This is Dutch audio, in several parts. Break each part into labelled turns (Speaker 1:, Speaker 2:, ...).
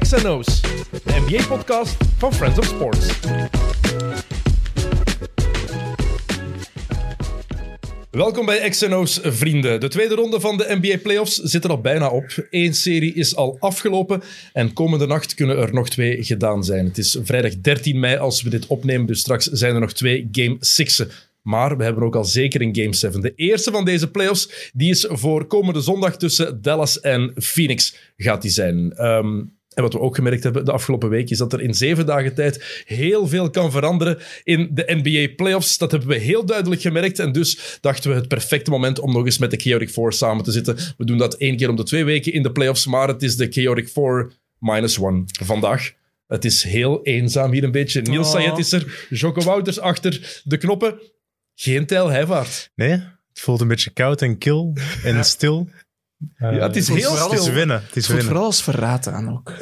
Speaker 1: XNO's, de NBA-podcast van Friends of Sports. Welkom bij XNO's, vrienden. De tweede ronde van de NBA Playoffs zit er al bijna op. Eén serie is al afgelopen en komende nacht kunnen er nog twee gedaan zijn. Het is vrijdag 13 mei als we dit opnemen, dus straks zijn er nog twee Game 6'en. Maar we hebben ook al zeker een Game 7. De eerste van deze playoffs die is voor komende zondag tussen Dallas en Phoenix gaat die zijn. Ehm, en wat we ook gemerkt hebben de afgelopen week is dat er in zeven dagen tijd heel veel kan veranderen in de NBA playoffs. Dat hebben we heel duidelijk gemerkt. En dus dachten we het perfecte moment om nog eens met de Chaotic Four samen te zitten. We doen dat één keer om de twee weken in de playoffs, maar het is de Chaotic Four minus one vandaag. Het is heel eenzaam hier een beetje. Niels
Speaker 2: Oh.
Speaker 1: Sayed is er, Jocko Wouters achter de knoppen. Geen Tijl Heijvaart.
Speaker 3: Nee, het voelt een beetje koud en kil en stil. Eh,
Speaker 1: Ja, het is
Speaker 2: het is
Speaker 1: heel
Speaker 2: vooral-
Speaker 1: stil.
Speaker 3: het is winnen. Het is
Speaker 2: Het voelt
Speaker 3: winnen.
Speaker 2: vooral als verraad aan ook.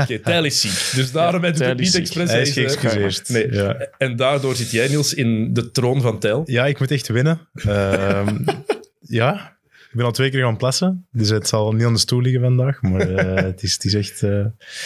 Speaker 1: Oké, Tijl is ziek. Dus daarom heb ik
Speaker 4: Tijl
Speaker 1: het
Speaker 4: is
Speaker 1: niet
Speaker 4: ziek.
Speaker 1: expres.
Speaker 3: Hij is
Speaker 1: deze-
Speaker 3: geëxcuseerd.
Speaker 1: Nee.
Speaker 3: Ja.
Speaker 1: En daardoor zit jij, Niels, in de troon van Tijl.
Speaker 3: ja, ik moet echt winnen. Ehm, ja, ik ben al twee keer gaan plassen, dus het zal niet aan de stoel liggen vandaag. Maar eh, het, is, het is echt... eh,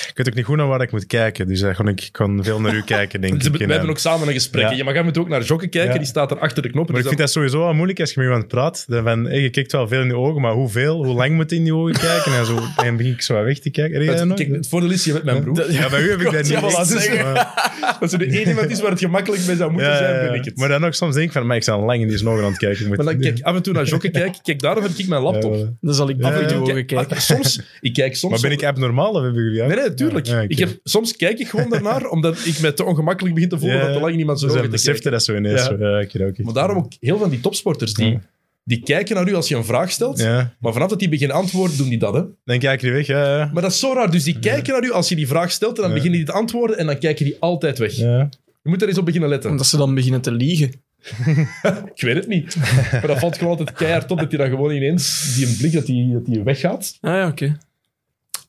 Speaker 3: ik weet ook niet goed naar waar ik moet kijken, dus eh, gewoon, ik kan veel naar u kijken, denk
Speaker 1: Ze-
Speaker 3: ik.
Speaker 1: we
Speaker 3: En,
Speaker 1: hebben
Speaker 3: eh,
Speaker 1: ook samen een gesprek.
Speaker 3: ja.
Speaker 1: hè. Ja. Maar jij moet ook naar Jokke kijken,
Speaker 3: Ja.
Speaker 1: die staat er achter de knoppen.
Speaker 3: Maar ik
Speaker 1: dus
Speaker 3: vind dat sowieso al moeilijk als je met iemand praat. Dan van, hey, je kijkt wel veel in de ogen, maar hoeveel? Hoe lang moet je in die ogen kijken? En, zo, en dan begin ik zo wat weg te kijken. Heb jij dat
Speaker 1: dat-
Speaker 3: nooit?
Speaker 1: Kijk, het voordeel is, je bent mijn broer. Dat,
Speaker 3: Ja, bij u heb ik dat niet.
Speaker 1: Ja, voilà,
Speaker 3: echt,
Speaker 1: dus-
Speaker 3: maar-
Speaker 1: is de enige iemand is waar het gemakkelijk mee zou moeten
Speaker 3: Ja, ja,
Speaker 1: zijn,
Speaker 3: ja.
Speaker 1: ben ik het.
Speaker 3: Maar dan nog soms denk ik van, maar ik sta al lang in die snoren aan het kijken. Ik moet-
Speaker 1: maar dan kijk ik af en toe naar Jokke kijken. Kijk, daarom heb ik mijn
Speaker 3: Ja,
Speaker 1: laptop.
Speaker 3: voilà.
Speaker 2: Dan zal ik
Speaker 3: Ja,
Speaker 2: af en
Speaker 3: ja.
Speaker 2: toe ogen
Speaker 1: Kijk,
Speaker 2: kijken.
Speaker 1: ah, soms, ik kijk soms...
Speaker 3: Maar ben ik abnormaal of hebben jullie
Speaker 1: Nee, nee, tuurlijk.
Speaker 3: Ja, ja,
Speaker 1: ik
Speaker 3: oké.
Speaker 1: heb, soms kijk ik gewoon daarnaar, omdat ik me te ongemakkelijk begin te voelen
Speaker 3: Ja, dus
Speaker 1: dat te lang niemand zo
Speaker 3: Ze zijn
Speaker 1: ogen te kijken.
Speaker 3: beseften dat zo ineens.
Speaker 1: Ja.
Speaker 3: zo, Ja. ik weet ook niet.
Speaker 1: Maar daarom ook heel van die topsporters, die,
Speaker 3: Ja.
Speaker 1: die kijken naar u als je een vraag stelt,
Speaker 3: Ja,
Speaker 1: maar vanaf dat die beginnen antwoorden, doen die dat, hè.
Speaker 3: dan kijk je weg. Ja, ja.
Speaker 1: Maar dat is zo raar. Dus die kijken naar u als je die vraag stelt en dan
Speaker 3: Ja.
Speaker 1: beginnen die te antwoorden en dan kijken die altijd weg.
Speaker 3: ja.
Speaker 1: Je moet er eens op beginnen letten.
Speaker 2: Omdat ze dan beginnen te liegen.
Speaker 1: Ik weet het niet. maar dat valt gewoon altijd keihard op dat hij dan gewoon ineens die een blik dat die, dat die weggaat.
Speaker 2: Ah ja, oké.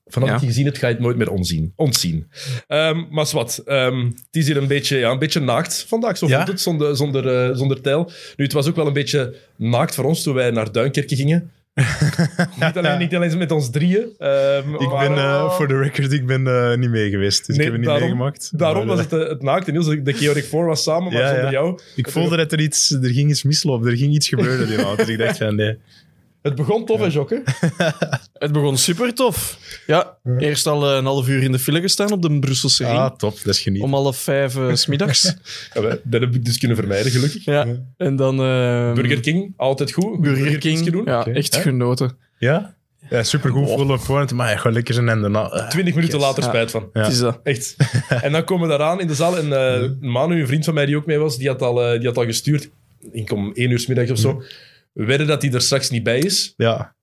Speaker 1: Vanaf
Speaker 2: Ja.
Speaker 1: dat je gezien hebt, ga je het nooit meer onzien. ontzien. Ehm, maar wat, het is hier een beetje, ja, een beetje naakt vandaag. Zo
Speaker 3: Ja?
Speaker 1: voelt het zonder, zonder, eh, zonder tijl. Nu, het was ook wel een beetje naakt voor ons toen wij naar Duinkerke gingen. niet, alleen, niet alleen met ons drieën. ehm,
Speaker 3: Ik
Speaker 1: maar-
Speaker 3: ben, eh, voor de record, ik ben eh, niet mee geweest.
Speaker 1: Nee,
Speaker 3: Dus ik heb het niet
Speaker 1: daarom-
Speaker 3: meegemaakt.
Speaker 1: Daarom
Speaker 3: Maar,
Speaker 1: was
Speaker 3: eh,
Speaker 1: het, eh, het naakt. En Niels, de Georg voor was samen, maar
Speaker 3: Ja,
Speaker 1: zonder
Speaker 3: ja.
Speaker 1: jou.
Speaker 3: Ik voelde dat er iets... Er ging iets mislopen. Er ging iets gebeuren die avond. Dus ik dacht van, nee.
Speaker 1: Het begon tof, hè, Jokke?
Speaker 2: Het begon super tof. Ja, eerst al eh, een half uur in de file gestaan op de Brusselse ring.
Speaker 3: Ah, top. Dat is geniet.
Speaker 2: Om half vijf eh, 's middags.
Speaker 1: Ja, we- dat heb ik dus kunnen vermijden, gelukkig.
Speaker 2: ja. En dan... eh,
Speaker 1: Burger King, altijd goed. Goeie
Speaker 2: Burger
Speaker 1: burgerkingjes
Speaker 2: King.
Speaker 1: Doen.
Speaker 2: Ja,
Speaker 3: Oké,
Speaker 2: echt
Speaker 3: hè?
Speaker 2: genoten.
Speaker 3: Ja? Ja, supergoed.
Speaker 2: Oh.
Speaker 3: Vol op voorhand. Maar ja, gewoon lekker zijn en daarna... eh.
Speaker 1: Twintig minuten
Speaker 3: Yes.
Speaker 1: later
Speaker 2: Ah, Ja.
Speaker 1: spijt van.
Speaker 3: Ja.
Speaker 2: Het is dat.
Speaker 1: Echt. En dan komen we daaraan in de zaal. En eh, Manu, een vriend van mij die ook mee was, die had al, eh, die had al gestuurd. Ik om één uur 's middags of zo. We wedden dat hij er straks niet bij is.
Speaker 3: Ja.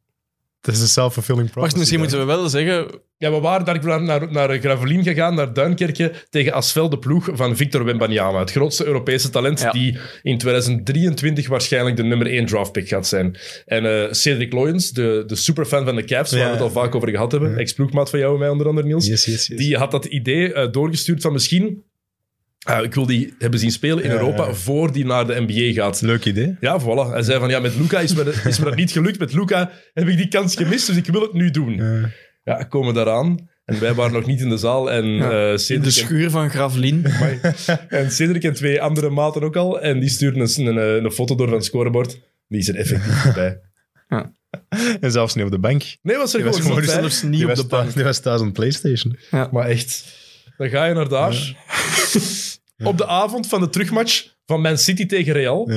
Speaker 3: Het is een self-fulfilling
Speaker 2: Wacht,
Speaker 3: prophecy.
Speaker 2: misschien
Speaker 3: denk
Speaker 2: moeten we wel zeggen...
Speaker 1: Ja, we waren daar naar, naar, naar Gravelin gegaan, naar Duinkerke, tegen Asvel de ploeg van Victor Wembanyama. Het grootste Europese talent
Speaker 2: Ja.
Speaker 1: die in 2023 waarschijnlijk de nummer 1 draftpick gaat zijn. En eh, Cedric Loyens, de, de superfan van de Cavs, waar
Speaker 3: Ja.
Speaker 1: we het al vaak over gehad hebben, ex-ploegmaat van jou en mij onder andere, Niels,
Speaker 3: ik. Yes, yes, yes.
Speaker 1: die had dat idee eh, doorgestuurd van misschien... eh, ik wil die hebben zien spelen in
Speaker 3: Ja,
Speaker 1: Europa
Speaker 3: ja.
Speaker 1: voor die naar de NBA gaat.
Speaker 3: Leuk idee.
Speaker 1: Ja, voilà. Hij zei van, ja, met Luca is me, dat- is me dat niet gelukt. Met Luca heb ik die kans gemist, dus ik wil het nu doen.
Speaker 3: Eh.
Speaker 1: Ja, komen daaraan. En wij waren nog niet in de zaal. En,
Speaker 2: Ja,
Speaker 1: eh,
Speaker 2: In de
Speaker 1: Cedric,
Speaker 2: schuur van Gravelin.
Speaker 1: en, en Cedric en twee andere maten ook al. En die stuurden een, een, eh, een foto door van het scorebord. Die is er effectief bij.
Speaker 3: En zelfs niet op de bank.
Speaker 1: Nee, was er
Speaker 3: Die was
Speaker 1: gewoon
Speaker 3: gewoon
Speaker 1: niet bij.
Speaker 2: Zelfs niet op de bank.
Speaker 3: Die was thuis aan PlayStation.
Speaker 1: Maar echt, dan ga je naar daar. Op de avond van de terugmatch van Man City tegen
Speaker 3: Eh,
Speaker 1: Real.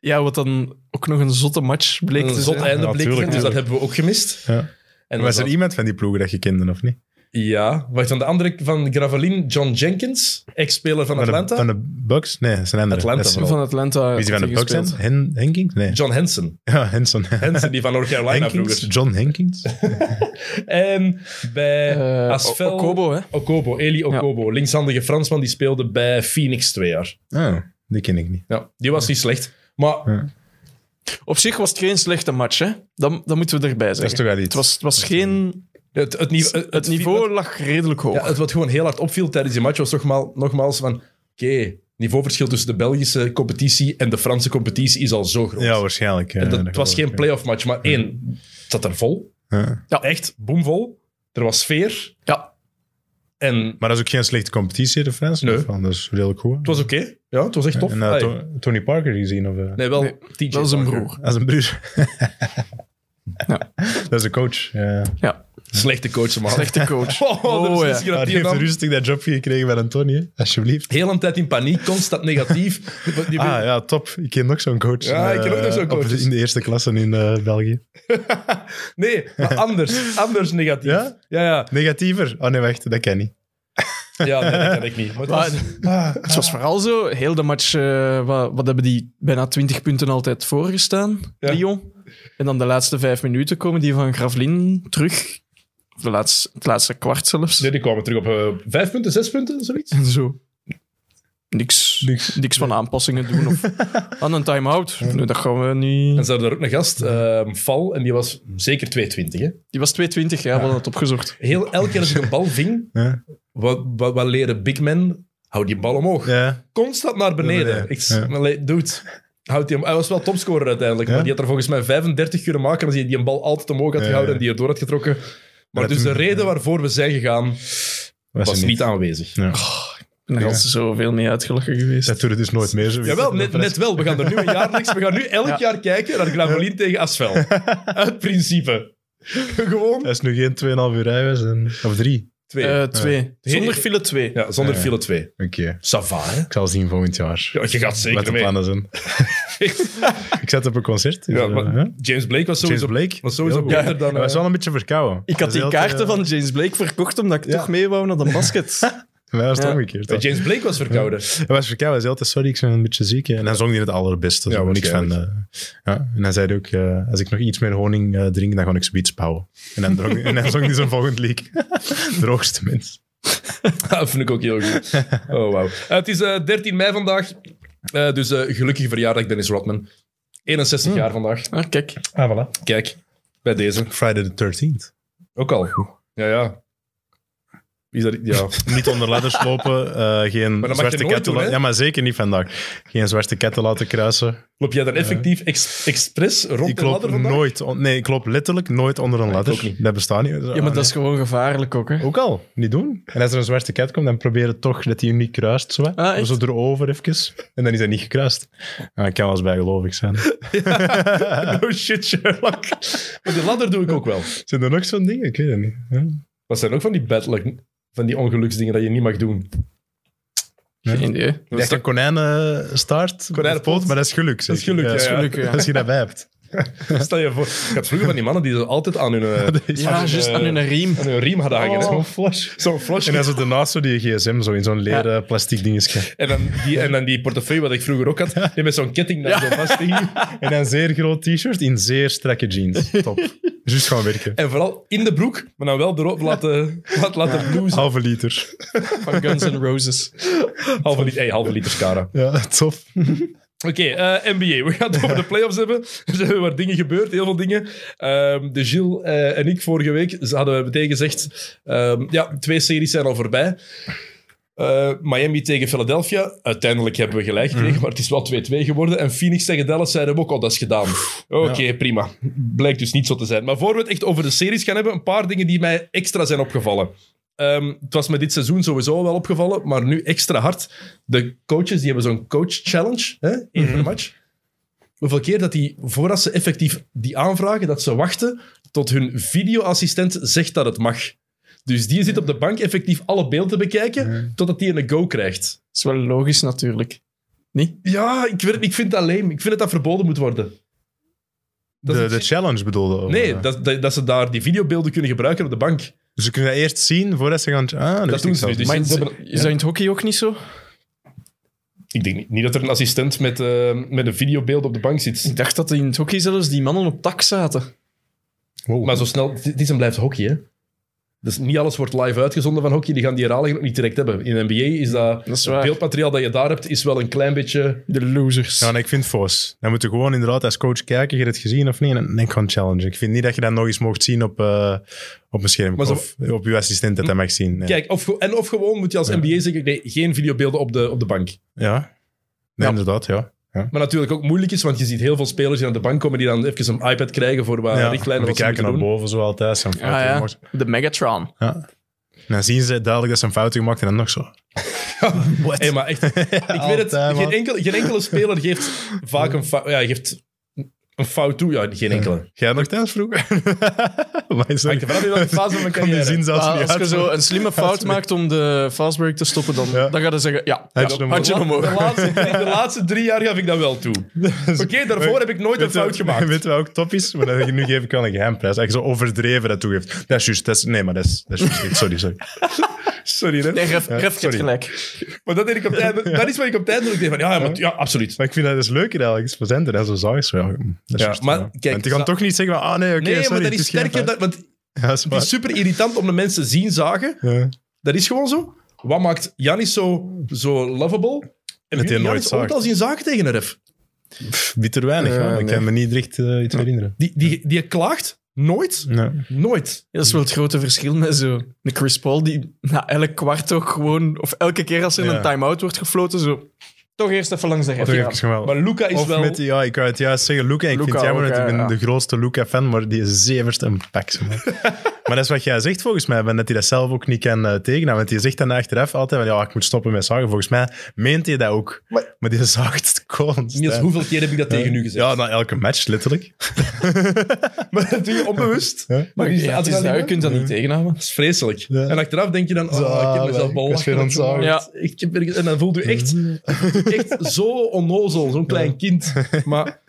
Speaker 2: Ja, wat dan ook nog een zotte match bleek
Speaker 1: Een
Speaker 2: te
Speaker 1: zot
Speaker 2: zijn.
Speaker 1: einde
Speaker 3: Ja,
Speaker 1: bleek,
Speaker 3: tuurlijk,
Speaker 1: dus dat
Speaker 3: tuurlijk.
Speaker 1: hebben we ook gemist.
Speaker 3: Ja.
Speaker 1: En dan
Speaker 3: was er
Speaker 1: zat-
Speaker 3: iemand van die ploegen dat je kende, of niet?
Speaker 1: Ja, wacht, van de andere van Gravelin, John Jenkins, ex-speler van
Speaker 3: Van
Speaker 1: Atlanta.
Speaker 3: de, van de Bucks? Nee, dat is een andere.
Speaker 1: Atlanta
Speaker 3: Dat is-
Speaker 1: vooral.
Speaker 2: Van Atlanta.
Speaker 3: Wie is die van de Bucks?
Speaker 2: gespeeld.
Speaker 3: Hen, Hen- Henkings? Nee.
Speaker 1: John Henson.
Speaker 3: Ja, Henson.
Speaker 1: Henson, die van North Carolina
Speaker 3: Henkings?
Speaker 1: vroeger.
Speaker 3: John Henkings?
Speaker 1: En bij
Speaker 2: Eh,
Speaker 1: Asvel...
Speaker 2: Okobo, hè?
Speaker 1: Okobo, Eli Okobo. Linkshandige Fransman, die speelde bij Phoenix twee jaar.
Speaker 3: Oh, die ken ik niet.
Speaker 1: Ja, die was niet slecht. Maar
Speaker 2: Op zich was het geen slechte match, hè? Dat, dat moeten we erbij
Speaker 3: Dat is
Speaker 2: zeggen.
Speaker 3: toch wel iets.
Speaker 2: Het was, het was geen...
Speaker 1: het, het, nive-
Speaker 2: Het, niveau lag redelijk hoog.
Speaker 1: Ja, het wat gewoon heel hard opviel tijdens die match was toch maar, nogmaals van... Oké, niveauverschil tussen de Belgische competitie en de Franse competitie is al zo groot.
Speaker 3: Ja, waarschijnlijk. ja,
Speaker 1: En dat,
Speaker 3: dat
Speaker 1: het was
Speaker 3: geloof
Speaker 1: geen
Speaker 3: ik,
Speaker 1: playoff match, maar één, het zat er vol.
Speaker 3: ja. Ja.
Speaker 1: Echt, boomvol. Er was sfeer.
Speaker 2: Ja.
Speaker 1: En
Speaker 3: Maar dat is ook geen slechte competitie, de Fransen.
Speaker 1: Nee.
Speaker 3: Van, dat is redelijk goed.
Speaker 1: het was oké. Ja, het was echt tof.
Speaker 3: En eh,
Speaker 1: Ai.
Speaker 3: To- Tony Parker gezien? Of, eh?
Speaker 1: nee, wel
Speaker 2: Nee,
Speaker 1: TJ
Speaker 2: Dat is een
Speaker 1: Parker.
Speaker 2: broer.
Speaker 3: Dat is een bruur.
Speaker 2: Ja.
Speaker 3: Dat is een coach. Ja.
Speaker 1: Slechte coach, man.
Speaker 2: Slechte coach.
Speaker 1: Oh, er is
Speaker 2: Oh, ja.
Speaker 1: iets
Speaker 3: Maar
Speaker 1: dat
Speaker 3: die
Speaker 1: die
Speaker 3: heeft
Speaker 1: man
Speaker 3: rustig dat jobje gekregen bij Antoni, hè. alsjeblieft.
Speaker 1: Heel een tijd in paniek, constant negatief. Die wil-
Speaker 3: Ah ja, top. Ik ken nog zo'n coach.
Speaker 1: Ja, ik ken ook nog zo'n
Speaker 3: eh,
Speaker 1: coach.
Speaker 3: op- In de eerste klasse in eh, België.
Speaker 1: Nee, maar anders. Anders negatief.
Speaker 3: Ja?
Speaker 1: Ja, ja.
Speaker 3: Negatiever? Oh nee, wacht, dat ken ik.
Speaker 1: Ja, nee, dat kan ik niet. Maar het
Speaker 2: Maar
Speaker 1: was-
Speaker 2: het was vooral zo, heel de match, eh, wat, wat hebben die bijna 20 punten altijd voorgestaan,
Speaker 1: Ja.
Speaker 2: Lyon. En dan de laatste vijf minuten komen die van Gravelin terug. Of de laatste, het laatste kwart zelfs.
Speaker 1: Nee, die kwamen terug op eh, vijf punten, zes punten, zoiets.
Speaker 2: En zo. Niks, niks. van aanpassingen doen. Of aan een time-out. Nee, dat gaan we
Speaker 1: En
Speaker 2: niet.
Speaker 1: ze hadden daar ook een gast, ehm, Val, en die was zeker 220. Hè?
Speaker 2: Die was 220, ja, we hadden het opgezocht.
Speaker 1: Heel, elke keer als ik een bal ving,
Speaker 3: Ja.
Speaker 1: wat, wat, wat leren big men? Hou die bal omhoog.
Speaker 3: Ja.
Speaker 1: Constant naar beneden.
Speaker 3: beneden,
Speaker 1: Ik,
Speaker 3: ja.
Speaker 1: Allee, dude, houd die, hem- hij was wel topscorer uiteindelijk,
Speaker 3: Ja?
Speaker 1: maar die had er volgens mij 35 kunnen maken als hij die een bal altijd omhoog had
Speaker 3: Ja,
Speaker 1: gehouden
Speaker 3: ja.
Speaker 1: en die erdoor had getrokken. Maar
Speaker 3: dat
Speaker 1: dus de
Speaker 3: toen-
Speaker 1: reden waarvoor we zijn gegaan,
Speaker 3: Was,
Speaker 1: was
Speaker 3: er
Speaker 1: niet aanwezig.
Speaker 3: Ja.
Speaker 1: Oh,
Speaker 2: En daar
Speaker 3: Ja.
Speaker 2: is zoveel mee uitgelachen geweest.
Speaker 3: Dat doet het dus nooit meer. Zo
Speaker 1: Jawel, net, net wel. We gaan er nu een jaarlijks... We gaan nu elk jaar kijken naar Glamelin tegen Asvel. Uit principe. Gewoon
Speaker 3: Dat is nu geen 2,5 uur rijwijs. En... Of drie.
Speaker 1: twee.
Speaker 2: Eh, twee.
Speaker 1: Ja.
Speaker 2: Zonder file twee.
Speaker 1: ja, zonder
Speaker 3: ja.
Speaker 1: file twee.
Speaker 3: Oké.
Speaker 1: Sava, hè?
Speaker 3: Ik zal zien volgend jaar.
Speaker 1: Ja, je gaat
Speaker 3: Wat de
Speaker 1: zeker mee.
Speaker 3: plannen zijn. ik zat op een concert. dus,
Speaker 1: Ja,
Speaker 3: eh,
Speaker 1: maar
Speaker 3: hè?
Speaker 1: James Blake was
Speaker 3: James
Speaker 1: sowieso,
Speaker 3: Blake.
Speaker 1: was sowieso
Speaker 3: Heel goed.
Speaker 1: beter dan...
Speaker 3: Hij was
Speaker 1: eh,
Speaker 3: wel een beetje verkouden.
Speaker 2: Ik had die kaarten
Speaker 3: eh,
Speaker 2: van James Blake verkocht omdat ik
Speaker 3: Ja.
Speaker 2: toch mee wou naar de basket.
Speaker 3: Wij was het
Speaker 2: Ja.
Speaker 3: omgekeerd.
Speaker 1: eh, James Blake was verkouden.
Speaker 3: Hij was verkouden, hij zei altijd, sorry, ik ben een beetje ziek. eh." En dan zong hij het allerbeste.
Speaker 1: Ja,
Speaker 3: Ja, niks van,
Speaker 1: waarschijnlijk.
Speaker 3: eh, ja. En hij zei ook, eh, als ik nog iets meer honing eh, drink, dan ga ik zoiets pauwen. En dan, drong, en dan zong hij zijn volgend lied. Droogste mens.
Speaker 1: dat vind ik ook heel goed. Oh, wauw. Eh, het is eh, 13 mei vandaag. Eh, dus eh gelukkige verjaardag, Dennis Rodman. 61 jaar vandaag.
Speaker 2: Ah, kijk.
Speaker 3: Ah, voilà.
Speaker 1: Kijk, bij deze.
Speaker 3: Friday the 13th.
Speaker 1: Ook al. Ja, ja. Is dat... Ja.
Speaker 3: Niet onder ladders lopen, eh, geen
Speaker 1: mag je
Speaker 3: zwarte
Speaker 1: nooit
Speaker 3: ketten...
Speaker 1: doen,
Speaker 3: la-
Speaker 1: hè?
Speaker 3: ja, maar zeker niet vandaag. Geen zwarte ketten laten kruisen.
Speaker 1: Loop jij dan effectief ex- expres rond
Speaker 3: Ik
Speaker 1: de
Speaker 3: loop
Speaker 1: ladder vandaag? Ah,
Speaker 3: nooit... on- nee, ik loop letterlijk nooit onder een
Speaker 1: ook
Speaker 3: ladder.
Speaker 1: niet.
Speaker 3: Dat bestaat niet.
Speaker 2: Ja, maar dat is gewoon gevaarlijk ook, hè.
Speaker 3: Ook al, niet doen. En als er een zwarte kat komt, dan probeer je toch dat hij niet kruist. Zo, hè.
Speaker 2: Ah, echt?
Speaker 3: zo erover even. En dan is hij niet gekruist. En dat kan wel eens bijgelovig zijn.
Speaker 1: Oh shit, Sherlock. Maar die ladder doe ik ook wel.
Speaker 3: Zijn er nog zo'n dingen? Ik weet het niet. Ja.
Speaker 1: Dat zijn ook van die bad luck, van die ongeluksdingen dat je niet mag doen.
Speaker 2: Geen idee.
Speaker 3: Dat is een konijnenstaart,
Speaker 1: Konijnenpoot.
Speaker 3: poot, maar dat is geluk.
Speaker 1: Dat is
Speaker 3: zeker.
Speaker 1: geluk, ja, ja.
Speaker 2: Gelukkig, ja.
Speaker 3: Als je dat bij hebt.
Speaker 1: Stel je voor, ik had vroeger van die mannen die zo altijd aan hun, eh,
Speaker 3: Dat is-
Speaker 2: Ja, juist aan hun riem.
Speaker 1: aan hun riem hadden hangen. hè.
Speaker 3: Zo'n flash.
Speaker 1: Zo'n flosje.
Speaker 3: En dan zit daarnaast zo die gsm zo in zo'n leren plastic dingetje.
Speaker 1: En dan, die, en dan die portefeuille wat ik vroeger ook had, die met zo'n ketting daar zo vast hing.
Speaker 3: En een zeer groot t-shirt in zeer strakke jeans. Top. Juist gaan werken.
Speaker 1: En vooral in de broek, maar dan wel erop laten, laten, laten blousen.
Speaker 3: Halve liter.
Speaker 2: Van Guns N' Roses.
Speaker 1: Halve, li- hey, halve liter Cara.
Speaker 3: Ja, tof.
Speaker 1: Oké, eh, NBA. We gaan het over de playoffs hebben. Er zijn weer wat dingen gebeurd, heel veel dingen. Ehm, de Gilles eh, en ik vorige week ze hadden we meteen gezegd: ehm, ja, twee series zijn al voorbij. Eh, Miami tegen Philadelphia. Uiteindelijk hebben we gelijk gekregen, maar het is wel 2-2 geworden. En Phoenix tegen Dallas zeiden we ook al, dat is gedaan. Oké, prima. Blijkt dus niet zo te zijn. Maar voor we het echt over de series gaan hebben, een paar dingen die mij extra zijn opgevallen. Ehm, het was me dit seizoen sowieso wel opgevallen, maar nu extra hard. De coaches die hebben zo'n coach challenge, hè, één
Speaker 3: Mhm.
Speaker 1: per match. Hoeveel keer dat die, voordat ze effectief die aanvragen, dat ze wachten tot hun videoassistent zegt dat het mag. Dus die zit op de bank effectief alle beelden bekijken,
Speaker 3: Mhm.
Speaker 1: totdat die een go krijgt.
Speaker 2: Dat is wel logisch, natuurlijk. Niet?
Speaker 1: Ja, ik, weet, het niet, ik vind het alleen. Ik vind dat dat verboden moet worden. Dat
Speaker 3: De,
Speaker 1: is-
Speaker 3: de challenge bedoelde. of,
Speaker 1: nee,
Speaker 3: eh?
Speaker 1: dat, dat, dat ze daar die videobeelden kunnen gebruiken op de bank.
Speaker 3: Dus ze kunnen dat eerst zien voordat ze gaan... Ah, dat, wist
Speaker 1: doen
Speaker 3: ik
Speaker 1: ze nu, dus-
Speaker 3: zelf niet.
Speaker 2: Maar
Speaker 1: ze-
Speaker 2: is,
Speaker 1: ze hebben-
Speaker 2: is dat in het hockey ook niet zo?
Speaker 1: Ik denk niet, niet dat er een assistent met, eh, met een videobeeld op de bank zit.
Speaker 2: Ik dacht dat in het hockey zelfs die mannen op tak zaten.
Speaker 3: Wow.
Speaker 1: Maar zo snel, het is en blijft hockey, hè? Dus niet alles wordt live uitgezonden van hockey. Die gaan die herhalingen ook niet direct hebben. In de NBA is dat,
Speaker 2: Dat is
Speaker 1: het
Speaker 2: waar.
Speaker 1: beeldmateriaal dat je daar hebt, is wel een klein beetje...
Speaker 2: De losers.
Speaker 3: Ja, nee, ik vind Fos. Dan moet je gewoon inderdaad als coach kijken, je hebt het gezien of niet, en dan denk gewoon challenge. Ik vind niet dat je dat nog eens mocht zien op, eh, op een scherm.
Speaker 1: Maar zo-
Speaker 3: Of op je assistent dat dat mag zien. nee.
Speaker 1: Kijk, of, ge- en of gewoon moet je als NBA zeggen, nee, geen videobeelden op de, op de bank.
Speaker 3: Ja. Nee,
Speaker 1: Ja. Eh,
Speaker 3: inderdaad, ja.
Speaker 1: Maar natuurlijk ook moeilijk is, want je ziet heel veel spelers die aan de bank komen die dan even een iPad krijgen voor wat richtlijnen
Speaker 3: die
Speaker 1: wat ze
Speaker 3: kijken
Speaker 1: moeten
Speaker 3: naar
Speaker 1: doen.
Speaker 3: boven, zo altijd. Zijn fouten
Speaker 2: Ah, ja.
Speaker 3: gemaakt.
Speaker 2: De Megatron.
Speaker 3: Ja. En dan zien ze duidelijk dat ze een fout hebben gemaakt en dan nog zo.
Speaker 1: Hey, maar echt, ik weet het,
Speaker 3: Altijd, man.
Speaker 1: geen, enkel, geen enkele speler geeft vaak een fout, ja, geeft een fout toe. Ja, geen enkele.
Speaker 3: Jij nog thuis vroeger? maar is
Speaker 1: Hangt er vanaf Ah, in welke fase van mijn
Speaker 3: Kan die
Speaker 1: carrière.
Speaker 3: zin zelfs
Speaker 2: Maar
Speaker 3: niet
Speaker 2: Ah, als je
Speaker 3: uit.
Speaker 2: zo een slimme fout maakt om de fastbreak te stoppen, dan,
Speaker 3: Ja.
Speaker 2: dan gaan ze zeggen, ja, ja,
Speaker 3: Handje
Speaker 2: handje,
Speaker 3: omhoog.
Speaker 2: omhoog.
Speaker 1: De laatste, drie- de laatste drie jaar gaf ik dat wel toe. Oké, daarvoor heb ik nooit een
Speaker 3: Dus
Speaker 1: fout
Speaker 3: Weet je-
Speaker 1: gemaakt.
Speaker 3: Weet je wat ook top is? Maar dat je nu geef ik aan een geheimprijs. Dat je zo overdreven dat toegeeft. Dat is juist. Dat is, nee, maar dat is, dat is juist niet. Sorry, sorry.
Speaker 1: Sorry, hè?
Speaker 2: Nee, ref,
Speaker 3: Ja,
Speaker 2: ref
Speaker 3: sorry.
Speaker 2: heeft gelijk.
Speaker 1: Maar dat, deed ik op het einde, dat is wat ik op het einde ook deed. Van, ja, maar, ja, absoluut.
Speaker 3: Maar ik vind dat is leuk eigenlijk. Het is plezant. En dat is zo zalig. Zo, ja, mm, dat is
Speaker 1: Ja,
Speaker 3: juist,
Speaker 1: maar
Speaker 3: ja.
Speaker 1: kijk,
Speaker 3: Want die gaan
Speaker 1: za-
Speaker 3: toch niet zeggen van, ah nee, oké,
Speaker 1: Nee,
Speaker 3: sorry.
Speaker 1: maar dat
Speaker 3: het
Speaker 1: is
Speaker 3: geen
Speaker 1: sterker.
Speaker 3: fout. Ah.
Speaker 1: Dat, want het
Speaker 3: Ja, dat is waar.
Speaker 1: is super irritant om de mensen zien zagen.
Speaker 3: Ja.
Speaker 1: Dat is gewoon zo. Wat maakt Janis zo, zo lovable? En
Speaker 3: hij nooit
Speaker 1: Janis ooit
Speaker 3: zaagt.
Speaker 1: al zien zaken tegen een ref.
Speaker 3: Pff, bitter weinig.
Speaker 2: Eh,
Speaker 3: ja. Ik
Speaker 2: nee.
Speaker 3: kan me niet echt eh, iets herinneren.
Speaker 1: Die, die, die klaagt nooit.
Speaker 3: Nee.
Speaker 1: Nooit.
Speaker 2: Ja, dat is wel het grote verschil met zo. De Chris Paul die na elk kwart ook gewoon, of elke keer als er
Speaker 3: Ja.
Speaker 2: een time-out wordt gefloten, zo toch eerst even langs de ref
Speaker 3: Toch
Speaker 2: gaan.
Speaker 3: even geweld.
Speaker 1: Maar Luca is
Speaker 3: Of
Speaker 1: wel...
Speaker 3: met, die- ja, ik kan het juist zeggen, Luca. Ik vind
Speaker 2: Luca
Speaker 3: het jammer,
Speaker 2: ook,
Speaker 3: want ik
Speaker 2: ja,
Speaker 3: ben
Speaker 2: ja.
Speaker 3: de grootste Luca-fan, maar die is zeverst een pak. zo, man. maar dat is wat jij zegt volgens mij, Ben, dat hij dat zelf ook niet kan eh, tegenhouden. Want die zegt dan achteraf altijd, van, ja, ik moet stoppen met zagen. Volgens mij meent hij dat ook. Maar,
Speaker 1: Maar-
Speaker 3: die zaagt het constant.
Speaker 1: Niels, hoeveel keer heb ik dat tegen u gezegd?
Speaker 3: Ja, na elke match, letterlijk.
Speaker 1: Maar dat doe je onbewust.
Speaker 3: Ja.
Speaker 1: Maar die
Speaker 2: Ja, het is dat, je kunt dat niet tegenhouden.
Speaker 1: Dat is vreselijk.
Speaker 3: Ja.
Speaker 1: En achteraf denk je dan, oh, ik
Speaker 3: Zalig,
Speaker 1: heb mezelf
Speaker 3: ik was weer aan het
Speaker 1: belachelijk
Speaker 2: zagen.
Speaker 1: gemaakt. Ik heb er- En dan voelt u echt, echt zo onnozel, zo'n klein kind. Maar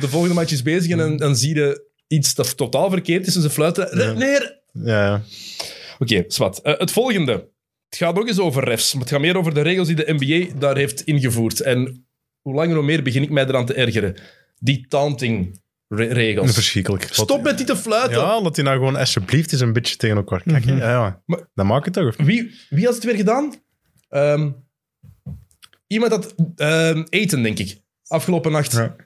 Speaker 1: de volgende match is bezig en dan, dan zie je iets dat totaal verkeerd is en ze fluiten.
Speaker 3: Ja.
Speaker 1: Neer!
Speaker 3: Ja, ja.
Speaker 1: Oké, zwart. Eh, het volgende. Het gaat ook eens over refs, maar het gaat meer over de regels die de NBA daar heeft ingevoerd. En hoe langer hoe meer begin ik mij eraan te ergeren. Die taunting-regels.
Speaker 3: verschrikkelijk.
Speaker 1: Stop met die te fluiten.
Speaker 3: Ja, laat hij nou gewoon alsjeblieft eens een beetje tegen elkaar kijken. Ja, ja.
Speaker 1: Maar-
Speaker 3: dat maakt het toch? Of...
Speaker 1: Wie, wie had het weer gedaan? Ehm, iemand had ehm, eten, denk ik. Afgelopen nacht.
Speaker 3: Ja.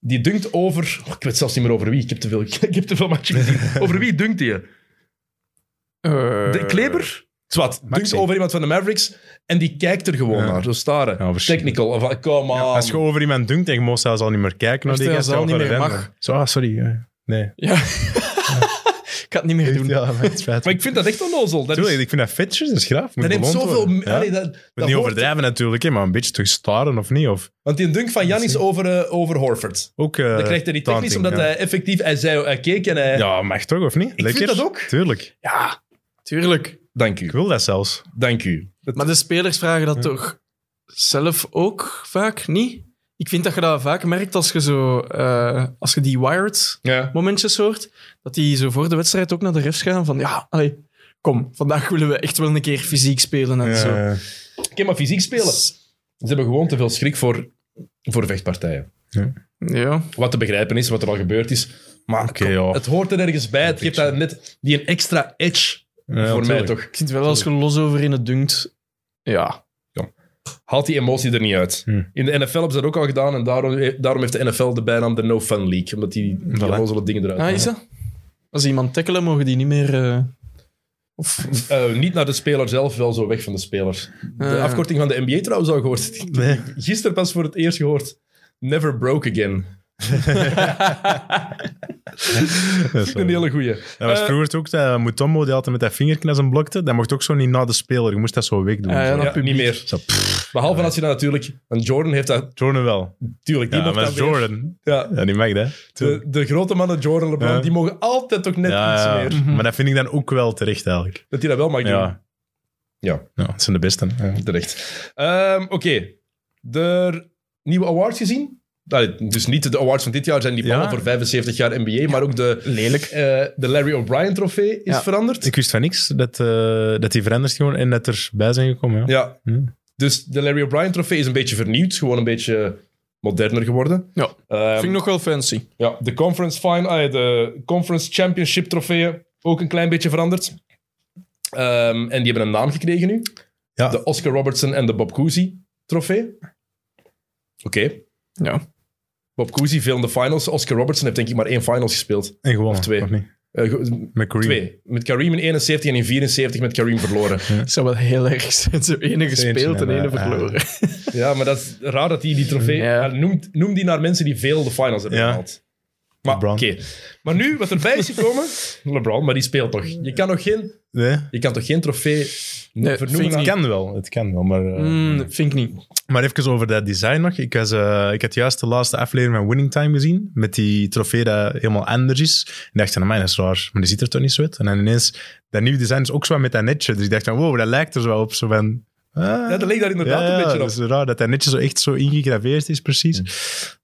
Speaker 1: Die dunkt over. oh, ik weet zelfs niet meer over wie. Ik heb te veel, ik heb te veel matchen gezien. Over wie dunkt hij?
Speaker 2: Eh,
Speaker 1: De Kleber? Zwat. Dunkt
Speaker 3: Maxi.
Speaker 1: over iemand van de Mavericks. En die kijkt er gewoon
Speaker 3: Ja.
Speaker 1: naar. Zo staren.
Speaker 3: Ja, verschrikkelijk.
Speaker 1: Technical. Of, ah, come on.
Speaker 3: Als je over iemand dunkt en je moest zelfs al niet meer kijken naar
Speaker 2: Echt,
Speaker 3: die
Speaker 2: hij
Speaker 3: gast,
Speaker 2: zal
Speaker 3: dan
Speaker 2: niet
Speaker 3: gaat hij
Speaker 2: meer
Speaker 3: rennen. Zo, ah, sorry. eh, Nee.
Speaker 2: Ja. ik ga het niet meer doen.
Speaker 3: Ja, maar het spijt me.
Speaker 1: maar ik vind dat echt onnozel. Dat, is-
Speaker 3: Tuurlijk, ik vind dat fetjes, dat is graaf. Moet
Speaker 1: dat neemt
Speaker 3: beloond
Speaker 1: zoveel...
Speaker 3: worden. Ja.
Speaker 1: allee, dat,
Speaker 3: Moet
Speaker 1: dat
Speaker 3: niet
Speaker 1: hoort-
Speaker 3: overdrijven natuurlijk, hè, maar een beetje toch staren of niet? Of
Speaker 1: Want die dunk van Janis over, eh, over Horford.
Speaker 3: ook, eh,
Speaker 1: Dat krijgt hij niet technisch,
Speaker 3: taunting,
Speaker 1: omdat
Speaker 3: ja.
Speaker 1: hij effectief... Hij zei... Hij keek en hij...
Speaker 3: Ja, mag toch, of niet? Ik
Speaker 1: vind dat ook.
Speaker 3: Tuurlijk,
Speaker 2: Ja, tuurlijk.
Speaker 1: Dank
Speaker 3: ik
Speaker 1: u.
Speaker 3: wil dat zelfs.
Speaker 1: Dank u.
Speaker 2: Maar de spelers vragen dat toch zelf ook vaak niet? Ik vind dat je dat vaak merkt als je, zo, eh, als je die wired
Speaker 1: Ja.
Speaker 2: momentjes hoort. Dat die zo voor de wedstrijd ook naar de refs gaan van ja, allee, kom, vandaag willen we echt wel een keer fysiek spelen en
Speaker 3: Ja,
Speaker 2: zo.
Speaker 3: ja.
Speaker 1: Ik kan maar fysiek spelen.
Speaker 2: S-
Speaker 1: Ze hebben gewoon te veel schrik voor, voor vechtpartijen.
Speaker 2: Ja,
Speaker 1: Wat te begrijpen is, wat er al gebeurd is. Maar
Speaker 3: Oké,
Speaker 1: kom,
Speaker 3: ja.
Speaker 1: het hoort er ergens bij. Het geeft daar net die een extra edge
Speaker 3: Ja,
Speaker 1: voor mij
Speaker 3: tuurlijk.
Speaker 1: toch.
Speaker 2: ik vind wel als je los over in het dunkt. Ja,
Speaker 1: Haalt die emotie er niet uit.
Speaker 3: Hm.
Speaker 1: In de NFL hebben ze dat ook al gedaan. En daarom, eh, daarom heeft de NFL de bijnaam de No Fun League. Omdat die, die
Speaker 3: Voilà.
Speaker 1: onnozele dingen eruit
Speaker 2: ah, is
Speaker 1: halen.
Speaker 2: dat? Als iemand tackelen, mogen die niet meer. eh, of,
Speaker 1: Eh, niet naar de speler zelf, wel zo weg van de spelers. De
Speaker 2: Ah.
Speaker 1: afkorting van de NBA trouwens al gehoord.
Speaker 3: Nee.
Speaker 1: Gisteren pas voor het eerst gehoord. Never broke again.
Speaker 3: Dat is wel-
Speaker 1: Een hele goeie.
Speaker 3: Dat was
Speaker 1: Eh,
Speaker 3: vroeger ook, dat Mutombo die altijd met dat vingertje naar zijn blokte, dat mocht ook zo niet na de speler, je moest dat zo weg doen.
Speaker 2: Ah, ja,
Speaker 3: zo.
Speaker 2: dat-
Speaker 1: ja, niet meer.
Speaker 3: Zo, pff.
Speaker 1: Behalve als je dat natuurlijk... Want Jordan heeft dat...
Speaker 3: Jordan wel.
Speaker 1: Tuurlijk, die
Speaker 3: Ja,
Speaker 1: mag
Speaker 3: maar dat
Speaker 1: dat
Speaker 3: is
Speaker 1: weer.
Speaker 3: Jordan.
Speaker 1: Ja,
Speaker 3: Ja, die mag dat. Tuurlijk.
Speaker 1: de, de grote mannen, Jordan, LeBron,
Speaker 3: Ja.
Speaker 1: die mogen altijd toch net
Speaker 3: Ja,
Speaker 1: iets
Speaker 3: ja,
Speaker 1: meer.
Speaker 3: Maar dat vind ik dan ook wel terecht eigenlijk.
Speaker 1: Dat hij dat wel mag doen.
Speaker 3: Ja.
Speaker 1: Ja.
Speaker 3: ja het zijn de beste. hè. Ja.
Speaker 1: Terecht. Ehm, Oké. De nieuwe awards gezien? Nou, dus niet de awards van dit jaar zijn die ballen
Speaker 3: Ja.
Speaker 1: voor 75 jaar NBA, maar ook de,
Speaker 2: Lelijk.
Speaker 1: eh, de Larry O'Brien trofee is
Speaker 2: Ja.
Speaker 1: veranderd.
Speaker 3: Ik wist van niks dat, eh, dat die veranderd is gewoon en dat er bij zijn gekomen. Ja.
Speaker 1: Ja.
Speaker 3: Hm.
Speaker 1: Dus de Larry O'Brien trofee is een beetje vernieuwd, gewoon een beetje moderner geworden.
Speaker 2: Ja,
Speaker 1: Ehm,
Speaker 2: vind ik nog wel fancy.
Speaker 1: Ja, de conference, final, ah ja, de conference championship trofeeën ook een klein beetje veranderd. Ehm, en die hebben een naam gekregen nu.
Speaker 3: Ja.
Speaker 1: De Oscar Robertson en de Bob Cousy trofee. Oké,
Speaker 2: Ja.
Speaker 1: Bob Cousy veel in de finals. Oscar Robertson heeft denk ik maar één finals gespeeld.
Speaker 3: En gewonnen.
Speaker 1: Of twee.
Speaker 3: niet?
Speaker 1: Eh, ge-
Speaker 3: Met Kareem.
Speaker 1: twee. Met Kareem in 71 en in 74 met Kareem verloren.
Speaker 2: Het zou wel heel erg zijn. Zo ene gespeeld en
Speaker 3: en,
Speaker 2: ene
Speaker 3: eh,
Speaker 2: verloren.
Speaker 1: Ja, maar dat is raar dat hij die trofee...
Speaker 2: Ja.
Speaker 1: maar Noem, noem die naar mensen die veel de finals hebben
Speaker 3: Ja.
Speaker 1: gehaald. Maar oké.
Speaker 3: LeBron.
Speaker 1: Maar nu, wat erbij is gekomen... LeBron, maar die speelt toch. Je kan, nog geen,
Speaker 3: Nee?
Speaker 1: je kan toch geen trofee
Speaker 2: Nee, vind
Speaker 1: vernoemen
Speaker 2: ik
Speaker 1: aan-
Speaker 3: Het kan wel, het kan wel. Maar, eh,
Speaker 2: Mm, dat vind ik niet.
Speaker 3: maar even over dat design nog. Ik, was, eh, ik had juist de laatste aflevering van Winning Time gezien. Met die trofee dat helemaal anders is. Ik dacht, nou, dat is raar. Maar die ziet er toch niet zo uit. En dan ineens, dat nieuwe design is ook zo met dat netje. Dus ik dacht, van, wow, dat lijkt er zo wel op. Zo van, ah,
Speaker 1: Ja, dat leek daar inderdaad
Speaker 3: ja, dus-
Speaker 1: een beetje op. Mm.
Speaker 3: dat is raar dat dat netje zo echt zo ingegraveerd is, precies.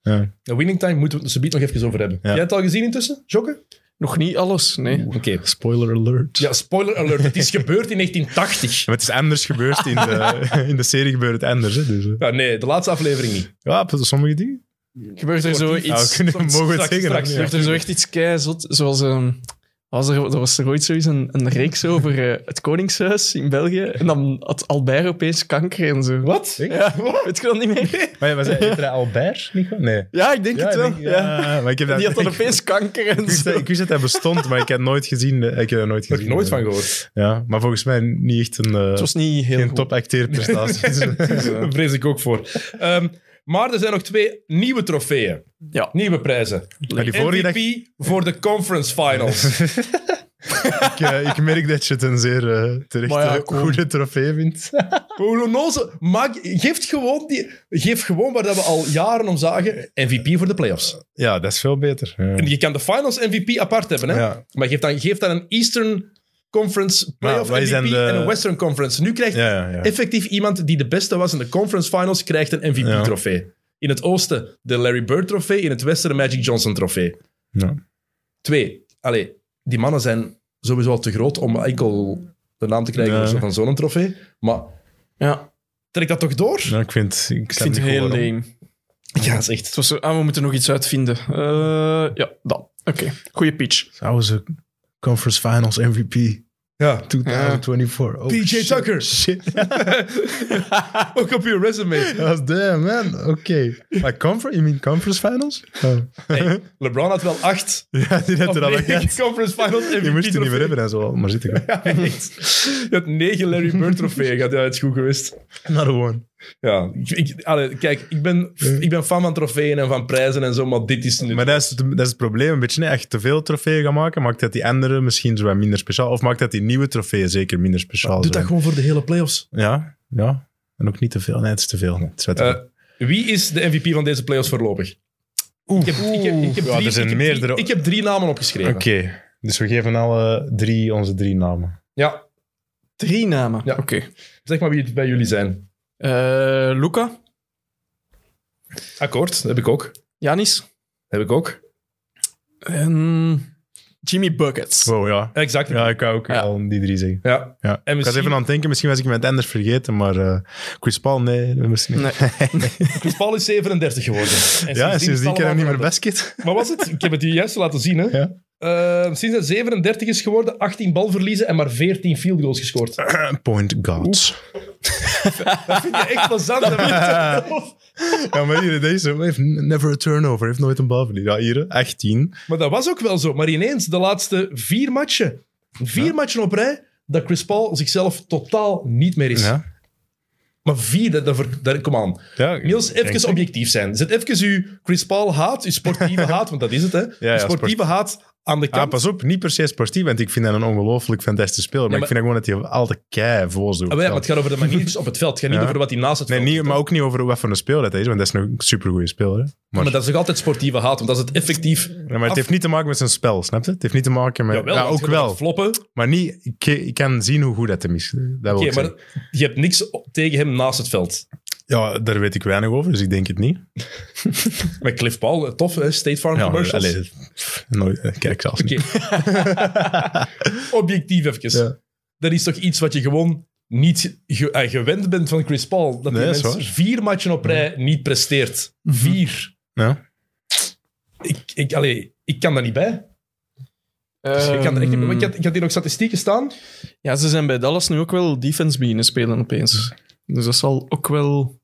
Speaker 3: Ja.
Speaker 1: Ja, Winning Time moeten we het subiet nog even over hebben.
Speaker 3: Ja.
Speaker 1: Jij hebt het al gezien intussen, Jokke?
Speaker 2: Nog niet alles, nee.
Speaker 1: Oké.
Speaker 3: Spoiler alert.
Speaker 1: Ja, spoiler alert. Het is gebeurd in 1980.
Speaker 3: Maar het is anders gebeurd. In de, in de serie gebeurt het anders. Hè, dus, eh.
Speaker 1: Ja, nee, de laatste aflevering niet.
Speaker 3: ja, op sommige dingen.
Speaker 2: Gebeurt er zo
Speaker 1: Sportief.
Speaker 3: Ja,
Speaker 2: iets...
Speaker 3: we kunnen,
Speaker 1: soms
Speaker 3: mogen we het
Speaker 1: straks-
Speaker 3: zeggen. dan,
Speaker 1: straks.
Speaker 3: ja.
Speaker 2: Gebeurt er zo echt iets keizot, zoals... ehm, was er, er was er ooit zoiets een, een reeks over eh, het Koningshuis in België. En dan had Albert opeens kanker en zo.
Speaker 1: Wat?
Speaker 2: Ja, weet je dat niet meer?
Speaker 3: Maar ja, was hij- heet hij Albert, Nico? Nee.
Speaker 2: Ja, ik denk
Speaker 3: Ja,
Speaker 2: het
Speaker 3: ik
Speaker 2: wel.
Speaker 3: denk-
Speaker 2: ja.
Speaker 3: ja, maar ik heb dat,
Speaker 2: Die had dan
Speaker 3: ik,
Speaker 2: opeens kanker en
Speaker 3: wist
Speaker 2: zo.
Speaker 3: dat, ik wist dat hij bestond, maar ik heb nooit gezien. eh, Ik heb er nooit
Speaker 1: Daar
Speaker 3: gezien.
Speaker 1: heb ik nooit van gehoord.
Speaker 3: Ja, maar volgens mij niet echt een, eh
Speaker 2: Het was niet heel
Speaker 3: geen
Speaker 2: goed.
Speaker 3: topacteerprestatie. Dus, eh,
Speaker 1: Daar vrees ik ook voor. Ehm, maar er zijn nog twee nieuwe trofeeën.
Speaker 2: Ja.
Speaker 1: Nieuwe prijzen.
Speaker 3: maar die vorige dag,
Speaker 1: MVP voor de conference finals.
Speaker 3: ik, eh, ik merk dat je het een zeer eh, terecht
Speaker 2: Maar ja,
Speaker 3: eh,
Speaker 2: kom.
Speaker 3: goede trofee vindt.
Speaker 1: Hoe onnozel. Maak- Geef gewoon, die, geef gewoon waar dat we al jaren om zagen. MVP voor de playoffs.
Speaker 3: ja, dat is veel beter. Ja.
Speaker 1: En je kan de finals MVP apart hebben. Hè?
Speaker 3: Ja.
Speaker 1: Maar geef dan, geef dan een Eastern Conference playoff
Speaker 3: wij
Speaker 1: MVP
Speaker 3: zijn de-
Speaker 1: en een Western Conference. Nu krijgt
Speaker 3: Ja, ja, ja.
Speaker 1: effectief iemand die de beste was in de conference finals, krijgt een
Speaker 3: Ja.
Speaker 1: MVP-trofee. In het oosten de Larry Bird trofee, in het westen de Magic Johnson trofee.
Speaker 3: Ja.
Speaker 1: Twee, allee, die mannen zijn sowieso al te groot om enkel de naam te krijgen
Speaker 3: Ja.
Speaker 1: van zo- van zo'n trofee. Maar
Speaker 2: Ja,
Speaker 1: trek dat toch door?
Speaker 3: Ja, Nou, ik vind, ik
Speaker 2: ik
Speaker 3: snap
Speaker 2: vind
Speaker 3: niet
Speaker 2: het heel
Speaker 3: waarom.
Speaker 2: lame.
Speaker 1: Ja, dat is
Speaker 2: Het
Speaker 1: echt...
Speaker 2: was zo, ah, we moeten nog iets uitvinden. Eh, ja, dan. Oké, goeie pitch.
Speaker 3: Zouden ze Conference Finals MVP
Speaker 1: Ja.
Speaker 3: 2024. Oh,
Speaker 1: PJ
Speaker 3: shit.
Speaker 1: Tucker.
Speaker 3: Shit.
Speaker 1: Ook op je resume.
Speaker 3: Dat was damn, man. Oké. Maar confer, you mean Conference Finals? Oh.
Speaker 1: Hey, LeBron had wel acht
Speaker 3: ja, die net er al
Speaker 1: of
Speaker 3: aan
Speaker 1: negen
Speaker 3: gehad.
Speaker 1: conference finals MVP
Speaker 3: Die moest je niet meer
Speaker 1: trofeeën.
Speaker 3: hebben en zo. Maar zit ik wel.
Speaker 1: Ja, echt. Je hebt negen Larry Bird trofeeën gehad. Ja, het is goed geweest.
Speaker 3: Not a one.
Speaker 1: Ja, ik, ik- allee, kijk, ik ben, ik ben fan van trofeeën en van prijzen en zo, maar dit is nu...
Speaker 3: Maar dat is, het, dat is het probleem een beetje. Echt te veel trofeeën gaan maken, maakt dat die andere misschien zo wat minder speciaal. Of maakt dat die nieuwe trofeeën zeker minder speciaal
Speaker 1: Doe dat
Speaker 3: zijn.
Speaker 1: gewoon voor de hele playoffs.
Speaker 3: Ja, ja. En ook niet te veel. Nee, het is te veel. Het is wel te veel.
Speaker 1: Eh, wie is de MVP van deze playoffs voorlopig? Ik heb, ik heb, ik heb
Speaker 3: Ja,
Speaker 1: drie,
Speaker 3: er zijn
Speaker 1: ik heb drie-
Speaker 3: meerdere.
Speaker 1: ik heb drie namen opgeschreven.
Speaker 3: Oké. Dus we geven alle drie onze drie namen.
Speaker 1: Ja,
Speaker 2: Drie namen.
Speaker 1: Ja.
Speaker 2: Oké.
Speaker 1: zeg maar wie het bij jullie zijn.
Speaker 2: Eh, Luca,
Speaker 1: Akkoord, heb ik ook.
Speaker 2: Janis
Speaker 1: Heb ik ook.
Speaker 2: en Jimmy Buckets.
Speaker 3: Wow, ja.
Speaker 1: Exact.
Speaker 3: Ja, ik wou ook
Speaker 2: Ja.
Speaker 3: al die drie zeggen.
Speaker 1: Ja.
Speaker 3: Ja.
Speaker 1: En
Speaker 3: Ik was
Speaker 1: misschien,
Speaker 3: even aan het denken, misschien was ik iemand anders vergeten, maar eh Chris Paul, nee, misschien niet.
Speaker 2: Nee.
Speaker 1: Chris Paul is 37 geworden.
Speaker 3: Ja,
Speaker 1: is het
Speaker 3: sindsdien kan hij niet meer
Speaker 1: allemaal
Speaker 3: basket.
Speaker 1: Wat was het? Ik heb het u juist laten zien. Hè?
Speaker 3: Ja.
Speaker 1: Eh, sinds hij 37 is geworden, 18 balverliezen en maar 14 field goals gescoord. Dat
Speaker 3: Point guards.
Speaker 1: vind je echt plezant. hè?
Speaker 3: Ja, maar hier, deze heeft never a turnover, heeft nooit een bal verliezen. Ja, hier, 18.
Speaker 1: maar dat was ook wel zo. Maar ineens, de laatste vier matchen, vier matchen op rij, dat Chris Paul zichzelf totaal niet meer is.
Speaker 3: Ja.
Speaker 1: Maar vier, dat, dat ver- daar- kom aan.
Speaker 3: Ja,
Speaker 1: Niels,
Speaker 3: denk
Speaker 1: even objectief zijn. Zet even uw Chris Paul haat, uw sportieve haat, want dat is het, hè? Uw
Speaker 3: ja,
Speaker 1: sportieve haat aan de
Speaker 3: Ah,
Speaker 1: kant.
Speaker 3: pas op, niet per se sportief, want ik vind dat een ongelooflijk fantastische speler. Maar,
Speaker 1: maar-
Speaker 3: ik vind dat gewoon dat hij altijd kei vols doet.
Speaker 1: Ah, maar ja, maar het gaat over de maniertjes op het veld. Het gaat niet
Speaker 3: Ja.
Speaker 1: over wat hij naast het
Speaker 3: nee,
Speaker 1: veld
Speaker 3: niet, maar ook niet over wat voor een speler dat hij is, want dat is een supergoeie speler. hè. Maar,
Speaker 1: Maar dat is toch altijd sportieve haat, want dat is het effectief.
Speaker 3: Ja, maar het
Speaker 1: af-
Speaker 3: heeft niet te maken met zijn spel, snap je? Het heeft niet te maken met...
Speaker 1: Jawel,
Speaker 3: ja,
Speaker 1: want
Speaker 3: ook
Speaker 1: je moet
Speaker 3: wel.
Speaker 1: het Floppen.
Speaker 3: Maar niet, ik, ik kan zien hoe goed dat hem is. Dat wil
Speaker 1: Oké,
Speaker 3: ik zeggen.
Speaker 1: maar je hebt niks o- tegen hem naast het veld.
Speaker 3: Ja, daar weet ik weinig over, dus ik denk het niet.
Speaker 1: Met Cliff Paul, eh, tof, hè? State Farm
Speaker 3: Ja,
Speaker 1: commercials.
Speaker 3: allee, nooit, eh, kijk zelfs niet.
Speaker 1: Objectief even.
Speaker 3: Ja.
Speaker 1: Dat is toch iets wat je gewoon niet ge- eh, gewend bent van Chris Paul. Dat die
Speaker 3: Nee, dat
Speaker 1: mens
Speaker 3: is Mhm.
Speaker 1: vier matchen op rij niet presteert. Vier.
Speaker 3: Ja.
Speaker 1: Ik, ik, allee, ik kan daar niet bij.
Speaker 2: Ehm,
Speaker 1: Dus ik, kan er echt niet bij. Maar ik, had, ik had hier nog statistieken staan.
Speaker 2: Ja, ze zijn bij Dallas nu ook wel defense beginnen spelen opeens. Dus dat zal ook wel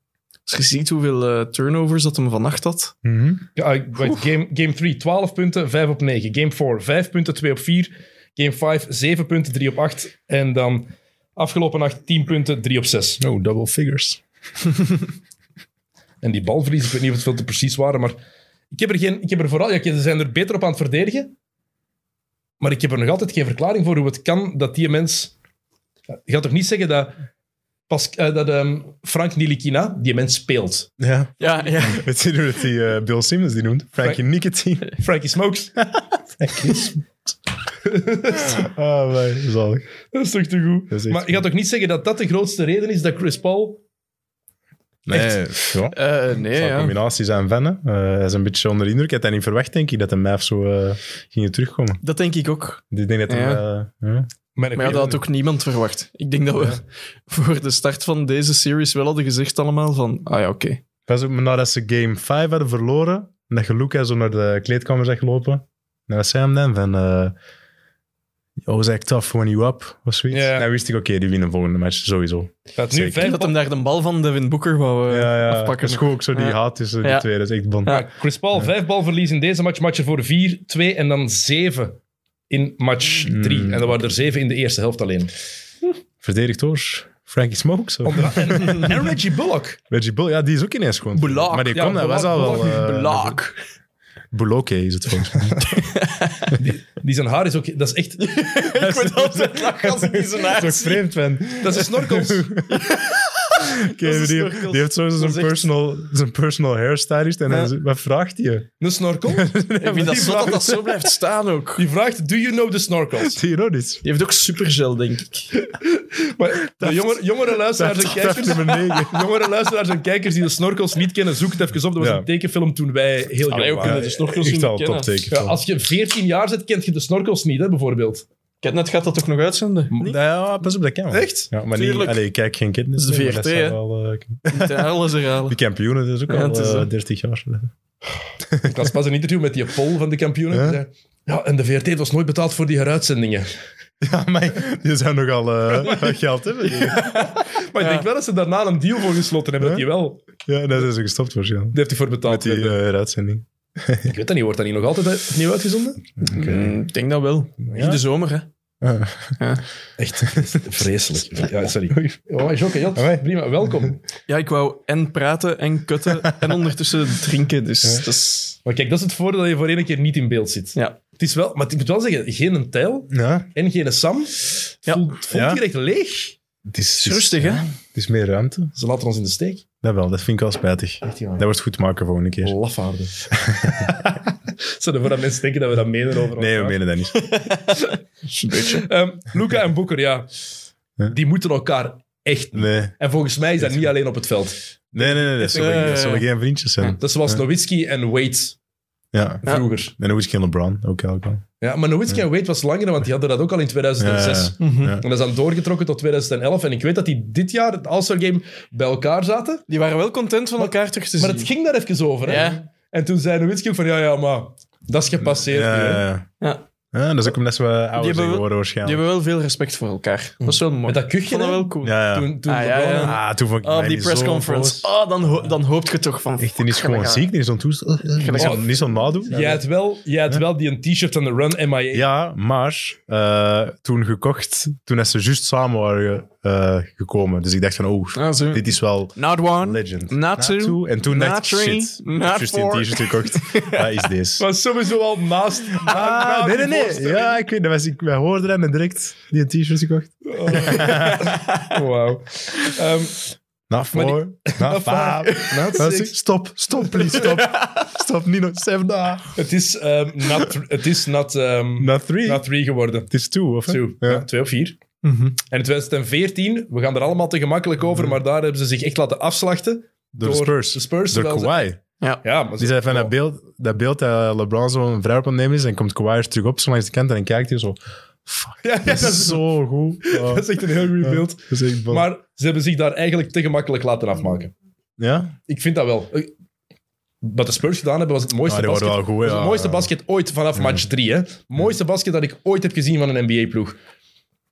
Speaker 2: Als je ziet hoeveel eh, turnovers dat hem vannacht had.
Speaker 3: Mhm.
Speaker 1: Ja, ah, ik- wacht, game, game 3, 12 punten, 5 op 9. Game 4, 5 punten, 2 op 4. Game 5, 7 punten, 3 op 8. En dan afgelopen nacht 10 punten, 3 op 6.
Speaker 3: Oh, double figures.
Speaker 1: En die balverlies, ik weet niet of het veel te precies waren, maar ik heb er, geen, ik heb er vooral... Ja, oké, ze zijn er beter op aan het verdedigen. Maar ik heb er nog altijd geen verklaring voor hoe het kan dat die mens... Ja, Je gaat toch niet zeggen dat, Pas, eh, dat ehm, Frank Nilikina die mens speelt?
Speaker 3: Ja.
Speaker 2: Ja, ja.
Speaker 3: Weet je hoe dat die eh, Bill Simmons die noemt? Frankie Nicotine.
Speaker 1: Frankie Smokes.
Speaker 3: Ah, wij, zalig.
Speaker 1: Dat is toch te goed?
Speaker 3: Dat is echt
Speaker 1: Maar je gaat toch niet zeggen dat dat de grootste reden is dat Chris Paul
Speaker 3: Nee, ja.
Speaker 2: Eh, nee,
Speaker 3: Het zal een
Speaker 2: ja.
Speaker 3: combinatie zijn van. hè. Eh, hij is een beetje onder de indruk. Hij had dat niet verwacht, denk ik, dat de Mavs zo eh, gingen terugkomen.
Speaker 2: Dat denk ik ook.
Speaker 3: Ik denk dat hij... eh, ja.
Speaker 2: Maar ja, dat had ook niemand verwacht. Ik denk dat we voor de start van deze series wel hadden gezegd allemaal van... Ah ja, oké.
Speaker 3: Pas op, maar nadat ze game 5 hadden verloren, en dat je Luca zo naar de kleedkamer zag lopen, en dat zei hem dan van... eh I was echt tough when you up, of zoiets.
Speaker 1: Ja.
Speaker 3: Dan wist ik, oké, die winnen de volgende match, sowieso.
Speaker 1: Gaat nu
Speaker 3: Zeker.
Speaker 1: vijf
Speaker 2: Dat hem daar de bal van Devin Booker wou eh,
Speaker 3: ja, ja. Dat
Speaker 2: afpakken.
Speaker 3: is goed ook zo die
Speaker 2: Ja.
Speaker 3: haat tussen die
Speaker 2: Ja.
Speaker 3: twee, dat is echt bon.
Speaker 2: Ja.
Speaker 1: Ja, Chris Paul, vijf balverlies in deze match. Match ervoor vier, twee en dan zeven in match
Speaker 2: Hmm.
Speaker 1: drie. En dan waren er zeven in de eerste helft alleen.
Speaker 3: Verdedigd door Frankie Smokes. of-
Speaker 1: Onder- En, en Reggie Bullock.
Speaker 3: Reggie Bull, ja, die is ook ineens gewoon...
Speaker 2: Bulak.
Speaker 3: Maar die
Speaker 1: Ja,
Speaker 3: kwam, dat
Speaker 1: Bulak,
Speaker 3: was al wel...
Speaker 1: Bulak,
Speaker 3: eh,
Speaker 2: Blaak.
Speaker 3: Buloke is het volgens mij.
Speaker 1: Die zijn haar is ook... Dat is echt...
Speaker 2: ik word altijd lachen als ik die zijn haar
Speaker 3: Zo
Speaker 2: zie.
Speaker 3: vreemd, man.
Speaker 1: Dat is een snorkels.
Speaker 3: Oké,
Speaker 2: Dat is
Speaker 3: die,
Speaker 2: snorkels.
Speaker 3: die heeft
Speaker 2: Dat
Speaker 3: sowieso zijn
Speaker 2: is echt-
Speaker 3: personal, zijn personal hairstylist. En
Speaker 2: Ja.
Speaker 3: dan, z- wat vraagt hij?
Speaker 1: Een snorkel?
Speaker 2: Ik vind dat zot dat dat zo blijft staan ook.
Speaker 1: Die vraagt, do you know the snorkels?
Speaker 3: Ironisch.
Speaker 2: Die heeft ook supergel, denk ik.
Speaker 1: Maar de jongere, jongere luisteraars en
Speaker 3: Dat dat
Speaker 1: kijkers...
Speaker 3: nummer 9.
Speaker 1: Jongere luisteraars en kijkers die de snorkels niet kennen, zoek het even op. Dat was
Speaker 3: Ja.
Speaker 1: een tekenfilm toen wij heel jong
Speaker 2: Allee, we kunnen
Speaker 1: waren.
Speaker 2: de snorkels
Speaker 3: Echt
Speaker 2: niet
Speaker 3: al
Speaker 2: kennen.
Speaker 3: topteken.
Speaker 1: Ja, als je 14 jaar bent, kent je de snorkels niet, hè, bijvoorbeeld.
Speaker 2: Catnet gaat dat toch nog uitzenden?
Speaker 3: Nee,
Speaker 2: Niet?
Speaker 3: ja, pas op, dat kan wel.
Speaker 1: Echt?
Speaker 3: Ja, maar
Speaker 2: Tuurlijk.
Speaker 3: niet, allee, ik kijk geen kinderen.
Speaker 2: Dat is de VRT, hè? Ja, alles herhalen.
Speaker 3: eh, die kampioenen, dat is ook
Speaker 2: Ja, het
Speaker 3: al
Speaker 2: is
Speaker 3: eh,
Speaker 2: zo.
Speaker 3: 30 jaar.
Speaker 1: Ik las pas een interview met die Paul van de kampioenen.
Speaker 3: Ja.
Speaker 1: Die zei, Ja, en de VRT was nooit betaald voor die heruitzendingen.
Speaker 3: Ja, maar die zou nogal eh, wat geld hebben. Ja.
Speaker 1: Maar ik
Speaker 2: Ja.
Speaker 1: denk wel dat ze daarna een deal voor gesloten hebben. Dat die wel. Daar
Speaker 3: dat is ook gestopt waarschijnlijk.
Speaker 1: heeft hij voor betaald.
Speaker 3: Met die
Speaker 1: werden.
Speaker 3: eh, uitzending.
Speaker 1: Ik weet dat niet. Wordt dat niet nog altijd uit- opnieuw uitgezonden?
Speaker 2: Mm, Ik denk dat wel. In de zomer, hè.
Speaker 3: Ah.
Speaker 1: Echt vreselijk. Ja, sorry. Oh, Jokke, Jot.
Speaker 3: Amai.
Speaker 1: Prima, welkom.
Speaker 2: Ja, ik wou en praten en kutten en ondertussen drinken. Dus dat is...
Speaker 1: Maar kijk, dat is het voordeel dat je voor één keer niet in beeld zit.
Speaker 2: Ja.
Speaker 1: Het is wel, maar ik moet wel zeggen, geen een Tijl
Speaker 3: Ja,
Speaker 1: en geen een Sam. Het
Speaker 2: Ja.
Speaker 1: voelt, het voelt
Speaker 3: Ja.
Speaker 1: hier echt leeg.
Speaker 3: het is,
Speaker 2: Het is rustig, hè?
Speaker 3: Het is meer ruimte.
Speaker 1: Ze laten ons in de steek.
Speaker 3: Dat wel, dat vind ik wel spijtig.
Speaker 1: Echt, jongen.
Speaker 3: Dat wordt goed maken volgende keer.
Speaker 1: Lafaarden. Zouden voor dat mensen denken dat we dat menen over elkaar?
Speaker 3: Nee, we menen dat niet.
Speaker 1: Ehm, Luca en Boeker, ja.
Speaker 3: Huh?
Speaker 1: Die moeten elkaar echt niet.
Speaker 3: Nee.
Speaker 1: En volgens mij is dat niet alleen op het veld.
Speaker 3: Nee, nee, nee, dat zullen,
Speaker 2: Eh,
Speaker 3: dat zullen geen vriendjes zijn.
Speaker 1: Dat is zoals Nowitzki en Wade
Speaker 3: Ja.
Speaker 2: Ja.
Speaker 1: vroeger.
Speaker 3: En ook is geen LeBron, ook elk wel.
Speaker 1: Ja, maar Nowitzki en Wade was langer, want die hadden dat ook al in 2006.
Speaker 3: Ja,
Speaker 2: Mhm.
Speaker 3: Ja.
Speaker 1: En dat is dan doorgetrokken tot 2011. En ik weet dat die dit jaar, het All-Star Game, bij elkaar zaten.
Speaker 2: Die waren wel content van elkaar terug te
Speaker 1: Maar
Speaker 2: zien.
Speaker 1: het ging daar even over. Hè?
Speaker 2: Dus Ja.
Speaker 1: En toen zei Nowitzki ook van, ja, ja, maar dat is gepasseerd. nu, hè.
Speaker 3: Ja.
Speaker 2: Ja.
Speaker 3: Ja, dat is ook omdat ze wat ouder
Speaker 2: hebben
Speaker 3: zijn
Speaker 2: we-
Speaker 3: geworden
Speaker 2: Die
Speaker 3: waarschijnlijk.
Speaker 2: hebben wel veel respect voor elkaar. Dat is wel mooi.
Speaker 1: Met dat kuchje,
Speaker 2: Ik vond dat
Speaker 1: hè?
Speaker 2: wel cool.
Speaker 3: Ja, ja.
Speaker 1: Toen, toen
Speaker 2: Ah, ja,
Speaker 1: LeBron
Speaker 2: ja.
Speaker 1: en-
Speaker 3: ah, toen vond ik
Speaker 2: Ah, op die
Speaker 3: Miami zo boos.
Speaker 2: pressconference. Ah, dan, ho- dan hoopt je toch van...
Speaker 3: Echt, die is
Speaker 2: fuck,
Speaker 3: gewoon
Speaker 2: we gaan-
Speaker 3: ziek, die is zo'n toestel. Niet zo-
Speaker 1: gaan-
Speaker 3: Niet zo'n nadoen.
Speaker 1: Jij had wel, jij had wel die een t-shirt aan de run MIA.
Speaker 3: Ja, maar eh, toen gekocht, toen dat ze juist samen waren eh, gekomen. Dus ik dacht van, oh,
Speaker 2: Ah, zo.
Speaker 3: dit is wel
Speaker 2: Not one,
Speaker 3: legend.
Speaker 2: not two,
Speaker 3: En toen
Speaker 2: not
Speaker 3: dacht ik,
Speaker 2: three,
Speaker 3: shit, ik
Speaker 2: not
Speaker 3: heb juist die
Speaker 2: four.
Speaker 3: t-shirt gekocht. Wat is deze?
Speaker 1: Maar sowieso al naast.
Speaker 3: Ah, nee, nee, nee. Ja, ik weet, dat was, ik, wij hoorden hem en direct die een t-shirt gekocht.
Speaker 1: Wauw. Ehm,
Speaker 3: Na
Speaker 1: Maar die-
Speaker 3: four, na
Speaker 1: Na
Speaker 3: five, na
Speaker 1: six.
Speaker 3: six. Stop, stop, please, stop. Stop, niet nog seven, na.
Speaker 1: het is ehm, not, het is not, ehm,
Speaker 3: Na three.
Speaker 1: not three geworden.
Speaker 3: Het is two, of
Speaker 1: Two.
Speaker 3: Ja. Mhm.
Speaker 1: Ja, twee op vier. En in 2014, we gaan er allemaal te gemakkelijk over, maar daar hebben ze zich echt laten afslachten.
Speaker 3: Door Mhm. Dus de Spurs.
Speaker 1: De Spurs
Speaker 3: Door
Speaker 1: terwijl ze-
Speaker 3: Kawhi.
Speaker 1: Ja, maar ze-
Speaker 3: Die zei van dat beeld dat, beeld dat LeBron zo'n vrouw op hem neemt is, en komt Kawhi eens terug op zo langs de kant en dan kijkt hij zo.
Speaker 1: Ja, ja,
Speaker 3: Dat is zo goed. Ja.
Speaker 1: dat is echt een heel goed beeld.
Speaker 3: Dat is echt bon.
Speaker 1: Maar ze hebben zich daar eigenlijk te gemakkelijk laten afmaken.
Speaker 3: ja?
Speaker 1: Ik vind dat wel. Eh, Wat de Spurs gedaan hebben, was het mooiste
Speaker 3: Ah, die
Speaker 1: basket.
Speaker 3: waren wel goed,
Speaker 1: was
Speaker 3: ja.
Speaker 1: het mooiste basket ooit vanaf match 3. Hè? Mooiste basket dat ik ooit heb gezien van een NBA-ploeg.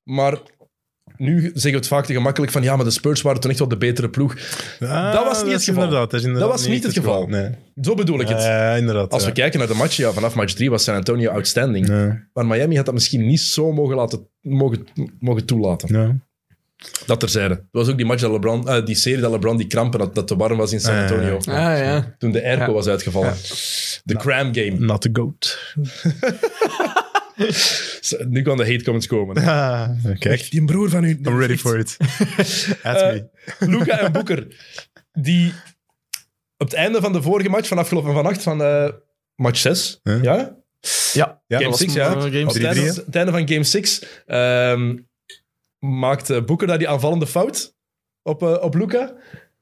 Speaker 1: Maar Nu zeggen we het vaak te gemakkelijk van ja, maar de Spurs waren toen echt wel de betere ploeg.
Speaker 3: Ah,
Speaker 1: dat was niet het
Speaker 3: is
Speaker 1: geval.
Speaker 3: Inderdaad, dat, is inderdaad
Speaker 1: Dat was niet het geval.
Speaker 3: Nee.
Speaker 1: Zo bedoel ik het.
Speaker 3: Eh, inderdaad.
Speaker 1: Als we
Speaker 3: ja.
Speaker 1: kijken naar de match, ja, vanaf match 3 was San Antonio outstanding.
Speaker 3: Ja,
Speaker 1: Maar Miami had dat misschien niet zo mogen, laten, mogen, mogen toelaten.
Speaker 3: ja.
Speaker 1: Dat terzijde. Dat was ook die match dat LeBron, eh, die serie dat LeBron die krampen had, dat te warm was in San
Speaker 3: Ja, ja, ja.
Speaker 1: Antonio.
Speaker 2: Ah ja.
Speaker 1: Toen de airco
Speaker 2: Ja.
Speaker 1: was uitgevallen. De cram game.
Speaker 3: Not the goat.
Speaker 1: Nu kan de hate comments komen.
Speaker 3: Ah, kijk,
Speaker 1: Die broer van u.
Speaker 3: I'm ready for it. At
Speaker 1: Eh,
Speaker 3: me.
Speaker 1: Luca en Boeker, die op het einde van de vorige match, van afgelopen vannacht, van eh, match 6,
Speaker 3: Huh?
Speaker 1: ja?
Speaker 2: Ja,
Speaker 3: Ja,
Speaker 1: Game
Speaker 2: was
Speaker 1: 6,
Speaker 2: maar,
Speaker 1: ja.
Speaker 2: eh, game
Speaker 1: Op het
Speaker 3: six.
Speaker 1: einde,
Speaker 3: 3-3, hè?
Speaker 1: het einde van game 6 ehm, maakt eh, Boeker daar die aanvallende fout op, eh, op Luca.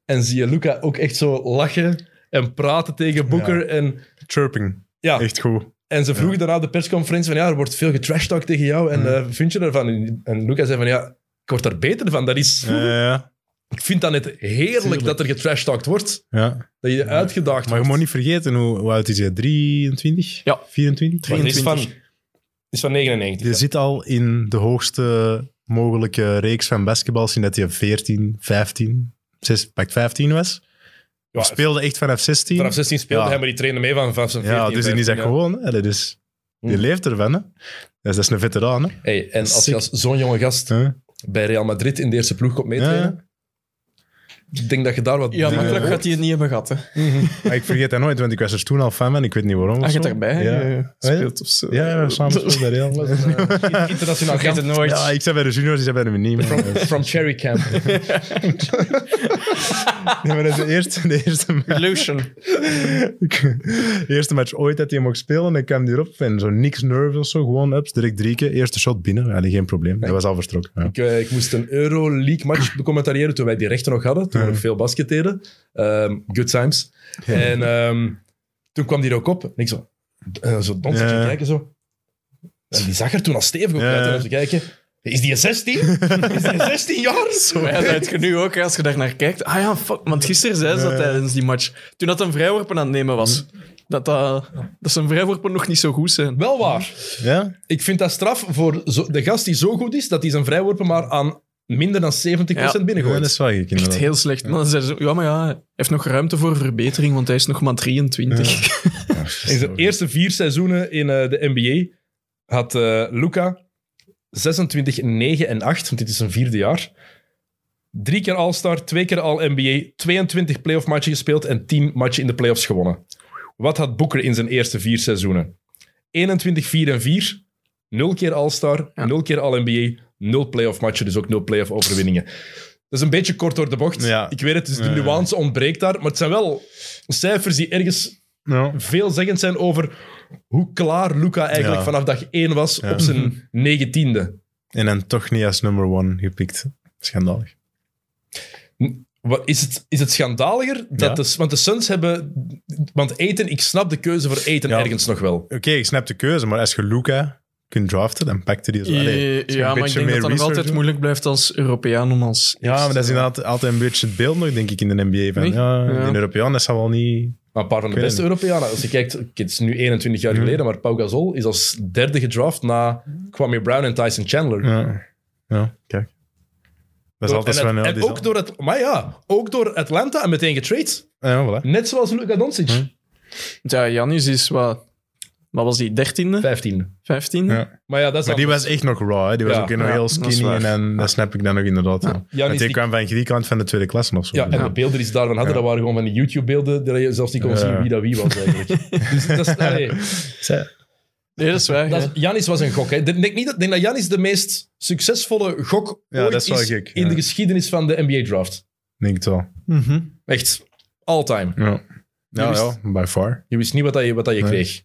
Speaker 1: En zie je Luca ook echt zo lachen en praten tegen Boeker. En,
Speaker 3: Chirping.
Speaker 1: ja,
Speaker 3: Echt goed.
Speaker 1: en ze vroegen daarna op de persconferentie van ja, er wordt veel getrashtalk tegen jou. En eh, vind je daarvan? En- En Luca zei van ja, ik word daar beter van. Dat is,
Speaker 3: Ja, ja,
Speaker 1: Ik vind dat net heerlijk
Speaker 3: Tuurlijk.
Speaker 1: dat er getrashtalkt wordt.
Speaker 3: ja.
Speaker 1: Dat je uitgedaagd
Speaker 3: Maar je moet niet vergeten hoe, hoe oud is hij? 23?
Speaker 2: Ja.
Speaker 3: 24?
Speaker 1: Maar die is van, die is van 99.
Speaker 3: Je
Speaker 1: ja.
Speaker 3: zit al in de hoogste mogelijke reeks van basketbal sinds dat je 14, 15, 6, pak 15 was.
Speaker 1: Ja,
Speaker 3: Of speelde echt vanaf 16.
Speaker 1: Vanaf 16 speelde
Speaker 3: Ja.
Speaker 1: hij, maar die trainde mee van 15.
Speaker 3: ja, dus die is dat
Speaker 1: ja.
Speaker 3: gewoon. Hè. Dat is, die
Speaker 1: Hm.
Speaker 3: leeft ervan. Hè. Dus dat is een veteraan. Hè.
Speaker 1: Hey, en als je
Speaker 3: Sick.
Speaker 1: als zo'n jonge gast
Speaker 3: Huh?
Speaker 1: bij Real Madrid in de eerste ploeg komt meetrainen, ik denk dat je daar wat
Speaker 2: Ja,
Speaker 1: dingen
Speaker 2: makkelijk
Speaker 1: hoort.
Speaker 2: gaat hij het niet hebben gehad. Hè.
Speaker 3: Maar ik vergeet dat nooit, want ik was er toen al fan van. Ik weet niet waarom. of
Speaker 2: Hij
Speaker 3: zo.
Speaker 2: gaat erbij.
Speaker 3: Ja.
Speaker 2: eh, Speelt of zo.
Speaker 3: Ja, ja, samen speelden bij Real.
Speaker 1: Eh, Internationaal
Speaker 2: Vergeet het
Speaker 1: kamp.
Speaker 2: nooit.
Speaker 3: Ja, ik zei bij de juniors, die zei bij de niet. maar-
Speaker 1: From Cherry Camp.
Speaker 3: Nee, maar dat is de eerste, de eerste match.
Speaker 2: Illusion.
Speaker 3: De eerste match ooit dat hij mocht spelen. En ik kwam die erop en zo niks nerves of zo. Gewoon ups, direct drie keer. Eerste shot binnen. Ja, die geen probleem. Dat was al vertrokken. Ja.
Speaker 1: Ik, eh, ik moest een Euroleague match becommentariëren toen wij die rechten nog hadden. Toen we nog veel basket deden. Ehm, good times. En ehm, toen kwam die er ook op. En ik zo, eh, zo donstig
Speaker 3: Ja.
Speaker 1: kijken zo. En die zag er toen al stevig op
Speaker 3: Ja.
Speaker 1: uit. En als we kijken, is die 16? Is die 16 jaar?
Speaker 2: Maar ja, dat weet je nu ook, hè, als je daar naar kijkt. Ah ja, fuck. Want gisteren zei ze dat tijdens die match. Toen dat een vrijworpen aan het nemen was.
Speaker 3: Mm.
Speaker 2: Dat, dat, dat zijn vrijworpen nog niet zo goed zijn.
Speaker 1: Wel waar.
Speaker 3: Ja?
Speaker 1: Ik vind dat straf voor zo- de gast die zo goed is, dat hij zijn vrijworpen maar aan minder dan 70%
Speaker 2: Ja.
Speaker 3: Ja, dat
Speaker 1: binnengooit.
Speaker 3: is wel gek,
Speaker 2: Echt
Speaker 3: inderdaad.
Speaker 2: heel slecht. Maar dan zeiden ze, ja, maar ja, hij heeft nog ruimte voor verbetering, want hij is nog maar 23.
Speaker 1: In zijn eerste vier seizoenen in eh, de NBA had eh, Luca 26, 9 en 8, want dit is zijn vierde jaar. Drie keer All-Star, twee keer All-NBA, 22 playoff matchen gespeeld en 10 matchen in de playoffs gewonnen. Wat had Booker in zijn eerste vier seizoenen? 21, 4 en 4, 0 keer All-Star,
Speaker 2: Ja.
Speaker 1: 0 keer All-NBA, 0 playoff matchen, dus ook 0 playoff overwinningen. Dat is een beetje kort door de bocht.
Speaker 3: Ja.
Speaker 1: Ik weet het, dus de
Speaker 3: Ja, ja.
Speaker 1: nuance ontbreekt daar. Maar het zijn wel cijfers die ergens
Speaker 3: Ja.
Speaker 1: veelzeggend zijn over hoe klaar Luca eigenlijk
Speaker 3: Ja.
Speaker 1: vanaf dag 1 was
Speaker 3: Ja.
Speaker 1: op zijn negentiende.
Speaker 3: En dan toch niet als number one gepikt. Schandalig.
Speaker 1: Wat, is, het, is het schandaliger? Dat
Speaker 3: Ja.
Speaker 1: de, want de Suns hebben... Want eten, ik snap de keuze voor eten
Speaker 3: Ja.
Speaker 1: ergens nog wel.
Speaker 3: Oké, ik snap de keuze, maar als je Luca kunt draften, dan pakte die zo. Allee,
Speaker 2: ja,
Speaker 3: als je
Speaker 2: Eh, ja
Speaker 3: een
Speaker 2: maar ik
Speaker 3: beetje
Speaker 2: denk dat dat
Speaker 3: meer
Speaker 2: nog
Speaker 3: research
Speaker 2: altijd
Speaker 3: doet.
Speaker 2: moeilijk blijft als Europeaan om als...
Speaker 3: Ja, maar dat is inderdaad altijd een beetje het beeld nog, denk ik, in de NBA. Van,
Speaker 2: Nee?
Speaker 3: ja,
Speaker 2: Ja.
Speaker 3: die Europeaan, dat zal wel niet... Mhm.
Speaker 1: Maar een paar van de
Speaker 3: Ik weet
Speaker 1: beste
Speaker 3: het
Speaker 1: Europeanen. Als je kijkt, oké, het is nu 21 jaar geleden, maar Pau Gasol is als derde gedraft na Kwame Brown en Tyson Chandler.
Speaker 3: Ja, ja kijk. Dat is altijd
Speaker 1: en
Speaker 3: zo van,
Speaker 1: en
Speaker 3: ja, die
Speaker 1: ook
Speaker 3: zal-
Speaker 1: door het, maar ja, ook door Atlanta en meteen getrade.
Speaker 3: Ja, voilà.
Speaker 1: Net zoals Luca Doncic.
Speaker 3: Hm.
Speaker 2: Ja, Janis is dus wat... Wat was die? Dertiende?
Speaker 1: Vijftiende.
Speaker 2: Vijftiende?
Speaker 3: Ja.
Speaker 1: Maar ja, dat is
Speaker 3: Maar die was echt nog raw, hè. die was
Speaker 1: Ja.
Speaker 3: ook nog heel
Speaker 2: dat is
Speaker 3: skinny.
Speaker 2: waar.
Speaker 3: En dan, dat snap ik dan nog inderdaad. Ja.
Speaker 1: Jan
Speaker 3: Want
Speaker 1: is
Speaker 3: die
Speaker 1: die-
Speaker 3: kwam van Griekenland van de tweede klasse of zo.
Speaker 1: Ja, en de beelden die ze daarvan hadden,
Speaker 3: Ja.
Speaker 1: dat waren gewoon van die YouTube-beelden, dat je zelfs niet kon
Speaker 3: Ja.
Speaker 1: zien wie dat wie was eigenlijk. dus dat is, allee,
Speaker 3: Zij-
Speaker 2: Nee, dat is waar.
Speaker 1: dat
Speaker 2: ja.
Speaker 1: is- Janis was een gok. Hè. Ik Denk, niet dat, ik denk dat Janis de meest succesvolle gok
Speaker 3: Ja,
Speaker 1: ooit
Speaker 3: dat is wel
Speaker 1: is
Speaker 3: gek,
Speaker 1: in
Speaker 3: ja.
Speaker 1: de geschiedenis van de NBA-draft.
Speaker 3: Denk het wel.
Speaker 2: Mhm.
Speaker 1: Echt, all time.
Speaker 3: Ja. Ja,
Speaker 1: wist-
Speaker 3: ja, by far.
Speaker 1: Je wist niet wat, dat je, wat dat je
Speaker 3: Nee.
Speaker 1: kreeg.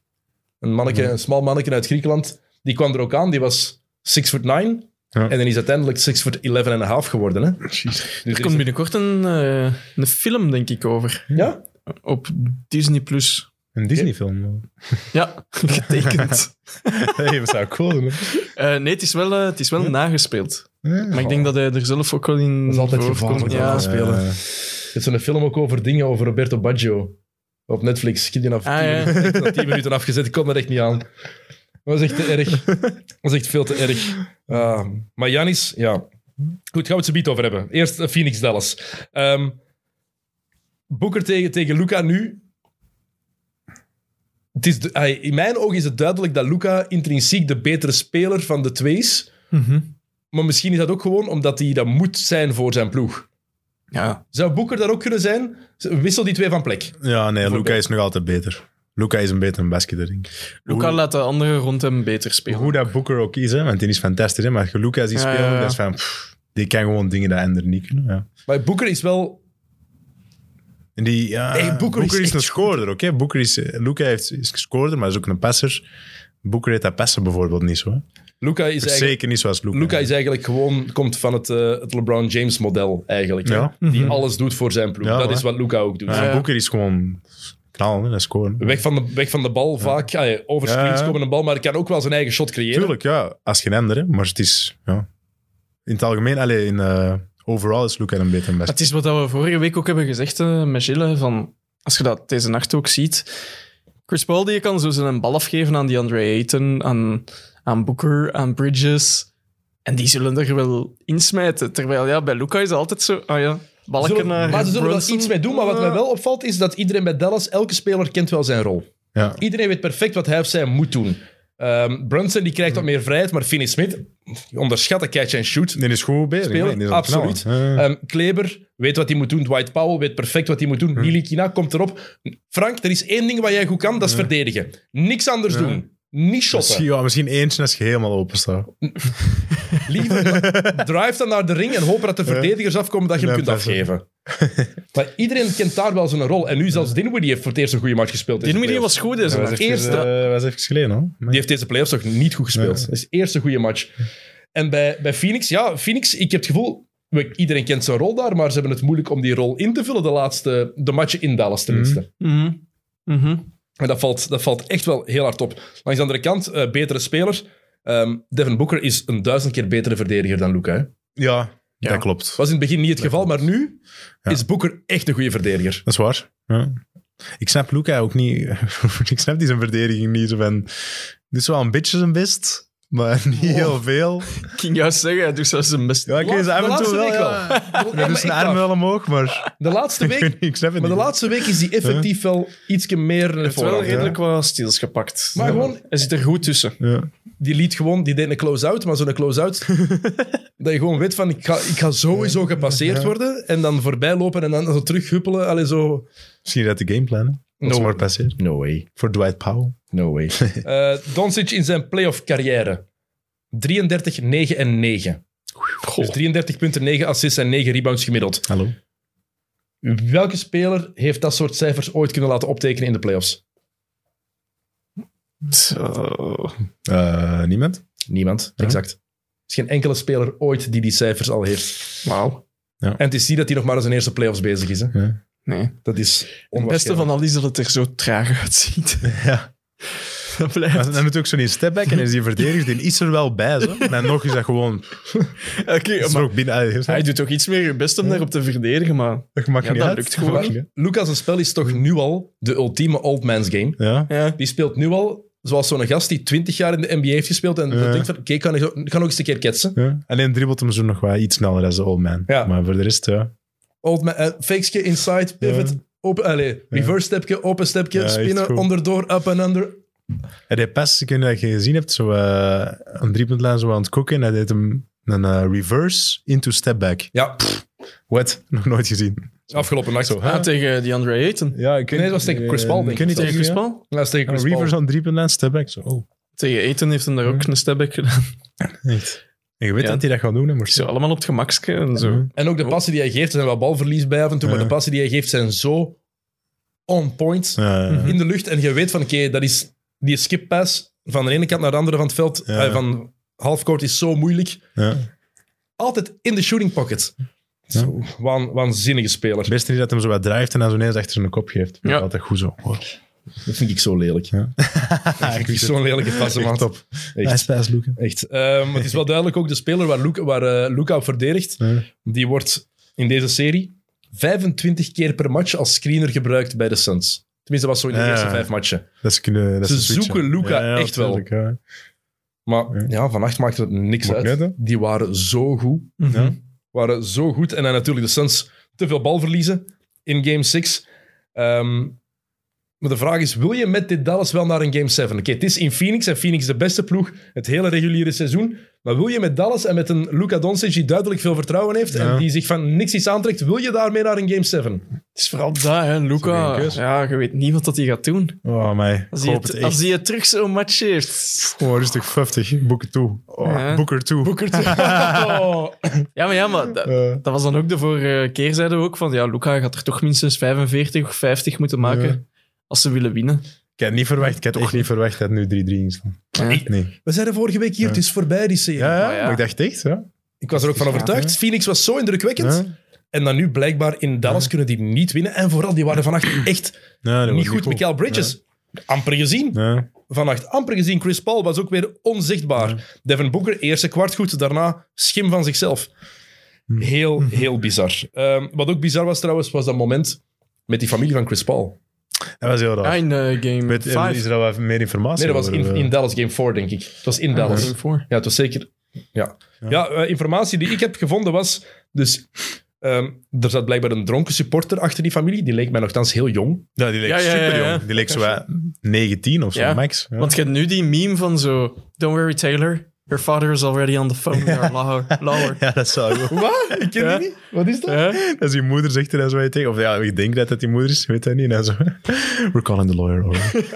Speaker 1: Een, manneke, een smal manneke uit Griekenland, die kwam er ook aan, die was 6 foot 9.
Speaker 3: Ja.
Speaker 1: En dan is uiteindelijk 6 foot 11 en een half geworden. Hè? Dus
Speaker 2: Er
Speaker 1: er
Speaker 2: komt
Speaker 1: is-
Speaker 2: binnenkort een, eh, een film, denk ik, over.
Speaker 1: ja?
Speaker 2: Op Disney+. Plus.
Speaker 3: Een Disney-film.
Speaker 2: Ja, getekend.
Speaker 3: hey, dat zou cool doen. hè.
Speaker 2: Eh, nee, het is wel, eh, het is wel nagespeeld.
Speaker 3: Ja.
Speaker 2: Maar ik denk dat hij er zelf ook wel in
Speaker 1: Dat is altijd gevaarlijk,
Speaker 2: voorkomt.
Speaker 1: dat
Speaker 2: Ja.
Speaker 1: is- spelen.
Speaker 3: Eh,
Speaker 1: Er is zo'n film ook over dingen, over Roberto Baggio. Op Netflix. Ik heb die na 10
Speaker 2: Ah, ja.
Speaker 1: minuten, echt na 10 minuten afgezet. Ik kon er echt niet aan. Dat was echt te erg. Dat was echt veel te erg. Ah, maar Ehm, Janis, ja. Goed, gaan we het zo biet over hebben. Eerst eh, Phoenix Dallas. Ehm Boeker tegen, tegen Luca nu. Het is de- ai, in mijn ogen is het duidelijk dat Luca intrinsiek de betere speler van de twee is. Maar misschien is dat ook gewoon omdat hij dat moet zijn voor zijn ploeg.
Speaker 2: Ja.
Speaker 1: Zou Boeker dat ook kunnen zijn? Wissel die twee van plek.
Speaker 3: Ja, nee, Luca
Speaker 1: Bijvoorbeeld.
Speaker 3: is nog altijd beter. Luca is een betere basketter, denk ik.
Speaker 2: Luca laat de anderen rond hem beter spelen.
Speaker 3: Hoe dat Booker ook is, hè, want die is fantastisch. Hè, maar je Luca ziet
Speaker 2: Ja,
Speaker 3: spelen,
Speaker 2: ja, ja.
Speaker 3: dat is van... pff, die kan gewoon dingen dat anderen niet kunnen. Ja.
Speaker 1: Maar Boeker is wel...
Speaker 3: En die, ja,
Speaker 1: Nee, Booker
Speaker 3: Booker
Speaker 1: is
Speaker 3: is,
Speaker 1: echt
Speaker 3: een scoorder, oké? Booker is... eh, Luca heeft, is een scoorder, maar is ook een passer. Booker heeft dat passen bijvoorbeeld niet zo. Hè.
Speaker 1: Luca is eigenlijk...
Speaker 3: Zeker niet zoals Luca.
Speaker 1: Luca is eigenlijk gewoon, komt van het, eh, het LeBron James model eigenlijk. hè.
Speaker 3: Ja.
Speaker 1: Die alles doet voor zijn ploeg.
Speaker 3: Ja,
Speaker 1: dat
Speaker 3: hè.
Speaker 1: is wat Luca ook doet.
Speaker 3: Ja,
Speaker 2: Ja.
Speaker 3: Booker is gewoon knallen hè, en scoren.
Speaker 1: Weg van, de, weg van de bal vaak. Ah, ja, over
Speaker 3: Ja,
Speaker 1: screens
Speaker 3: ja.
Speaker 1: komen een bal, maar hij kan ook wel zijn eigen shot creëren.
Speaker 3: Tuurlijk, ja. Als geen ander, hè, maar het is... Ja. In het algemeen, alleen in... eh, overal is Luca een betere
Speaker 2: Het
Speaker 3: basketter.
Speaker 2: is wat dat we vorige week ook hebben gezegd eh, met Gilles, van als je dat deze nacht ook ziet. Chris Paul die kan zo zijn bal afgeven aan die Andre Ayton, aan, aan Booker, aan Bridges. En die zullen er wel insmijten. Terwijl ja, bij Luca is het altijd zo, ah ja, balken
Speaker 1: Zullen-
Speaker 2: naar
Speaker 1: maar ze zullen er
Speaker 2: eh, Brunson.
Speaker 1: iets mee doen. Maar wat mij wel opvalt, is dat iedereen bij Dallas, elke speler kent wel zijn rol.
Speaker 3: Ja.
Speaker 1: Iedereen weet perfect wat hij of zij moet doen. Ehm, Brunson die krijgt wat
Speaker 3: Mhm.
Speaker 1: meer vrijheid, maar Finney Smith onderschat de catch and shoot.
Speaker 3: Die is goed bezig.
Speaker 1: Spelen,
Speaker 3: hè, die is aan het
Speaker 1: absoluut.
Speaker 3: knallen. Ja, ja.
Speaker 1: Ehm, Kleber weet wat hij moet doen. Dwight Powell weet perfect wat hij moet doen.
Speaker 3: Hm.
Speaker 1: Nili Kina komt erop. Frank, er is één ding wat jij goed kan, dat is verdedigen. Niks anders doen. Niet shotten.
Speaker 3: Misschien, ja, misschien eentje als je helemaal open staat.
Speaker 1: Liever drive dan naar de ring en hopen dat de verdedigers afkomen dat je hem
Speaker 3: Ja,
Speaker 1: kunt afgeven. maar iedereen kent daar wel zijn rol. En nu zelfs Dinwiddie heeft voor het eerst een goede match gespeeld. deze
Speaker 2: Dinwiddie
Speaker 1: playoffs.
Speaker 2: was goed deze
Speaker 1: was
Speaker 2: nacht.
Speaker 1: even-
Speaker 2: Eerste-
Speaker 1: eh,
Speaker 3: was even geleden, hoor.
Speaker 1: Die heeft deze playoffs toch niet goed gespeeld.
Speaker 3: Nee.
Speaker 1: Dat is de eerste goede match. En bij, bij Phoenix, ja, Phoenix, ik heb het gevoel... we- Iedereen kent zijn rol daar, maar ze hebben het moeilijk om die rol in te vullen de laatste... De matchen in Dallas tenminste.
Speaker 2: Mhm. Mhm.
Speaker 1: En dat valt, dat valt echt wel heel hard op. Langs de andere kant, eh, betere speler. Ehm, Devin Booker is een duizend keer betere verdediger dan Luca. hè.
Speaker 3: Ja,
Speaker 2: Ja.
Speaker 3: dat klopt.
Speaker 1: was in het begin niet het geval, maar nu
Speaker 3: Ja.
Speaker 1: is Boeker echt een goede verdediger.
Speaker 3: Dat is waar. Ja. Ik snap Luca ook niet. ik snap die zijn verdediging niet. Zo van, dit is wel een beetje zijn best, maar niet heel veel.
Speaker 2: Ik ging juist zeggen, hij doet zelfs zijn best.
Speaker 3: Ja, ik
Speaker 1: Oh. De
Speaker 3: is af en
Speaker 1: laatste
Speaker 3: toe wel.
Speaker 1: week wel.
Speaker 3: Ja. Ja, dus
Speaker 1: echt
Speaker 3: een arm
Speaker 1: waar.
Speaker 3: wel omhoog, maar
Speaker 1: De laatste
Speaker 3: ik, weet
Speaker 1: week,
Speaker 3: niet, ik snap het
Speaker 1: maar de
Speaker 3: niet.
Speaker 1: laatste week is hij effectief wel iets meer eh, naar
Speaker 2: Hij heeft wel
Speaker 1: voren.
Speaker 2: redelijk wat steals gepakt.
Speaker 1: Maar gewoon-
Speaker 2: Hij zit er goed tussen.
Speaker 3: Ja.
Speaker 1: Die liet gewoon, die deed een close-out, maar zo'n close-out dat je gewoon weet van, ik ga, ik ga sowieso gepasseerd worden en dan voorbij lopen en dan zo terug huppelen. Allee, zo...
Speaker 3: Misschien dat de gameplan. hè. Dat is
Speaker 1: No.
Speaker 3: maar passeert.
Speaker 1: No way.
Speaker 3: Voor Dwight Powell.
Speaker 1: No way. Eh, Doncic in zijn playoff carrière. 33, 9 en 9. Dus 33 punten, 9 assists en 9 rebounds gemiddeld.
Speaker 3: Hallo.
Speaker 1: Welke speler heeft dat soort cijfers ooit kunnen laten optekenen in de playoffs?
Speaker 2: Zo.
Speaker 3: Eh, niemand?
Speaker 1: Niemand, exact. Er is geen enkele speler ooit die die cijfers al heeft.
Speaker 2: Wauw.
Speaker 1: En het is niet dat hij nog maar aan zijn eerste playoffs bezig is. Hè.
Speaker 2: Nee.
Speaker 1: Dat is
Speaker 2: Het beste van al is dat het er zo traag uitziet.
Speaker 3: Ja.
Speaker 2: Dat blijft.
Speaker 3: Maar dan doet ook zo'n stepback en is die verdediger, die is er wel bij. Zo. Maar nog is dat gewoon.
Speaker 2: Oké,
Speaker 3: Is er
Speaker 2: maar
Speaker 3: ook binnen.
Speaker 2: hij doet toch iets meer je best om daarop te verdedigen, maar...
Speaker 3: Dat maakt
Speaker 2: Ja,
Speaker 3: niet
Speaker 2: dat
Speaker 3: uit.
Speaker 2: lukt gewoon
Speaker 3: maakt
Speaker 2: niet.
Speaker 3: niet uit.
Speaker 1: Lucas' spel is toch nu al de ultieme old man's game.
Speaker 3: Ja.
Speaker 2: Ja.
Speaker 1: Die speelt nu al zoals zo'n gast die 20 jaar in de NBA heeft gespeeld en
Speaker 3: Ja.
Speaker 1: denkt van, oké, ik kan, ik kan ook eens een keer ketsen.
Speaker 3: Ja. Alleen dribbelt hem zo nog wel iets sneller dan de old man.
Speaker 1: Ja.
Speaker 3: Maar voor de rest, ja.
Speaker 1: Old man, eh, fakeske, inside, pivot, open, allez, reverse stepje, open stepje,
Speaker 3: Ja, echt
Speaker 1: spinnen,
Speaker 3: goed.
Speaker 1: onderdoor, up and under.
Speaker 3: Hij deed pas, ik weet niet of je gezien hebt, zo, eh een driepuntlijn zo aan het koken. Hij deed hem een eh, reverse into step back.
Speaker 1: Ja,
Speaker 3: What? Nog nooit gezien.
Speaker 1: afgelopen nacht.
Speaker 3: Zo, hè?
Speaker 2: Ah, tegen die Andre Ayton.
Speaker 3: Ja, ik
Speaker 1: Nee, dat was tegen Chris Paul, denk
Speaker 3: ken
Speaker 1: ik.
Speaker 3: niet
Speaker 2: Tegen Chris
Speaker 3: ja.
Speaker 2: Paul?
Speaker 1: Dat is tegen
Speaker 3: Een
Speaker 1: Chris Paul.
Speaker 3: reverse aan driepuntlijn, step back. Zo, oh,
Speaker 2: Tegen Ayton heeft hem daar ook een stepback gedaan.
Speaker 3: echt. En je weet
Speaker 2: Ja.
Speaker 3: dat hij dat gaat doen, hè, maar
Speaker 2: Zo allemaal op het gemakske en zo.
Speaker 1: En ook de passen die hij geeft, er zijn wel balverlies bij af en toe, maar
Speaker 3: Ja.
Speaker 1: de passen die hij geeft zijn zo on point
Speaker 3: Ja, ja.
Speaker 1: in de lucht. En je weet van, oké, dat is die skippass van de ene kant naar de andere van het veld,
Speaker 3: Ja.
Speaker 1: eh, van halfcourt is zo moeilijk.
Speaker 3: ja.
Speaker 1: Altijd in de shooting pocket. Zo, waan- waanzinnige speler.
Speaker 3: Het beste is dat hij hem zo wat drijft en dan zo ineens achter zijn kop geeft.
Speaker 2: Ja.
Speaker 3: Ja. Altijd goed zo. Wow.
Speaker 1: Dat vind ik zo lelijk.
Speaker 3: Ja.
Speaker 1: Dat vind Ah, ik zo'n lelijke passen, man.
Speaker 3: Echt top.
Speaker 1: Echt.
Speaker 3: Nice pass, Luke.
Speaker 1: Echt. Ehm, maar het is wel duidelijk ook de speler waar Luca waar, eh, Luka op verdedigt.
Speaker 3: Ja.
Speaker 1: Die wordt in deze serie 25 keer per match als screener gebruikt bij de Suns. Tenminste, dat was zo in de
Speaker 3: Ja.
Speaker 1: eerste vijf matchen.
Speaker 3: Dat ze kunnen, dat
Speaker 1: Ze
Speaker 3: switchen.
Speaker 1: zoeken Luka echt wel.
Speaker 3: tuurlijk, ja.
Speaker 1: Maar ja, vannacht maakte het niks
Speaker 3: Moet
Speaker 1: uit.
Speaker 3: net, hè?
Speaker 1: Die waren zo goed.
Speaker 2: Mhm.
Speaker 3: Ja.
Speaker 1: Waren zo goed. En dan natuurlijk de Suns te veel bal verliezen in Game 6. maar de vraag is, wil je met dit Dallas wel naar een Game 7? Oké, het is in Phoenix en Phoenix de beste ploeg het hele reguliere seizoen. Maar wil je met Dallas en met een Luka Doncic die duidelijk veel vertrouwen heeft en
Speaker 3: Ja.
Speaker 1: die zich van niks iets aantrekt, wil je daarmee naar een Game 7?
Speaker 2: Het is vooral dat, hè.
Speaker 3: Dat is ook
Speaker 2: Luca,
Speaker 3: geen keus.
Speaker 2: ja, je weet niet wat dat hij gaat doen.
Speaker 3: Oh, mij.
Speaker 2: Als
Speaker 3: Ik
Speaker 2: hij
Speaker 3: hoop
Speaker 2: het,
Speaker 3: het
Speaker 2: als
Speaker 3: echt.
Speaker 2: hij het terug zo'n match heeft.
Speaker 3: Gewoon rustig 50. Boeken toe. Oh,
Speaker 2: Ja.
Speaker 3: Boeker toe.
Speaker 1: Boekert. Oh.
Speaker 2: Ja, maar, ja, maar dat,
Speaker 3: Eh,
Speaker 2: dat was dan ook de vorige keer, zeiden we ook, van ja, Luca gaat er toch minstens 45 of 50 moeten maken als ze willen winnen.
Speaker 3: ik had niet verwacht. Ik had echt niet verwacht dat nu 3-3 in staat.
Speaker 2: Ja.
Speaker 3: Nee.
Speaker 1: We zeiden vorige week hier,
Speaker 3: Ja.
Speaker 1: het is voorbij die serie.
Speaker 3: Ja, ja,
Speaker 2: ja.
Speaker 3: maar ik dacht echt. Ja.
Speaker 1: Ik was er ook van
Speaker 3: Ja,
Speaker 1: overtuigd. Phoenix was zo indrukwekkend.
Speaker 3: Ja.
Speaker 1: En dan nu blijkbaar in Dallas kunnen die niet winnen. En vooral, die waren vannacht echt
Speaker 3: Ja, dat was
Speaker 1: niet goed. Michael Bridges, amper gezien.
Speaker 3: Ja.
Speaker 1: Vannacht amper gezien. Chris Paul was ook weer onzichtbaar. Devin Booker, eerste kwart goed. Daarna schim van zichzelf. Heel, heel bizar. Ehm, wat ook bizar was trouwens, was dat moment met die familie van Chris Paul.
Speaker 3: Dat was heel raar.
Speaker 1: Ah,
Speaker 2: Ja, in eh, game
Speaker 3: Weet, eh,
Speaker 2: 5.
Speaker 3: is er al even meer informatie
Speaker 1: Nee, dat was
Speaker 3: over,
Speaker 1: in,
Speaker 3: eh?
Speaker 1: in Dallas Game 4, denk ik. Het was in Dallas. Ja, het was zeker. Ja, ja. eh, informatie die ik heb gevonden was. Dus ehm, er zat blijkbaar een dronken supporter achter die familie. Die leek mij nogthans heel jong.
Speaker 3: Ja, die leek
Speaker 2: Ja, ja, ja,
Speaker 3: super
Speaker 2: ja.
Speaker 3: jong. Die leek zo eh, 19 of zo,
Speaker 2: Ja.
Speaker 3: max. Ja.
Speaker 2: Want je hebt nu die meme van zo... Don't worry, Taylor. Your father is already on the phone. You're lower. lower.
Speaker 3: ja, dat zou wel.
Speaker 1: Wat? Ik ken die niet. Wat is dat?
Speaker 2: Hè?
Speaker 3: Als je moeder zegt er dan zo tegen. Of ja, ik denk dat dat die moeder is, weet hij niet. En zo. We're calling the lawyer. alright.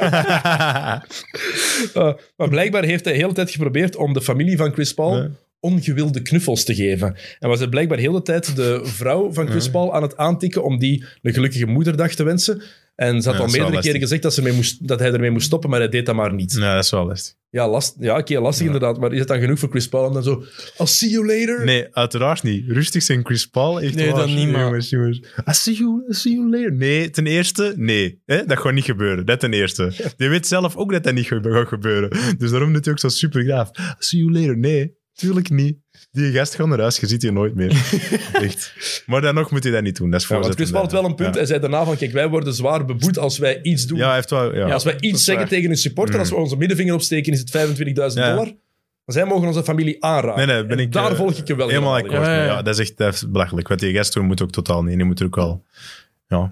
Speaker 1: Eh, maar blijkbaar heeft hij de hele tijd geprobeerd om de familie van Chris Paul
Speaker 3: Ja.
Speaker 1: ongewilde knuffels te geven. En was hij blijkbaar de hele tijd de vrouw van Chris Paul aan het aantikken om die een gelukkige moederdag te wensen. En ze had
Speaker 3: Ja,
Speaker 1: al
Speaker 3: dat is wel
Speaker 1: meerdere
Speaker 3: lastig.
Speaker 1: keren gezegd dat, ze mee moest, dat hij ermee moest stoppen, maar hij deed dat maar niet.
Speaker 3: nou, dat is wel lastig.
Speaker 1: Ja, last, ja oké, lastig inderdaad. Maar is het dan genoeg voor Chris Paul om dan zo... I'll see you later.
Speaker 3: Nee, uiteraard niet. Rustig zijn Chris Paul. Echt
Speaker 2: Nee,
Speaker 3: waar.
Speaker 2: dat niet, maar-
Speaker 3: Jongens, jongens. Ah, I see you, I see you later. Nee, ten eerste, nee. Hè, dat gaat niet gebeuren. Dat ten eerste. Je weet zelf ook dat dat niet gebe- gaat gebeuren. Dus daarom doet hij ook zo Ah, super graaf. I see you later. Nee, tuurlijk niet. Die gast gaat naar huis, je ziet je nooit meer. Echt. Maar dan nog moet hij dat niet doen. Dat is
Speaker 1: Ja, want
Speaker 3: voorzet
Speaker 1: Chris Paul had wel een punt.
Speaker 3: Ja.
Speaker 1: Hij zei daarna van, kijk, wij worden zwaar beboet als wij iets doen.
Speaker 3: Ja, hij heeft wel... Ja.
Speaker 1: Ja, als wij
Speaker 2: dat
Speaker 1: iets
Speaker 2: is
Speaker 1: zeggen
Speaker 2: waar.
Speaker 1: tegen een supporter, als we onze middenvinger opsteken, is het 25.000
Speaker 3: Mm. Ja.
Speaker 1: dollar. Maar zij mogen onze familie aanraken.
Speaker 3: Nee, nee, ben
Speaker 1: En
Speaker 3: ik,
Speaker 1: daar
Speaker 3: eh,
Speaker 1: volg ik je wel
Speaker 3: Helemaal
Speaker 1: in.
Speaker 3: akkoord.
Speaker 2: Ja,
Speaker 3: Ja,
Speaker 2: ja, ja.
Speaker 3: dat is echt dat is belachelijk. Wat die gast doen, moet ook totaal niet. Die moet er ook wel...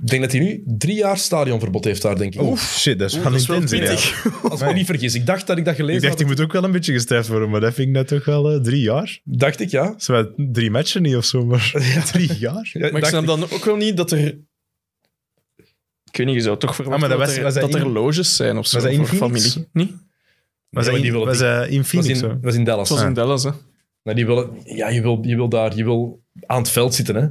Speaker 1: Ik denk dat hij nu drie jaar stadionverbod heeft daar, denk ik.
Speaker 3: Oef, shit, dat is wel
Speaker 2: dat is wel
Speaker 3: intens. ja.
Speaker 2: pittig.
Speaker 1: Als ik me niet vergis. Ik dacht dat ik dat
Speaker 3: Ik
Speaker 1: gelezen
Speaker 3: dacht, die
Speaker 1: had.
Speaker 3: moet ook wel een beetje gestraft worden, maar dat vind ik nou toch wel eh, drie jaar.
Speaker 1: Dacht ik, ja.
Speaker 3: Zo wel drie matchen niet of zo, maar drie jaar?
Speaker 1: Ja,
Speaker 2: Maar ik
Speaker 1: dacht
Speaker 2: snap
Speaker 1: ik.
Speaker 2: dan ook wel niet dat er... Ik weet niet, je zou toch verwachten
Speaker 3: Ah, maar dat
Speaker 2: dat,
Speaker 3: was-
Speaker 2: er,
Speaker 3: was dat
Speaker 2: dat er
Speaker 3: in-
Speaker 2: loges zijn of zo
Speaker 3: was dat in
Speaker 2: voor
Speaker 3: Phoenix?
Speaker 2: familie. Niet?
Speaker 3: Was
Speaker 1: Ja, maar
Speaker 3: hij
Speaker 1: die
Speaker 3: in,
Speaker 1: willen
Speaker 3: was hij in
Speaker 1: was
Speaker 3: Phoenix?
Speaker 1: in,
Speaker 3: zo?
Speaker 1: was in Dallas.
Speaker 2: Het was
Speaker 1: Ah.
Speaker 2: in Dallas, hè.
Speaker 1: Nou, die willen, ja, je wil, je wil daar je wil aan het veld zitten, hè.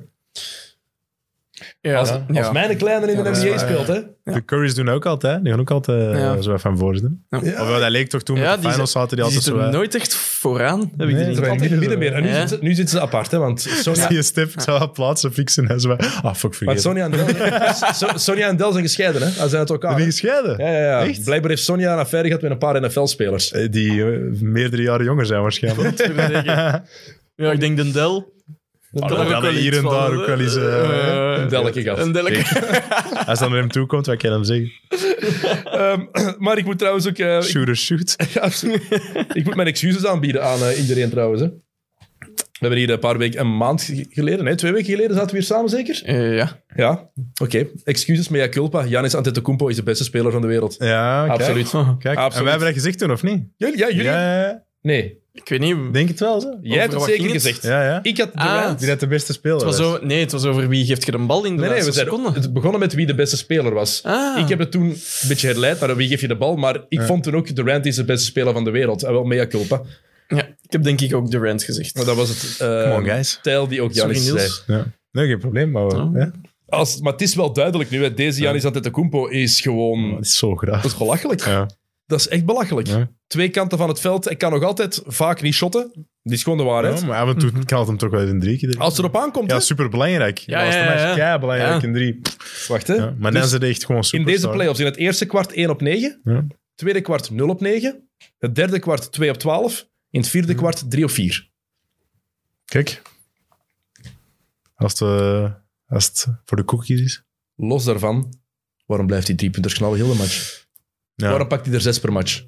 Speaker 2: Ja,
Speaker 1: Als,
Speaker 2: ja.
Speaker 1: als mijn kleine in de
Speaker 2: Ja, dat is
Speaker 1: NBA
Speaker 2: waar,
Speaker 1: speelt, hè.
Speaker 3: De Curry's doen ook altijd. Die gaan ook altijd eh,
Speaker 2: Ja.
Speaker 3: zo even van voor doen.
Speaker 2: Ja.
Speaker 3: Of wel, dat leek toch toen
Speaker 2: Ja,
Speaker 3: met de
Speaker 2: die
Speaker 3: finals
Speaker 2: zit-
Speaker 3: zaten die altijd
Speaker 2: zitten
Speaker 3: zo... eh,
Speaker 2: nooit echt vooraan, heb
Speaker 3: Nee,
Speaker 2: ik de
Speaker 3: ze
Speaker 2: indruk.
Speaker 3: zijn-
Speaker 1: Altijd midden
Speaker 3: midden
Speaker 1: meer. En nu,
Speaker 2: Ja.
Speaker 1: zitten, ze- nu zitten ze apart, hè. Want Sonja,
Speaker 3: Die step, ik zou wel plaatsen fixen en zo. Ah, fuck,
Speaker 1: want
Speaker 3: vergeten.
Speaker 1: Sonja, en Del, So- Sonja en Del zijn gescheiden, hè. Ze zijn uit elkaar.
Speaker 3: Die
Speaker 1: hè.
Speaker 3: gescheiden?
Speaker 1: Ja, ja, ja.
Speaker 3: Echt?
Speaker 1: Blijkbaar heeft Sonja een affaire gehad met een paar NFL-spelers.
Speaker 3: Eh, Die eh, meerdere jaren jonger zijn waarschijnlijk.
Speaker 2: Ja, ik denk Dendel.
Speaker 3: Ah, dan hadden hier en daar ook wel eens... eh,
Speaker 1: Een delke gehad.
Speaker 2: Een delke.
Speaker 3: Als het naar hem toe komt, wat kan je hem zeggen?
Speaker 1: Ehm, maar ik moet trouwens ook... eh, ik,
Speaker 3: Shooter shoot.
Speaker 1: ja, absoluut. ik moet mijn excuses aanbieden aan eh, iedereen trouwens. Hè. We hebben hier een paar weken, een maand ge- geleden, nee, twee weken geleden zaten we hier samen zeker?
Speaker 2: Eh, ja.
Speaker 1: Ja, oké. Excuses, mea culpa. Janis Antetokounmpo is de beste speler van de wereld.
Speaker 3: Ja, kijk.
Speaker 1: Absoluut.
Speaker 3: Kijk,
Speaker 1: Absoluut.
Speaker 3: en wij hebben dat gezegd toen, of niet?
Speaker 1: Jullie? Ja, jullie?
Speaker 3: Ja, ja,
Speaker 1: Nee,
Speaker 2: Ik weet niet. Het
Speaker 3: denk het wel zo.
Speaker 1: jij hebt het
Speaker 2: wat
Speaker 1: zeker
Speaker 2: ging het?
Speaker 1: gezegd.
Speaker 3: Ja, ja.
Speaker 1: Ik had
Speaker 2: Ah.
Speaker 1: Durant.
Speaker 3: Wie dat de beste
Speaker 2: was
Speaker 3: speler was.
Speaker 2: zo, nee, het was over wie geeft je de bal in de
Speaker 1: Nee, nee, we
Speaker 2: laatste
Speaker 1: zijn,
Speaker 2: seconde.
Speaker 1: het begonnen met wie de beste speler was.
Speaker 2: Ah.
Speaker 1: Ik heb het toen een beetje herleid naar wie geef je de bal, maar ik vond toen ook Durant is de beste speler van de wereld. En wel mea culpa.
Speaker 2: Ja, ik heb denk ik ook Durant gezegd.
Speaker 1: Maar dat was het eh,
Speaker 3: Come on, guys.
Speaker 1: stijl die ook Janis
Speaker 2: Sorry,
Speaker 1: zei.
Speaker 2: Niels.
Speaker 3: Ja. Nee, geen probleem, maar...
Speaker 2: Oh.
Speaker 3: ja.
Speaker 1: Als, maar het is wel duidelijk nu, hè. deze Janis Antetokounmpo is
Speaker 2: Hmm.
Speaker 1: gewoon...
Speaker 3: Dat
Speaker 1: Dat
Speaker 3: is zo graag.
Speaker 1: is belachelijk.
Speaker 3: Ja.
Speaker 1: Dat is echt belachelijk.
Speaker 3: Ja.
Speaker 1: Twee kanten van het veld. Hij kan nog altijd vaak niet shotten. Die is gewoon de waarheid.
Speaker 3: Ja, maar af en
Speaker 2: Mhm.
Speaker 3: toe kan het hem toch wel eens een drie keer.
Speaker 1: Als het erop aankomt,
Speaker 3: Ja,
Speaker 1: hè.
Speaker 3: superbelangrijk.
Speaker 2: Ja,
Speaker 3: Ja, was de
Speaker 2: ja, ja,
Speaker 3: match
Speaker 2: ja.
Speaker 3: belangrijk
Speaker 2: Ja.
Speaker 3: in drie.
Speaker 1: Wacht, hè.
Speaker 3: Ja, maar
Speaker 1: Dus
Speaker 3: dan zijn ze echt gewoon
Speaker 1: in
Speaker 3: super.
Speaker 1: deze playoffs, in het eerste kwart 1 op 9.
Speaker 3: Ja.
Speaker 1: Tweede kwart 0 op 9. Het derde kwart 2 op 12. In het vierde kwart 3 op 4.
Speaker 3: Kijk. Als het, eh, als het voor de cookies is.
Speaker 1: Los daarvan, waarom blijft hij drie punters knallen heel de match?
Speaker 3: Ja.
Speaker 1: Waarom pakt hij er zes per match?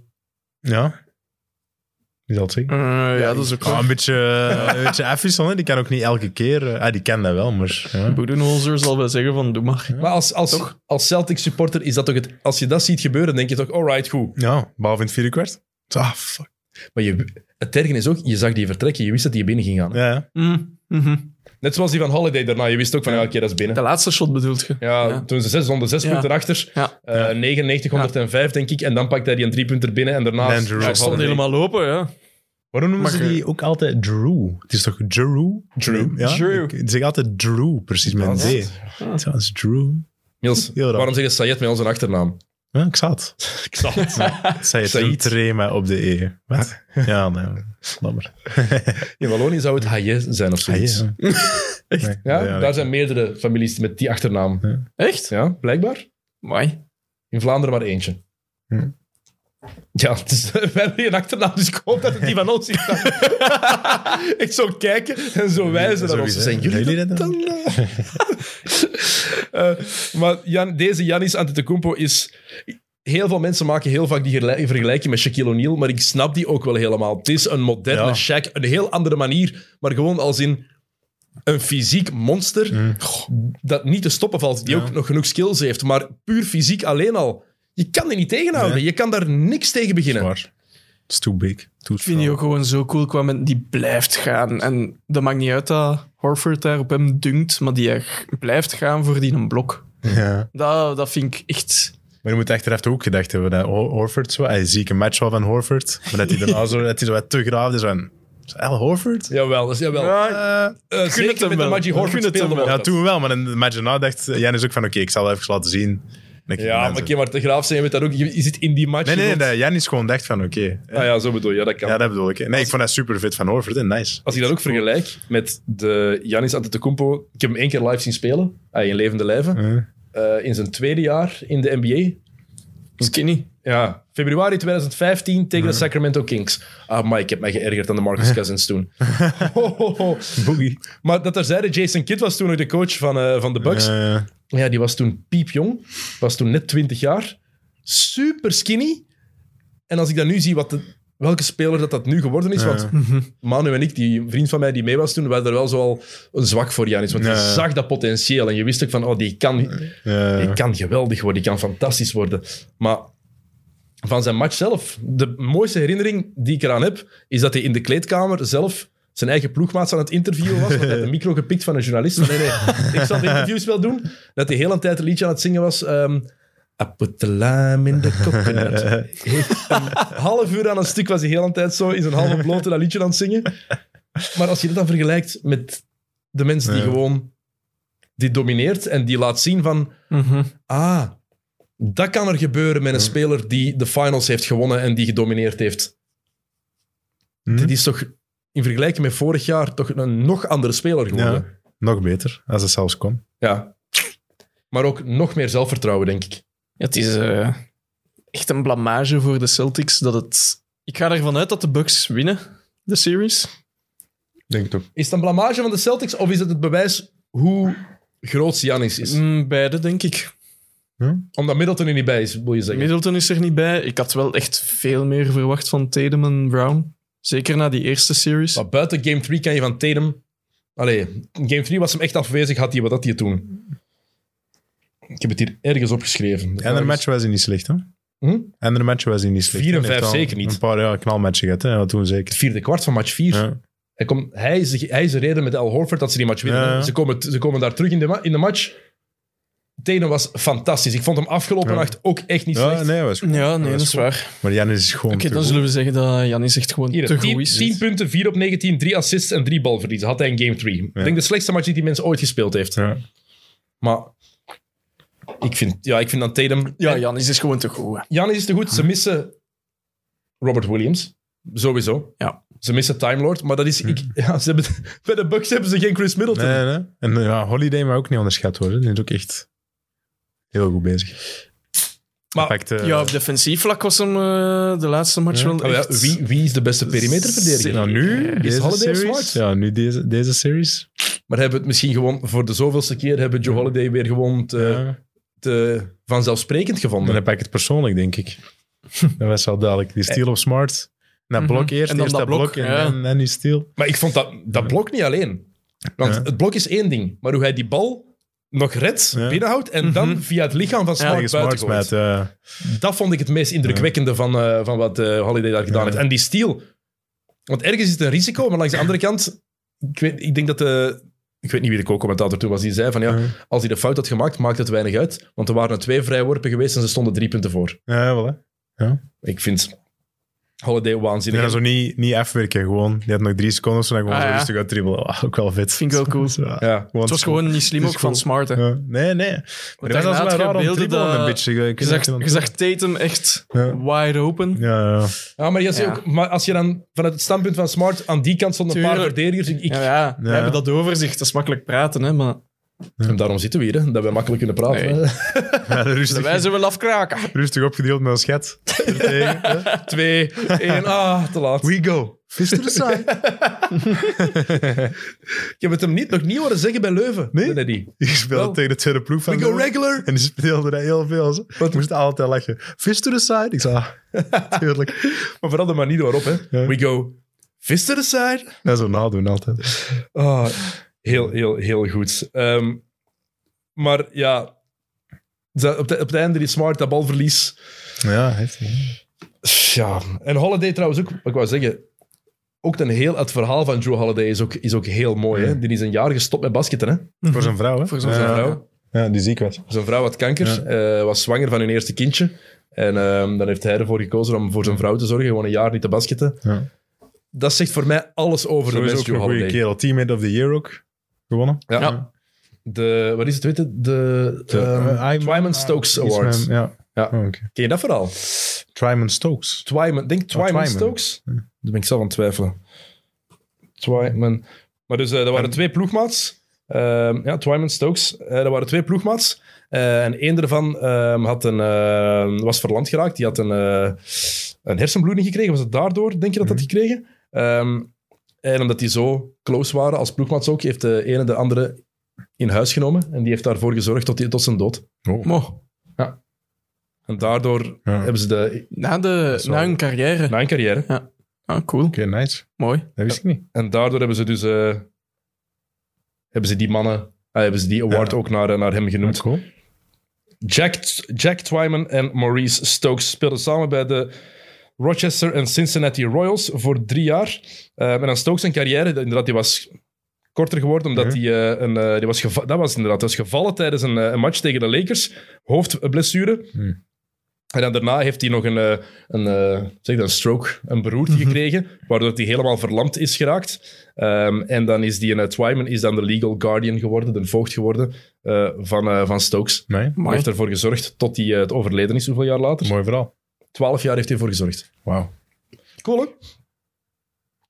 Speaker 3: Ja. Is dat zeker?
Speaker 2: Eh, ja, dat is ook
Speaker 3: Ah,
Speaker 2: wel.
Speaker 3: een beetje, eh, een beetje effies dan, hè. die kan ook niet elke keer. eh, ah, die kan dat wel, maar. Ja.
Speaker 2: Boedenholzer zal wel zeggen van, doe maar.
Speaker 1: Maar als, als, als Celtic supporter is dat toch het... Als je dat ziet gebeuren, denk je toch, alright, goed.
Speaker 3: ja, behalve in het vierde kwart. Ah, fuck.
Speaker 1: Maar je, het ergste is ook, je zag die vertrekken, je wist dat die binnen ging gaan. hè.
Speaker 3: Ja, ja.
Speaker 2: Mm, mhm.
Speaker 1: Net zoals die van Holiday daarna, je wist ook van, ja, oké, dat is binnen.
Speaker 2: De laatste shot bedoelt je?
Speaker 1: Ja,
Speaker 2: Ja.
Speaker 1: toen ze zes, stonden zes
Speaker 2: Ja.
Speaker 1: punten achter.
Speaker 2: Ja.
Speaker 1: eh 99, 105, denk ik. En dan pakt hij die een drie punter binnen en daarna...
Speaker 3: Landry
Speaker 1: Ja,
Speaker 2: Hij stond helemaal lopen, ja.
Speaker 3: Waarom noemen
Speaker 2: Mag
Speaker 3: ze
Speaker 2: je-
Speaker 3: die ook altijd Drew? Het is toch Drew?
Speaker 1: Drew.
Speaker 3: Ja?
Speaker 2: Drew.
Speaker 3: Ik, ik zeg altijd Drew, precies met een
Speaker 1: Ja,
Speaker 3: D.
Speaker 2: Ah.
Speaker 3: Ja, dat is Drew.
Speaker 1: Niels,
Speaker 3: Heel raar.
Speaker 1: waarom zeg je Sayed met onze achternaam?
Speaker 3: Ja, ik zat.
Speaker 1: Ik zal het.
Speaker 3: Zij het
Speaker 1: Saïd.
Speaker 3: een trema op de E. Wat? Ja, nou, lammer.
Speaker 1: In Wallonië zou het Hayez zijn of zoiets.
Speaker 3: Ah, ja. Nee.
Speaker 1: Ja,
Speaker 3: Ja,
Speaker 1: daar zijn meerdere families met die achternaam.
Speaker 2: Echt?
Speaker 1: Ja, blijkbaar.
Speaker 2: Mooi.
Speaker 1: In Vlaanderen maar eentje.
Speaker 3: Hm.
Speaker 1: Ja, het is, we hebben hier een achternaam, dus ik hoop dat het die van ons is. ik zou kijken en zo wijzen naar ons.
Speaker 3: Sowieso.
Speaker 1: Zijn jullie
Speaker 3: Zijn jullie
Speaker 1: dat
Speaker 3: dat
Speaker 1: dan? Eh, maar Jan, deze Janis Antetokounmpo is... Heel veel mensen maken heel vaak die gerlij- vergelijking met Shaquille O'Neal, maar ik snap die ook wel helemaal. Het is een moderne
Speaker 3: Ja.
Speaker 1: Shaq, een heel andere manier, maar gewoon als in een fysiek monster dat niet te stoppen valt, die
Speaker 3: Mm. Ja.
Speaker 1: ook nog genoeg skills heeft. Maar puur fysiek alleen al, je kan die niet tegenhouden.
Speaker 3: Nee.
Speaker 1: Je kan daar niks tegen beginnen.
Speaker 3: Maar, it's too big. Too
Speaker 2: Ik vind die ook gewoon zo cool qua men- die blijft gaan. En dat maakt niet uit dat Horford daar op hem dunkt, maar die echt blijft gaan voor die een blok.
Speaker 3: Ja.
Speaker 2: Dat, dat vind ik echt...
Speaker 3: Maar je moet achteraf ook gedacht hebben dat Ho- Horford zo... Hij zie ik een match wel van Horford, maar dat hij daarna zo, dat hij zo wat te graaf is van... Is El Horford?
Speaker 1: Jawel, dus jawel.
Speaker 3: Eh,
Speaker 1: Eh,
Speaker 2: gun het
Speaker 1: zeker
Speaker 2: hem
Speaker 1: met de
Speaker 2: wel.
Speaker 1: Magic
Speaker 2: Ik
Speaker 1: Horford
Speaker 2: gun het hem
Speaker 1: speelde
Speaker 2: wel.
Speaker 1: wel.
Speaker 3: ja, toen wel, maar in de match daarna dacht Janis ook van... Oké, ik zal wel even laten zien. dat ik
Speaker 1: Ja, maar
Speaker 3: ben
Speaker 1: oké,
Speaker 3: zo.
Speaker 1: maar te graaf zijn met dat ook. Je je zit in die match.
Speaker 3: Nee, nee,
Speaker 1: je
Speaker 3: nee.
Speaker 1: wordt-
Speaker 3: dat Janis gewoon dacht van... Oké,
Speaker 1: Ah ja, zo bedoel je, ja, dat kan.
Speaker 3: ja, dat bedoel ik. hè. Nee, ik vond dat super fit van Horford. en Nice.
Speaker 1: Als ik dat ook vergelijk met de Janis Antetokounmpo. Ik heb hem één keer live zien spelen, ah, in levende lijven.
Speaker 3: Mm.
Speaker 1: Eh, in zijn tweede jaar in de NBA.
Speaker 2: Skinny.
Speaker 1: Ja, februari 2015 tegen de Sacramento Kings. Ah, maar ik heb mij geërgerd aan de Marcus Cousins toen. Ho, ho, ho.
Speaker 3: Boogie.
Speaker 1: Maar dat daar zeiden, Jason Kidd was toen nog de coach van, eh, van de Bucks.
Speaker 3: Eh,
Speaker 1: Ja, die was toen piepjong. Was toen net 20 jaar. Super skinny. En als ik dan nu zie wat de- welke speler dat, dat nu geworden is. Want Manu en ik, die vriend van mij die mee was toen, we hadden er wel zoal een zwak voor Janis. Want je
Speaker 3: Ja.
Speaker 1: zag dat potentieel. En je wist ook van, oh, die kan,
Speaker 3: eh,
Speaker 1: die kan geweldig worden. Die kan fantastisch worden. Maar van zijn match zelf, de mooiste herinnering die ik eraan heb, is dat hij in de kleedkamer zelf zijn eigen ploegmaats aan het interviewen was. Want hij had de micro gepikt van een journalist. Van, nee, nee, ik zal de interviews wel doen. Dat hij heel een tijd een liedje aan het zingen was. ehm, I put the lime in the coconut. Een half uur aan een stuk was hij heel een tijd zo in zijn halve blote dat liedje aan het zingen. Maar als je dat dan vergelijkt met de mens die
Speaker 3: Ja.
Speaker 1: gewoon die domineert en die laat zien van
Speaker 2: Mhm.
Speaker 1: Ah, dat kan er gebeuren met een speler die de finals heeft gewonnen en die gedomineerd heeft.
Speaker 3: Hm?
Speaker 1: Dit is toch in vergelijking met vorig jaar toch een nog andere speler geworden.
Speaker 3: ja, nog beter, als het zelfs kon.
Speaker 1: Ja. Maar ook nog meer zelfvertrouwen, denk ik.
Speaker 2: Ja, het is eh, echt een blamage voor de Celtics dat het... Ik ga ervan uit dat de Bucks winnen, de series.
Speaker 3: Denk toch?
Speaker 1: Is het een blamage van de Celtics of is het het bewijs hoe groot Giannis
Speaker 3: Hm.
Speaker 1: is?
Speaker 2: Mm, beide, denk ik.
Speaker 1: Omdat Middleton er niet bij is, wil je zeggen.
Speaker 2: Middleton is er niet bij. Ik had wel echt veel meer verwacht van Tatum en Brown. Zeker na die eerste series.
Speaker 1: Maar buiten Game 3 kan je van Tatum... Allee, in Game 3 was hem echt afwezig, had hij wat had hij toen? Ik heb het hier ergens opgeschreven.
Speaker 3: En de match was hij niet slecht, hè?
Speaker 1: dus- Hm?
Speaker 3: En de match was hij niet slecht.
Speaker 1: Vier en
Speaker 3: Hij heeft
Speaker 1: vijf
Speaker 3: al
Speaker 1: zeker niet.
Speaker 3: Een paar ja, knalmatchen gehad, hè? Ja, toen
Speaker 1: Het
Speaker 3: zeker.
Speaker 1: vierde kwart van match 4.
Speaker 3: Ja.
Speaker 1: Hij, komt, hij, is de, hij is de reden met Al Horford dat ze die match winnen.
Speaker 3: Ja, ja.
Speaker 1: Ze, komen, ze komen daar terug in de, ma- in de match. Tatum was fantastisch. Ik vond hem afgelopen
Speaker 3: Ja.
Speaker 1: nacht ook echt niet
Speaker 3: Ja,
Speaker 1: slecht.
Speaker 3: nee, was goed.
Speaker 2: Ja, nee,
Speaker 3: dat
Speaker 2: dat
Speaker 3: is
Speaker 2: is
Speaker 3: goed.
Speaker 2: waar.
Speaker 3: Maar Jan is gewoon.
Speaker 2: Oké,
Speaker 3: te
Speaker 2: dan
Speaker 3: goed.
Speaker 2: zullen we zeggen dat Janis echt gewoon
Speaker 1: Hier,
Speaker 2: te goed
Speaker 1: 10,
Speaker 2: is.
Speaker 1: punten, 4 op 19, 3 assists en 3 balverliezen. Had hij in game 3. Ik
Speaker 3: Ja.
Speaker 1: denk de slechtste match die die mens ooit gespeeld heeft.
Speaker 3: Ja.
Speaker 1: Maar ik vind, ja, ik vind dan Tatum...
Speaker 2: Ja,
Speaker 1: En
Speaker 2: Janis is gewoon te goed. hè.
Speaker 1: Janis is te goed. Ze missen Robert Williams. Sowieso.
Speaker 2: Ja.
Speaker 1: Ze missen Time Lord. Maar dat is... Ik, ja, ze hebben, bij de Bucks hebben ze geen Chris Middleton.
Speaker 3: Nee, nee. En eh, ja, Holiday mag ook niet onderschat worden. Die is ook echt heel goed bezig.
Speaker 1: Maar-
Speaker 3: Hij pakt, eh,
Speaker 2: ja, op defensief vlak was hem eh, de laatste match
Speaker 3: Ja.
Speaker 2: wel
Speaker 1: Oh ja,
Speaker 2: echt...
Speaker 1: wie, wie is de beste perimeterverdediger?
Speaker 2: Zin-
Speaker 3: nou, nu,
Speaker 2: Is
Speaker 3: deze
Speaker 1: Holiday of
Speaker 3: series.
Speaker 1: Smart?
Speaker 3: Ja, nu deze, deze series.
Speaker 1: Maar hebben het misschien gewoon voor de zoveelste keer hebben Joe Holiday weer gewoon te,
Speaker 3: Ja.
Speaker 1: te vanzelfsprekend
Speaker 3: En
Speaker 1: gevonden.
Speaker 3: dan pak ik het persoonlijk, denk ik. dat was wel duidelijk. Die steal op Smart. dat blok
Speaker 2: Mhm.
Speaker 3: eerst,
Speaker 2: En dan
Speaker 3: eerst
Speaker 2: dat
Speaker 3: dat blok,
Speaker 2: blok,
Speaker 3: en,
Speaker 2: ja.
Speaker 3: en, en nu stil.
Speaker 1: Maar ik vond dat, dat blok niet alleen. Want
Speaker 3: Ja.
Speaker 1: het blok is één ding, maar hoe hij die bal nog redt,
Speaker 3: Ja.
Speaker 1: binnenhoudt en dan via het lichaam van Smart
Speaker 3: Tegen
Speaker 1: buiten
Speaker 3: Smart
Speaker 1: gooit.
Speaker 3: met, eh,
Speaker 1: Dat vond ik het meest indrukwekkende van, eh, van wat eh, Holiday daar gedaan
Speaker 3: Ja.
Speaker 1: heeft. En die steal. Want ergens is het een risico, maar langs de andere kant... Ik, weet, ik denk dat de... Ik weet niet wie de co-commentator toen was, die zei van ja,
Speaker 3: Ja.
Speaker 1: als hij de fout had gemaakt, maakt het weinig uit. Want er waren er twee vrijworpen geweest en ze stonden drie punten voor.
Speaker 3: eh, ja, wel hè.
Speaker 1: Ik vind Holiday
Speaker 3: Die
Speaker 1: waanzinnig.
Speaker 3: gaan zo niet, niet afwerken, gewoon. Die had nog drie seconden, dus dan gewoon
Speaker 2: Ah,
Speaker 3: zo
Speaker 2: ja.
Speaker 3: rustig uit dribbelen. Ah, ook wel vet.
Speaker 2: Vind ik wel cool.
Speaker 3: Ja.
Speaker 1: Ja.
Speaker 2: Het was gewoon niet slim
Speaker 3: Het
Speaker 2: ook
Speaker 3: is
Speaker 2: van
Speaker 3: cool.
Speaker 2: Smart. hè.
Speaker 3: Ja. Nee, nee. Maar dat
Speaker 2: daarna
Speaker 3: was wel
Speaker 2: had je
Speaker 3: raar om te
Speaker 2: beelden
Speaker 3: dribbelen
Speaker 2: dat-
Speaker 3: een beetje. eh, Ik
Speaker 2: Je
Speaker 3: weet
Speaker 2: zag,
Speaker 3: niet
Speaker 2: je
Speaker 3: of-
Speaker 2: zag Tatum echt
Speaker 3: Ja.
Speaker 2: wide open.
Speaker 3: Ja, ja.
Speaker 1: Ja, maar, je ziet
Speaker 2: Ja.
Speaker 1: Ook, maar als je dan vanuit het standpunt van Smart aan die kant stonden een paar
Speaker 2: Tuurlijk.
Speaker 1: verdedigers. Ik, ik-
Speaker 2: Ja, ja. we
Speaker 3: Ja.
Speaker 2: hebben dat overzicht. Dat is makkelijk praten, hè, maar
Speaker 1: En daarom zitten we hier, hè, dat we makkelijk kunnen praten.
Speaker 2: Nee.
Speaker 3: Ja, rustig,
Speaker 2: wij zullen wel afkraken.
Speaker 3: rustig opgedeeld met een schat. Ertegen, hè.
Speaker 1: Twee, één, ah, te laat.
Speaker 3: We go. Fist to the side.
Speaker 1: Ik heb het hem niet, nog niet horen zeggen bij Leuven.
Speaker 3: Nee?
Speaker 1: Neddy.
Speaker 3: Ik speelde
Speaker 1: Wel.
Speaker 3: tegen de tweede ploeg van
Speaker 1: We go
Speaker 3: Leuven.
Speaker 1: regular.
Speaker 3: En die speelde dat heel veel. Zo. Ik moest altijd lachen. Fist to the side. Ik zei, ah, tuurlijk.
Speaker 1: Maar vooral de manier waarop, hè.
Speaker 3: Ja.
Speaker 1: We go, fist to the side.
Speaker 3: Dat zo nadoen altijd.
Speaker 1: Ah, heel, heel, heel goed. Ehm, maar ja, ze- op, de, op het einde die Smart, dat balverlies.
Speaker 3: Ja, heftig.
Speaker 1: Ja, en Holiday trouwens ook, wat ik wou zeggen, ook een heel, het verhaal van Joe Holiday is ook, is ook heel mooi. Hè? Die is een jaar gestopt met basketten. Hè?
Speaker 3: Voor zijn vrouw, hè?
Speaker 2: Voor zo'n
Speaker 3: ja.
Speaker 1: Mhm. Zijn,
Speaker 2: Ja.
Speaker 1: vrouw,
Speaker 3: Ja, die ziek was.
Speaker 1: zijn vrouw had kanker, eh, was zwanger van hun eerste kindje. En ehm, dan heeft hij ervoor gekozen om voor zijn vrouw te zorgen, gewoon een jaar niet te basketten.
Speaker 3: Ja.
Speaker 1: Dat zegt voor mij alles over de
Speaker 3: Sowieso
Speaker 1: mens
Speaker 3: ook een
Speaker 1: Joe
Speaker 3: goede
Speaker 1: Holiday.
Speaker 3: kerel. Teammate of the Year ook. Gewonnen.
Speaker 1: Ja.
Speaker 2: Ja.
Speaker 1: De, wat is het, weet je? De,
Speaker 3: De,
Speaker 1: ehm,
Speaker 3: eh, I'm-
Speaker 1: Twyman Stokes
Speaker 3: Iets
Speaker 1: Awards.
Speaker 3: met- Ja.
Speaker 1: Ja.
Speaker 3: Oh, oké.
Speaker 1: Ken je dat verhaal?
Speaker 3: Twyman Stokes.
Speaker 1: Twyman, denk Twyman,
Speaker 3: Oh, Twyman.
Speaker 1: Stokes? Daar ben ik zelf aan het twijfelen. Twyman. Maar dus, eh dat waren twee ploegmaats. Ehm, ja, Twyman Stokes. Eh dat waren twee ploegmaats. Eh, en één daarvan ehm, had een, ehm, was verland geraakt. Die had een, eh, een hersenbloeding gekregen. Was het daardoor, denk je, dat dat
Speaker 3: Mhm.
Speaker 1: gekregen? Ehm, en omdat die zo close waren als ploegmaats ook, heeft de ene de andere in huis genomen. En die heeft daarvoor gezorgd tot, die, tot zijn dood.
Speaker 2: Mo,
Speaker 1: En daardoor
Speaker 3: Ja.
Speaker 1: Oh. hebben ze de,
Speaker 2: na, de,
Speaker 1: Zo.
Speaker 2: na hun carrière.
Speaker 1: na een carrière
Speaker 2: Ah, cool.
Speaker 3: Oké, nice.
Speaker 2: Mooi.
Speaker 3: Dat wist ik niet.
Speaker 1: En daardoor hebben ze dus eh, hebben ze die mannen, ah, hebben ze die award
Speaker 3: Ja.
Speaker 1: ook naar, eh, naar hem genoemd.
Speaker 3: cool.
Speaker 1: Jack, Jack Twyman en Maurice Stokes speelden samen bij de Rochester en Cincinnati Royals voor drie jaar. Eh, en dan Stokes zijn carrière, dat- inderdaad, die was korter geworden, omdat
Speaker 3: Ja.
Speaker 1: hij eh, een, eh, die was geva- dat was inderdaad, dat was gevallen tijdens een, eh, een match tegen de Lakers, hoofdblessure.
Speaker 3: Hmm.
Speaker 1: En dan daarna heeft hij nog een, eh, een, eh, zeg dat, een stroke, een beroerte gekregen, waardoor hij helemaal verlamd is geraakt. Ehm, en dan is die, een Twyman is dan de legal guardian geworden, de voogd geworden eh, van, eh, van Stokes.
Speaker 3: Nee,
Speaker 1: Hij
Speaker 2: Mooi.
Speaker 1: heeft ervoor gezorgd tot hij eh, het overleden is, hoeveel jaar later?
Speaker 3: mooi verhaal.
Speaker 1: Twaalf jaar heeft hij ervoor gezorgd.
Speaker 3: Wauw.
Speaker 1: Cool, hè?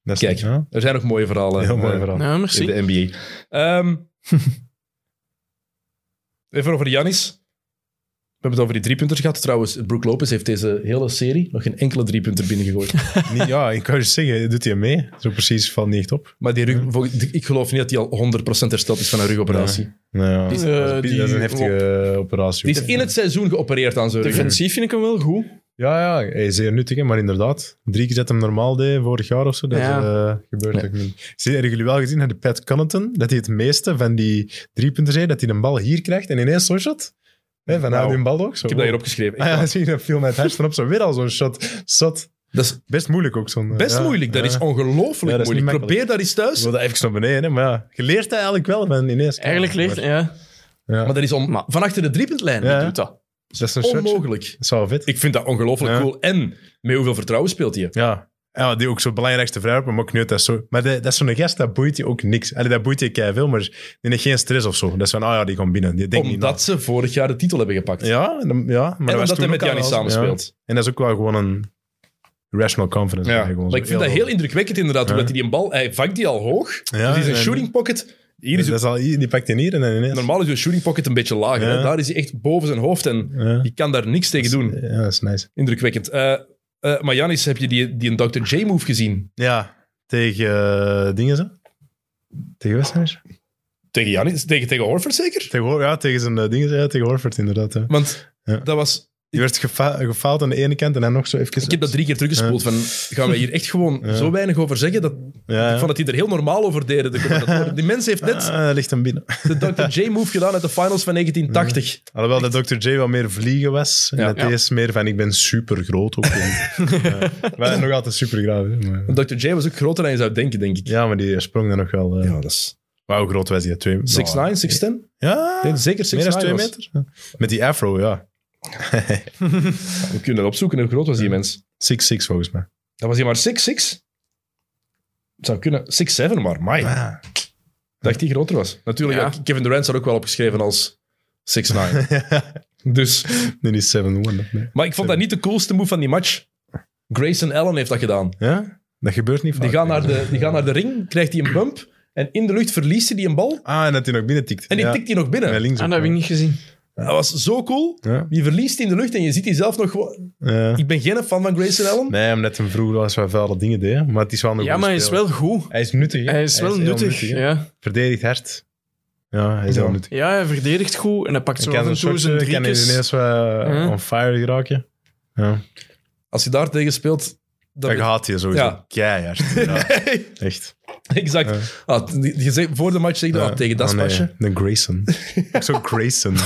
Speaker 3: Dat is-
Speaker 1: Kijk.
Speaker 3: ja,
Speaker 1: Er zijn nog mooie verhalen
Speaker 3: heel mooi
Speaker 1: eh,
Speaker 3: verhaal.
Speaker 2: Nou,
Speaker 1: in
Speaker 2: merci.
Speaker 1: de NBA. Ehm, even over Janis. We hebben het over die driepunters gehad. Trouwens, Brook Lopez heeft deze hele serie nog geen enkele driepunter binnengegooid.
Speaker 3: Niet- ja, ik kan je zeggen, doet hij mee? Zo precies valt niet echt op.
Speaker 1: maar die rug, vol- ik geloof niet dat hij al 100% hersteld is van een rugoperatie.
Speaker 3: Nou, ja.
Speaker 2: Die is, eh,
Speaker 3: dat, is, dat is een
Speaker 2: die-
Speaker 3: heftige operatie.
Speaker 1: Die
Speaker 3: ook.
Speaker 1: is in het seizoen geopereerd aan zijn rug.
Speaker 2: Defensief vind ik hem wel goed.
Speaker 3: Ja, ja, hij is zeer nuttig, hè, maar inderdaad. Drie keer dat hem normaal deed vorig jaar of zo. Dat
Speaker 2: Ja.
Speaker 3: eh, gebeurt
Speaker 1: Ja.
Speaker 3: ook niet. Zie- Hebben jullie wel gezien dat de Pat Connaughton, dat hij het meeste van die driepunters heeft, dat hij een bal hier krijgt en ineens zo'n shot? Hè, van
Speaker 1: Wauw.
Speaker 3: nou, die bal ook zo.
Speaker 1: Ik heb dat hier opgeschreven.
Speaker 3: Ah, ja, zie je, dat viel mij het hersen op. Zo weer al zo'n shot. Zot.
Speaker 1: Dat is
Speaker 3: Best moeilijk ook zo'n... eh,
Speaker 1: best
Speaker 3: ja,
Speaker 1: moeilijk. Dat
Speaker 3: ja.
Speaker 1: is ongelooflijk
Speaker 3: Ja, dat is niet
Speaker 1: moeilijk.
Speaker 3: makkelijk.
Speaker 1: Probeer dat eens
Speaker 3: Ik
Speaker 1: thuis.
Speaker 3: wil dat even naar beneden, hè, maar ja. Je leert dat eigenlijk wel van ineens.
Speaker 2: Eigenlijk ligt,
Speaker 3: Maar-
Speaker 2: ja.
Speaker 3: Ja.
Speaker 1: Maar dat is om, van achter de driepuntlijn.
Speaker 3: Ja.
Speaker 2: Doet dat.
Speaker 3: Dat is een shotje. Dat
Speaker 1: Onmogelijk.
Speaker 3: is wel vet.
Speaker 1: Ik vind dat ongelooflijk
Speaker 3: Ja.
Speaker 1: cool. En met hoeveel vertrouwen speelt hij?
Speaker 3: Ja. Ja, die ook zo'n belangrijkste vrijworp, maar ook niet dat zo. Maar de- dat is zo'n gast, dat boeit je ook niks. Allee, dat boeit je keihard veel, maar die heeft geen stress of zo. Dat is van, ah ja, die komt binnen. Die denkt niet
Speaker 1: Omdat ze vorig jaar de titel hebben gepakt.
Speaker 3: na. Ja, en dan- ja, maar
Speaker 1: en
Speaker 3: was
Speaker 1: omdat hij
Speaker 3: toen
Speaker 1: met
Speaker 3: ook al
Speaker 1: Janis
Speaker 3: wel-
Speaker 1: samenspeelt.
Speaker 3: ja. En dat is ook wel gewoon een rational confidence.
Speaker 1: Ja,
Speaker 3: eigenlijk, gewoon
Speaker 1: maar
Speaker 3: zo.
Speaker 1: ik vind dat heel indrukwekkend inderdaad,
Speaker 3: Ja.
Speaker 1: omdat hij die bal, hij vangt die al hoog.
Speaker 3: Ja,
Speaker 1: dus die is een
Speaker 3: en-
Speaker 1: shooting pocket. Hier is
Speaker 3: dat is al, die pakt hij hier en dan ineens.
Speaker 1: normaal is een shooting pocket een beetje lager.
Speaker 3: Ja.
Speaker 1: hè. Daar is hij echt boven zijn hoofd en
Speaker 3: Ja.
Speaker 1: je kan daar niks tegen doen.
Speaker 3: Ja, dat is nice.
Speaker 1: Indrukwekkend. Eh, eh, maar Janis, heb je die, die een Dr. J-move gezien?
Speaker 3: Ja, tegen eh, dingen ze? Tegen Westerners?
Speaker 1: Tegen Janis? Tegen, tegen Horford zeker?
Speaker 3: Tegen, Hor- ja, tegen zijn eh, dingen ze, ja, tegen Horford inderdaad. hè.
Speaker 1: Want
Speaker 3: Ja.
Speaker 1: dat was
Speaker 3: Je werd gefa- gefaald aan de ene kant en dan nog zo even...
Speaker 1: Ik heb dat drie keer teruggespoeld. Van, gaan we hier echt gewoon
Speaker 3: Ja.
Speaker 1: zo weinig over zeggen? Dat,
Speaker 3: Ja,
Speaker 1: Ik vond
Speaker 3: ja.
Speaker 1: dat die er heel normaal over deden. De commentatoren. die mens heeft net
Speaker 3: Ah, dat ligt hem binnen.
Speaker 1: de Dr. J-move gedaan uit de finals van 1980.
Speaker 3: Alhoewel dat Dr. J wel meer vliegen was. En
Speaker 1: Ja.
Speaker 3: dat
Speaker 2: Ja.
Speaker 3: is meer van, ik ben super groot ook. en, eh, maar nog altijd super Maar,
Speaker 1: Want Dr. J was ook groter dan je zou denken, denk ik.
Speaker 3: ja, maar die sprong dan nog wel... eh,
Speaker 1: Ja, dat is
Speaker 3: Maar hoe groot was die? Twee,
Speaker 1: 6'9, 6'10?
Speaker 3: Nou, Ja,
Speaker 1: Nee, zeker 6'9
Speaker 3: meer dan twee
Speaker 1: was.
Speaker 3: meter. Met die afro, ja.
Speaker 1: We kunnen dat opzoeken, hoe groot was die mens?
Speaker 3: 6'6 volgens mij.
Speaker 1: Dat was hij maar 6'6? Het zou kunnen, 6'7 maar, mai. Dacht die groter was. Natuurlijk,
Speaker 2: Ja.
Speaker 1: ja, Kevin Durant staat ook wel opgeschreven als 6'9. dus,
Speaker 3: Nee, die 7-1. nee.
Speaker 1: maar ik vond dat niet de coolste move van die match. Grayson Allen heeft dat gedaan.
Speaker 3: Ja? Dat gebeurt niet vaak.
Speaker 1: Die gaan, naar
Speaker 3: nee.
Speaker 1: de, die gaan naar de ring, krijgt hij een bump. En in de lucht verliest hij die een bal.
Speaker 3: Ah, en dat hij nog binnen tikt.
Speaker 1: En die
Speaker 3: ja.
Speaker 1: tikt hij nog binnen.
Speaker 3: Met links
Speaker 2: Ah,
Speaker 3: op,
Speaker 2: dat heb ik
Speaker 3: ja.
Speaker 2: niet gezien.
Speaker 1: Dat was zo cool.
Speaker 3: Ja.
Speaker 1: Die verliest die in de lucht en je ziet die zelf nog... gewoon-
Speaker 3: Ja.
Speaker 1: Ik ben geen fan van Grayson Allen.
Speaker 3: Nee, omdat hem vroeger wel eens wat vuile dingen deed. hè. Maar het is wel een
Speaker 2: Ja,
Speaker 3: goede
Speaker 2: maar hij is
Speaker 3: speler.
Speaker 2: wel goed.
Speaker 3: Hij is nuttig. hè.
Speaker 2: Hij is wel
Speaker 3: heel
Speaker 2: nuttig.
Speaker 3: hè.
Speaker 2: Ja.
Speaker 3: Verdedigt hard. Ja, hij is
Speaker 1: Ja.
Speaker 3: heel nuttig.
Speaker 2: ja, hij verdedigt goed en hij pakt zo
Speaker 3: Ik
Speaker 2: af
Speaker 3: kan
Speaker 2: en
Speaker 3: een
Speaker 2: toe
Speaker 3: soort,
Speaker 2: zijn
Speaker 3: eh, kan hij
Speaker 2: driekes.
Speaker 3: ineens wat
Speaker 2: Ja.
Speaker 3: on fire raken. Ja.
Speaker 1: Als je daar tegen speelt...
Speaker 3: Dat
Speaker 1: Dan
Speaker 3: gaat hij sowieso
Speaker 1: Ja.
Speaker 3: keihard. Ja, echt.
Speaker 1: exact.
Speaker 3: Ja.
Speaker 1: Ah, die- die zei- voor de match zeg je
Speaker 3: Ja.
Speaker 1: ah, tegen dat
Speaker 3: Oh, nee,
Speaker 1: pasje.
Speaker 3: De Grayson. Ook zo Grayson.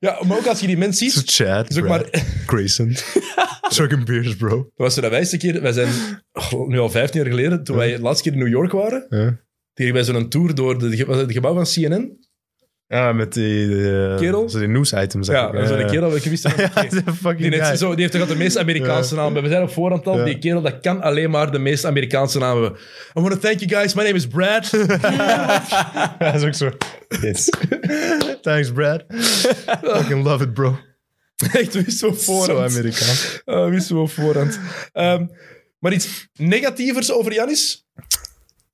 Speaker 1: Ja, maar ook als je die mens ziet...
Speaker 3: Zo Chad,
Speaker 1: Is ook
Speaker 3: Brad.
Speaker 1: maar,
Speaker 3: Grayson. Zo een beers, bro.
Speaker 1: dat was er de wijste keer. Wij zijn oh, nu al 15 jaar geleden, toen wij de laatste keer in New York waren,
Speaker 3: Ja.
Speaker 1: deden wij zo'n tour door de, was het het gebouw van CNN.
Speaker 3: Ja, met die... eh,
Speaker 1: Kerel?
Speaker 3: Zo die news items.
Speaker 1: Ja,
Speaker 3: eigenlijk.
Speaker 1: en zo'n kerel, ik wist dat-
Speaker 3: eh, Ja, dat is een fucking
Speaker 1: Die,
Speaker 3: guy.
Speaker 1: heeft, zo, die heeft toch altijd de meest Amerikaanse naam. We zijn op voorhand al,
Speaker 3: Ja.
Speaker 1: die kerel, dat kan alleen maar de meest Amerikaanse naam hebben. I want to thank you guys, my name is Brad.
Speaker 3: Hij is ook zo. Yes. Thanks, Brad. Fucking love it, bro.
Speaker 1: Echt, wist zo op
Speaker 3: Zo
Speaker 1: voorhand.
Speaker 3: Amerikaans.
Speaker 1: Ah, wist zo op voorhand. Ehm, maar iets negatievers over Janis?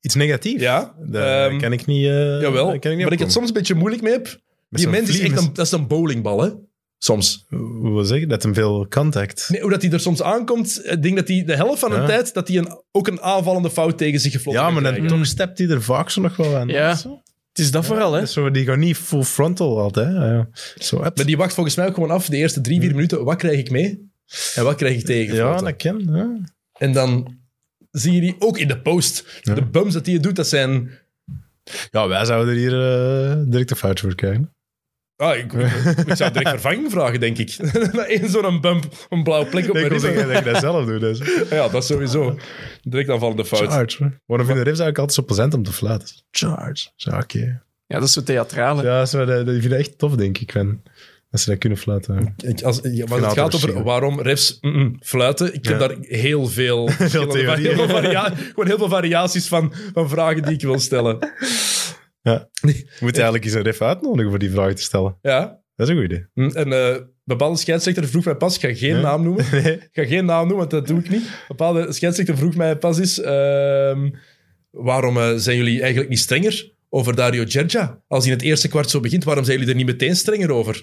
Speaker 3: Iets negatiefs?
Speaker 1: Ja.
Speaker 3: Daar
Speaker 1: Ehm,
Speaker 3: kan ik niet.
Speaker 1: Jawel,
Speaker 3: eh, daar kan ik niet
Speaker 1: waar ik het
Speaker 3: opkomen.
Speaker 1: soms een beetje moeilijk mee heb. Die
Speaker 3: zo'n
Speaker 1: mens is
Speaker 3: vlieg-
Speaker 1: echt een, dat is een bowlingbal, hè? Soms.
Speaker 3: Hoe wil zeggen? Dat hem veel contact.
Speaker 1: Nee, hoe dat hij er soms aankomt, ik denk dat hij de helft van de
Speaker 3: Ja. tijd
Speaker 1: tijd dat hij een, ook een aanvallende fout tegen zich gefloten
Speaker 3: ja, maar dan
Speaker 1: dan
Speaker 3: toch stept hij er vaak zo nog wel aan.
Speaker 2: Ja.
Speaker 3: Zo.
Speaker 2: Het is dat vooral, hè?
Speaker 3: Dat is Zo, die gaan niet full frontal altijd. hè. Ja. Zo, up.
Speaker 1: Maar die wacht volgens mij ook gewoon af de eerste drie, vier minuten. Wat krijg ik mee? En wat krijg ik tegen?
Speaker 3: Hmm. ja, dat ken. Ja.
Speaker 1: En dan zie je die ook in de post.
Speaker 3: Ja.
Speaker 1: De bums dat hij doet, dat zijn...
Speaker 3: ja, wij zouden er hier eh, direct een fout voor krijgen.
Speaker 1: Ah, ik, ik zou direct vervanging vragen, denk ik. Eén zo'n bump, een blauwe plek op mijn
Speaker 3: Ik wil
Speaker 1: ribben.
Speaker 3: zeggen dat ik dat zelf doe. Dus.
Speaker 1: Ja, dat sowieso. Direct aanvallende fout.
Speaker 3: Charge. hoor. Waarom vind je de riffs eigenlijk altijd zo plezant om te fluiten? Charge. Zo, oké.
Speaker 2: Ja, dat is zo theatrale.
Speaker 3: Ja, zo, dat, dat, ik vind dat echt tof, denk ik. Van, dat ze dat kunnen fluiten.
Speaker 1: Ik- Als, ja, maar het
Speaker 3: altijd
Speaker 1: gaat over
Speaker 3: verschillen.
Speaker 1: waarom refs mm-mm, fluiten. Ik heb
Speaker 3: Ja.
Speaker 1: daar heel veel, verschillende-
Speaker 3: theorieën.
Speaker 1: heel veel, varia- gewoon heel veel variaties van, van vragen die ik wil stellen.
Speaker 3: Je moet eigenlijk eens een ref uitnodigen voor die vraag te stellen.
Speaker 1: Ja.
Speaker 3: Dat is een goed idee.
Speaker 1: Mm, En eh bepaalde scheidsrechter vroeg mij pas, ik ga geen
Speaker 3: Ja.
Speaker 1: naam noemen.
Speaker 3: Nee.
Speaker 1: Ik ga geen naam noemen, want dat doe ik niet. Een bepaalde scheidsrechter vroeg mij pas eens... ehm, waarom eh, zijn jullie eigenlijk niet strenger over Dario Gergia? Als hij in het eerste kwart zo begint, waarom zijn jullie er niet meteen strenger over?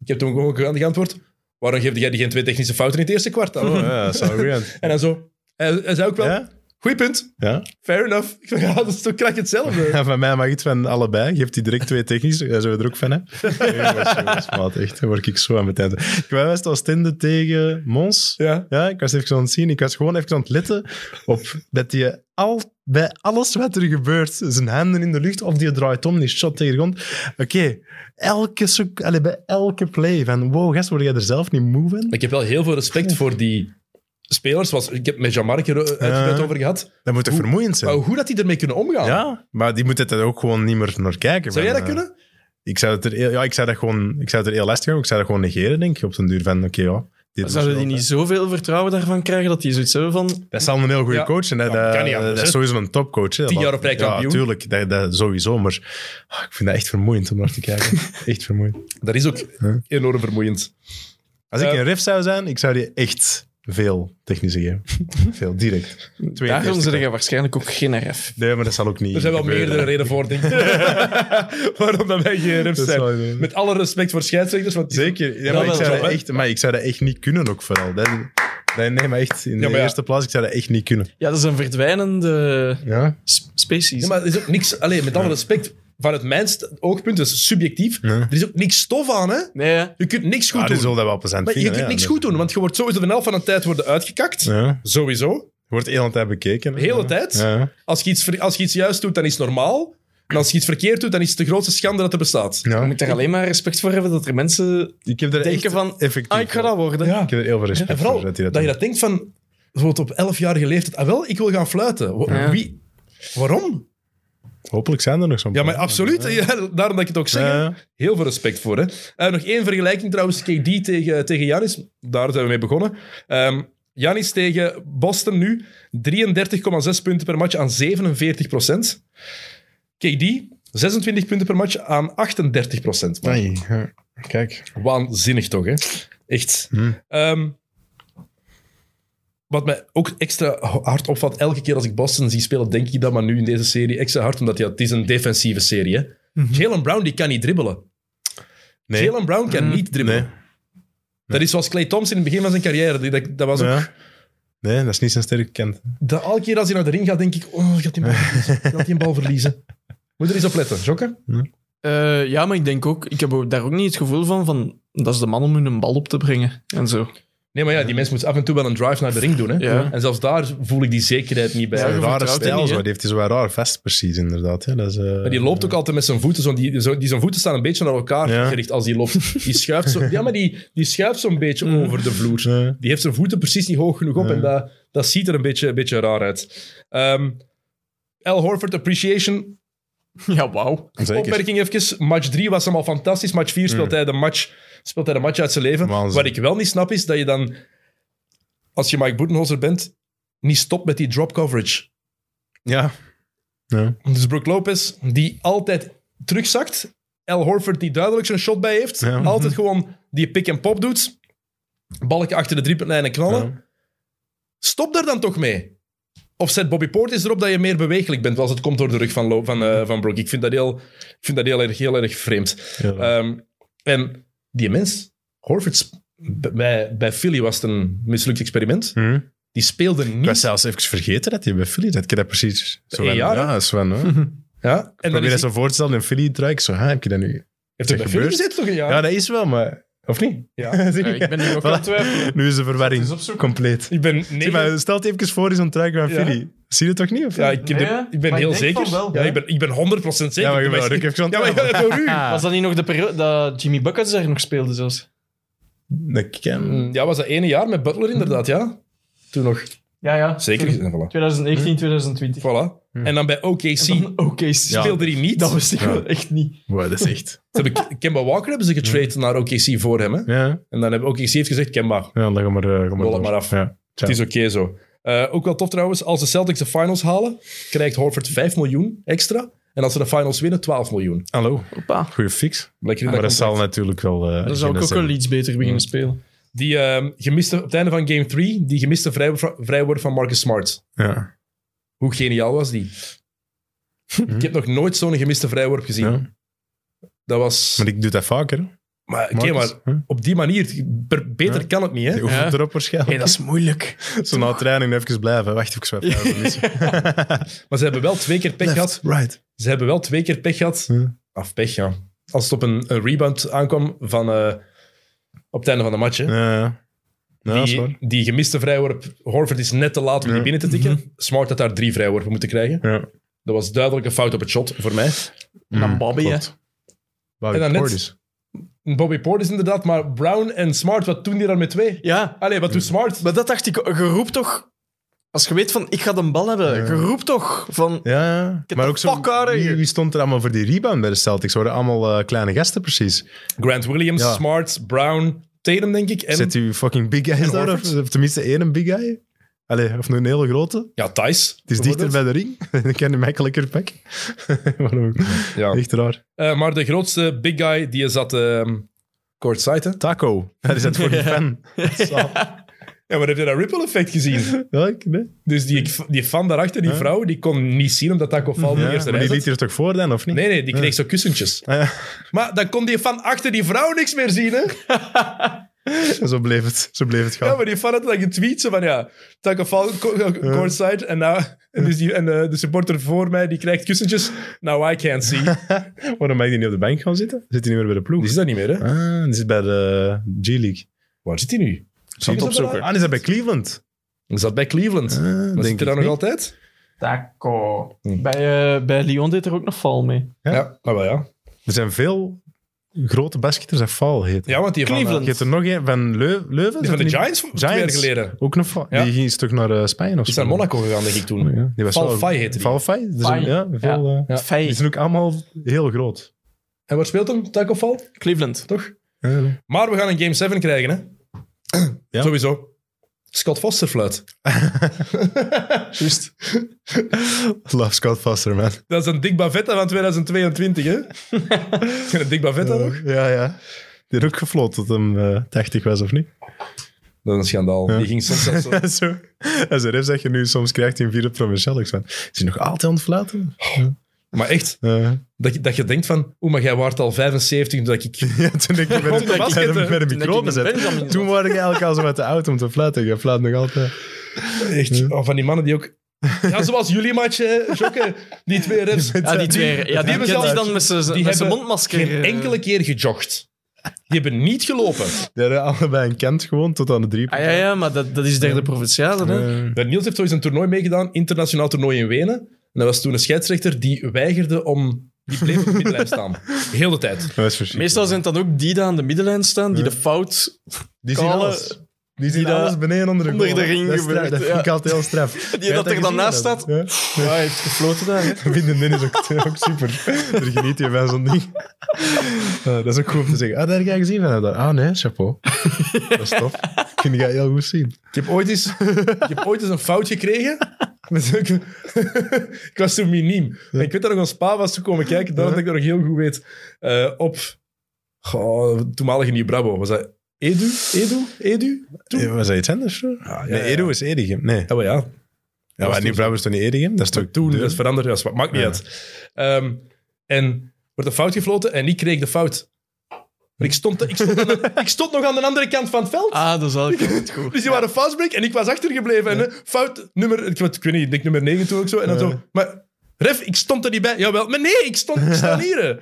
Speaker 1: Ik heb toen gewoon ge- geantwoord... Waarom geef jij die geen twee technische fouten in het eerste kwart dan?
Speaker 3: ja, dat zou goed zijn.
Speaker 1: En dan zo... Hij, hij zei ook wel...
Speaker 3: Ja?
Speaker 1: Goeie punt.
Speaker 3: Ja?
Speaker 1: Fair enough. Ik dacht, ja, dat is toch krijg je hetzelfde.
Speaker 3: ja, van mij mag iets van allebei. Geeft hij direct twee technische. Daar zijn we er ook van, hè? Nee, dat is zo- dat is maat, echt. Daar word ik zo aan mijn tijd. Ik was als Tinde tegen Mons.
Speaker 1: Ja.
Speaker 3: Ja, ik was even aan het zien. Ik was gewoon even aan het letten op dat hij al, bij alles wat er gebeurt, zijn handen in de lucht, of die draait om, die shot tegen de grond. Oké, elke sec- allee, bij elke play van wow, gast, word jij er zelf niet moe van?
Speaker 1: Ik heb wel heel veel respect voor die spelers. Zoals, ik heb met Jean-Marc er eh, uitgebreid
Speaker 3: Ja.
Speaker 1: over gehad.
Speaker 3: Dat moet toch
Speaker 1: Hoe-
Speaker 3: vermoeiend
Speaker 1: Maar
Speaker 3: zijn?
Speaker 1: hoe dat die ermee kunnen omgaan.
Speaker 3: Ja, maar die moet het er ook gewoon niet meer naar kijken.
Speaker 1: Zou jij
Speaker 3: van,
Speaker 1: dat
Speaker 3: eh,
Speaker 1: kunnen?
Speaker 3: Ik zou het er, heel- ja, ik zou dat gewoon, ik zou het er heel lastig aan. Ik zou dat gewoon negeren, denk ik, op den duur van, oké, ja. dit
Speaker 2: Zouden
Speaker 3: was
Speaker 2: die
Speaker 3: wel-
Speaker 2: niet zoveel vertrouwen daarvan krijgen dat die zoiets hebben van...
Speaker 3: Dat is al een heel goede
Speaker 1: Ja.
Speaker 3: coach. En dat,
Speaker 1: Ja,
Speaker 3: dat,
Speaker 1: kan niet anders,
Speaker 3: dat is
Speaker 1: hè?
Speaker 3: sowieso een topcoach. hè.
Speaker 1: Tien
Speaker 3: Dat-
Speaker 1: jaar op rij
Speaker 3: Ja,
Speaker 1: kampioen.
Speaker 3: tuurlijk. Dat, dat sowieso. Maar ah, ik vind dat echt vermoeiend om naar te kijken. echt vermoeiend.
Speaker 1: Dat is ook
Speaker 3: Ja.
Speaker 1: enorm vermoeiend.
Speaker 3: Als ik
Speaker 1: Eh,
Speaker 3: een ref zou zijn, ik zou die echt veel technische geven. veel, direct. Twee
Speaker 2: Daarom
Speaker 3: eerste
Speaker 2: zijn er waarschijnlijk ook geen RF.
Speaker 3: Nee, maar dat zal ook niet
Speaker 1: Er zijn wel
Speaker 3: gebeuren.
Speaker 1: meerdere redenen voor, denk ik. Waarom dat wij geen refs
Speaker 3: Dat is wel-
Speaker 1: zijn. Met alle respect voor scheidsrechters. Want
Speaker 3: Zeker.
Speaker 2: Dat
Speaker 3: Ja, maar, ik
Speaker 2: wel,
Speaker 3: zou
Speaker 2: ja.
Speaker 3: dat echt, maar ik zou dat echt niet kunnen ook vooral. Dat, dat- nee, maar echt in
Speaker 1: Ja,
Speaker 3: de
Speaker 1: maar ja.
Speaker 3: eerste plaats, ik zou dat echt niet kunnen.
Speaker 2: Ja, dat is een verdwijnende
Speaker 3: Ja?
Speaker 2: s- species.
Speaker 1: Ja, maar er is ook niks... Allee, met alle respect... vanuit mijn st- oogpunt, dus subjectief,
Speaker 3: Ja.
Speaker 1: er is ook niks stof aan, hè.
Speaker 2: Nee, hè?
Speaker 1: Je kunt niks goed
Speaker 3: Ja, Ah, die
Speaker 1: doen.
Speaker 3: zullen dat wel plezant
Speaker 1: Maar je
Speaker 3: vinden,
Speaker 1: kunt
Speaker 3: hè,
Speaker 1: niks
Speaker 3: anders.
Speaker 1: goed doen, want je wordt sowieso de helft van de tijd worden uitgekakt.
Speaker 3: Ja.
Speaker 1: Sowieso.
Speaker 3: Wordt de hele tijd bekeken. hè.
Speaker 1: De hele
Speaker 3: Ja.
Speaker 1: tijd.
Speaker 3: Ja.
Speaker 1: Als je, iets, ver- als je iets juist doet, dan is het normaal. En als je iets verkeerd doet, dan is het de grootste schande dat er bestaat.
Speaker 2: Je
Speaker 3: ja.
Speaker 2: moet er alleen maar respect voor hebben dat er mensen
Speaker 3: Ik heb er
Speaker 2: denken
Speaker 3: echt
Speaker 2: van...
Speaker 3: effectief...
Speaker 2: Ah, ik ga dat worden.
Speaker 1: Ja.
Speaker 3: Ik heb er heel veel respect
Speaker 1: En vooral
Speaker 3: voor
Speaker 1: dat
Speaker 3: dat hij
Speaker 1: je
Speaker 3: dat doet.
Speaker 1: dat denkt van, bijvoorbeeld op 11-jarige leeftijd, ah wel, ik wil gaan fluiten. Wa-
Speaker 2: Ja.
Speaker 1: Wie, waarom?
Speaker 3: Hopelijk zijn er nog zo'n
Speaker 1: Ja, maar
Speaker 3: paar.
Speaker 1: absoluut. Ja, daarom dat ik het ook zeg. hè.
Speaker 3: Ja.
Speaker 1: Heel veel respect voor. Hè. Eh, nog één vergelijking trouwens. KD tegen, tegen Janis. Daar zijn we mee begonnen. Ehm Janis tegen Boston nu. 33,6 punten per match aan 47 procent. KD 26 punten per match aan 38 procent.
Speaker 3: Ai, ja. Kijk.
Speaker 1: Waanzinnig toch, hè? Echt.
Speaker 3: Hm.
Speaker 1: Ehm, wat mij ook extra hard opvalt, elke keer als ik Boston zie spelen, denk ik dat, maar nu in deze serie extra hard, omdat ja, het is een defensieve serie. Hè? Jalen Brown die kan niet dribbelen.
Speaker 3: Nee.
Speaker 1: Jalen Brown kan
Speaker 2: Mm.
Speaker 1: niet dribbelen.
Speaker 3: Nee.
Speaker 1: Dat is zoals Clay Thompson in het begin van zijn carrière. Die- Dat, dat was ook,
Speaker 3: Ja. Nee, dat is niet zijn sterke kant.
Speaker 1: dat elke keer als hij naar de ring gaat, denk ik, oh, gaat hij een bal verliezen. Gaat hij een bal verliezen. Moet er eens op letten, Jokke?
Speaker 2: Eh, ja, maar ik denk ook... Ik heb ook daar ook niet het gevoel van, van... Dat is de man om hun een bal op te brengen. En zo.
Speaker 1: Nee, maar ja, die mens moet af en toe wel een drive naar de ring doen. Hè?
Speaker 2: Ja.
Speaker 1: En zelfs daar voel ik die zekerheid niet bij.
Speaker 2: Ja,
Speaker 3: Een
Speaker 2: je
Speaker 3: rare
Speaker 2: vertrouwt hem
Speaker 3: stijl,
Speaker 2: niet,
Speaker 3: zo.
Speaker 2: hè?
Speaker 3: Die heeft zo wel raar vest, precies, inderdaad. Hè. Dat is, eh,
Speaker 1: Maar die loopt ook altijd met zijn voeten. Zo, die, zo, die, zijn voeten staan een beetje naar elkaar
Speaker 3: Ja.
Speaker 1: gericht als die loopt. Die schuift zo, ja, maar die, die schuift zo'n beetje over de vloer.
Speaker 3: Ja.
Speaker 1: Die heeft zijn voeten precies niet hoog genoeg op.
Speaker 3: Ja.
Speaker 1: En dat, dat ziet er een beetje, een beetje raar uit. Ehm Al Horford Appreciation.
Speaker 2: Ja, wauw.
Speaker 3: Zeker.
Speaker 1: Opmerking even. Match 3 was hem al fantastisch. Match 4 speelt, hij de match, speelt hij de match uit zijn leven.
Speaker 3: Waanzin.
Speaker 1: Wat ik wel niet snap is dat je dan, als je Mike Budenholzer bent, niet stopt met die drop coverage.
Speaker 3: Ja. ja.
Speaker 1: Dus Brook Lopez, die altijd terugzakt. Al Horford, die duidelijk zijn shot bij heeft.
Speaker 3: Ja. Mhm.
Speaker 1: Altijd gewoon die pick-and-pop doet. Balken achter de driepuntlijn en knallen.
Speaker 3: Ja.
Speaker 1: Stop daar dan toch mee. Of zet Bobby Portis erop dat je meer bewegelijk bent als het komt door de rug van, Lo- van, eh, van Brook. Ik vind dat heel, ik vind dat heel, erg, heel erg vreemd.
Speaker 3: Heel raar.
Speaker 1: Ehm, en die mens, Horford, sp- bij, bij Philly was het een mislukt experiment.
Speaker 3: Hm.
Speaker 1: Die speelde
Speaker 3: Ik
Speaker 1: niet.
Speaker 3: was zelfs even vergeten dat hij bij Philly dat ik dat precies zo
Speaker 1: Een jaar,
Speaker 3: ja, Sven. Hè? Ik
Speaker 1: Ja, en dan
Speaker 3: probeer
Speaker 1: is
Speaker 3: dat
Speaker 1: hij,
Speaker 3: zo voor te stellen in Philly trui. Zo, hè, heb je dat nu?
Speaker 1: heeft hij bij Philly
Speaker 3: gebeurd?
Speaker 1: gezeten toch een jaar?
Speaker 3: Ja, dat is wel, maar of niet?
Speaker 1: Ja.
Speaker 3: Zie je?
Speaker 2: ik ben nu ook aan het twijfelen.
Speaker 3: Nu is de verwarring
Speaker 2: Eens opzoeken.
Speaker 3: compleet.
Speaker 1: Ik ben
Speaker 3: Zie,
Speaker 1: negen-
Speaker 3: maar stel het even voor in zo'n trui van
Speaker 1: Ja.
Speaker 3: Philly. Zie je het toch niet? Of
Speaker 1: Ja, ik, heb
Speaker 2: Nee,
Speaker 1: de- ik ben
Speaker 2: maar ik
Speaker 1: heel
Speaker 2: denk
Speaker 1: zeker.
Speaker 2: van wel,
Speaker 1: ja,
Speaker 2: hè?
Speaker 1: ik ben, ik ben 100% zeker.
Speaker 3: Ja, maar je
Speaker 1: Ik ben-
Speaker 3: bent ook even aan
Speaker 1: Ja,
Speaker 3: het
Speaker 1: maar ja, voor u.
Speaker 2: Was dat niet nog de periode dat Jimmy Buckets daar nog speelde zelfs?
Speaker 3: Dat kan.
Speaker 1: Mm, Ja, was dat ene jaar met Butler inderdaad, ja? Toen nog.
Speaker 2: Ja, ja.
Speaker 1: Zeker. En voilà.
Speaker 2: 2019, 2020.
Speaker 1: Voilà. En dan bij OKC
Speaker 2: En dan- Oké,
Speaker 3: Hm. Ja.
Speaker 1: speelde hij niet.
Speaker 2: dat wist ik
Speaker 3: Ja.
Speaker 2: wel echt niet.
Speaker 3: Wow, dat is echt.
Speaker 1: Ze hebben, Kemba Walker hebben ze getraind naar OKC voor hem. Hè?
Speaker 3: Hm. Ja,
Speaker 1: En dan hebben OKC heeft gezegd, Kemba,
Speaker 3: ja dan gaan we maar, eh, ga
Speaker 1: Rol
Speaker 3: maar,
Speaker 1: het
Speaker 3: door.
Speaker 1: maar af.
Speaker 3: Ja.
Speaker 1: het is oké zo. Eh, ook wel tof trouwens, als de Celtics de finals halen, krijgt Horford 5 miljoen extra. En als ze de finals winnen, 12 miljoen.
Speaker 3: Hallo,
Speaker 2: Opa.
Speaker 3: goede fix.
Speaker 1: Lekker in
Speaker 3: Maar
Speaker 1: dat
Speaker 3: dat
Speaker 1: contract.
Speaker 3: zal natuurlijk wel. eh
Speaker 2: Dan zou ik
Speaker 3: agenda
Speaker 2: ook
Speaker 3: zijn.
Speaker 2: wel iets beter beginnen spelen.
Speaker 1: Die eh, gemiste, op het einde van game 3, die gemiste vrij, vrijwoord van Marcus Smart.
Speaker 3: Ja.
Speaker 1: Hoe geniaal was die? Ik heb nog nooit zo'n gemiste vrijworp gezien.
Speaker 3: Hm. Ja.
Speaker 1: Dat was... Maar,
Speaker 3: Maar ik doe dat vaker. hè.
Speaker 1: oké,
Speaker 3: Marcus,
Speaker 1: maar
Speaker 3: hè?
Speaker 1: op die manier, per- beter
Speaker 3: Ja.
Speaker 1: kan het niet, hè?
Speaker 3: Die oefent
Speaker 2: Ja.
Speaker 3: erop waarschijnlijk.
Speaker 2: dat is moeilijk.
Speaker 3: Zo na training even blijven. Wacht, ik zwijf. Ja.
Speaker 1: Maar ze hebben wel twee keer pech gehad.
Speaker 3: right.
Speaker 1: Ze hebben wel twee keer pech gehad.
Speaker 3: Ja.
Speaker 1: Of pech, ja. Als het op een, een rebound aankwam van... eh, op het einde van de match, hè.
Speaker 3: Ja, ja. Ja, dat is
Speaker 1: die,
Speaker 3: waar.
Speaker 1: die gemiste vrijworp. Horford is net te laat om die
Speaker 3: Ja. Mhm.
Speaker 1: binnen te tikken. Smart had daar drie vrijworpen moeten krijgen.
Speaker 3: Ja.
Speaker 1: Dat was duidelijk een fout op het shot, voor mij.
Speaker 2: En dan
Speaker 3: Mm,
Speaker 2: Bobby,
Speaker 3: klopt. Bobby
Speaker 1: En dan net-
Speaker 3: Portis.
Speaker 1: Bobby Portis inderdaad, maar Brown en Smart, wat doen die daar met twee?
Speaker 2: Ja,
Speaker 1: Allee, wat doet Smart?
Speaker 2: maar dat dacht ik. Je roept toch... Als je weet van, ik ga de bal hebben. Je roept toch van...
Speaker 3: Ja, ja.
Speaker 2: heb
Speaker 3: maar
Speaker 2: de
Speaker 3: ook zo.
Speaker 2: fuck out of
Speaker 3: Wie,
Speaker 2: here.
Speaker 3: wie stond er allemaal voor die rebound bij de Celtics? Waren allemaal eh, kleine gasten, precies.
Speaker 1: Grant Williams,
Speaker 3: Ja.
Speaker 1: Smart, Brown, Tatum, denk ik. En
Speaker 3: Zet u fucking big guys daar? Of,
Speaker 1: Horford?
Speaker 3: of tenminste één big guy? Allee, of een hele grote?
Speaker 1: ja, Thijs.
Speaker 3: Het is dichter bij de ring. Dan kan je makkelijker pakken. Waarom?
Speaker 1: Ja.
Speaker 3: Echt raar.
Speaker 1: Eh, maar de grootste big guy, die zat ehm kort hè?
Speaker 3: Taco. Dat is het voor die fan.
Speaker 1: Ja, maar heb je dat ripple effect gezien?
Speaker 3: Welk? Nee?
Speaker 1: dus die, die fan daarachter, die vrouw, die kon niet zien omdat Taco Fall
Speaker 3: Ja,
Speaker 1: de eerste
Speaker 3: maar
Speaker 1: rij
Speaker 3: die
Speaker 1: zat.
Speaker 3: liet er toch voor dan, of niet?
Speaker 1: Nee, nee, die kreeg zo kussentjes.
Speaker 3: Ah, ja.
Speaker 1: Maar dan kon die fan achter die vrouw niks meer zien, hè?
Speaker 3: En zo bleef het, zo bleef het gaan.
Speaker 1: Ja, maar die fan had dan getweet zo van ja, Tagovailoa co- co- courtside en, nou, en, dus die, en eh, de supporter voor mij die krijgt kussentjes. Now I can't see.
Speaker 3: Waarom ben ik die niet op de bank gaan zitten? Zit hij niet meer bij de ploeg?
Speaker 1: Die is dat niet meer hè?
Speaker 3: Ah, die zit bij de eh, G-League.
Speaker 1: Waar zit hij nu?
Speaker 2: zal het opzoeken.
Speaker 3: Ah, die zat bij Cleveland.
Speaker 1: Hij zat bij Cleveland.
Speaker 3: Ah,
Speaker 1: maar zit hij
Speaker 3: denk
Speaker 1: daar
Speaker 3: ik
Speaker 1: nog
Speaker 3: niet.
Speaker 1: altijd?
Speaker 2: Taco.
Speaker 3: Hm.
Speaker 2: Bij, eh, bij Lyon deed er ook nog val mee.
Speaker 3: Ja.
Speaker 1: maar wel ja.
Speaker 3: Er zijn veel grote basketers dat Val heet.
Speaker 1: Ja, want die van, eh,
Speaker 2: Cleveland.
Speaker 3: Je hebt er nog een van Leu- Leuven.
Speaker 1: die van de
Speaker 3: zit er
Speaker 1: Giants,
Speaker 3: niet-
Speaker 1: twee jaar
Speaker 3: Giants.
Speaker 1: geleden.
Speaker 3: Ook nog Val.
Speaker 1: Ja.
Speaker 3: Die ging eens terug naar eh, Spanje of
Speaker 1: Die is
Speaker 3: zo.
Speaker 1: naar Monaco gegaan, denk ik toen.
Speaker 3: Ja, die was
Speaker 1: Val
Speaker 3: wel-
Speaker 1: Fai heette die.
Speaker 3: Val Fai. Er zijn-
Speaker 2: Fai.
Speaker 3: Ja, veel, eh,
Speaker 1: Ja.
Speaker 3: Die
Speaker 2: Fei.
Speaker 3: zijn ook allemaal heel groot.
Speaker 1: En waar speelt hem? Tagovailoa,
Speaker 2: Cleveland.
Speaker 1: toch? Maar we gaan een Game 7 krijgen, hè?
Speaker 3: Ja.
Speaker 1: Sowieso. Scott Foster fluit.
Speaker 2: Juist.
Speaker 3: Love Scott Foster, man.
Speaker 1: Dat is een Dick Bavetta van 2022, hè? Ken je Dick Bavetta nog?
Speaker 3: Eh, Ja, ja. Die had ook gefloten tot hem eh, 80 was, of niet?
Speaker 1: Dat is een schandaal. Die ging soms zelfs zo...
Speaker 3: zo. En zijn ref dat je nu soms krijgt in vierde provincial. Ik van, is hij nog altijd aan het fluiten?
Speaker 1: Maar echt,
Speaker 3: Eh,
Speaker 1: dat je, dat je denkt van... Oeh, maar jij waart al 75, dat ik...
Speaker 3: ja, toen ik met
Speaker 1: ik
Speaker 3: de, met de,
Speaker 1: basket,
Speaker 3: met
Speaker 2: toen
Speaker 3: de
Speaker 2: dat
Speaker 3: micro
Speaker 2: ik met
Speaker 3: bezet.
Speaker 2: Benjamin
Speaker 3: Toen was ik eigenlijk al zo met de auto om te fluiten. Je fluit nog altijd.
Speaker 1: Echt, oh, van die mannen die ook... Ja, zoals jullie match, hè, Jokke. Die twee refs.
Speaker 2: Ja, die twee. Ja, die,
Speaker 1: hebben
Speaker 2: hebben
Speaker 1: zelfs-
Speaker 2: die dan met zijn met
Speaker 1: hebben
Speaker 2: zijn mondmasker.
Speaker 1: geen
Speaker 2: eh,
Speaker 1: enkele keer gejogd. Die hebben niet gelopen.
Speaker 3: Die hadden allebei een kent gewoon tot aan de drie.
Speaker 2: Ah, ja, ja, maar dat, dat is derde provinciale. Hè?
Speaker 3: Eh,
Speaker 1: Bij Niels heeft ooit een toernooi meegedaan, internationaal toernooi in Wenen. En dat was toen een scheidsrechter die weigerde om... Die bleef op de middenlijn staan. Heel de tijd.
Speaker 3: dat is verschrikkelijk.
Speaker 2: Meestal zijn het dan ook die die aan de middenlijn staan, die
Speaker 3: Ja.
Speaker 2: de fout...
Speaker 3: Die zien
Speaker 2: Kale-
Speaker 3: alles. Die zien
Speaker 2: die
Speaker 3: alles
Speaker 2: dat
Speaker 3: beneden onder de,
Speaker 2: onder
Speaker 3: goal.
Speaker 2: de ring
Speaker 3: dat, is straf,
Speaker 2: gebeurt,
Speaker 3: dat
Speaker 2: ja.
Speaker 3: vind ik altijd heel straf. Jij
Speaker 2: dat
Speaker 3: hebt
Speaker 2: er dan
Speaker 3: gezien,
Speaker 2: naast
Speaker 3: dat?
Speaker 2: staat.
Speaker 3: Ja.
Speaker 2: Ja, hij heeft gefloten daar. hè.
Speaker 3: Vinden dit is ook, ook super. Daar geniet je van zo'n ding. Eh, dat is ook goed om te zeggen. Ah, daar heb jij gezien van. dat. Ah nee, chapeau. Dat is tof. Ik vind jij heel goed zien.
Speaker 1: Ik heb ooit eens, ik heb ooit eens een fout gekregen. Met ook- ik was toen miniem. En ik weet dat nog een spa was toen komen kijken. Daarom dat ik dat nog heel goed weet. Eh, op goh, toenmalige Nieuw-Brabo. Was dat Edu? Edu? Edu? Toen?
Speaker 3: Eh, Was dat iets anders? hoor?
Speaker 1: ja,
Speaker 3: nee,
Speaker 1: ja.
Speaker 3: Edo is Edigem. Nee.
Speaker 1: Ja, maar ja.
Speaker 3: Ja, maar nu Brouwer is toch niet Edigem? Dat is toch
Speaker 1: Toen,
Speaker 3: de-
Speaker 1: dat is veranderd. Ja, spa- maakt niet
Speaker 3: Ja.
Speaker 1: uit. Ehm, en wordt een fout gefloten en ik kreeg de fout. Maar ik stond, ik, stond aan de- ik stond nog aan de andere kant van het veld.
Speaker 2: Ah, dat is eigenlijk niet goed.
Speaker 1: Dus die waren fastbreak en ik was achtergebleven. En eh, fout nummer, ik, weet- ik weet niet, ik denk nummer 9 toen ook zo. En dan zo, maar ref, ik stond er niet bij. Jawel, maar nee, ik stond, ik sta hier. hè.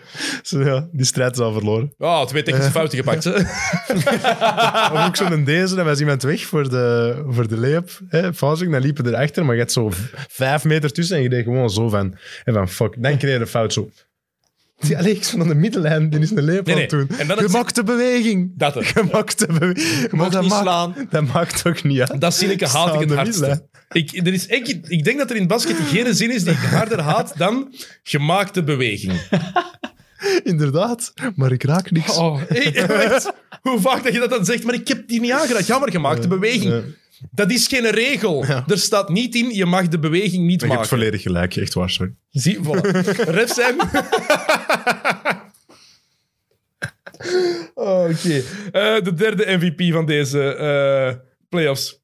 Speaker 3: Zo, ja, die strijd is al verloren.
Speaker 1: Ah, twee technische fouten gepakt. hè.
Speaker 3: Of ook zo'n deze, dan was iemand weg voor de, voor de layup. Hè, Fazing, dan liepen erachter, maar je had zo v- vijf meter tussen en je deed gewoon zo van, en van fuck. Dan kreeg je de fout zo. Die Alex van de middenlijn, die is een layup
Speaker 1: Nee,
Speaker 3: aan het
Speaker 1: nee.
Speaker 3: doen.
Speaker 1: En dan
Speaker 3: je
Speaker 1: het-
Speaker 3: maakt de beweging.
Speaker 1: Dat eh, er.
Speaker 3: Je maakt de beweging. Maar
Speaker 2: Mocht
Speaker 3: dat
Speaker 2: niet
Speaker 3: maakt,
Speaker 2: slaan.
Speaker 3: dat maakt ook niet uit.
Speaker 1: Dat zinneke haat ik het
Speaker 3: Staande
Speaker 1: hardst.
Speaker 3: middenlijn.
Speaker 1: Ik, er is enkel- ik denk dat er in basket geen zin is die ik harder haat dan gemaakte beweging.
Speaker 3: Inderdaad, maar ik raak niks.
Speaker 1: Oh, hey, echt. hoe vaak dat je dat dan zegt, maar ik heb die niet aangeraakt. Ja, maar gemaakte
Speaker 3: Eh,
Speaker 1: beweging. Dat is geen regel. Er staat niet in, je mag de beweging niet
Speaker 3: je hebt
Speaker 1: maken.
Speaker 3: volledig gelijk, echt waar, sorry.
Speaker 1: Zie, voilà. Refs zijn. Oh, Oké. Eh, de derde MVP van deze eh playoffs.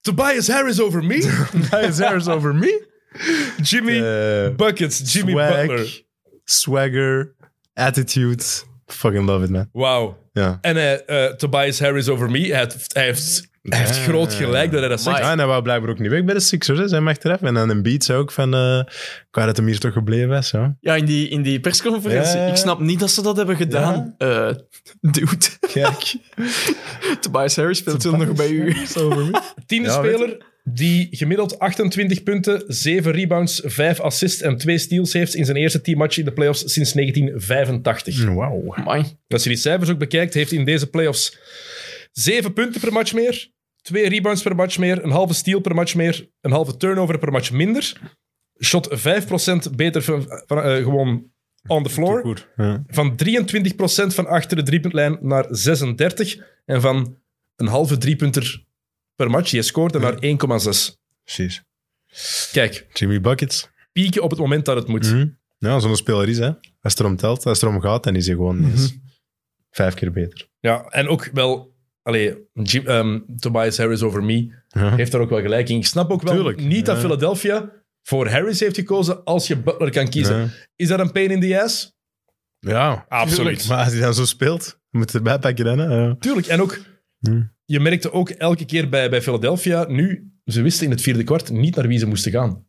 Speaker 1: Tobias Harris over me.
Speaker 3: Is there over me?
Speaker 1: Jimmy Buckets. Jimmy Butler.
Speaker 3: swag, eh, swagger, attitude. Fucking love it, man.
Speaker 1: Wauw.
Speaker 3: Ja.
Speaker 1: En eh, eh, Tobias Harris over me. Hij heeft, hij heeft, hij heeft groot gelijk dat hij dat zegt.
Speaker 3: Ja, en hij nou, wou blijkbaar ook niet weg bij de Sixers, hè. zijn mag eraf. En dan een beat zei ook van, eh ik wou dat hem hier toch gebleven was. Hè.
Speaker 2: Ja, in die, in die persconferentie.
Speaker 3: Ja, ja, ja.
Speaker 2: Ik snap niet dat ze dat hebben gedaan. Eh, dude,
Speaker 3: Kijk,
Speaker 2: Tobias Harris speelt toen nog bij u.
Speaker 3: is over me.
Speaker 1: Tiende
Speaker 3: Ja, weet
Speaker 1: speler die gemiddeld 28 punten, 7 rebounds, 5 assists en 2 steals heeft in zijn eerste teammatch in de playoffs sinds 1985.
Speaker 3: Wauw.
Speaker 2: Amai.
Speaker 1: Als je die cijfers ook bekijkt, heeft hij in deze playoffs 7 punten per match meer, 2 rebounds per match meer, een halve steal per match meer, een halve turnover per match minder. Shot 5% beter van, van, eh, gewoon on the floor.
Speaker 3: Goed. Ja.
Speaker 1: Van 23% van achter de driepuntlijn naar 36. En van een halve driepunter per match die hij scoort en naar 1,6.
Speaker 3: Precies.
Speaker 1: Kijk,
Speaker 3: Jimmy Buckets.
Speaker 1: pieken op het moment dat het moet.
Speaker 3: Mhm. Ja, zo'n speler is, hè. Als het erom telt, als het erom gaat, dan is hij gewoon
Speaker 1: Mhm.
Speaker 3: eens vijf keer beter.
Speaker 1: Ja, en ook wel... Allee, Jim- ehm, Tobias Harris over me
Speaker 3: Ja.
Speaker 1: heeft daar ook wel gelijk in. Ik snap ook wel
Speaker 3: Tuurlijk,
Speaker 1: niet dat
Speaker 3: ja.
Speaker 1: Philadelphia voor Harris heeft gekozen als je Butler kan kiezen.
Speaker 3: Ja.
Speaker 1: Is dat een pain in the ass?
Speaker 3: Ja,
Speaker 1: Absoluut.
Speaker 3: Maar als hij dan zo speelt, We moeten erbij pakken rennen. ja.
Speaker 1: Tuurlijk. En ook,
Speaker 3: Hmm.
Speaker 1: je merkte ook elke keer bij, bij Philadelphia, nu, ze wisten in het vierde kwart niet naar wie ze moesten gaan.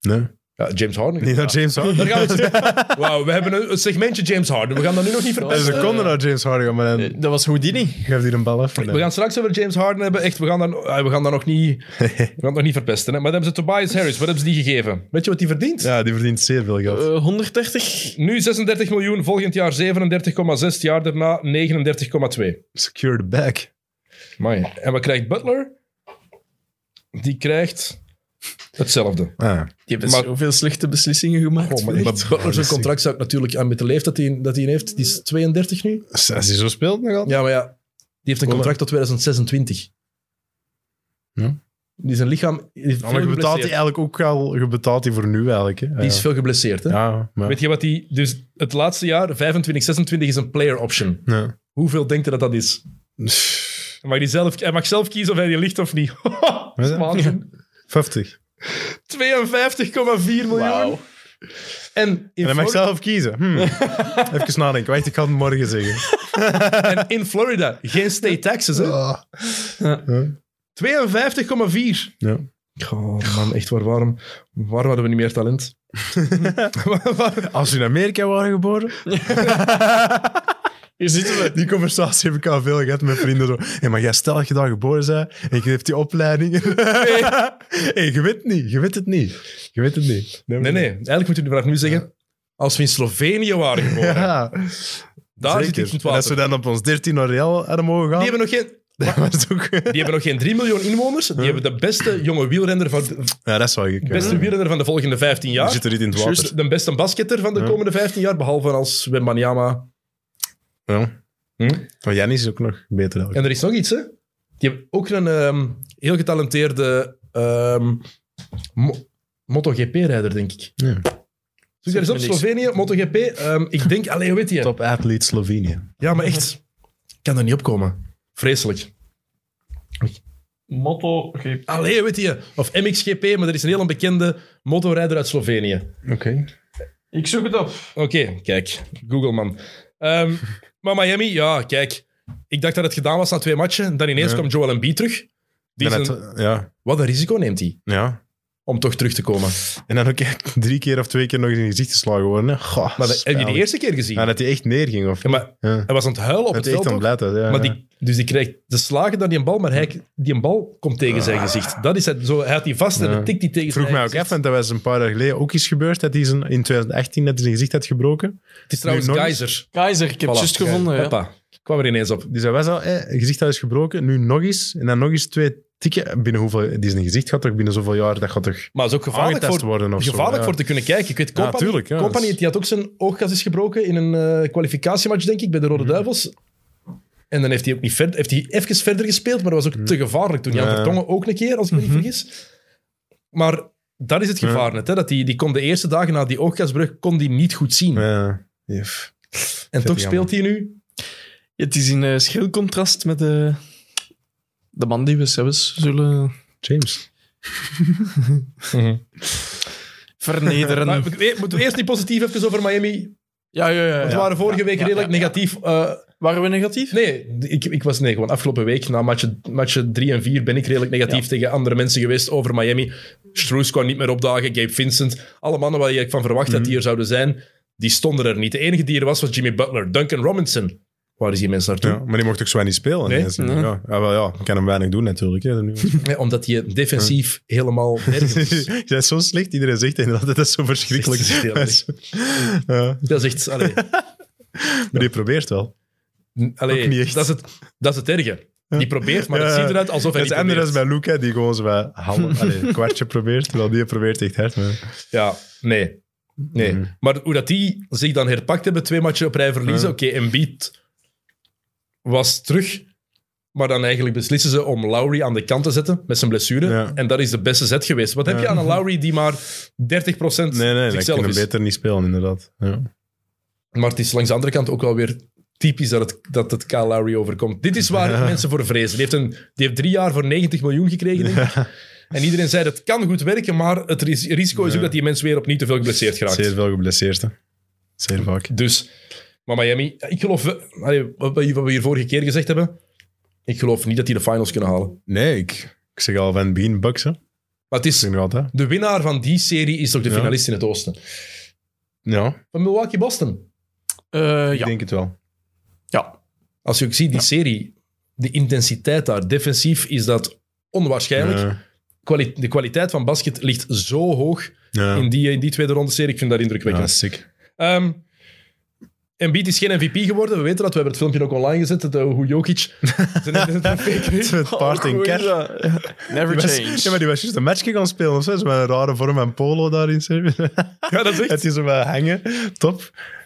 Speaker 3: Nee,
Speaker 1: Ja, James Harden.
Speaker 3: niet naar James Harden.
Speaker 1: Daar gaan we het- Wauw, we hebben een- een segmentje James Harden. We gaan dat nu nog niet
Speaker 3: Dus
Speaker 1: verpesten.
Speaker 3: ze konden naar James Harden gaan, maar dan
Speaker 2: Eh, Dat was Houdini.
Speaker 3: geeft hij een bal af.
Speaker 1: We gaan straks over James Harden hebben. Echt, we gaan dan, ah, we gaan dan nog niet, we gaan het nog niet verpesten. Hè. Maar dan hebben ze Tobias Harris. Wat hebben ze die gegeven? Weet je wat die verdient?
Speaker 3: Ja, die verdient zeer veel geld.
Speaker 2: Eh, 130.
Speaker 1: Nu 36 miljoen, volgend jaar 37,6, jaar daarna 39,2.
Speaker 3: Secure the bag.
Speaker 1: Amai. En wat krijgt Butler? Die krijgt hetzelfde.
Speaker 3: Ah,
Speaker 2: Die hebben
Speaker 1: Maar-
Speaker 2: zoveel slechte beslissingen gemaakt.
Speaker 1: Oh, maar,
Speaker 3: echt?
Speaker 1: maar Butler zijn
Speaker 3: Holy
Speaker 1: contract zou ik natuurlijk aan met de leeftijd die, dat hij heeft. Die is 32 nu.
Speaker 3: als hij zo speelt nog altijd.
Speaker 1: Ja, maar ja, die heeft een contract tot 2026.
Speaker 3: Ja.
Speaker 1: Die zijn lichaam die is
Speaker 3: Ja,
Speaker 1: veel
Speaker 3: maar je betaalt die
Speaker 1: geblesseerd.
Speaker 3: eigenlijk ook al, je betaalt die voor nu eigenlijk. Hè.
Speaker 1: Die is veel geblesseerd. Hè?
Speaker 3: Ja, maar...
Speaker 1: Weet je wat die... Dus het laatste jaar, 25, 26, is een player option.
Speaker 3: Ja.
Speaker 1: Hoeveel denkt je dat dat is? Hij mag, die zelf, hij mag zelf kiezen of hij die ligt of niet. Dat is
Speaker 3: Ja.
Speaker 1: waanzin.
Speaker 3: 50.
Speaker 1: 52,4 miljoen.
Speaker 2: Wauw.
Speaker 1: En, in
Speaker 3: En dan mag
Speaker 1: Florida,
Speaker 3: ik zelf kiezen. Hm. Even nadenken. Wacht, ik ga het morgen zeggen.
Speaker 1: en in Florida, geen state taxes. Hè?
Speaker 3: Ah.
Speaker 1: 52,4.
Speaker 3: Ja.
Speaker 1: Oh man, echt waar. Waarom, waarom hadden we niet meer talent?
Speaker 3: Als we in Amerika waren geboren...
Speaker 2: Hier zitten we.
Speaker 3: Die conversatie heb ik al veel gehad met vrienden. Zo. Hey, maar jij stel dat je daar geboren bent en je hebt die opleiding. hey, je weet het niet. Je weet het niet. Je weet het niet.
Speaker 1: Nee, nee. Eigenlijk moet je vanaf nu zeggen... Als we in Slovenië waren geboren,
Speaker 3: Ja,
Speaker 1: daar zit
Speaker 3: zeker.
Speaker 1: iets met
Speaker 3: En als
Speaker 1: water.
Speaker 3: we dan op ons 13 naar Real hadden mogen gaan...
Speaker 1: Die hebben nog geen...
Speaker 3: dat was ook...
Speaker 1: Die hebben nog geen 3 miljoen inwoners. Die hebben de beste jonge wielrenner van de,
Speaker 3: Ja, dat zou ik
Speaker 1: beste wielrenner van de volgende 15
Speaker 3: Je
Speaker 1: jaar.
Speaker 3: zit er niet in het water.
Speaker 1: Juist, de beste basketter van de
Speaker 3: Ja.
Speaker 1: komende 15 jaar. Behalve als Wembanyama.
Speaker 3: Ja.
Speaker 1: Hm?
Speaker 3: Maar Janis is ook nog beter. eigenlijk.
Speaker 1: En er is nog iets, hè? Die hebben ook een ehm, heel getalenteerde ehm, mo- MotoGP-rijder, denk ik.
Speaker 3: Ja.
Speaker 1: Zoek daar eens op,
Speaker 2: Zegt me niks.
Speaker 1: Slovenië, MotoGP. Ehm, ik denk, allee, hoe weet je?
Speaker 3: Top athlete Slovenië.
Speaker 1: Ja, maar echt, ik kan er niet opkomen. Vreselijk.
Speaker 2: Motto.
Speaker 1: Allee, hoe weet je? Of MXGP, maar er is een heel bekende motorrijder uit Slovenië.
Speaker 3: Oké.
Speaker 2: Ik zoek het op.
Speaker 1: Oké, kijk. Google, man. Ehm, maar Miami, ja, kijk. Ik dacht dat het gedaan was na twee matchen. Dan ineens
Speaker 3: Ja.
Speaker 1: kwam Joel Embiid terug. Die
Speaker 3: En
Speaker 1: zijn,
Speaker 3: dat- ja,
Speaker 1: Wat een risico neemt hij
Speaker 3: ja.
Speaker 1: om toch terug te komen?
Speaker 3: En dan ook echt drie keer of twee keer nog eens in je gezicht geslagen worden. hè. Goh,
Speaker 1: Maar dat heb je
Speaker 3: spijtig.
Speaker 1: die eerste keer gezien?
Speaker 3: Ja, dat hij echt neerging. Of...
Speaker 1: Ja, maar
Speaker 3: Ja.
Speaker 1: hij was aan het huilen op
Speaker 3: Het
Speaker 1: het,
Speaker 3: echt
Speaker 1: veld.
Speaker 3: een
Speaker 1: ook.
Speaker 3: blijheid, ja.
Speaker 1: maar die, dus die krijgt de slagen dan die een bal, maar hij, die een bal komt tegen zijn gezicht. Dat is het, zo, hij had die vast en
Speaker 3: Ah. Ja.
Speaker 1: dan tikt die tegen
Speaker 3: Ik vroeg
Speaker 1: zijn
Speaker 3: mij ook
Speaker 1: gezicht.
Speaker 3: af, want dat was een paar jaar geleden ook iets gebeurd. Dat hij zijn, in 2018 dat hij zijn gezicht had gebroken.
Speaker 1: Het is trouwens
Speaker 3: Nu nog eens.
Speaker 1: Geyser.
Speaker 2: Keizer, ik heb het
Speaker 1: Voilà.
Speaker 2: juist gevonden. ja.
Speaker 1: Hoppa. Ik kwam er ineens op.
Speaker 3: Dus hij was al, eh, gezicht had eens gebroken, nu nog eens. En dan nog eens twee tikken. Binnen hoeveel, die zijn gezicht gaat toch binnen zoveel jaar, dat gaat toch
Speaker 1: Maar het is ook gevaarlijk,
Speaker 3: aangetast
Speaker 1: voor,
Speaker 3: worden of zo,
Speaker 1: gevaarlijk
Speaker 3: ja.
Speaker 1: voor te kunnen kijken. Ik weet, Company,
Speaker 3: tuurlijk, ja.
Speaker 1: Company, die had ook zijn oogkas is gebroken in een eh, kwalificatiematch, denk ik, bij de Rode
Speaker 3: Mhm.
Speaker 1: Duivels. En dan heeft hij ook niet verder, heeft hij even verder gespeeld, maar dat was ook te gevaarlijk toen. Jan
Speaker 3: Mhm. Ja. Mhm.
Speaker 1: Vertongen ook een keer, als ik me niet vergis. Maar dat is het gevaar net, hè? dat die, die kon de eerste dagen na die oogkasbrug kon die niet goed zien.
Speaker 3: Ja, jef.
Speaker 1: en toch
Speaker 3: jammer.
Speaker 1: speelt hij nu.
Speaker 2: Het is in eh, schril contrast met de, de man die we zelfs zullen
Speaker 3: James.
Speaker 2: vernederen.
Speaker 1: Maar, nee, moeten we eerst niet positief even over Miami?
Speaker 2: ja, ja, ja.
Speaker 1: We
Speaker 2: ja.
Speaker 1: waren vorige week
Speaker 2: ja,
Speaker 1: redelijk
Speaker 2: ja, ja.
Speaker 1: negatief. eh,
Speaker 2: Waren we negatief?
Speaker 1: Nee, ik, ik was nee, gewoon afgelopen week na matchen, matchen 3 en 4 ben ik redelijk negatief tegen andere mensen geweest over Miami. Stroes kwam niet meer opdagen, Gabe Vincent. Alle mannen waar je van verwacht
Speaker 3: Mhm.
Speaker 1: dat die er zouden zijn, die stonden er niet. De enige die er was, was Jimmy Butler. Duncan Robinson. Waar is die mens naartoe?
Speaker 3: Ja, maar die mocht toch zwaar niet spelen?
Speaker 1: Nee.
Speaker 3: ineens? Ja, ja, wel, ja, ik kan hem weinig doen natuurlijk. Hè, nu.
Speaker 1: Nee, omdat hij defensief helemaal nergens is.
Speaker 3: Je bent zo slecht, iedereen zegt inderdaad, dat is zo verschrikkelijk.
Speaker 1: Echt heel erg.
Speaker 3: Ja,
Speaker 1: Dat is echt... Allee,
Speaker 3: maar die probeert wel.
Speaker 1: allee,
Speaker 3: Ook niet echt.
Speaker 1: dat, is het, dat is het erge. Die probeert, maar het
Speaker 3: Ja.
Speaker 1: ziet eruit alsof hij
Speaker 3: Het
Speaker 1: niet
Speaker 3: andere is
Speaker 1: probeert.
Speaker 3: bij Luca, die gewoon zo bij half, allee, een kwartje probeert, terwijl die probeert echt hard. Maar...
Speaker 1: Ja, nee. nee.
Speaker 3: Mhm.
Speaker 1: Maar hoe dat die zich dan herpakt hebben, twee matchen op rij verliezen.
Speaker 3: Ja.
Speaker 1: Oké, Embiid was terug. Maar dan eigenlijk beslissen ze om Lowry aan de kant te zetten met zijn blessure.
Speaker 3: Ja.
Speaker 1: En dat is de beste zet geweest. Wat heb je
Speaker 3: Ja.
Speaker 1: aan een Lowry die maar 30%
Speaker 3: Nee, nee, dat
Speaker 1: zichzelf
Speaker 3: kunnen
Speaker 1: is?
Speaker 3: beter niet spelen, inderdaad. Ja.
Speaker 1: Maar het is langs de andere kant ook wel weer typisch dat het, dat het Kyle Lowry overkomt. Dit is waar
Speaker 3: Ja.
Speaker 1: mensen voor vrezen. Die heeft, een, die heeft drie jaar voor 90 miljoen gekregen. denk ik. En iedereen zei dat kan goed werken, maar het ris- risico is ook
Speaker 3: Ja.
Speaker 1: dat die mensen weer opnieuw te veel geblesseerd geraakt.
Speaker 3: Zeer veel geblesseerd, hè. Zeer vaak.
Speaker 1: Dus, Maar Miami, ik geloof, eh, allee, wat we wat we hier vorige keer gezegd hebben, ik geloof niet dat die de finals kunnen halen.
Speaker 3: Nee, ik, ik zeg al van het begin Bucks, hè. Ik
Speaker 1: Maar het is,
Speaker 3: zeg nog altijd.
Speaker 1: de winnaar van die serie is toch de
Speaker 3: Ja.
Speaker 1: finalist in het oosten.
Speaker 3: Ja,
Speaker 1: Van Milwaukee-Boston.
Speaker 2: Eh,
Speaker 3: ik
Speaker 2: ja.
Speaker 3: denk het wel.
Speaker 2: ja.
Speaker 1: Als je ook ziet, die serie, de intensiteit daar, defensief is dat onwaarschijnlijk.
Speaker 3: Ja.
Speaker 1: Kwali- de kwaliteit van basket ligt zo hoog
Speaker 3: Ja.
Speaker 1: in, die, in die tweede ronde serie. Ik vind dat
Speaker 3: Ja,
Speaker 1: indrukwekkend.
Speaker 3: sick.
Speaker 1: Ehm Embiid is geen MVP geworden. We weten dat. We hebben het filmpje ook online gezet. Dat, eh, hoe Jokic zijn een fake
Speaker 3: Het is met paard
Speaker 2: Oh,
Speaker 3: en
Speaker 2: hoe
Speaker 3: ker.
Speaker 2: is dat? Never
Speaker 3: Die was-
Speaker 2: change.
Speaker 3: Ja, maar die was juist een matchje gaan spelen of zo. Zo met een rare vorm en polo daarin. zo.
Speaker 1: Ja, dat is echt.
Speaker 3: Het is zo bij hangen. Top.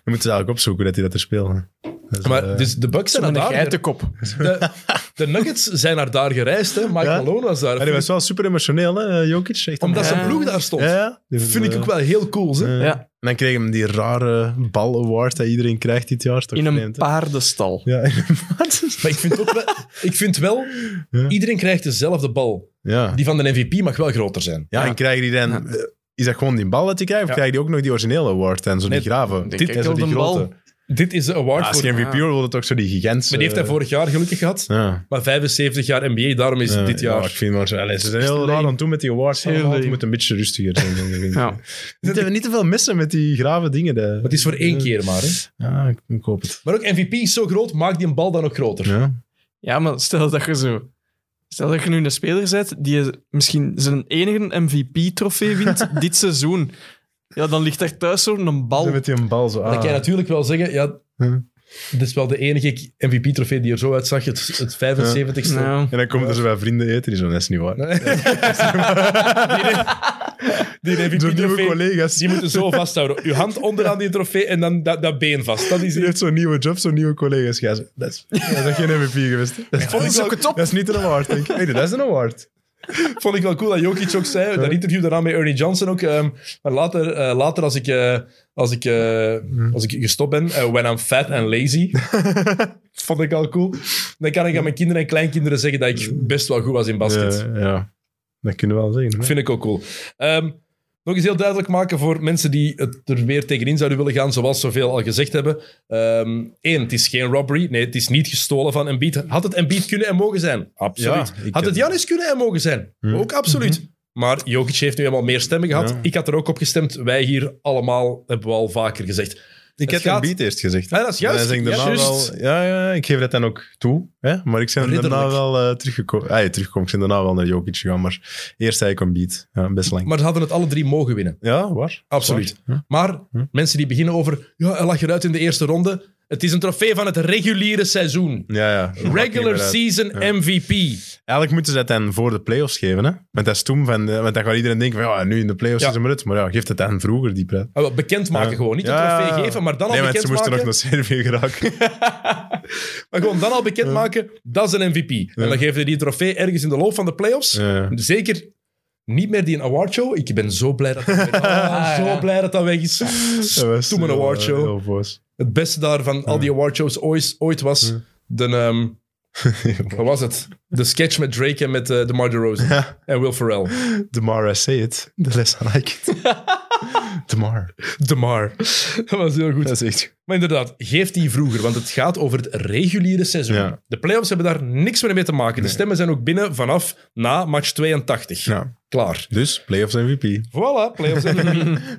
Speaker 3: We moeten het eigenlijk opzoeken dat hij dat er speelde. Dat is,
Speaker 1: Maar
Speaker 3: eh,
Speaker 1: dus de Bucks zijn
Speaker 2: Met een
Speaker 1: naar daar.
Speaker 2: geitenkop.
Speaker 1: De, de Nuggets zijn naar daar gereisd. Hè. Mike
Speaker 3: Ja.
Speaker 1: Malone was daar.
Speaker 3: maar die was wel super emotioneel, hè, eh, Jokic. Echt
Speaker 1: Omdat
Speaker 3: een-
Speaker 1: zijn ploeg daar stond.
Speaker 3: Ja, ja. Die was,
Speaker 1: Vind ik
Speaker 3: eh,
Speaker 1: ook wel heel cool. Hè.
Speaker 3: eh,
Speaker 2: Ja.
Speaker 3: En dan kreeg hem die rare bal-award dat iedereen krijgt dit jaar. Toch
Speaker 2: In een
Speaker 3: vreemd, hè?
Speaker 2: paardenstal.
Speaker 3: Ja, in een paard.
Speaker 1: Maar ik vind ook wel, ik vind wel
Speaker 3: Ja.
Speaker 1: iedereen krijgt dezelfde bal.
Speaker 3: Ja.
Speaker 1: Die van de MVP mag wel groter zijn.
Speaker 3: ja, en krijgen die dan... eh, Is dat gewoon die bal dat hij krijgt? Of
Speaker 1: Ja.
Speaker 3: krijgen die ook nog die originele award en zo die
Speaker 1: Nee,
Speaker 3: graven?
Speaker 2: denk
Speaker 3: Dit
Speaker 2: ik
Speaker 3: en zo
Speaker 2: wel
Speaker 3: die
Speaker 2: de
Speaker 3: grote. Ah,
Speaker 2: bal.
Speaker 1: Dit is de award
Speaker 3: Ja, als
Speaker 1: voor...
Speaker 3: je
Speaker 1: Maar
Speaker 3: MVP
Speaker 2: Ja.
Speaker 3: wilde, toch zo die gigantische...
Speaker 1: die heeft hij vorig jaar gelukkig gehad.
Speaker 3: Ja.
Speaker 1: Maar 75 jaar NBA, daarom is
Speaker 3: Ja,
Speaker 1: dit
Speaker 3: Eh, ja,
Speaker 1: jaar...
Speaker 3: ik vind maar, allee, ze zijn heel
Speaker 2: Lame.
Speaker 3: raar aan het doen met die awards.
Speaker 2: Heel
Speaker 3: allemaal. Het
Speaker 2: lame.
Speaker 3: moet een beetje rustiger zijn. denk ik.
Speaker 2: Ja.
Speaker 3: niet, te, niet te veel missen met die grave dingen. daar.
Speaker 1: Maar het is voor één keer maar. Hè.
Speaker 3: Ja, ik, ik hoop het.
Speaker 1: Maar ook MVP is zo groot, maak die een bal dan ook groter.
Speaker 3: Ja.
Speaker 2: Ja, maar stel dat je zo... Stel dat je nu een speler bent die misschien zijn enige MVP-trofee wint dit seizoen. Ja, dan ligt daar thuis zo'n
Speaker 3: Zo
Speaker 2: bal.
Speaker 3: Met die een bal zo.
Speaker 1: Maar Dan
Speaker 3: ah.
Speaker 1: kan je natuurlijk wel zeggen, ja,
Speaker 3: Huh.
Speaker 1: dit is wel de enige MVP-trofee die er zo uitzag, het, het 75ste.
Speaker 2: Nou,
Speaker 3: En dan komen er zo bij vrienden eten. Die zo, dat is niet waar.
Speaker 1: Nee. die
Speaker 3: Zo'n nieuwe
Speaker 1: MVP-trofee,
Speaker 3: collega's.
Speaker 1: die moeten zo vasthouden. Uw hand onderaan die trofee en dan dat, dat been vast. Dat is
Speaker 3: Die heeft zo'n nieuwe job, zo'n nieuwe collega's. Ja, zo, dat is, ja, dat is geen MVP geweest. hè. Dat is,
Speaker 2: dat is ook het op.
Speaker 3: dat is niet een award, denk ik. Hey, dat is een award.
Speaker 1: Vond ik wel cool dat Jokic ook zei, dat interview daarna met Ernie Johnson ook. ehm, maar later, eh, later als, ik, eh, als, ik, eh, als ik gestopt ben, eh, when I'm fat and lazy. vond ik al cool. Dan kan ik aan mijn kinderen en kleinkinderen zeggen dat ik best wel goed was in basket.
Speaker 3: Ja, ja, dat kunnen we wel zien. hè.
Speaker 1: Vind ik ook cool. Ehm, nog eens heel duidelijk maken voor mensen die het er weer tegenin zouden willen gaan, zoals zoveel al gezegd hebben. Eén, het is geen robbery. Nee, het is niet gestolen van Embiid. Had het Embiid kunnen en mogen zijn? Absoluut.
Speaker 3: Ja, ik
Speaker 1: Had het
Speaker 3: heb-
Speaker 1: Janis kunnen en mogen zijn? Ook absoluut. Maar Jokic heeft nu helemaal meer stemmen gehad.
Speaker 3: Ja.
Speaker 1: Ik had er ook op gestemd. Wij hier allemaal hebben we al vaker gezegd. Het
Speaker 3: Ik heb een
Speaker 1: gaat-
Speaker 3: beat eerst gezegd.
Speaker 1: Ja, dat is juist.
Speaker 3: En hij zegt daarna
Speaker 1: Juist.
Speaker 3: wel- ja, ja, ik geef dat dan ook toe. Hè? Maar ik ben daarna
Speaker 1: Ridderlijk.
Speaker 3: wel eh, teruggekomen. Ah, ja, teruggekomen. Ik ben daarna wel naar Jokic gegaan. Maar eerst zei ik een beat. Ja, best lang.
Speaker 1: Maar ze hadden het alle drie mogen winnen.
Speaker 3: ja, waar?
Speaker 1: Absoluut.
Speaker 3: Waar?
Speaker 1: Maar
Speaker 3: Hm?
Speaker 1: mensen die beginnen over... Ja, hij lag eruit in de eerste ronde. Het is een trofee van het reguliere seizoen.
Speaker 3: Ja, ja. Dat maakt niet
Speaker 1: Regular
Speaker 3: meer uit.
Speaker 1: season MVP.
Speaker 3: Eigenlijk moeten ze dat dan voor de playoffs geven. Hè? Want dat is toen van... eh, Want dan gaat iedereen denken van... Ja, nu in de playoffs
Speaker 1: Ja.
Speaker 3: is hem eruit. Maar ja, geef het dan vroeger, die pret.
Speaker 1: Ah, wel, Bekendmaken
Speaker 3: Ja.
Speaker 1: gewoon. Niet een
Speaker 3: Ja.
Speaker 1: trofee geven, maar dan al
Speaker 3: Nee, want ze moesten
Speaker 1: bekendmaken.
Speaker 3: nog naar Servië geraken.
Speaker 1: Maar gewoon dan al bekendmaken, dat is een MVP. En dan geven ze die trofee ergens in de loop van de playoffs.
Speaker 3: Ja.
Speaker 1: Zeker niet meer die een awardshow. Ik ben zo blij dat dat weg is. Ah, zo blij dat dat weg is. Dus
Speaker 3: Dat was
Speaker 1: Toen een
Speaker 3: heel,
Speaker 1: awardshow.
Speaker 3: eh, Heel boos.
Speaker 1: Het beste daar van al die awardshows ooit, ooit was... De, ehm, wat was het? De sketch met Drake en met eh, DeMar DeRozan. En Will Ferrell.
Speaker 3: Demar, I say it. The less I like it. Demar.
Speaker 1: DeMar. Dat was heel goed.
Speaker 3: Dat is echt...
Speaker 1: Maar inderdaad, geef die vroeger, want het gaat over het reguliere seizoen.
Speaker 3: Ja.
Speaker 1: De playoffs hebben daar niks meer mee te maken. De stemmen zijn ook binnen vanaf na match 82.
Speaker 3: Ja.
Speaker 1: Klaar.
Speaker 3: Dus, playoffs MVP.
Speaker 1: Voilà, playoffs. en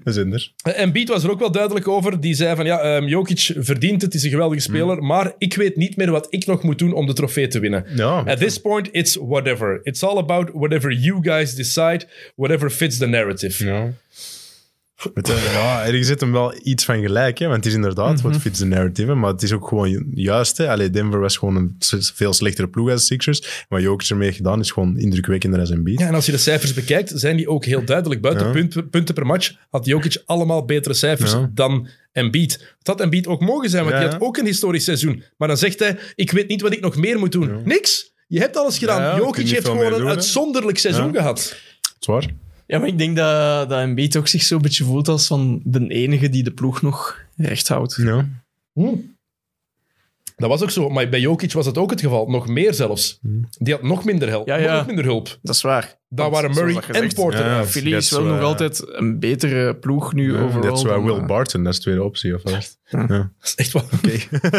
Speaker 3: We zijn er.
Speaker 1: Beat was er ook wel duidelijk over. Die zei van ja, ehm, Jokic verdient het, is een geweldige
Speaker 3: Mm.
Speaker 1: speler, maar ik weet niet meer wat ik nog moet doen om de trofee te winnen.
Speaker 3: Ja.
Speaker 1: At this point, it's whatever. It's all about whatever you guys decide, whatever fits the narrative.
Speaker 3: Ja. Het, eh, ja, er zit hem wel iets van gelijk, hè? want het is inderdaad
Speaker 1: Mhm.
Speaker 3: wat fits de narrative, maar het is ook gewoon ju- juist. Hè? Allee, Denver was gewoon een s- veel slechtere ploeg als de Sixers. Wat Jokic ermee heeft gedaan is gewoon indrukwekkender als een beat.
Speaker 1: Ja, en als je de cijfers bekijkt, zijn die ook heel duidelijk. Buiten
Speaker 3: Ja.
Speaker 1: punten, punten per match had Jokic allemaal betere cijfers
Speaker 3: Ja.
Speaker 1: dan Embiid. Het had Embiid ook mogen zijn, want
Speaker 3: Ja,
Speaker 1: die
Speaker 3: ja.
Speaker 1: had ook een historisch seizoen. Maar dan zegt hij, ik weet niet wat ik nog meer moet doen. Niks! Je hebt alles gedaan.
Speaker 3: Ja, ja, kun
Speaker 1: Jokic
Speaker 3: je
Speaker 1: heeft
Speaker 3: veel
Speaker 1: gewoon
Speaker 3: meer
Speaker 1: een
Speaker 3: doen, hè?
Speaker 1: uitzonderlijk seizoen
Speaker 3: Ja.
Speaker 1: gehad.
Speaker 3: Zwaar?
Speaker 2: Ja, maar ik denk dat, dat Embiid ook zich zo'n beetje voelt als van de enige die de ploeg nog recht houdt.
Speaker 3: Ja.
Speaker 1: Hm. Dat was ook zo, maar bij Jokic was dat ook het geval. Nog meer zelfs.
Speaker 3: Hm.
Speaker 1: Die had nog minder help.
Speaker 2: Ja, ja.
Speaker 1: Nog minder hulp.
Speaker 2: Dat is waar.
Speaker 1: Daar waren
Speaker 2: zoals
Speaker 1: Murray en
Speaker 2: dat gezegd-
Speaker 1: Porter
Speaker 3: Ja.
Speaker 1: uit.
Speaker 2: Philly
Speaker 3: That's
Speaker 2: is wel nog
Speaker 3: waar.
Speaker 2: altijd een betere ploeg nu overal.
Speaker 3: Dat is waar
Speaker 2: dan,
Speaker 3: Will
Speaker 2: eh,
Speaker 3: Barton, dat is de tweede optie. Of wat?
Speaker 1: Dat is echt wel...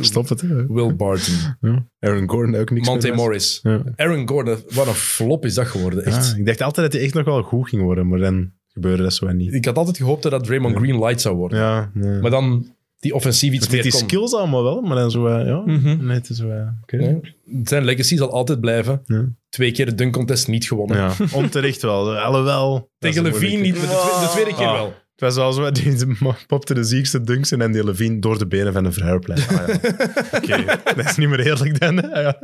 Speaker 3: Stop het. hè.
Speaker 1: Will Barton.
Speaker 3: Ja. Aaron Gordon ook niks
Speaker 1: Monte
Speaker 3: meer met.
Speaker 1: Morris.
Speaker 3: Ja.
Speaker 1: Aaron Gordon, wat een flop is dat geworden. Echt.
Speaker 3: Ah, ik dacht altijd dat hij echt nog wel goed ging worden, maar dan gebeurde dat zo en niet.
Speaker 1: Ik had altijd gehoopt dat dat Draymond Green light zou worden.
Speaker 3: Ja, nee.
Speaker 1: Maar dan die offensief iets
Speaker 3: Het heeft
Speaker 1: meer
Speaker 3: die
Speaker 1: kon.
Speaker 3: skills allemaal wel, maar dan zo, eh, ja,
Speaker 2: Mhm.
Speaker 3: nee, het is zo, eh, oké.
Speaker 1: Ja. Zijn legacy zal altijd blijven.
Speaker 3: Ja.
Speaker 1: Twee keer de dunk contest niet gewonnen.
Speaker 3: Ja, onterecht wel. Alhoewel. dat is
Speaker 1: Tegen
Speaker 3: een
Speaker 1: Levine niet,
Speaker 3: moeilijke.
Speaker 1: maar de, twe- de tweede keer
Speaker 3: Ah.
Speaker 1: wel.
Speaker 3: Het was wel zo, die die ma- popte de ziekste dunks in en die Levine door de benen van een vrijpleit. Ah, ja. Oké, dat is niet meer eerlijk dan. hè. Ah, ja.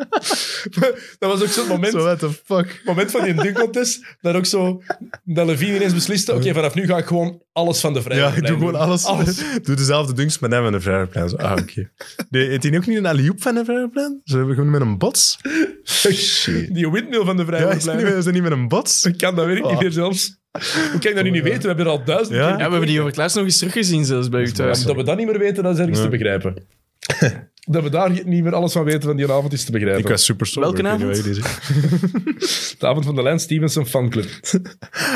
Speaker 1: Dat was ook zo'n moment,
Speaker 3: Zo, what the fuck.
Speaker 1: moment van die dunk contest, dat ook zo dat Levine ineens besliste, oké, vanaf nu ga ik gewoon alles van de vrije
Speaker 3: Ja, ik
Speaker 1: lijn
Speaker 3: doe gewoon
Speaker 1: doen.
Speaker 3: alles. Doe dezelfde dunks met hem en een vrijpleit. Zo, Ah, oké. Nee, Heeft hij ook niet een alley-oop van een vrijpleit? Ze hebben gewoon met een bots. Shit.
Speaker 1: Die windmill van de vrije
Speaker 3: Ja,
Speaker 1: lijn.
Speaker 3: is dat niet, is dat niet met een bots?
Speaker 1: Ik kan dat werk niet
Speaker 3: Ah. Oh,
Speaker 1: meer zelfs. Hoe kan ik dat nu niet weten? We hebben er al duizend
Speaker 3: Ja?
Speaker 1: keer...
Speaker 2: Ja, we hebben die over het laatst nog eens teruggezien, zelfs bij u
Speaker 1: Ja,
Speaker 2: thuis.
Speaker 1: dat we dat niet meer weten, dat is ergens
Speaker 3: Ja.
Speaker 1: te begrijpen. dat we daar niet meer alles van weten van die avond is te begrijpen.
Speaker 3: Ik was super sober.
Speaker 2: Welke
Speaker 3: ik weet niet
Speaker 2: avond?
Speaker 3: wat jullie zeggen.
Speaker 1: De avond van de Lance Stevenson fanclub.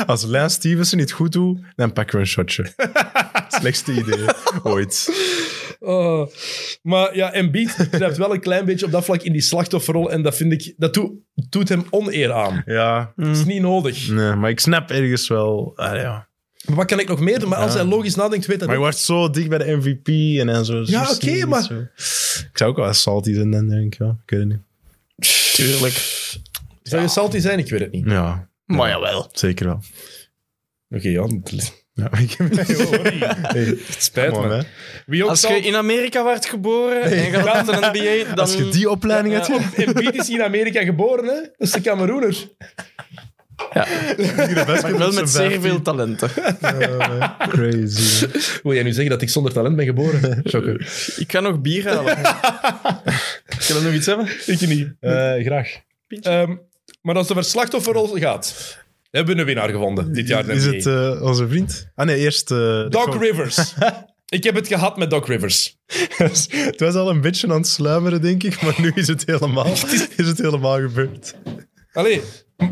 Speaker 3: Als Lance Stevenson niet goed doet, dan pakken we een shotje. Slechtste idee ooit.
Speaker 1: Oh. Maar ja, Embiid blijft wel een klein beetje op dat vlak in die slachtofferrol. En dat vind ik, dat doet- doet hem oneer aan.
Speaker 3: Mm. Ja,
Speaker 1: Dat is niet nodig.
Speaker 3: nee, maar ik snap ergens wel. ah, ja.
Speaker 1: Maar wat kan ik nog meer doen? Maar als
Speaker 3: Ja.
Speaker 1: hij logisch nadenkt, weet hij
Speaker 3: Maar je
Speaker 1: dat.
Speaker 3: wordt zo dicht bij de MVP en dan zo. zo
Speaker 1: Ja, oké,
Speaker 3: sneaky,
Speaker 1: maar-
Speaker 3: zo. Ik zou ook wel salty zijn dan, denk ik. Ja. Ik weet het niet.
Speaker 2: Tuurlijk.
Speaker 1: Zou je salty zijn? Ik weet het niet.
Speaker 3: Ja,
Speaker 2: Maar jawel.
Speaker 3: zeker wel.
Speaker 1: Oké, ja. dat-
Speaker 3: Ja, ik heb hey,
Speaker 1: Het spijt
Speaker 3: come on,
Speaker 1: me.
Speaker 3: hè.
Speaker 1: Wie ook
Speaker 2: Als je
Speaker 1: salty...
Speaker 2: in Amerika werd geboren en je gaat naar de NBA, dan...
Speaker 3: Als je die opleiding
Speaker 2: Ja,
Speaker 3: hebt,
Speaker 2: ja.
Speaker 3: ja.
Speaker 1: Embiid is hier in Amerika geboren, hè? Dat is de Cameroener.
Speaker 2: Maar wel met zeer veel talenten.
Speaker 3: Crazy. hè.
Speaker 1: Wil jij nu zeggen dat ik zonder talent ben geboren? Shocker.
Speaker 2: Ik ga nog bier halen. Kan er nog iets hebben?
Speaker 1: Ik niet.
Speaker 3: Eh, graag.
Speaker 1: Ehm, maar als de verslachtofferrol gaat, hebben we een winnaar gevonden dit jaar. in de
Speaker 3: Is
Speaker 1: NBA.
Speaker 3: het eh, onze vriend? Ah nee, eerst... eh, de
Speaker 1: Doc
Speaker 3: co-
Speaker 1: Rivers. ik heb het gehad met Doc Rivers.
Speaker 3: het was al een beetje aan het sluimeren, denk ik. Maar nu is het helemaal, is het helemaal gebeurd.
Speaker 1: Allee,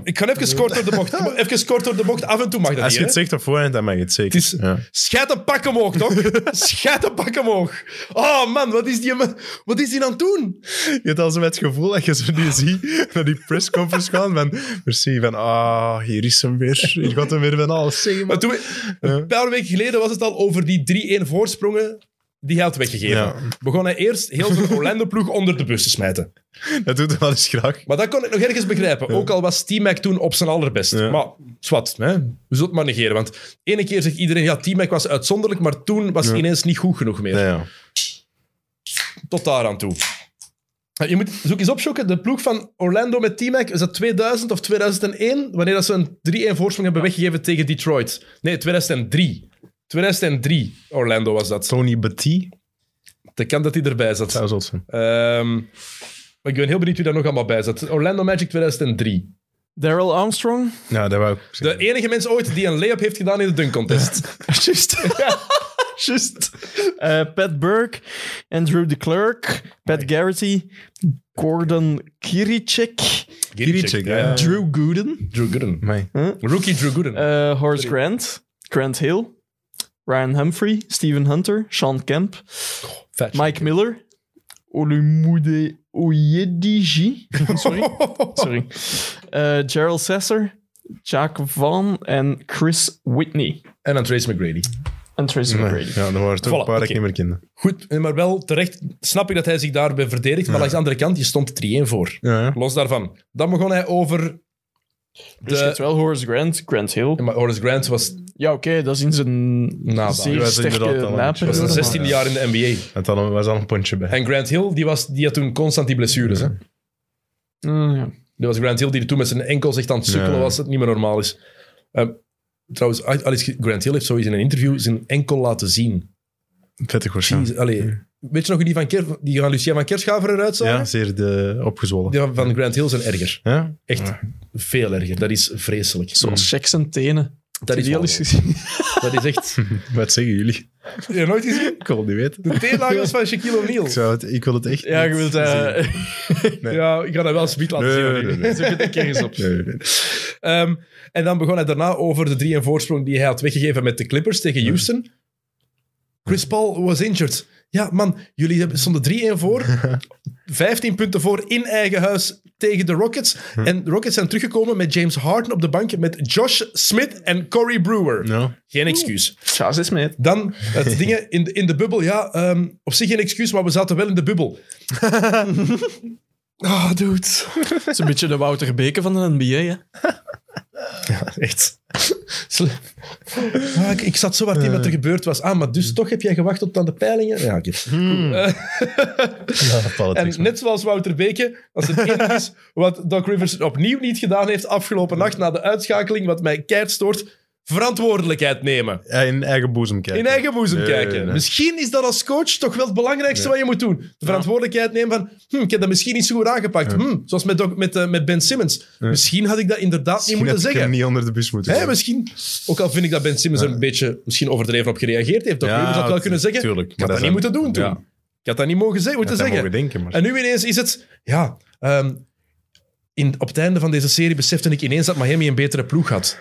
Speaker 1: ik ga even kort door de bocht. Even kort door de bocht. Af en toe mag dat
Speaker 3: Als
Speaker 1: niet,
Speaker 3: je het
Speaker 1: hè?
Speaker 3: zegt op voorhand, dan mag je het zeker.
Speaker 1: Het is-
Speaker 3: Ja.
Speaker 1: Schijt een pak omhoog, toch? Schijt een pak omhoog. Oh man, wat is die, man- wat is die aan het doen?
Speaker 3: Je hebt al zo met het gevoel dat je zo nu ziet naar die pressconference gaan van merci, van ah, hier is hem weer. Hier gaat hem weer van alles zeggen.
Speaker 1: Maar
Speaker 3: Maar
Speaker 1: toen, we- een paar weken geleden was het al over die 3-1 voorsprongen die hij had weggegeven.
Speaker 3: Ja.
Speaker 1: Begon hij eerst heel veel Orlando-ploeg onder de bus te smijten.
Speaker 3: dat doet hem wel eens graag.
Speaker 1: Maar dat kon ik nog ergens begrijpen. Ook al was T-Mac toen op zijn allerbest.
Speaker 3: Ja.
Speaker 1: Maar zwart, hè? we zullen het maar negeren. Want ene keer zegt iedereen, ja, T-Mac was uitzonderlijk, maar toen was hij ineens niet goed genoeg meer.
Speaker 3: Ja, ja.
Speaker 1: Tot daar aan toe. Eh, Je moet zoek eens opzoeken. De ploeg van Orlando met T-Mac, is dat 2000 of 2001? Wanneer dat ze een 3-1 voorsprong hebben weggegeven tegen Detroit. Nee, 2003. 2003 Orlando was dat.
Speaker 3: Tony Batty,
Speaker 1: De kant dat hij erbij zat.
Speaker 3: zou zot zijn.
Speaker 1: Ehm, maar ik ben heel benieuwd wie daar nog allemaal bij zat. Orlando Magic 2003.
Speaker 2: Daryl Armstrong?
Speaker 3: Ja, dat wou ik zeggen.
Speaker 1: De enige mens ooit die een layup heeft gedaan in de dunk contest.
Speaker 2: Just. Just. Eh, Pat Burke, Andrew de Klerk, Pat Garrity, Gordon Kiricek,
Speaker 3: Kiricek, ja.
Speaker 2: Eh, Drew Gooden,
Speaker 1: Drew Gooden.
Speaker 3: Amai.
Speaker 1: Rookie Drew Gooden.
Speaker 2: eh, Horace Grant, Grant Hill, Ryan Humphrey, Steven Hunter, Sean Kemp,
Speaker 1: Fetch.
Speaker 2: Mike Miller, Olumude Oyediji, sorry, sorry. Eh, Gerald Sasser, Jack Van en Chris Whitney.
Speaker 1: En dan Trace McGrady.
Speaker 2: En Tracy
Speaker 3: Nee.
Speaker 2: McGrady.
Speaker 3: Ja, dan waren het ook
Speaker 1: Voilà,
Speaker 3: een paar dat
Speaker 1: oké.
Speaker 3: ik niet meer kende.
Speaker 1: Goed, eh, maar wel terecht snap ik dat hij zich daarbij verdedigt. Maar aan de andere kant, je stond 3-1 voor.
Speaker 3: Ja, ja.
Speaker 1: Los daarvan. Dan begon hij over...
Speaker 2: Dus je hebt wel Horace Grant, Grant Hill.
Speaker 1: Maar Horace Grant was,
Speaker 2: Ja, oké, dat is in zijn
Speaker 1: Nada.
Speaker 3: Ja,
Speaker 2: zeer
Speaker 3: dat is inderdaad
Speaker 2: sterke
Speaker 3: al een-
Speaker 1: was
Speaker 2: naperiode.
Speaker 1: een
Speaker 3: Ja,
Speaker 1: 16
Speaker 3: maar-
Speaker 1: jaar in de NBA.
Speaker 3: Het had al, was al een puntje bij.
Speaker 1: En Grant Hill, die, was, die had toen constant die blessures. Hè?
Speaker 2: Mm, ja.
Speaker 1: Dat was Grant Hill die er toen met zijn enkels echt aan het sukkelen
Speaker 3: Ja.
Speaker 1: was. Dat niet meer normaal is. Ehm, trouwens, Alice Grant Hill heeft zoiets in een interview zijn enkel laten zien.
Speaker 3: Vettig waarschijnlijk.
Speaker 1: Jeez, allee. Weet je nog hoe die van, Ker, die van Lucien van Kerschaver eruit zag?
Speaker 3: Ja, zeer de, opgezwollen.
Speaker 1: Die van Grant Hill zijn erger.
Speaker 3: Ja?
Speaker 1: Echt veel erger. Dat is vreselijk.
Speaker 2: Zoals Shaq zijn tenen.
Speaker 1: Dat is,
Speaker 2: die al eens
Speaker 1: walgelijk.
Speaker 2: gezien?
Speaker 1: dat is echt...
Speaker 3: Wat zeggen jullie?
Speaker 1: Heb je nooit gezien?
Speaker 3: Ik wil het niet weten.
Speaker 1: De teennagels van Shaquille O'Neal.
Speaker 3: Ik, zou het, ik wil het echt
Speaker 2: Ja,
Speaker 3: niet
Speaker 2: je wilt...
Speaker 3: zien.
Speaker 2: eh
Speaker 3: Nee.
Speaker 1: Ja, ik ga dat wel speed laten
Speaker 3: Nee,
Speaker 1: zien.
Speaker 3: nee, nee, nee.
Speaker 1: Zoek het een keer eens op.
Speaker 3: Nee, nee, nee.
Speaker 1: Ehm, en dan begon hij daarna over de drie en voorsprong die hij had weggegeven met de Clippers tegen Houston. Chris Paul was injured. Ja, man, jullie hebben- stonden 3-1 voor. 15 punten voor in eigen huis tegen de Rockets. En de Rockets zijn teruggekomen met James Harden op de bank, met Josh Smith en Corey Brewer.
Speaker 3: Nou,
Speaker 1: Geen excuus.
Speaker 2: Charles is mee.
Speaker 1: Dan het ding in de, in de bubbel. Ja, ehm, op zich geen excuus, maar we zaten wel in de bubbel. Ah, dude.
Speaker 2: Het is een beetje de Wouter Beke van de NBA, hè.
Speaker 1: Echt. Sle- Ah, ik, ik zat zo hard in
Speaker 3: Eh.
Speaker 1: wat er gebeurd was. Ah, maar dus toch heb jij gewacht tot aan de peilingen? Ja, oké.
Speaker 3: ja, politics,
Speaker 1: En net zoals Wouter Beke, als het enige is wat Doc Rivers opnieuw niet gedaan heeft afgelopen nacht na de uitschakeling, wat mij keihard stoort, verantwoordelijkheid nemen.
Speaker 3: man. Ja, In eigen boezem kijken.
Speaker 1: In eigen boezem
Speaker 3: Nee,
Speaker 1: kijken.
Speaker 3: nee.
Speaker 1: Misschien is dat als coach toch wel het belangrijkste wat je moet doen. De verantwoordelijkheid nemen van, hm, ik heb dat misschien niet zo goed aangepakt. Hm, zoals met, Doc- met, eh, met Ben Simmons. Misschien had ik dat inderdaad niet
Speaker 3: Misschien
Speaker 1: moeten
Speaker 3: had ik hem
Speaker 1: zeggen.
Speaker 3: niet onder de bus moeten
Speaker 1: Hè,
Speaker 3: gooien.
Speaker 1: misschien, ook al vind ik dat Ben Simmons er een beetje misschien overdreven op gereageerd heeft. Doc
Speaker 3: Ja,
Speaker 1: Rivers had wel
Speaker 3: tu-
Speaker 1: kunnen zeggen,
Speaker 3: tuurlijk,
Speaker 1: ik had
Speaker 3: maar dat
Speaker 1: dat niet moeten
Speaker 3: zijn-
Speaker 1: doen toen.
Speaker 3: ja.
Speaker 1: Ik had dat niet mogen, zeggen, moeten
Speaker 3: Dat
Speaker 1: zeggen.
Speaker 3: mogen denken, maar...
Speaker 1: En nu ineens is het, ja, ehm, in, op het einde van deze serie besefte ik ineens dat Miami een betere ploeg had.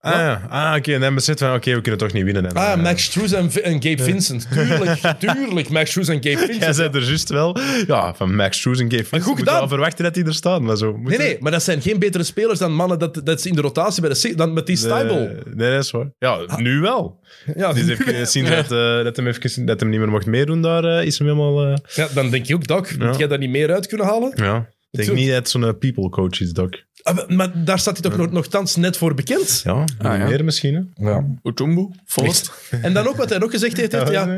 Speaker 3: Ah, ja. ah oké. En dan beseft van, oké, we kunnen toch niet winnen. En,
Speaker 1: Ah,
Speaker 3: eh,
Speaker 1: Max Struz en, V- en Gabe Vincent. Tuurlijk, tuurlijk, Max Struz en Gabe Vincent.
Speaker 3: Jij zei er juist wel, ja, van Max Shoes en Gabe Vincent.
Speaker 1: goed
Speaker 3: Goed
Speaker 1: gedaan.
Speaker 3: wel verwachten dat die er staan, maar zo.
Speaker 1: Nee, nee, maar dat zijn geen betere spelers dan mannen dat, dat ze in de rotatie bij de, se- dan met die Stijbel.
Speaker 3: Eh,
Speaker 1: Ah.
Speaker 3: Nee, nee, dat is waar. Ja, nu wel.
Speaker 1: Ja,
Speaker 3: Dus even kunnen zien dat, eh, dat, hem even, dat hem niet meer mocht meedoen daar, eh, is hem helemaal... eh,
Speaker 1: ja, dan denk je ook, Doc, moet jij daar niet meer uit kunnen halen?
Speaker 3: ja, ik denk
Speaker 1: Zo.
Speaker 3: niet dat zo'n eh, people coach is, Doc.
Speaker 1: Ah, maar- maar daar staat hij toch nog nogthans net voor bekend?
Speaker 3: Ja,
Speaker 2: Ah, ja.
Speaker 3: meer misschien, hè?
Speaker 1: Ja.
Speaker 2: Utumbu? Forst?
Speaker 1: Echt. En dan ook wat hij nog gezegd heeft, heeft, ja,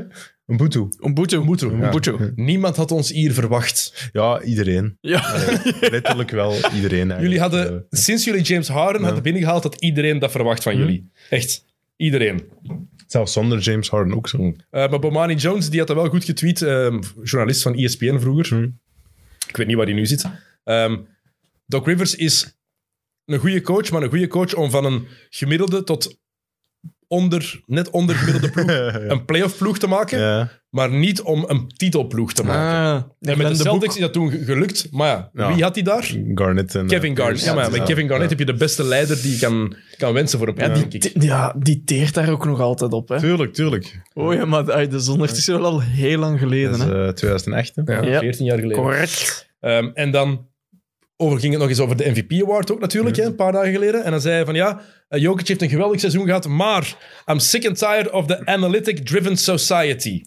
Speaker 3: Een boetu.
Speaker 2: Umbutu. Umbutu. Umbutu.
Speaker 1: niemand had ons hier verwacht.
Speaker 3: Ja, iedereen.
Speaker 2: Ja. Ah,
Speaker 3: Letterlijk wel iedereen. eigenlijk.
Speaker 1: Jullie
Speaker 3: Eh,
Speaker 1: hadden, sinds jullie James Harden hadden binnengehaald, had iedereen dat verwacht van jullie. Echt. Iedereen.
Speaker 3: zelfs zonder James Harden ook zo.
Speaker 1: Eh, maar Bomani Jones, die had dat wel goed getweet. ehm, journalist van ESPN vroeger. Ik weet niet waar hij nu zit. Ehm, Doc Rivers is een goede coach, maar een goede coach om van een gemiddelde tot onder, net onder gemiddelde ploeg een playoff ploeg te maken,
Speaker 3: Ja.
Speaker 1: maar niet om een titelploeg te maken.
Speaker 2: Ah,
Speaker 1: En met de
Speaker 2: Glenn de
Speaker 1: Celtics
Speaker 2: Boek.
Speaker 1: is dat toen ge- gelukt, maar ja,
Speaker 3: Ja.
Speaker 1: wie had die daar?
Speaker 3: Garnett en... eh,
Speaker 1: Kevin Garnett.
Speaker 3: Pierce.
Speaker 1: Ja, maar met Kevin Garnett
Speaker 3: Ja.
Speaker 1: heb je de beste leider die je kan, kan wensen voor een ploeg,
Speaker 2: Ja,
Speaker 1: denk
Speaker 2: die,
Speaker 1: ik.
Speaker 2: te- ja, die teert daar ook nog altijd op, hè.
Speaker 3: Tuurlijk, tuurlijk.
Speaker 2: Oh ja, maar uit de zondag is wel al heel lang geleden,
Speaker 3: Dat is
Speaker 2: hè.
Speaker 3: eh, 2008, hè?
Speaker 1: Ja,
Speaker 2: Ja.
Speaker 1: 14 jaar geleden.
Speaker 2: Correct.
Speaker 1: Ehm, en dan over, ging het nog eens over de MVP Award ook natuurlijk, hè, een paar dagen geleden. En dan zei hij van ja, eh, Jokic heeft een geweldig seizoen gehad, maar I'm sick and tired of the analytic-driven society.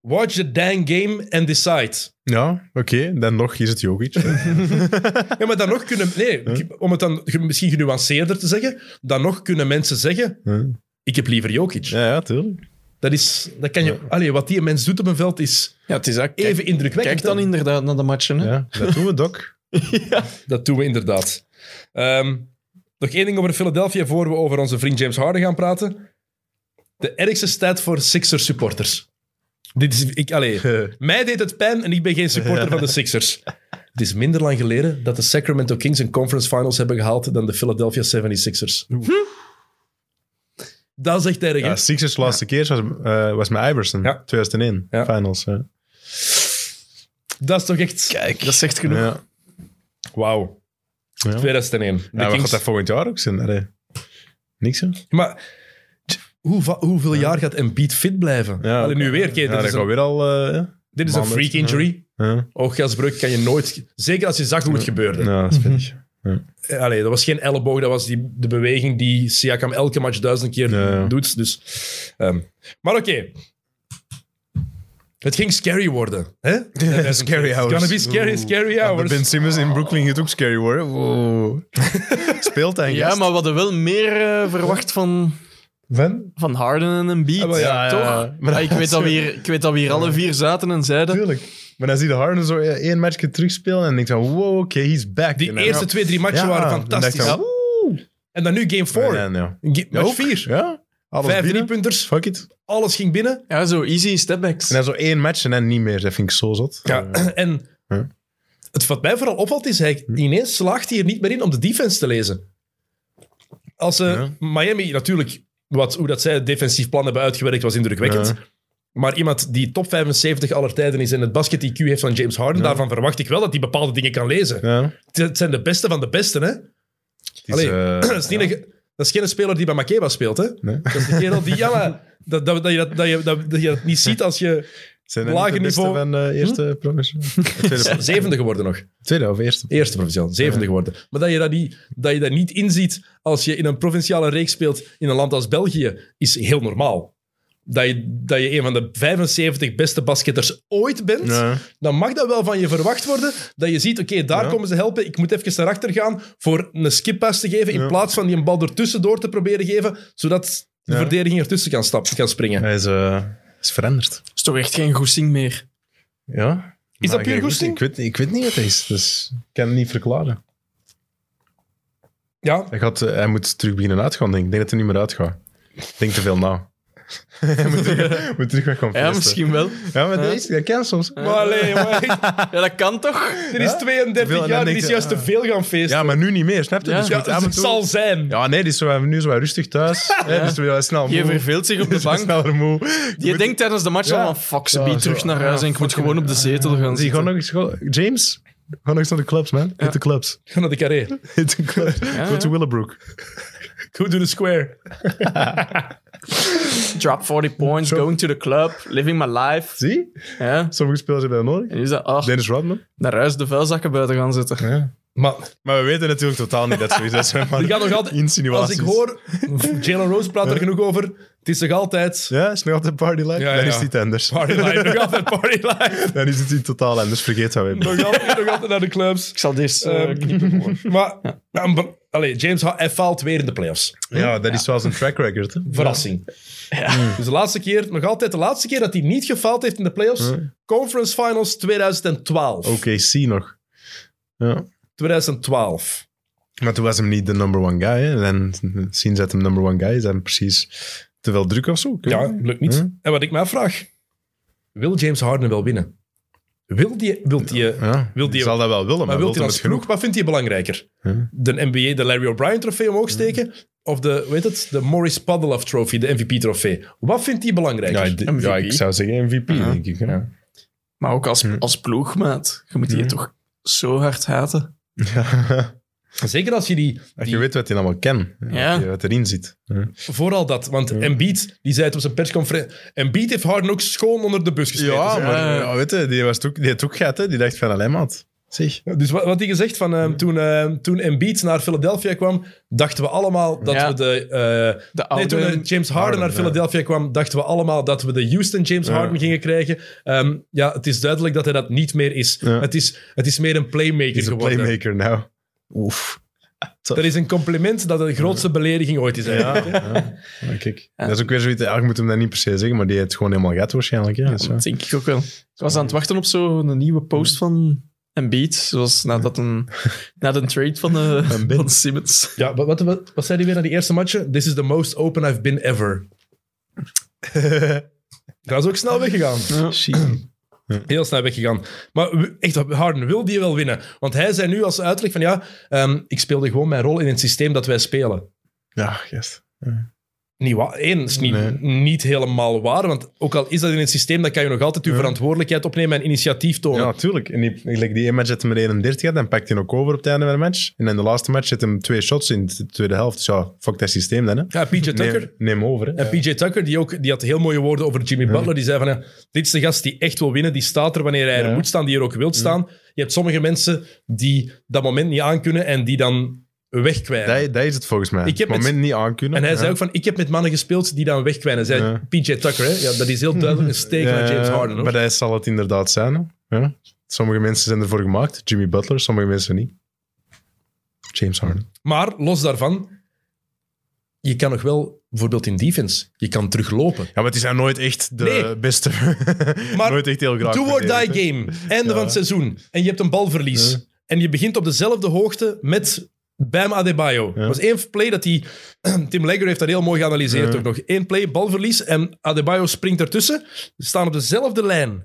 Speaker 1: Watch the dang game and decide.
Speaker 3: Ja, oké. Dan nog is het Jokic.
Speaker 1: Ja, maar dan nog kunnen... Nee, om het dan ge- misschien genuanceerder te zeggen, dan nog kunnen mensen zeggen,
Speaker 3: Hm.
Speaker 1: ik heb liever Jokic.
Speaker 3: ja, ja, tuurlijk.
Speaker 1: Dat is... Dat kan je, allee, wat die mens doet op een veld is
Speaker 2: Ja, het is ook... Kijk,
Speaker 1: even indrukwekkend.
Speaker 2: kijk dan
Speaker 1: hè.
Speaker 2: inderdaad naar de matchen, hè.
Speaker 3: Ja, dat doen we, Doc.
Speaker 1: Dat doen we inderdaad. Ehm, nog één ding over Philadelphia voor we over onze vriend James Harden gaan praten. De ergste stat voor Sixers supporters. Dit is, ik, allee, mij deed het pijn en ik ben geen supporter van de Sixers. Het is minder lang geleden dat de Sacramento Kings een conference finals hebben gehaald dan de Philadelphia 76ers. Hm? Dat is echt erg, hè?
Speaker 3: Ja, Sixers laatste keer was, eh, was met Iverson.
Speaker 1: Ja.
Speaker 3: 2001,
Speaker 1: Ja.
Speaker 3: finals. Ja.
Speaker 1: Dat is toch echt...
Speaker 2: Kijk, dat zegt genoeg.
Speaker 3: Ja.
Speaker 1: Wauw.
Speaker 3: Ja.
Speaker 1: 2001. De
Speaker 3: Ja, wat
Speaker 1: Kings.
Speaker 3: gaat dat volgend jaar ook zijn? Allee. Niks, hè?
Speaker 1: Maar t- hoe, va- hoeveel jaar gaat Embiid fit blijven?
Speaker 3: Ja,
Speaker 1: Allee, nu weer,
Speaker 3: Ja,
Speaker 1: keer.
Speaker 3: dat
Speaker 1: dit is
Speaker 3: gaat
Speaker 1: een
Speaker 3: weer al... eh, ja.
Speaker 1: Dit is een
Speaker 3: Maanden.
Speaker 1: freak injury.
Speaker 3: ja.
Speaker 1: Ooggasbreuk kan je nooit... Zeker als je zag hoe het gebeurde. Mhm.
Speaker 3: Ja, dat is vinnig.
Speaker 1: Eh, Allee, dat was geen elleboog, dat was die, de beweging die Siakam elke match duizend keer
Speaker 3: Ja.
Speaker 1: doet. Dus, ehm, maar oké. Het ging scary worden. Hè?
Speaker 3: Scary hours.
Speaker 1: It's gonna be scary, scary
Speaker 3: Maar
Speaker 1: hours.
Speaker 3: Ben Simmons in Brooklyn gaat ook scary worden. Wow. Speelt hij
Speaker 2: Ja, maar we hadden wel meer eh, verwacht van,
Speaker 3: Van?
Speaker 2: van Harden en een beat.
Speaker 1: maar ja,
Speaker 3: ja,
Speaker 2: toch?
Speaker 3: ja. Ah, Maar
Speaker 2: Ah, ik, weet dat we hier, ik weet dat we hier alle vier zaten en zeiden...
Speaker 3: Tuurlijk. Maar dan zie je Harden zo eh, één matchje terugspelen en denkt van, wow, oké, he's back.
Speaker 1: Die
Speaker 3: En dan-
Speaker 1: eerste twee, drie matchen
Speaker 3: Ja,
Speaker 1: waren
Speaker 3: dan dacht ik
Speaker 1: fantastisch.
Speaker 3: van,
Speaker 1: En dan nu game 4.
Speaker 3: En dan, ja.
Speaker 1: Match
Speaker 3: Ook.
Speaker 1: 4.
Speaker 3: Ja. Alles
Speaker 1: Vijf
Speaker 3: binnen.
Speaker 1: driepunters.
Speaker 3: Fuck it.
Speaker 1: Alles ging binnen.
Speaker 2: Ja, zo easy stepbacks.
Speaker 3: En dan zo één match en dan niet meer. Dat vind ik zo zot. Eh,
Speaker 1: Ja. En
Speaker 3: Ja.
Speaker 1: het wat mij vooral opvalt is, hij ineens slaagt hij er niet meer in om de defense te lezen. als ze
Speaker 3: Ja.
Speaker 1: Miami natuurlijk, wat, hoe dat zij het defensief plan hebben uitgewerkt, was indrukwekkend.
Speaker 3: Ja.
Speaker 1: Maar iemand die top 75 aller tijden is en het basket IQ heeft van James Harden,
Speaker 3: Ja.
Speaker 1: daarvan verwacht ik wel dat hij bepaalde dingen kan lezen.
Speaker 3: Ja.
Speaker 1: Het- Het zijn de beste van de besten, hè?
Speaker 3: Het
Speaker 1: Allee,
Speaker 3: eh,
Speaker 1: dat, is niet
Speaker 3: ja.
Speaker 1: een- dat is geen speler die bij Makeba speelt, hè?
Speaker 3: Nee.
Speaker 1: Dat is de kerel die... Ja, maar dat, dat, dat, je dat, dat, je, dat, dat je dat niet ziet als je...
Speaker 3: Zijn dat niet
Speaker 1: lager
Speaker 3: de beste
Speaker 1: niveau. Hm?
Speaker 3: van eh, eerste professional? Tweede,
Speaker 1: Zevende geworden nog.
Speaker 3: tweede of eerste?
Speaker 1: Eerste provinciaal, zevende geworden. Maar dat je dat, niet, dat je dat niet inziet als je in een provinciale reeks speelt in een land als België, is heel normaal. Dat je, dat je een van de 75 beste basketters ooit bent,
Speaker 3: Ja.
Speaker 1: dan mag dat wel van je verwacht worden. Dat je ziet, oké, daar
Speaker 3: Ja.
Speaker 1: komen ze helpen. Ik moet even naar achter gaan voor een skippas te geven, in
Speaker 3: Ja.
Speaker 1: plaats van die een bal ertussendoor te proberen geven, zodat de
Speaker 3: Ja.
Speaker 1: verdediging ertussen kan, stap, kan springen.
Speaker 3: Hij is, eh, is veranderd.
Speaker 2: is toch echt geen goesting meer.
Speaker 3: Ja.
Speaker 1: Is dat
Speaker 3: Maar
Speaker 1: puur
Speaker 3: ik-
Speaker 1: goesting?
Speaker 3: Ik weet, ik weet niet wat hij is, dus ik kan het niet verklaren.
Speaker 1: Ja,
Speaker 3: Hij, gaat, eh, hij moet terug beginnen uitgaan, denk ik. Ik denk dat hij niet meer uitgaat. Ik denk te veel na. hij moet terug, moet terug weg gaan
Speaker 2: Ja,
Speaker 3: feesten.
Speaker 2: misschien wel.
Speaker 3: Ja, maar dat, is, dat kan soms.
Speaker 1: maar allee, jongen,
Speaker 2: Ja, dat kan toch?
Speaker 1: er is
Speaker 3: Ja? Veel-
Speaker 1: 32
Speaker 3: en
Speaker 1: jaar,
Speaker 3: dan
Speaker 1: die
Speaker 3: denk
Speaker 1: is
Speaker 3: je,
Speaker 1: juist te
Speaker 3: ah.
Speaker 1: veel gaan feesten.
Speaker 3: Ja, maar nu niet meer, snap je?
Speaker 2: Ja.
Speaker 3: Dus je moet
Speaker 1: Ja,
Speaker 3: af en
Speaker 1: het
Speaker 3: toe-
Speaker 1: zal zijn.
Speaker 3: Ja, nee, die is zo, nu is hij rustig thuis. Hè, dus we zijn snel
Speaker 2: Je
Speaker 3: moe.
Speaker 2: verveelt zich op de bank.
Speaker 3: sneller moe.
Speaker 2: Je denkt tijdens de match
Speaker 3: Ja.
Speaker 2: al van fuck, ze
Speaker 3: Ja,
Speaker 2: biedt
Speaker 3: zo,
Speaker 2: terug naar
Speaker 3: ah,
Speaker 2: huis en ik moet
Speaker 3: fucking-
Speaker 2: gewoon op de zetel gaan
Speaker 3: Zie, gewoon
Speaker 2: zitten.
Speaker 3: nog eens, gewoon- James, ga nog eens naar de clubs, man. Hit de clubs.
Speaker 1: Ga naar de carré.
Speaker 3: Hit de clubs. Go
Speaker 2: ja.
Speaker 3: to Willowbrook.
Speaker 1: Go to the square.
Speaker 2: Drop 40 points, going to the club, living my life.
Speaker 3: Zie,
Speaker 2: Ja.
Speaker 3: sommige spelers hebben dat nodig.
Speaker 2: En nu is dat, ah,
Speaker 3: Dennis Rodman.
Speaker 2: naar huis de vuilzakken buiten gaan zitten.
Speaker 1: Maar
Speaker 3: Maar we weten natuurlijk totaal niet dat zoiets is. Dat zijn maar
Speaker 1: er gaat nog altijd... Als
Speaker 3: insinuaties.
Speaker 1: ik hoor... Jalen Rose praat er genoeg over. Het is nog altijd...
Speaker 3: Ja, is nog altijd party life?
Speaker 1: Ja,
Speaker 3: Dan
Speaker 1: ja.
Speaker 3: is het iets anders.
Speaker 1: Party life, nog altijd party life.
Speaker 3: Dan is het iets totaal anders. Vergeet dat weer.
Speaker 1: Nog altijd, nog altijd naar de clubs.
Speaker 2: Ik zal eh, deze
Speaker 1: Ehm, maar... maar een be- Allee, James, Ha- hij faalt weer in de playoffs.
Speaker 3: Ja, dat is wel zijn track record. Hè?
Speaker 1: Verrassing. Dus de laatste keer, nog altijd de laatste keer dat hij niet gefaald heeft in de playoffs, Conference Finals 2012.
Speaker 3: Oké, C nog. Ja.
Speaker 1: 2012.
Speaker 3: Maar toen was hem niet de number one guy. Hè? En sinds dat hem number one guy is, dan precies te veel druk of zo. Ik weet
Speaker 1: Ja,
Speaker 3: het niet.
Speaker 1: lukt niet.
Speaker 3: Huh?
Speaker 1: En wat ik me afvraag, wil James Harden wel winnen? Wil die, wilt die,
Speaker 3: Ja,
Speaker 1: Wil die-
Speaker 3: zal dat wel willen, maar,
Speaker 1: maar wilt hij
Speaker 3: hem
Speaker 1: als
Speaker 3: het genoeg?
Speaker 1: ploeg, wat vindt hij belangrijker?
Speaker 3: Huh?
Speaker 1: De NBA, de Larry O'Brien trofee omhoog steken? Of de, weet het, de Morris Paddelov trophy, de MVP trofee? Wat vindt hij belangrijker?
Speaker 3: Ja, d- ja,
Speaker 2: MVP.
Speaker 3: ik zou zeggen MVP,
Speaker 2: Ja.
Speaker 3: denk ik. hè.
Speaker 1: Ja.
Speaker 2: Maar ook als,
Speaker 3: Hm.
Speaker 2: als ploegmaat. Je moet die
Speaker 3: Hmm.
Speaker 2: toch zo hard haten.
Speaker 3: Ja.
Speaker 1: Zeker als je die...
Speaker 3: Als je
Speaker 1: die-
Speaker 3: weet wat hij allemaal kan.
Speaker 2: Ja.
Speaker 3: Ja. Wat, je, wat erin zit. Ja.
Speaker 1: Vooral dat, want Embiid, die zei het op zijn persconferentie... Embiid heeft Harden ook schoon onder de bus gesmeten. zeg Ah, maar. eh,
Speaker 2: maar-
Speaker 3: ja, Dus, eh, weet je, die, was het ook, die had het ook gehad, hè. die dacht van alleen maar. Zeg.
Speaker 1: Ja, Dus wat, wat hij gezegd van ehm, toen, ehm, toen Embiid naar Philadelphia kwam, dachten we allemaal dat
Speaker 2: Ja.
Speaker 1: we de... eh,
Speaker 2: De
Speaker 1: Nee,
Speaker 2: oude...
Speaker 1: toen eh, James Harden,
Speaker 3: Harden,
Speaker 1: naar
Speaker 3: ja.
Speaker 1: Philadelphia kwam, dachten we allemaal dat we de Houston James
Speaker 3: Ja.
Speaker 1: Harden gingen krijgen. Ehm, ja, het is duidelijk dat hij dat niet meer is.
Speaker 3: Ja.
Speaker 1: Het, is het is meer een playmaker
Speaker 3: He's a
Speaker 1: geworden.
Speaker 3: playmaker now. Oef.
Speaker 1: Dat is een compliment dat de grootste belediging ooit is. eigenlijk.
Speaker 3: Ja. ja. Maar Kijk, dat is ook weer zoiets. Ja, ik moet hem dat niet per se zeggen, maar die heeft het gewoon helemaal gehad waarschijnlijk. Hè. Dat is
Speaker 2: Ja,
Speaker 3: wel-
Speaker 2: dat denk ik ook wel. Ik was aan het wachten op zo'n nieuwe post van Embiid. Zoals nadat een, na de trade van, eh,
Speaker 3: Embiid.
Speaker 2: van Simmons.
Speaker 1: Ja, wat, wat, wat, wat zei hij weer na die eerste matchen? This is the most open I've been ever. Dat is ook snel weggegaan.
Speaker 3: Shit.
Speaker 1: Heel snel weggegaan. Maar w- echt, Harden wil die wel winnen. Want hij zei nu als uitleg van ja, ehm, ik speelde gewoon mijn rol in het systeem dat wij spelen.
Speaker 3: Ja, yes.
Speaker 1: Niet waar. Eén, is niet,
Speaker 3: Nee.
Speaker 1: niet helemaal waar. Want ook al is dat in het systeem, dan kan je nog altijd je
Speaker 3: Ja.
Speaker 1: verantwoordelijkheid opnemen en initiatief tonen.
Speaker 3: Ja, natuurlijk. En die, like die ene match had hij met 31 had, dan pakt hij ook over op het einde van de match. En in de laatste match zet hem twee shots in de tweede helft. Dus ja, fuck dat systeem dan. Hè.
Speaker 1: Ja, PJ Tucker.
Speaker 3: Neem, neem over. Hè.
Speaker 1: En PJ Tucker, die, ook, die had heel mooie woorden over Jimmy Butler. Die zei van, ja, dit is de gast die echt wil winnen. Die staat er wanneer hij er
Speaker 3: Ja.
Speaker 1: moet staan, die er ook wil staan. Je hebt sommige mensen die dat moment niet aankunnen en die dan wegkwijnen.
Speaker 3: Dat, dat is het volgens mij.
Speaker 1: Ik heb
Speaker 3: het moment niet aankunnen.
Speaker 1: En hij
Speaker 3: ja.
Speaker 1: zei ook van, ik heb met mannen gespeeld die dan wegkwijnen. Zei
Speaker 3: Ja.
Speaker 1: PJ Tucker, hè? Ja, dat is heel duidelijk een steek naar James
Speaker 3: Ja,
Speaker 1: Harden. hoor.
Speaker 3: Eh, Maar hij zal het inderdaad zijn. hè. Ja. Sommige mensen zijn ervoor gemaakt. Jimmy Butler, sommige mensen niet. James Harden.
Speaker 1: Maar los daarvan, je kan nog wel, bijvoorbeeld in defense, je kan teruglopen.
Speaker 3: Ja, maar die zijn nooit echt de
Speaker 1: Nee.
Speaker 3: beste.
Speaker 1: Maar
Speaker 3: nooit echt heel graag.
Speaker 1: Do or
Speaker 3: verdedigd, hè.
Speaker 1: die game, einde van het seizoen. En je hebt een balverlies.
Speaker 3: Ja.
Speaker 1: En je begint op dezelfde hoogte met Bam Adebayo. Dat was één play dat hij... Tim Legger heeft dat heel mooi geanalyseerd
Speaker 3: Ja.
Speaker 1: ook nog. Eén play, balverlies en Adebayo springt ertussen. Ze staan op dezelfde lijn.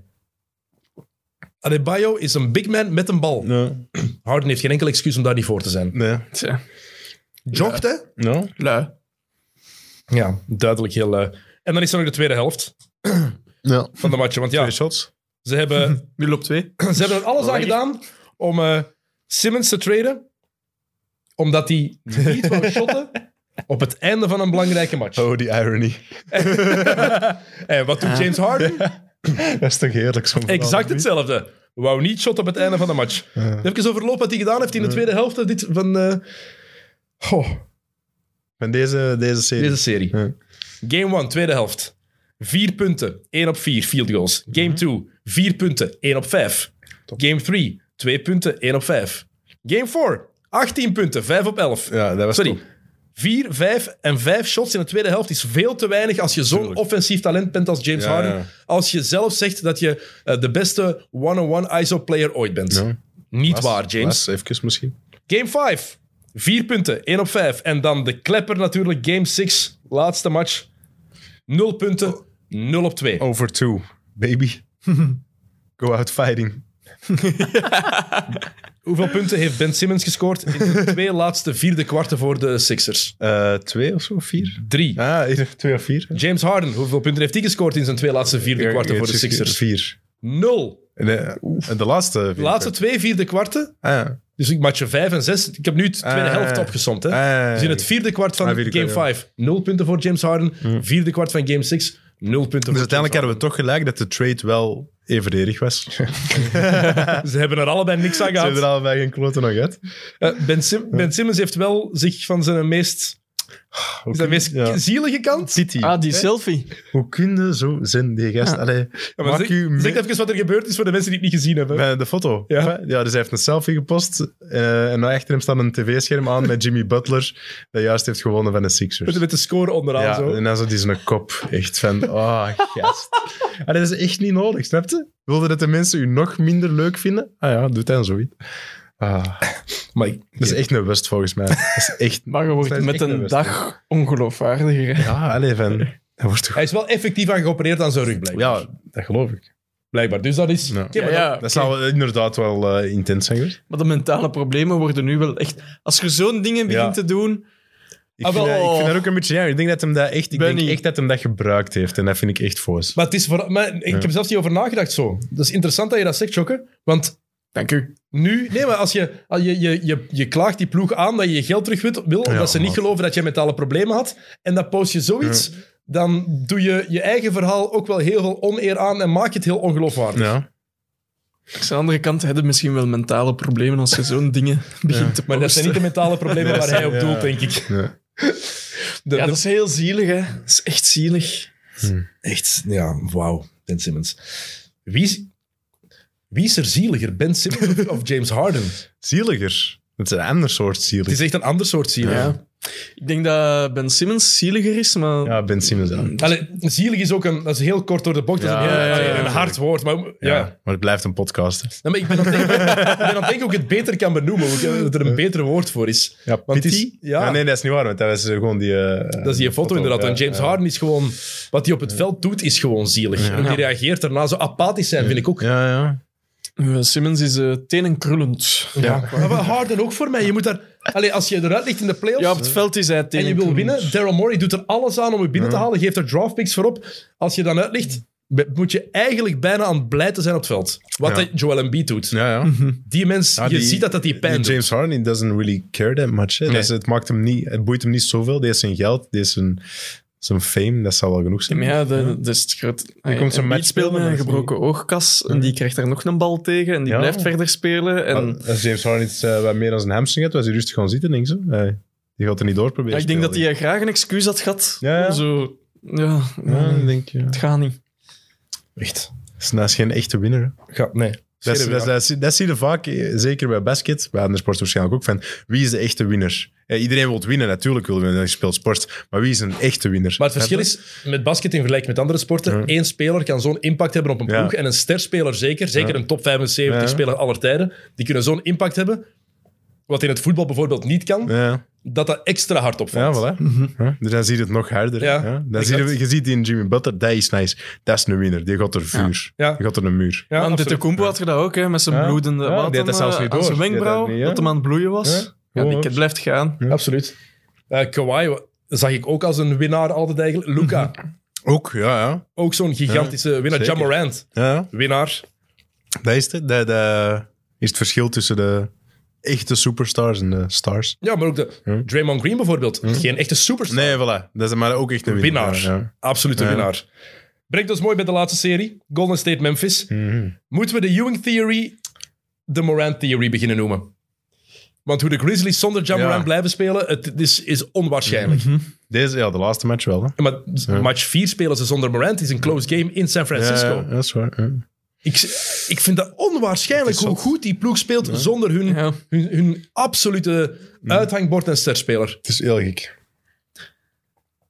Speaker 1: Adebayo is een big man met een bal.
Speaker 3: Nee.
Speaker 1: Harden heeft geen enkel excuus om daar niet voor te zijn.
Speaker 3: nee.
Speaker 2: Tja.
Speaker 1: Jogt, hè?
Speaker 3: No?
Speaker 2: Lui.
Speaker 1: Ja, duidelijk heel lui. En dan is er nog de tweede helft
Speaker 4: Ja.
Speaker 1: van de match. Want ja,
Speaker 3: Twee shots.
Speaker 1: ze hebben
Speaker 2: Nu loopt twee.
Speaker 1: ze hebben er alles aan
Speaker 2: Lekker.
Speaker 1: gedaan om eh, Simmons te traden, omdat hij niet wou shotten op het einde van een belangrijke match.
Speaker 4: Oh, die irony.
Speaker 1: En wat doet James Harden?
Speaker 3: Dat is toch heerlijk zo'n verhaal,
Speaker 1: Exact
Speaker 3: of niet?
Speaker 1: hetzelfde. Wou niet shotten op het einde van de match. Dan heb ik eens overlopen wat hij gedaan heeft in de tweede helft van dit, van eh, goh,
Speaker 3: Van deze, deze serie.
Speaker 1: deze serie.
Speaker 3: Ja.
Speaker 1: Game 1, tweede helft. Vier punten, 1 op 4 field goals.
Speaker 3: Mhm.
Speaker 1: Game 2, vier punten, 1 op 5. Game 3, 2 punten, 1 op 5. Game 4, 18 punten, 5 op 11.
Speaker 3: Ja, dat was
Speaker 1: Sorry.
Speaker 3: top.
Speaker 1: Vier, vijf en vijf shots in de tweede helft is veel te weinig als je zo'n
Speaker 3: Tuurlijk.
Speaker 1: offensief talent bent als James
Speaker 3: Ja,
Speaker 1: Harden.
Speaker 3: ja.
Speaker 1: Als je zelf zegt dat je eh, de beste one-on-one ISO-player ooit bent.
Speaker 3: Ja.
Speaker 1: Niet
Speaker 3: Was-
Speaker 1: waar, James.
Speaker 3: was, even misschien.
Speaker 1: Game 5. Vier punten, 1 op 5. En dan de klepper natuurlijk, game 6. Laatste match. 0 punten, 0 op 2.
Speaker 3: Over two, baby. Go out fighting.
Speaker 1: Hoeveel punten heeft Ben Simmons gescoord in de twee laatste vierde kwarten voor de Sixers?
Speaker 3: Eh, twee of zo, vier?
Speaker 1: 3.
Speaker 3: Ah, hier, twee of vier.
Speaker 1: James Harden, hoeveel punten heeft hij gescoord in zijn twee laatste vierde kwarten voor de Sixers?
Speaker 3: Vier.
Speaker 1: 0.
Speaker 3: En de, en de laatste vier.
Speaker 1: De laatste twee vierde kwarten
Speaker 3: Ah, ja.
Speaker 1: Dus ik match 5 en 6. Ik heb nu het tweede
Speaker 3: Ah,
Speaker 1: helft
Speaker 3: ja.
Speaker 1: opgesomd. Hè?
Speaker 3: Ah, ja, ja, ja.
Speaker 1: Dus in het vierde kwart van
Speaker 3: Ah, vierde
Speaker 1: game
Speaker 3: kwart,
Speaker 1: 5, 0 punten voor James Harden. Vierde kwart van game 6, 0 punten
Speaker 3: Dus
Speaker 1: voor James
Speaker 3: uiteindelijk hadden we toch gelijk dat de trade wel evenredig was. Ze
Speaker 1: Harden. Ze hebben er allebei niks aan gehad.
Speaker 3: hebben er allebei geen kloten nog uit.
Speaker 1: Eh, ben, Sim- ben Simmons heeft wel zich van zijn meest, zijn meest
Speaker 3: ja.
Speaker 1: zielige kant.
Speaker 3: City.
Speaker 2: Ah, die selfie.
Speaker 3: Hoe kun je zo zijn, die gast?
Speaker 2: Ja.
Speaker 3: Allee,
Speaker 1: Ja, maar
Speaker 3: maak
Speaker 1: zeg,
Speaker 3: u
Speaker 1: zeg
Speaker 3: mee-
Speaker 1: even wat er gebeurd is voor de mensen die het niet gezien hebben.
Speaker 3: bij de foto.
Speaker 1: Ja.
Speaker 3: ja, dus hij heeft een selfie gepost. eh, en achter hem staat een tv-scherm aan met Jimmy Butler, dat juist heeft gewonnen van de Sixers.
Speaker 1: Met, met de score onderaan.
Speaker 3: Ja,
Speaker 1: zo.
Speaker 3: en dan zat hij zijn kop. Echt van, oh, gast. Ah, dat is echt niet nodig, snap je? Wilde dat de mensen u nog minder leuk vinden? Ah ja, doet dan zoiets. Ah,
Speaker 1: Maar ik-
Speaker 3: dat is echt een wust volgens mij. Dat is echt...
Speaker 2: Maar je wordt
Speaker 3: Dat is
Speaker 2: met
Speaker 3: echt een
Speaker 2: een
Speaker 3: wedstrijd.
Speaker 2: dag ongeloofwaardiger. hè.
Speaker 3: Ja, allee, van... Dat wordt toch...
Speaker 1: hij is wel effectief aan geopereerd aan zijn rug, blijkbaar.
Speaker 3: Ja, dat geloof ik.
Speaker 1: blijkbaar. Dus dat is...
Speaker 3: Ja.
Speaker 1: Oké, maar
Speaker 2: Ja, ja.
Speaker 1: dat-
Speaker 3: Dat zou inderdaad wel eh, intens zijn geweest.
Speaker 2: Maar de mentale problemen worden nu wel echt... Als je zo'n dingen begint
Speaker 3: Ja.
Speaker 2: te doen...
Speaker 3: Ik,
Speaker 2: Ah,
Speaker 3: vind
Speaker 2: wel.
Speaker 3: dat, ik vind dat ook een beetje jammer. Ik denk dat hem dat echt, ik denk
Speaker 2: Benny.
Speaker 3: echt dat hem dat gebruikt heeft. En dat vind ik echt foos.
Speaker 1: Maar, het is voor, maar ik heb er zelfs niet over nagedacht zo. Dat is interessant dat je dat zegt, Jokke. Want
Speaker 2: Dank u.
Speaker 1: Nu, nee, maar als je, als je, je, je, je klaagt die ploeg aan dat je je geld terug wil, wil omdat
Speaker 3: Ja,
Speaker 1: ze niet
Speaker 3: maar-
Speaker 1: geloven dat je mentale problemen had, en dan post je zoiets, dan doe je je eigen verhaal ook wel heel veel oneer aan en maak je het heel ongeloofwaardig.
Speaker 3: Ja.
Speaker 2: Aan de andere kant hebben misschien wel mentale problemen als je zo'n dingen begint te
Speaker 1: Maar dat zijn niet de mentale problemen
Speaker 3: Nee,
Speaker 1: waar
Speaker 3: dat
Speaker 1: hij
Speaker 3: zijn-
Speaker 1: op doelt,
Speaker 3: ja.
Speaker 1: denk ik.
Speaker 3: Ja.
Speaker 1: De-
Speaker 2: Ja,
Speaker 1: de-
Speaker 2: dat is heel zielig, hè. Dat is echt zielig.
Speaker 1: Echt, ja, wauw, Ben Simmons. Wie is, wie is er zieliger, Ben Simmons of- of James Harden?
Speaker 3: Zieliger. Het is een ander soort
Speaker 1: Het
Speaker 3: zielig.
Speaker 1: is echt een ander soort zielig.
Speaker 2: Ja. Ik denk dat Ben Simmons zieliger is, maar...
Speaker 3: Ja, Ben Simmons. Ja.
Speaker 1: Allee, zielig is ook een, dat is heel kort door de bocht, dat is een,
Speaker 3: Ja,
Speaker 1: heel,
Speaker 2: ja, ja,
Speaker 1: een
Speaker 2: ja.
Speaker 1: hard woord, maar ja.
Speaker 3: Ja, Maar het blijft een podcast. hè.
Speaker 1: Nee, maar ik ben aan het denken- ik ben aan het denken hoe ik het beter kan benoemen. hoe ik- Dat er een beter woord voor is.
Speaker 3: Ja,
Speaker 1: Want het is-
Speaker 3: Pity?
Speaker 1: ja.
Speaker 3: Ah, nee, dat is niet waar, want dat is eh, gewoon die... eh,
Speaker 1: Dat is die foto inderdaad.
Speaker 3: ja,
Speaker 1: En James
Speaker 3: ja.
Speaker 1: Harden is gewoon... Wat hij op het veld doet, is gewoon zielig. En hoe die reageert daarna, zo apathisch zijn, vind ik ook.
Speaker 3: Ja, ja.
Speaker 2: Ben Simmons is eh tenen krullend.
Speaker 1: Ja. Maar wat Harden ook voor mij. Je moet daar... Allee, als je eruit ligt in de playoffs...
Speaker 2: Ja, op het veld is hij tenen
Speaker 1: en je wil winnen, Daryl Morey doet er alles aan om je binnen te halen, geeft er draftpicks voor op. Als je dan uit ligt, be- moet je eigenlijk bijna aan blij te zijn op het veld. Wat
Speaker 3: Ja.
Speaker 1: dat Joel Embiid doet.
Speaker 3: ja, ja.
Speaker 1: Die mens,
Speaker 3: Ja,
Speaker 1: je
Speaker 3: die-
Speaker 1: ziet dat dat die pijn
Speaker 3: Die
Speaker 1: doet.
Speaker 3: James Harden he doesn't really care that much. hè.
Speaker 1: Nee.
Speaker 3: Dat is- het, maakt hem niet, het boeit hem niet zoveel. Deze zijn geld, deze zijn, zijn fame, dat zal wel genoeg zijn.
Speaker 2: Maar ja, dat dat is het groot. Hij
Speaker 3: komt zo'n match
Speaker 2: speelt met
Speaker 3: spelen,
Speaker 2: een
Speaker 3: maar is
Speaker 2: gebroken oogkas en die krijgt daar nog een bal tegen en die
Speaker 3: Ja.
Speaker 2: blijft verder spelen. En
Speaker 3: Maar Als James Harden iets eh, wat meer dan zijn hamstring had, was hij rustig gaan zitten, denk ik. zo. Eh, Die gaat er niet door proberen.
Speaker 2: Ja, ik denk dat hij graag een excuus had gehad.
Speaker 3: Ja, ja.
Speaker 2: om Zo, ja,
Speaker 3: Ja, ik
Speaker 2: nee,
Speaker 3: denk, ja.
Speaker 2: het gaat niet.
Speaker 1: Echt.
Speaker 3: Dat is- Dus Dat is geen echte winnaar. hè.
Speaker 1: Ja, nee.
Speaker 3: Dat, is-
Speaker 1: Scherp,
Speaker 3: dat,
Speaker 1: ja.
Speaker 3: is- dat zie- dat zie je vaak, eh, zeker bij basket, bij andere sporten waarschijnlijk ook, van wie is de echte winnaar? Eh, iedereen wil winnen, natuurlijk wil winnen, je speelt sport, maar wie is een echte winnaar?
Speaker 1: Maar het verschil is, met basket in vergelijking met andere sporten,
Speaker 3: Ja.
Speaker 1: één speler kan zo'n impact hebben op een
Speaker 3: Ja.
Speaker 1: ploeg. En een sterspeler zeker, zeker een top 75
Speaker 3: Ja.
Speaker 1: speler aller tijden, die kunnen zo'n impact hebben, wat in het voetbal bijvoorbeeld niet kan,
Speaker 3: Ja,
Speaker 1: dat dat extra hard
Speaker 3: ja
Speaker 1: opvalt.
Speaker 3: voilà. Ja, dus dan zie je het nog harder.
Speaker 1: Mhm. Ja,
Speaker 3: hè. Dan
Speaker 1: exact.
Speaker 3: zie je, je ziet die in Jimmy Butler, dat is nice. Dat is een winnaar, die gaat er vuur.
Speaker 1: Ja.
Speaker 3: Die gaat er een muur.
Speaker 1: Ja,
Speaker 2: aan
Speaker 1: absoluut.
Speaker 2: de Kumpo had je dat ook, hè, met zijn
Speaker 3: Ja.
Speaker 2: bloedende
Speaker 3: Ja, die had
Speaker 2: water
Speaker 3: dat zelfs
Speaker 2: eh,
Speaker 3: niet
Speaker 2: aan
Speaker 3: door.
Speaker 2: zijn
Speaker 3: Die had dat
Speaker 2: wenkbrauw, dat,
Speaker 3: niet, ja.
Speaker 2: hem aan het bloeien was.
Speaker 3: Ja,
Speaker 2: Ja,
Speaker 3: gewoon
Speaker 2: die
Speaker 3: ook.
Speaker 2: kid blijft gaan.
Speaker 1: Absoluut. Eh, Kawhi wa- zag ik ook als een winnaar altijd eigenlijk. Luca,
Speaker 3: Ook, ja, ja.
Speaker 1: ook zo'n gigantische winnaar.
Speaker 3: Mhm.
Speaker 1: John
Speaker 3: zeker.
Speaker 1: Morant,
Speaker 3: ja, ja.
Speaker 1: winnaar.
Speaker 3: Dat is het. Dat, dat is het verschil tussen de echte superstars en de stars.
Speaker 1: Ja, maar ook de Draymond Green bijvoorbeeld. Geen echte superstar.
Speaker 3: Mhm. Nee, voilà. Dat is maar ook echt een winnaar.
Speaker 1: Winnaar.
Speaker 3: ja.
Speaker 1: Absolute
Speaker 3: Ja.
Speaker 1: winnaar. Brengt ons mooi bij de laatste serie. Golden State Memphis. Moeten we de Ewing Theory de Morant Theory beginnen noemen? Want hoe de Grizzlies zonder Ja
Speaker 3: Ja. Mhm.
Speaker 1: Morant blijven spelen, het is, is onwaarschijnlijk.
Speaker 3: Deze, ja, de laatste match wel. Hè.
Speaker 1: Maar match 4 spelen ze zonder Morant is een close game in San Francisco.
Speaker 3: Ja, ja, dat is waar. ja.
Speaker 1: Ik, ik vind dat onwaarschijnlijk
Speaker 3: Het is
Speaker 1: hoe
Speaker 3: zot.
Speaker 1: goed die ploeg speelt zonder hun,
Speaker 2: Ja.
Speaker 1: hun, hun absolute uithangbord en sterspeler.
Speaker 3: Het is heel gek.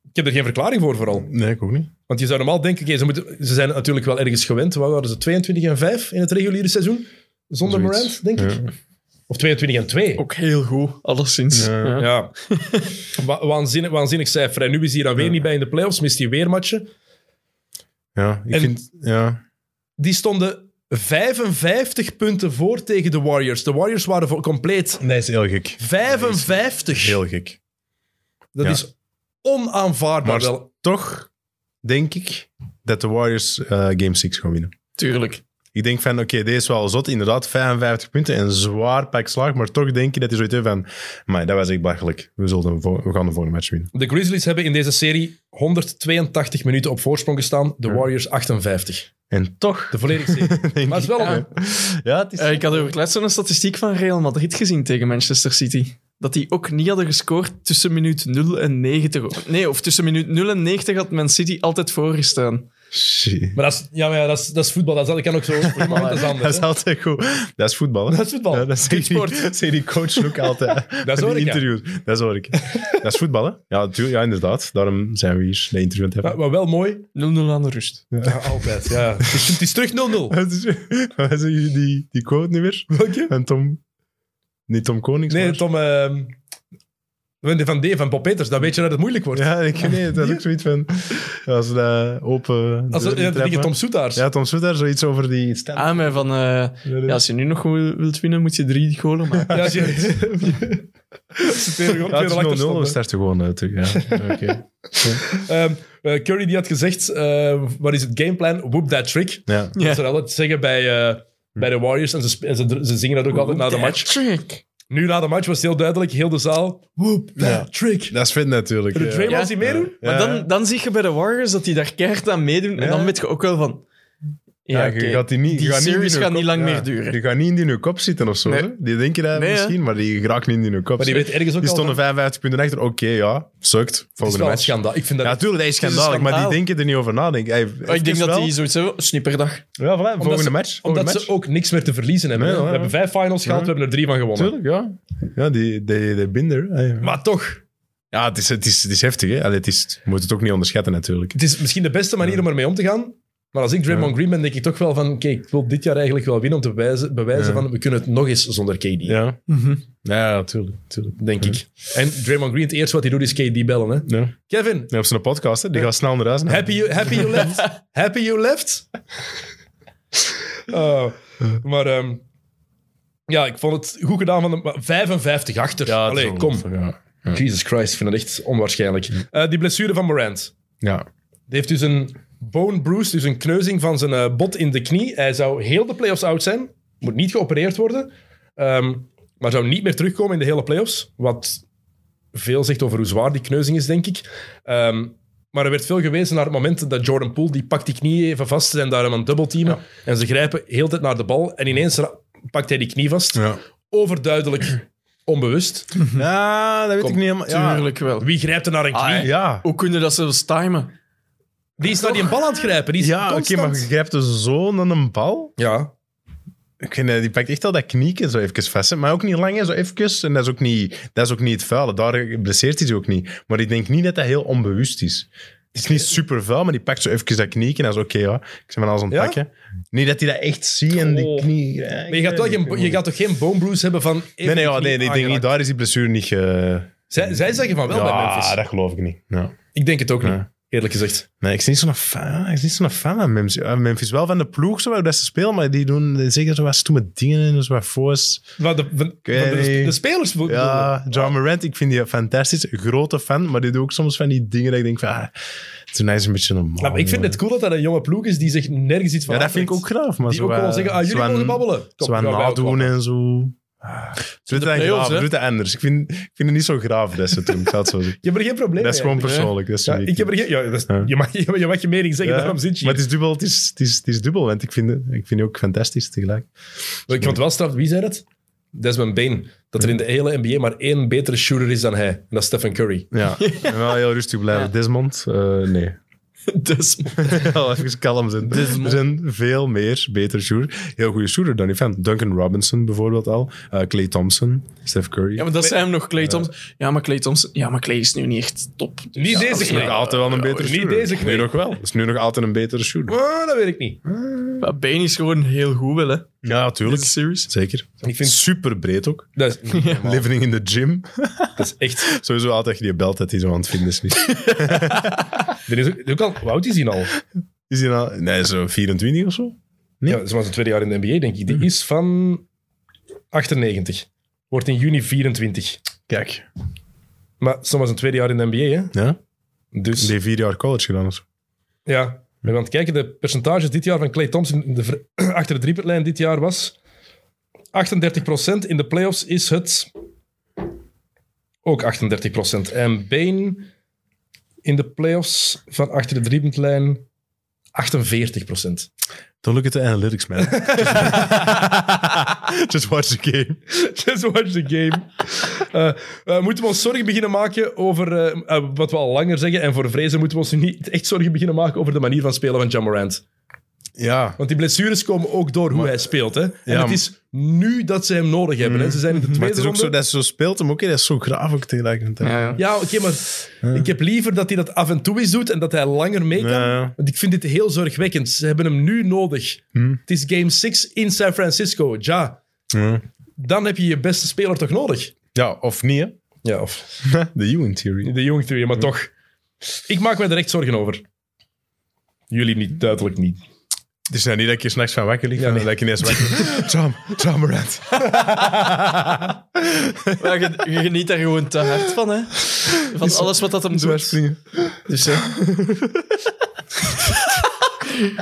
Speaker 1: Ik heb er geen verklaring voor vooral.
Speaker 3: Nee, ik ook niet.
Speaker 1: Want je zou normaal denken, oké, ze, moeten- ze zijn natuurlijk wel ergens gewend. Wat waren ze, 22 en 5 in het reguliere seizoen? Zonder
Speaker 3: Zoiets.
Speaker 1: Morant, denk ik. Of 22 en 2.
Speaker 2: Ook heel goed, alleszins.
Speaker 3: Ja.
Speaker 2: Ja.
Speaker 1: Ja. Wa- waanzinnig, waanzinnig cijfer. En nu is hij dan weer niet bij in de playoffs, mist hij weer matchen.
Speaker 3: Ja, ik
Speaker 1: En-
Speaker 3: vind... Ja,
Speaker 1: Die stonden 55 punten voor tegen de Warriors. De Warriors waren voor compleet
Speaker 3: dat is heel gek.
Speaker 1: 55.
Speaker 3: Heel gek.
Speaker 1: dat
Speaker 3: ja.
Speaker 1: is onaanvaardbaar.
Speaker 3: Maar
Speaker 1: wel.
Speaker 3: toch denk ik dat de Warriors eh, Game 6 gaan winnen.
Speaker 2: Tuurlijk.
Speaker 3: Ik denk van, oké, deze is wel zot. Inderdaad, 55 punten en zwaar pak slaag. Maar toch denk je dat hij zoiets heeft van... Maar dat was echt belachelijk. We, zullen de vol- we gaan de volgende match winnen.
Speaker 1: De Grizzlies hebben in deze serie 182 minuten op voorsprong gestaan. De Warriors 58.
Speaker 3: En toch...
Speaker 1: De volledige serie.
Speaker 3: denk
Speaker 1: maar het is
Speaker 3: ik-
Speaker 1: wel een,
Speaker 2: Ja.
Speaker 3: Ja, het is...
Speaker 2: Eh, ik had over het laatst een statistiek van Real Madrid gezien tegen Manchester City. Dat die ook niet hadden gescoord tussen minuut 0 en 90. Nee, of tussen minuut 0 en 90 had Man City altijd voorgestaan.
Speaker 3: Shit.
Speaker 1: Maar dat is, ja, maar ja, dat is, dat is voetbal. Dat, is- dat kan ook zo. Dat is
Speaker 3: Dat
Speaker 1: anders.
Speaker 3: is
Speaker 1: hè.
Speaker 3: altijd goed. Dat is voetbal. hè?
Speaker 1: Dat is voetbal.
Speaker 3: Ja, dat zegt die,
Speaker 1: Kutsport.
Speaker 3: zegt die coach ook altijd.
Speaker 1: Dat is
Speaker 3: Die
Speaker 1: hoor ik, ja.
Speaker 3: interviews. Dat hoor ik. Dat is voetbal, hè? Ja, natuurlijk, ja, inderdaad. Daarom zijn we hier de interview aan het
Speaker 1: Maar,
Speaker 3: hebben.
Speaker 1: maar wel mooi.
Speaker 2: 0-0 aan de rust.
Speaker 1: Ja, altijd. Ja. Het is- Het is terug 0-0.
Speaker 3: Wat is- Dus, Wat is die- die, die quote nu weer?
Speaker 1: Welke?
Speaker 3: En Tom... Niet Tom Konings,
Speaker 1: Nee,
Speaker 3: maar-
Speaker 1: Tom. ehm, van de Van D, van Bob Peters, dan weet je dat het moeilijk wordt.
Speaker 3: Ja, ik nee, dat is ook zoiets van... Als we dat open...
Speaker 1: Als we,
Speaker 3: deur
Speaker 1: ja,
Speaker 3: trappen.
Speaker 1: tegen Tom Ah, Soetaars.
Speaker 3: Ja, Tom Soet daar zoiets over die... stand-
Speaker 2: Aan mij van... eh, ja, als je nu nog wil- wilt winnen, moet je drie golen maken.
Speaker 1: Ja, zie je het. Ze twee- twee
Speaker 3: Ja, het is
Speaker 1: achter
Speaker 3: 0-0, we
Speaker 1: stonden.
Speaker 3: starten gewoon uit. Ja, oké.
Speaker 1: Ehm, eh, Curry die had gezegd, eh, wat is het gameplan? Whoop that trick.
Speaker 3: ja.
Speaker 2: Ja.
Speaker 1: Dat ze dat altijd zeggen bij, eh, bij de Warriors. En ze, sp- en ze, ze zingen dat ook altijd na de match.
Speaker 2: Trick.
Speaker 1: Nu na de match was het heel duidelijk, heel de zaal. Whoop that
Speaker 3: Ja.
Speaker 1: trick.
Speaker 3: Dat is fit natuurlijk.
Speaker 1: De
Speaker 3: ja.
Speaker 1: Draymond
Speaker 2: Ja.
Speaker 1: die meedoen?
Speaker 3: Ja.
Speaker 2: Maar dan, dan zie je bij de Warriors dat die daar keihard aan meedoen. En
Speaker 3: Eh. Ja.
Speaker 2: dan weet je ook wel van... Ja,
Speaker 3: Ja,
Speaker 2: oké,
Speaker 3: je gaat die niet, je gaat niet in
Speaker 2: series
Speaker 3: hun
Speaker 2: gaat
Speaker 3: kop-
Speaker 2: niet lang
Speaker 3: ja.
Speaker 2: meer duren.
Speaker 3: Je gaat niet in hun kop zitten of zo.
Speaker 2: Nee.
Speaker 3: hè? Die denken dat
Speaker 2: Nee, hè?
Speaker 3: misschien, maar die raakt niet in hun kop.
Speaker 1: Maar die weet ergens ook
Speaker 3: Die
Speaker 1: al
Speaker 3: stonden
Speaker 1: van-
Speaker 3: 55 punten achter. Oké, ja, sukt.
Speaker 1: Dat is
Speaker 3: Volgende
Speaker 1: wel een
Speaker 3: match.
Speaker 1: schandaal. Ik vind dat...
Speaker 3: Ja, natuurlijk, dat is
Speaker 2: is een
Speaker 3: schandalig, maar die
Speaker 2: schandaal.
Speaker 3: denken er niet over na. Denk, hey,
Speaker 2: Oh, ik denk
Speaker 3: even
Speaker 2: dat
Speaker 3: wel.
Speaker 2: die zoiets hebben. Snipperdag.
Speaker 3: Ja, voilà, volgende
Speaker 1: ze-
Speaker 3: match.
Speaker 1: Omdat
Speaker 3: volgende
Speaker 1: ze ook niks meer te verliezen hebben.
Speaker 3: Nee,
Speaker 1: hè.
Speaker 3: ja,
Speaker 1: we
Speaker 3: ja.
Speaker 1: hebben vijf finals gehad, we
Speaker 3: Ja.
Speaker 1: hebben er drie van gewonnen.
Speaker 3: Natuurlijk, ja. Ja, die, die, die binder. hey.
Speaker 1: Maar toch,
Speaker 3: Ja, het is, het is, het is heftig, hè. Allee, het is, je moet het ook niet onderschatten, natuurlijk.
Speaker 1: het is misschien de beste manier om ermee om te gaan. Maar als ik Draymond Green ben, denk ik toch wel van... Oké, ik wil dit jaar eigenlijk wel winnen om te bewijzen, bewijzen
Speaker 3: Ja.
Speaker 1: van... We kunnen het nog eens zonder KD.
Speaker 3: Ja, ja natuurlijk. natuurlijk
Speaker 1: Denk ik. En Draymond Green, het eerste wat hij doet, is KD bellen. Hè?
Speaker 3: Ja.
Speaker 1: Kevin,
Speaker 3: Ja, op zijn podcast, hè. die gaat snel naar huis. hè.
Speaker 1: happy you, happy you left. happy you left. Oh, maar... ehm, ja, ik vond het goed gedaan van de... maar 55 achter.
Speaker 3: Ja, het is
Speaker 1: Allee, kom.
Speaker 3: ongelooflijk, Ja.
Speaker 1: Jesus Christ, ik vind het echt onwaarschijnlijk. Eh, die blessure van Morant.
Speaker 3: ja.
Speaker 1: Die heeft dus een bone bruise, dus een kneuzing van zijn eh, bot in de knie. Hij zou heel de playoffs out zijn. Moet niet geopereerd worden. Ehm, maar zou niet meer terugkomen in de hele playoffs. Wat veel zegt over hoe zwaar die kneuzing is, denk ik. Ehm, maar er werd veel gewezen naar het moment dat Jordan Poole... die pakt die knie even vast, ze zijn daar hem aan het dubbelteamen. En ze grijpen heel de tijd naar de bal. En ineens ra- pakt hij die knie vast.
Speaker 3: Ja.
Speaker 1: Overduidelijk onbewust.
Speaker 3: Ja, dat weet ik niet helemaal. Ja.
Speaker 2: Tuurlijk wel.
Speaker 1: Wie grijpt er naar een knie?
Speaker 2: Ah,
Speaker 3: Ja.
Speaker 2: Hoe kunnen dat zelfs timen?
Speaker 1: Die is naar die bal aan het grijpen. Die is
Speaker 3: Ja, oké,
Speaker 1: constant.
Speaker 3: maar je grijpt dus zo naar een bal.
Speaker 1: Ja,
Speaker 3: Ik vind, eh, die pakt echt al dat knieken zo even vast. hè. Maar ook niet lang, hè, zo even. En dat is ook niet, dat is ook niet het vuile. Daar blesseert hij ze ook niet. Maar ik denk niet dat dat heel onbewust is. Het is niet super vuil, maar die pakt zo even dat knieken. En dat is oké, ja. Ik ben van alles aan het
Speaker 1: Ja?
Speaker 3: pakken. Niet dat hij dat echt ziet en die
Speaker 1: Oh.
Speaker 3: knie...
Speaker 1: Maar je gaat, toch geen, je gaat toch geen bone bruise hebben van...
Speaker 3: Nee, nee, ja, nee, nee, ik denk niet, daar is die blessure niet... eh,
Speaker 1: Zij, zij zeggen van wel bij
Speaker 3: ja,
Speaker 1: Memphis.
Speaker 3: dat geloof ik niet. Ja.
Speaker 1: Ik denk het ook niet.
Speaker 3: Ja.
Speaker 1: Eerlijk gezegd.
Speaker 3: Nee, ik ben niet zo'n fan, ik ben niet zo'n fan van Memphis. Ja, Memphis wel van de ploeg, zo, wel, dat ze spelen, maar die doen zeker zo wat stomme dingen in, zo wat foes.
Speaker 1: Maar de, van- van
Speaker 3: weet
Speaker 1: de,
Speaker 3: niet.
Speaker 1: de spelers. bedoel-
Speaker 3: Ja, John Morant, ik vind die fantastisch. Grote fan, maar die doet ook soms van die dingen dat ik denk van... Ah, toen is een beetje normaal.
Speaker 1: Ja, Nou, maar ik vind het cool dat dat een jonge ploeg is die zich nergens iets van
Speaker 3: Ja, dat vind ik ook
Speaker 1: aantrekt.
Speaker 3: graag. Maar
Speaker 1: Die
Speaker 3: zo,
Speaker 1: ook gewoon
Speaker 3: eh,
Speaker 1: zeggen, ah, jullie
Speaker 3: zo aan-
Speaker 1: mogen babbelen. Kom,
Speaker 3: Zo aan
Speaker 1: gaan wij ook
Speaker 3: nadoen
Speaker 1: babbelen.
Speaker 3: en zo. Ah, Doe het,
Speaker 2: play-offs,
Speaker 3: graaf,
Speaker 2: hè?
Speaker 3: doe het anders. Ik vind, ik vind het niet zo graaf, dat ze doen. Ik zal het zo zeggen.
Speaker 1: Je hebt er geen probleem
Speaker 3: Dat is
Speaker 1: mee
Speaker 3: gewoon
Speaker 1: eigenlijk.
Speaker 3: persoonlijk. Dat is
Speaker 1: Ja,
Speaker 3: uniek.
Speaker 1: ik heb er geen... Ja, dat is-
Speaker 3: Ja.
Speaker 1: Je, mag, je, mag je mening zeggen,
Speaker 3: Ja.
Speaker 1: daarom zit je
Speaker 3: Maar
Speaker 1: hier.
Speaker 3: het is dubbel, het is, het is, het is dubbel want ik vind, het- ik vind die ook fantastisch tegelijk.
Speaker 1: Ik vond het wel straf, wie zei dat? Desmond Bain. Dat er in de hele NBA maar één betere shooter is dan hij. En dat is Stephen Curry.
Speaker 3: Ja, en wel heel rustig blijven. Desmond, eh, nee. Dus,
Speaker 2: Desmond.
Speaker 3: Wel even kalm zijn. Er zijn veel meer betere shooters. Heel goede shooter dan die fan. Duncan Robinson bijvoorbeeld al. eh Clay Thompson. Steph Curry.
Speaker 2: Ja, maar dat zijn hem nog, Clay Thompson. Ja, maar Clay Thompson... Ja, maar Clay is nu niet echt top.
Speaker 1: Niet
Speaker 2: ja,
Speaker 1: deze
Speaker 3: dat is nog
Speaker 1: Clay.
Speaker 3: altijd wel een betere
Speaker 1: niet
Speaker 3: shooter.
Speaker 1: deze Clay.
Speaker 3: Nu nog wel. Dat is nu nog altijd een betere shooter.
Speaker 1: Ah, dat weet ik niet.
Speaker 2: Maar Bane is gewoon heel goed wel, hè.
Speaker 3: Ja,
Speaker 2: Deze
Speaker 3: tuurlijk.
Speaker 2: series.
Speaker 3: Zeker.
Speaker 1: Ik vind-
Speaker 3: Super breed ook.
Speaker 1: Dat is,
Speaker 3: Living in the gym.
Speaker 1: dat is echt...
Speaker 3: Sowieso altijd die belt dat hij zo aan het vinden is. niet.
Speaker 1: Er is ook, ook al, hoe oud is nou? hij al?
Speaker 3: Is hij nou... Nee, zo 24 of zo. Nee.
Speaker 1: Ja, ze was zijn tweede jaar in de NBA, denk ik. Die is van 98. Wordt in juni 24.
Speaker 3: Kijk.
Speaker 1: Maar ze was een tweede jaar in de NBA, hè.
Speaker 3: Ja.
Speaker 1: Dus...
Speaker 3: Die heeft vier jaar college gedaan of zo.
Speaker 1: Ja, we gaan kijken. De percentage dit jaar van Clay Thompson in de ver- achter de driepuntlijn dit jaar was 38%. In de playoffs is het ook 38%. En Bane in de playoffs van achter de driepuntlijn 48%.
Speaker 3: Don't look at the analytics, man. Just watch the game.
Speaker 1: Just watch the game. Eh, eh, moeten we ons zorgen beginnen maken over eh, eh, wat we al langer zeggen? En voor vrezen moeten we ons nu niet echt zorgen beginnen maken over de manier van spelen van John Morant.
Speaker 3: Ja.
Speaker 1: Want die blessures komen ook door hoe hij speelt. Hè? En
Speaker 3: Ja, Mm.
Speaker 1: het is nu dat ze hem nodig hebben. Hè? Ze zijn in de
Speaker 3: Maar
Speaker 1: tweede
Speaker 3: het is ook
Speaker 1: ronde.
Speaker 3: zo dat ze zo speelt hem ook. hè. Dat is zo graaf ook tegelijkertijd.
Speaker 2: Ja, ja.
Speaker 1: Ja, oké, maar ik heb liever dat hij dat af en toe eens doet en dat hij langer mee kan.
Speaker 3: Ja.
Speaker 1: Want ik vind dit heel zorgwekkend. Ze hebben hem nu nodig.
Speaker 3: Hm.
Speaker 1: Het is game 6 in San Francisco. Ja,
Speaker 3: Ja.
Speaker 1: dan heb je je beste speler toch nodig?
Speaker 3: Ja, of niet, hè?
Speaker 1: Ja, of
Speaker 3: De Ewan Theory.
Speaker 1: de jong theory, maar toch. Ik maak me er echt zorgen over. Jullie niet, duidelijk niet.
Speaker 3: Het is nou niet dat ik hier s'nachts van wakker lig,
Speaker 1: Ja, nee.
Speaker 3: maar dat ik ineens wakker lig. Tom, Tom Morant.
Speaker 2: Maar je, je geniet daar gewoon te hard van, hè. Van alles wat dat hem doet.
Speaker 3: springen.
Speaker 2: Dus, hè.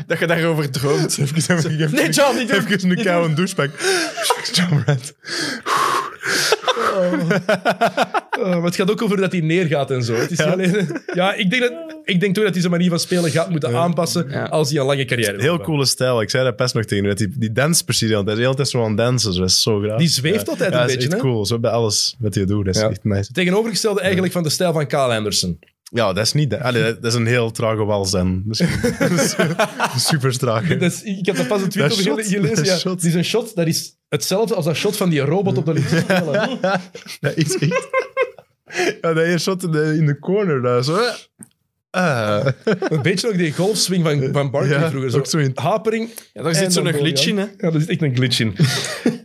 Speaker 2: dat je daarover droomt.
Speaker 3: Even, even, even,
Speaker 2: Nee, John, niet doen.
Speaker 3: even een
Speaker 2: Niet
Speaker 3: koude douchepak. John Morant.
Speaker 1: Eh, maar het gaat ook over dat hij neergaat en zo. Het is ja. alleen, ja, ik, denk dat, ik denk toch dat hij zijn manier van spelen gaat moeten aanpassen
Speaker 2: Ja.
Speaker 1: als hij een lange carrière wil
Speaker 3: Heel
Speaker 1: hebben.
Speaker 3: coole stijl. Ik zei dat best nog tegen u, dat Die, die danst precies heel. Hij is de hele tijd zo aan het dansen. zo. Dat is zo graag.
Speaker 1: Die zweeft altijd een
Speaker 3: dat is
Speaker 1: beetje,
Speaker 3: echt
Speaker 1: hè?
Speaker 3: cool. Zo bij alles wat je doet. Dat is
Speaker 1: Ja.
Speaker 3: echt nice.
Speaker 1: Tegenovergestelde eigenlijk van de stijl van Kyle Anderson.
Speaker 3: Ja, dat is niet... Allee, dat dat is een heel trage wals dan. Dat is- dat is Super traag. hè.
Speaker 1: Dat is- ik heb daar pas een tweet
Speaker 3: Dat
Speaker 1: over
Speaker 3: shot,
Speaker 1: gele- gelezen.
Speaker 3: dat
Speaker 1: Ja.
Speaker 3: shot.
Speaker 1: Die is een shot, dat is hetzelfde als dat shot van die robot op de linkse spelen.
Speaker 3: Dat is echt... Ja, dat eerste shot in de, in de corner daar. Zo, hè. Ah.
Speaker 1: Een beetje ook die golfswing van, van Barkley
Speaker 3: Ja,
Speaker 1: vroeger. Zo.
Speaker 3: ook zo in-
Speaker 1: Hapering.
Speaker 2: Ja, daar
Speaker 1: en
Speaker 2: zit
Speaker 1: dan
Speaker 2: zo'n
Speaker 1: goal,
Speaker 2: glitch
Speaker 1: ja.
Speaker 2: in, hè.
Speaker 1: Ja, daar zit echt een glitch in.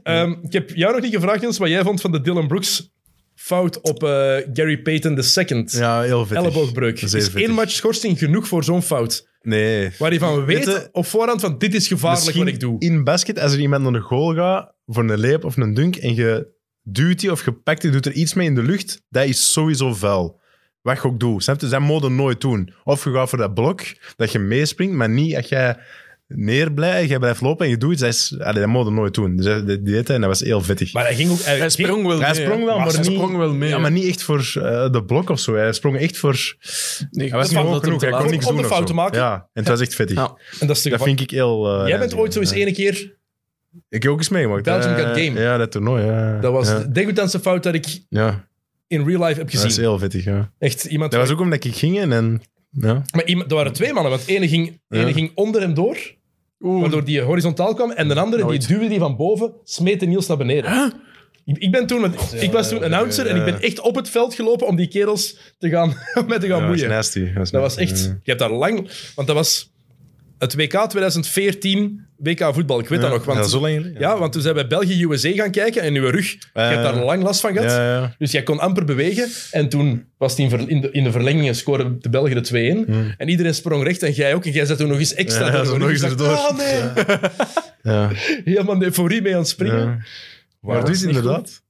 Speaker 1: Ehm, ik heb jou nog niet gevraagd, Jens, wat jij vond van de Dylan Brooks fout op eh, Gary Payton II.
Speaker 3: Ja, heel vettig.
Speaker 1: Elleboogbreuk.
Speaker 3: Zeer
Speaker 1: Is één
Speaker 3: vettig.
Speaker 1: match schorsing genoeg voor zo'n fout?
Speaker 3: Nee.
Speaker 1: Waar je van weet
Speaker 3: Weet je,
Speaker 1: op voorhand van dit is gevaarlijk
Speaker 3: Misschien
Speaker 1: wat ik doe.
Speaker 3: in basket, als er iemand naar de goal gaat voor een leep of een dunk en je duwt die of je pakt die, doet er iets mee in de lucht, dat is sowieso vuil. Wat je ook doet. Snap je? Dat moet je nooit doen. Of je gaat voor dat blok, dat je meespringt, maar niet als jij neerblijft, jij blijft lopen en je doet iets, dat, is, allee, dat moet je nooit doen. Dus dat, dat, die deed hij en dat was heel vettig.
Speaker 1: Maar hij ging ook... Hij,
Speaker 2: Hij
Speaker 1: ging-
Speaker 2: sprong wel mee.
Speaker 3: hij
Speaker 2: hè.
Speaker 3: sprong wel, maar,
Speaker 2: hij
Speaker 3: niet,
Speaker 2: sprong wel mee.
Speaker 3: ja, maar niet echt voor eh, de blok of zo. Hij sprong echt voor...
Speaker 2: Nee,
Speaker 3: Hij was
Speaker 2: dat dat
Speaker 3: niet hoog
Speaker 2: hem
Speaker 3: genoeg,
Speaker 2: te
Speaker 3: hij
Speaker 2: laat
Speaker 3: kon
Speaker 1: om
Speaker 3: niks
Speaker 1: de
Speaker 3: doen. of
Speaker 1: fout
Speaker 3: zo.
Speaker 1: te maken.
Speaker 3: Ja, en het was echt vettig.
Speaker 2: Ja.
Speaker 1: En dat is de
Speaker 3: Dat vind ik heel... eh,
Speaker 1: Jij bent
Speaker 3: ja,
Speaker 1: ooit zo eens
Speaker 3: ja.
Speaker 1: ene keer...
Speaker 3: Ik heb ook eens meegemaakt.
Speaker 1: Belgium
Speaker 3: Eh,
Speaker 1: Got Game.
Speaker 3: Ja, dat toernooi. Ja.
Speaker 1: Dat was
Speaker 3: ja.
Speaker 1: de degoutanste fout dat ik
Speaker 3: ja.
Speaker 1: in real life heb
Speaker 3: Dat is
Speaker 1: gezien.
Speaker 3: heel vettig, ja.
Speaker 1: Echt, iemand...
Speaker 3: Dat was ook omdat ik ging in en... Ja.
Speaker 1: Maar iemand, er waren twee mannen, want ene ging, ene
Speaker 3: Ja.
Speaker 1: ging onder hem door,
Speaker 2: Oeh.
Speaker 1: waardoor die horizontaal kwam, en de andere,
Speaker 2: Nooit.
Speaker 1: die duwde die van boven, smeet de Niels naar beneden. Ik, ik ben toen, met- ik was toen announcer en ik ben echt op het veld gelopen om die kerels te gaan, mee te gaan
Speaker 3: Dat was
Speaker 1: moeien.
Speaker 3: nasty. Mm.
Speaker 1: Dat was echt...
Speaker 3: Ja.
Speaker 1: Je hebt daar lang... Want dat was... Het WK 2014 WK voetbal, ik weet dat nog. Want,
Speaker 3: ja,
Speaker 1: ja,
Speaker 3: zo lang geleden.
Speaker 1: want toen zijn we België-USA gaan kijken en uw rug, je hebt daar lang last van gehad.
Speaker 3: Ja, ja.
Speaker 1: Dus jij kon amper bewegen. En toen was het in, ver- in de, in de verlengingen scoren de Belgen de 2-1. En iedereen sprong recht en jij ook. En jij zat toen nog eens extra
Speaker 3: Mm. Ja,
Speaker 1: door
Speaker 3: zo
Speaker 1: de
Speaker 3: nog
Speaker 1: rug.
Speaker 3: eens
Speaker 1: Ik dacht,
Speaker 3: erdoor.
Speaker 1: "Ah, nee.
Speaker 3: Ja.
Speaker 1: Helemaal de euforie mee aan het springen.
Speaker 3: Ja. Maar
Speaker 1: dat
Speaker 3: dus
Speaker 1: is niet
Speaker 3: inderdaad,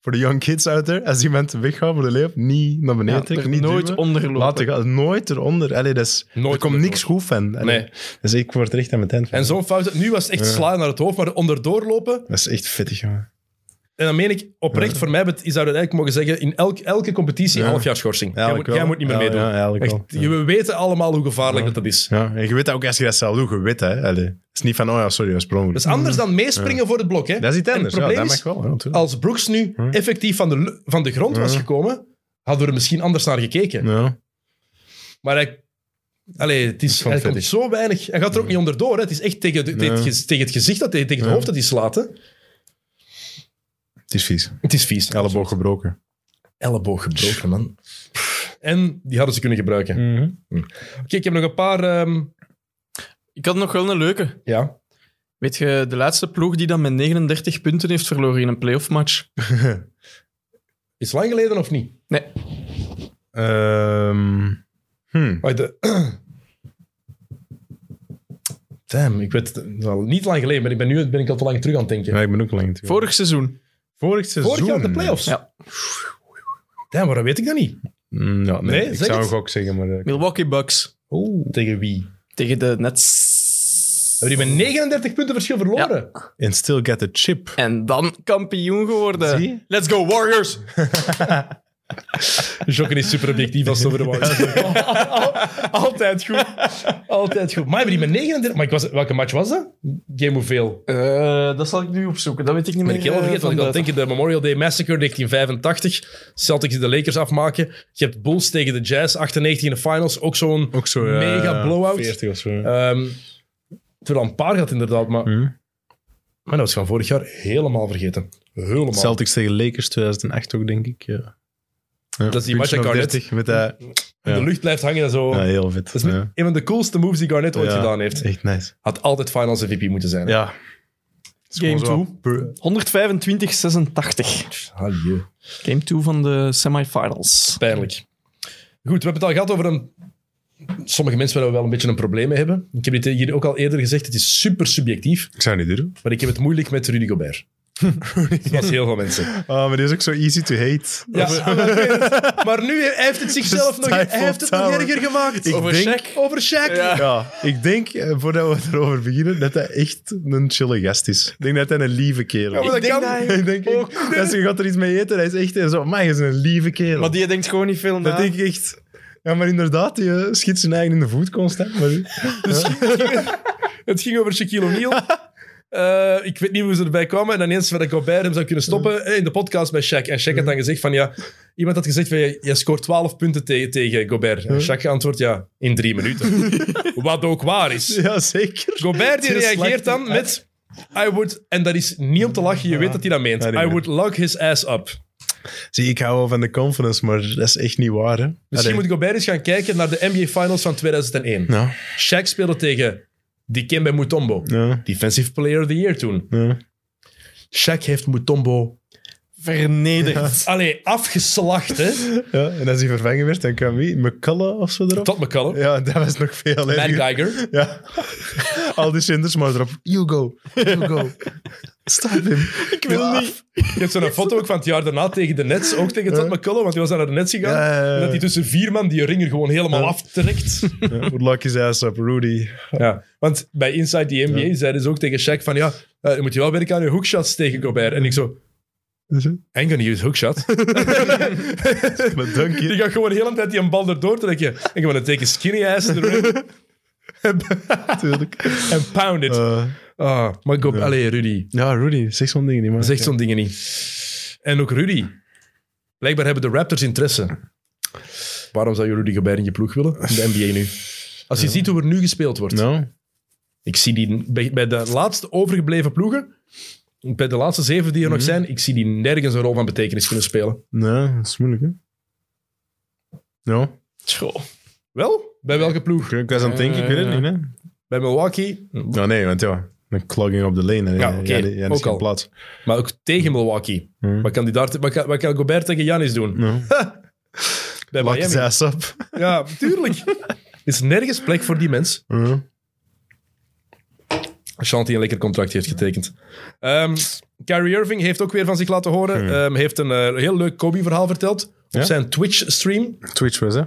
Speaker 3: voor de young kids out there, als die mensen weggaan voor de leeuw, niet naar beneden
Speaker 2: Ja,
Speaker 3: trekken,
Speaker 2: er
Speaker 3: niet
Speaker 2: nooit
Speaker 3: duwen.
Speaker 2: onderlopen.
Speaker 3: Laten gaan, nooit eronder. Allee, dat is,
Speaker 1: Nooit
Speaker 3: er komt niks
Speaker 1: onderdoor.
Speaker 3: goed van. Allee,
Speaker 1: Nee.
Speaker 3: Dus ik word er echt aan mijn tent van.
Speaker 1: En zo'n fout, nu was het echt slaan naar het hoofd, maar onderdoor lopen.
Speaker 3: Dat is echt vettig, jongen.
Speaker 1: En dan meen ik, oprecht, voor mij bet- zou dat eigenlijk mogen zeggen, in elk, elke competitie
Speaker 3: Ja.
Speaker 1: half jaar schorsing. jij,
Speaker 3: Eigenlijk
Speaker 1: moet, jij
Speaker 3: wel.
Speaker 1: moet niet meer
Speaker 3: Ja,
Speaker 1: meedoen.
Speaker 3: ja, eigenlijk
Speaker 1: echt,
Speaker 3: wel. Ja.
Speaker 1: je- We weten allemaal hoe gevaarlijk dat, dat is.
Speaker 3: Ja, en je weet dat ook als je dat zelf doet, je weet hè. Allee, het is niet van, oh ja, sorry, dat is per ongeluk.
Speaker 1: Dat is Dus anders dan meespringen voor het blok. Hè?
Speaker 3: Dat is iets
Speaker 1: En het
Speaker 3: anders, ja,
Speaker 1: probleem
Speaker 3: dat
Speaker 1: is-
Speaker 3: mag wel. Ja, natuurlijk.
Speaker 1: Als Brooks nu effectief van de, lu- van de grond was gekomen, hadden we er misschien anders naar gekeken.
Speaker 3: ja.
Speaker 1: Maar hij, allee, het is,
Speaker 3: vond
Speaker 1: hij
Speaker 3: het
Speaker 1: komt zo weinig. Hij gaat er ook niet onderdoor. Hè. Het is echt tegen, de- tegen, het gez- tegen het gezicht, dat, hij- tegen het hoofd dat hij slaat. Hè.
Speaker 3: Het is vies.
Speaker 1: Het is vies.
Speaker 3: Elleboog gebroken.
Speaker 1: Elleboog gebroken, man. Mm. En die hadden ze kunnen gebruiken. Oké, ik heb nog een paar... ehm,
Speaker 2: Ik had nog wel een leuke.
Speaker 1: ja.
Speaker 2: Weet je, de laatste ploeg die dan met 39 punten heeft verloren in een playoff match.
Speaker 1: Is lang geleden of niet?
Speaker 2: Nee,
Speaker 3: Ehm, hm.
Speaker 1: Wacht, de- Damn, ik weet het wel, niet lang geleden, maar ik ben nu ben ik al te lang terug aan het denken.
Speaker 3: Ja, ik ben ook lang natuurlijk.
Speaker 2: vorig seizoen.
Speaker 3: Vorig seizoen.
Speaker 1: Vorig jaar de playoffs.
Speaker 2: Ja.
Speaker 1: Damn, waarom weet ik dat niet?
Speaker 3: Mm, ja, nee,
Speaker 1: Nee,
Speaker 3: ik
Speaker 1: zeg
Speaker 3: zou
Speaker 1: het.
Speaker 3: een gok zeggen, maar... eh,
Speaker 2: Milwaukee Bucks
Speaker 1: Tegen wie?
Speaker 2: tegen de Nets.
Speaker 1: Hebben die met 39 punten verschil verloren?
Speaker 3: And still get the chip.
Speaker 2: En dan kampioen geworden.
Speaker 3: Zie je?
Speaker 2: Let's go Warriors!
Speaker 1: Jokken is super objectief als het over de Warriors gaat. Altijd goed. Altijd goed. Maar hebben die met 39... Maar ik was, welke match was dat? Game hoeveel?
Speaker 2: Eh, dat zal ik nu opzoeken, dat weet ik niet
Speaker 1: Ben
Speaker 2: meer.
Speaker 1: ik helemaal
Speaker 2: eh,
Speaker 1: vergeten. Want ik
Speaker 2: van
Speaker 1: had denken,
Speaker 2: buiten.
Speaker 1: de Memorial Day Massacre 1985. Celtics die de Lakers afmaken. Je hebt Bulls tegen de Jazz, 98 in de finals. Ook zo'n
Speaker 3: Ook zo, ja,
Speaker 1: mega blowout.
Speaker 3: 40 of zo. Mm.
Speaker 1: Ehm, terwijl een paar gaat inderdaad, maar... Maar dat was van vorig jaar helemaal vergeten. Helemaal.
Speaker 3: Celtics tegen Lakers 2008 ook, denk ik. Ja. Ja,
Speaker 1: Dat is die match
Speaker 3: puntje
Speaker 1: dat
Speaker 3: op
Speaker 1: Garnett-
Speaker 3: 30 met dat...
Speaker 1: In de
Speaker 3: Ja.
Speaker 1: lucht blijft hangen en zo.
Speaker 3: Ja, heel vet.
Speaker 1: Dat is
Speaker 3: ja.
Speaker 1: een van de coolste moves die Garnett ooit
Speaker 3: Ja,
Speaker 1: gedaan heeft.
Speaker 3: Echt nice.
Speaker 1: Had altijd Finals MVP moeten zijn.
Speaker 3: Ja.
Speaker 2: Game 2. 125-86.
Speaker 1: Hallo.
Speaker 2: Game 2 van de semifinals.
Speaker 1: Pijnlijk. Goed, we hebben het al gehad over een... Sommige mensen waar we wel een beetje een probleem mee hebben. Ik heb dit hier ook al eerder gezegd. Het is super subjectief.
Speaker 3: Ik zou het niet doen.
Speaker 1: Maar ik heb het moeilijk met Rudy Gobert. Zoals heel veel mensen.
Speaker 3: Oh, maar die is ook zo easy to hate.
Speaker 1: Ja, maar, ik weet het. Maar nu hij heeft het zichzelf nog, hij heeft het nog
Speaker 3: Tower.
Speaker 1: erger gemaakt.
Speaker 3: Ik
Speaker 1: over
Speaker 3: denk-
Speaker 1: Shaq. Over Shaq.
Speaker 2: Ja.
Speaker 3: Ja, ik denk, eh, voordat we het erover beginnen, dat hij echt een chille gast is. Ik denk dat hij een lieve kerel is.
Speaker 1: maar dat
Speaker 3: ik denk
Speaker 1: kan
Speaker 3: dat hij- ik denk ook. Dat ze gaat er iets mee eten, hij is echt eh, zo, man, hij is een lieve kerel.
Speaker 2: Maar die denkt gewoon niet veel na.
Speaker 3: Dat denk ik echt... Ja, maar inderdaad, die eh, schiet zijn eigen in de voet constant. Maar...
Speaker 1: Het ging over Shaquille O'Neal. Eh, ik weet niet hoe ze erbij kwamen. En dan eens dat Gobert hem zou kunnen stoppen eh, in de podcast bij Shaq. En Shaq had dan gezegd van ja... Iemand had gezegd van je, je scoort 12 punten te- tegen Gobert. En Shaq antwoordt ja, in drie minuten. Wat ook waar is.
Speaker 3: Ja, zeker.
Speaker 1: Gobert die
Speaker 3: Het is
Speaker 1: reageert dan met... I would... En dat is niet om te lachen. Je weet dat hij dat meent.
Speaker 3: Ja, die
Speaker 1: I
Speaker 3: weet
Speaker 1: would lock his ass up.
Speaker 3: Zie, ik hou wel van de confidence, maar dat is echt niet waar, hè.
Speaker 1: Misschien
Speaker 3: Allee.
Speaker 1: moet Gobert eens gaan kijken naar de NBA Finals van 2001.
Speaker 3: Ja.
Speaker 1: Shaq speelde tegen Dikembe Mutombo.
Speaker 3: Ja.
Speaker 1: Defensive Player of the Year toen.
Speaker 3: Ja.
Speaker 1: Shaq heeft Mutombo
Speaker 2: Vernederd.
Speaker 1: allee, afgeslacht, hè?
Speaker 3: Ja, en als hij vervangen werd, dan kwam wie? McCullough of zo erop?
Speaker 1: Tot McCallum.
Speaker 3: Ja, dat was nog veel
Speaker 1: Matt
Speaker 3: erger.
Speaker 1: Geiger.
Speaker 3: Ja. Al die zenders maar erop. You go, you go. Stop him. Ik wil niet.
Speaker 1: Je hebt zo'n foto ook van het jaar daarna tegen de Nets. Ook tegen Todd McCallum, want die was dan naar de Nets gegaan.
Speaker 3: Ja, ja, ja.
Speaker 1: En dat hij tussen vier man die ringer gewoon helemaal aftrekt.
Speaker 3: Would lock his ass up, Rudy.
Speaker 1: Ja, want bij Inside the NBA zeiden ze ook tegen Shaq van ja, eh, je moet je wel werken aan je hookshots tegen Gobert. En ik zo, I ain't gonna use hookshot.
Speaker 3: Maar dank
Speaker 1: Die
Speaker 3: je.
Speaker 1: gaat gewoon de hele tijd die een bal erdoor trekken. En ik ben een teken skinny ass in de rim
Speaker 3: Natuurlijk.
Speaker 1: en pound it.
Speaker 3: Eh,
Speaker 1: Ah, maar Gob, allee, Rudy.
Speaker 3: ja, Rudy. Zeg zo'n ding niet, man.
Speaker 1: Zeg zo'n dingen niet. En ook Rudy. Blijkbaar hebben de Raptors interesse. Waarom zou je Rudy Gobert in je ploeg willen? In de NBA nu. Als je ziet hoe er nu gespeeld wordt.
Speaker 3: No.
Speaker 1: Ik zie die bij, bij de laatste overgebleven ploegen, bij de laatste zeven die er
Speaker 3: Mhm.
Speaker 1: nog zijn, ik zie die nergens een rol van betekenis kunnen spelen.
Speaker 3: Nee, nou, dat is moeilijk, hè. No.
Speaker 2: Tjoh.
Speaker 1: Wel? Bij welke ploeg?
Speaker 2: Ah,
Speaker 3: Ik was aan het denken, ik weet het niet, hè.
Speaker 1: Bij Milwaukee,
Speaker 3: Eh. Ja, nee, want ja, een clogging op de lane. hè.
Speaker 1: Ja, oké,
Speaker 3: ja, die- ja, die is
Speaker 1: ook
Speaker 3: geen
Speaker 1: al.
Speaker 3: plaats.
Speaker 1: maar ook tegen Milwaukee.
Speaker 3: Hmm.
Speaker 1: Wat, kan die daar, te- wat, kan, wat kan Gobert tegen Janis doen?
Speaker 3: No.
Speaker 1: Bij
Speaker 3: Lock his
Speaker 1: Miami.
Speaker 3: ass up.
Speaker 1: Ja, tuurlijk. Er is nergens plek voor die mens.
Speaker 3: Mhm.
Speaker 1: Als Shanti een lekker contract heeft getekend. Ehm, Kyrie Irving heeft ook weer van zich laten horen. Ehm, heeft een eh, heel leuk Kobe-verhaal verteld. Op
Speaker 3: Mhm. Ja?
Speaker 1: zijn Twitch-stream.
Speaker 3: Twitch was, hè?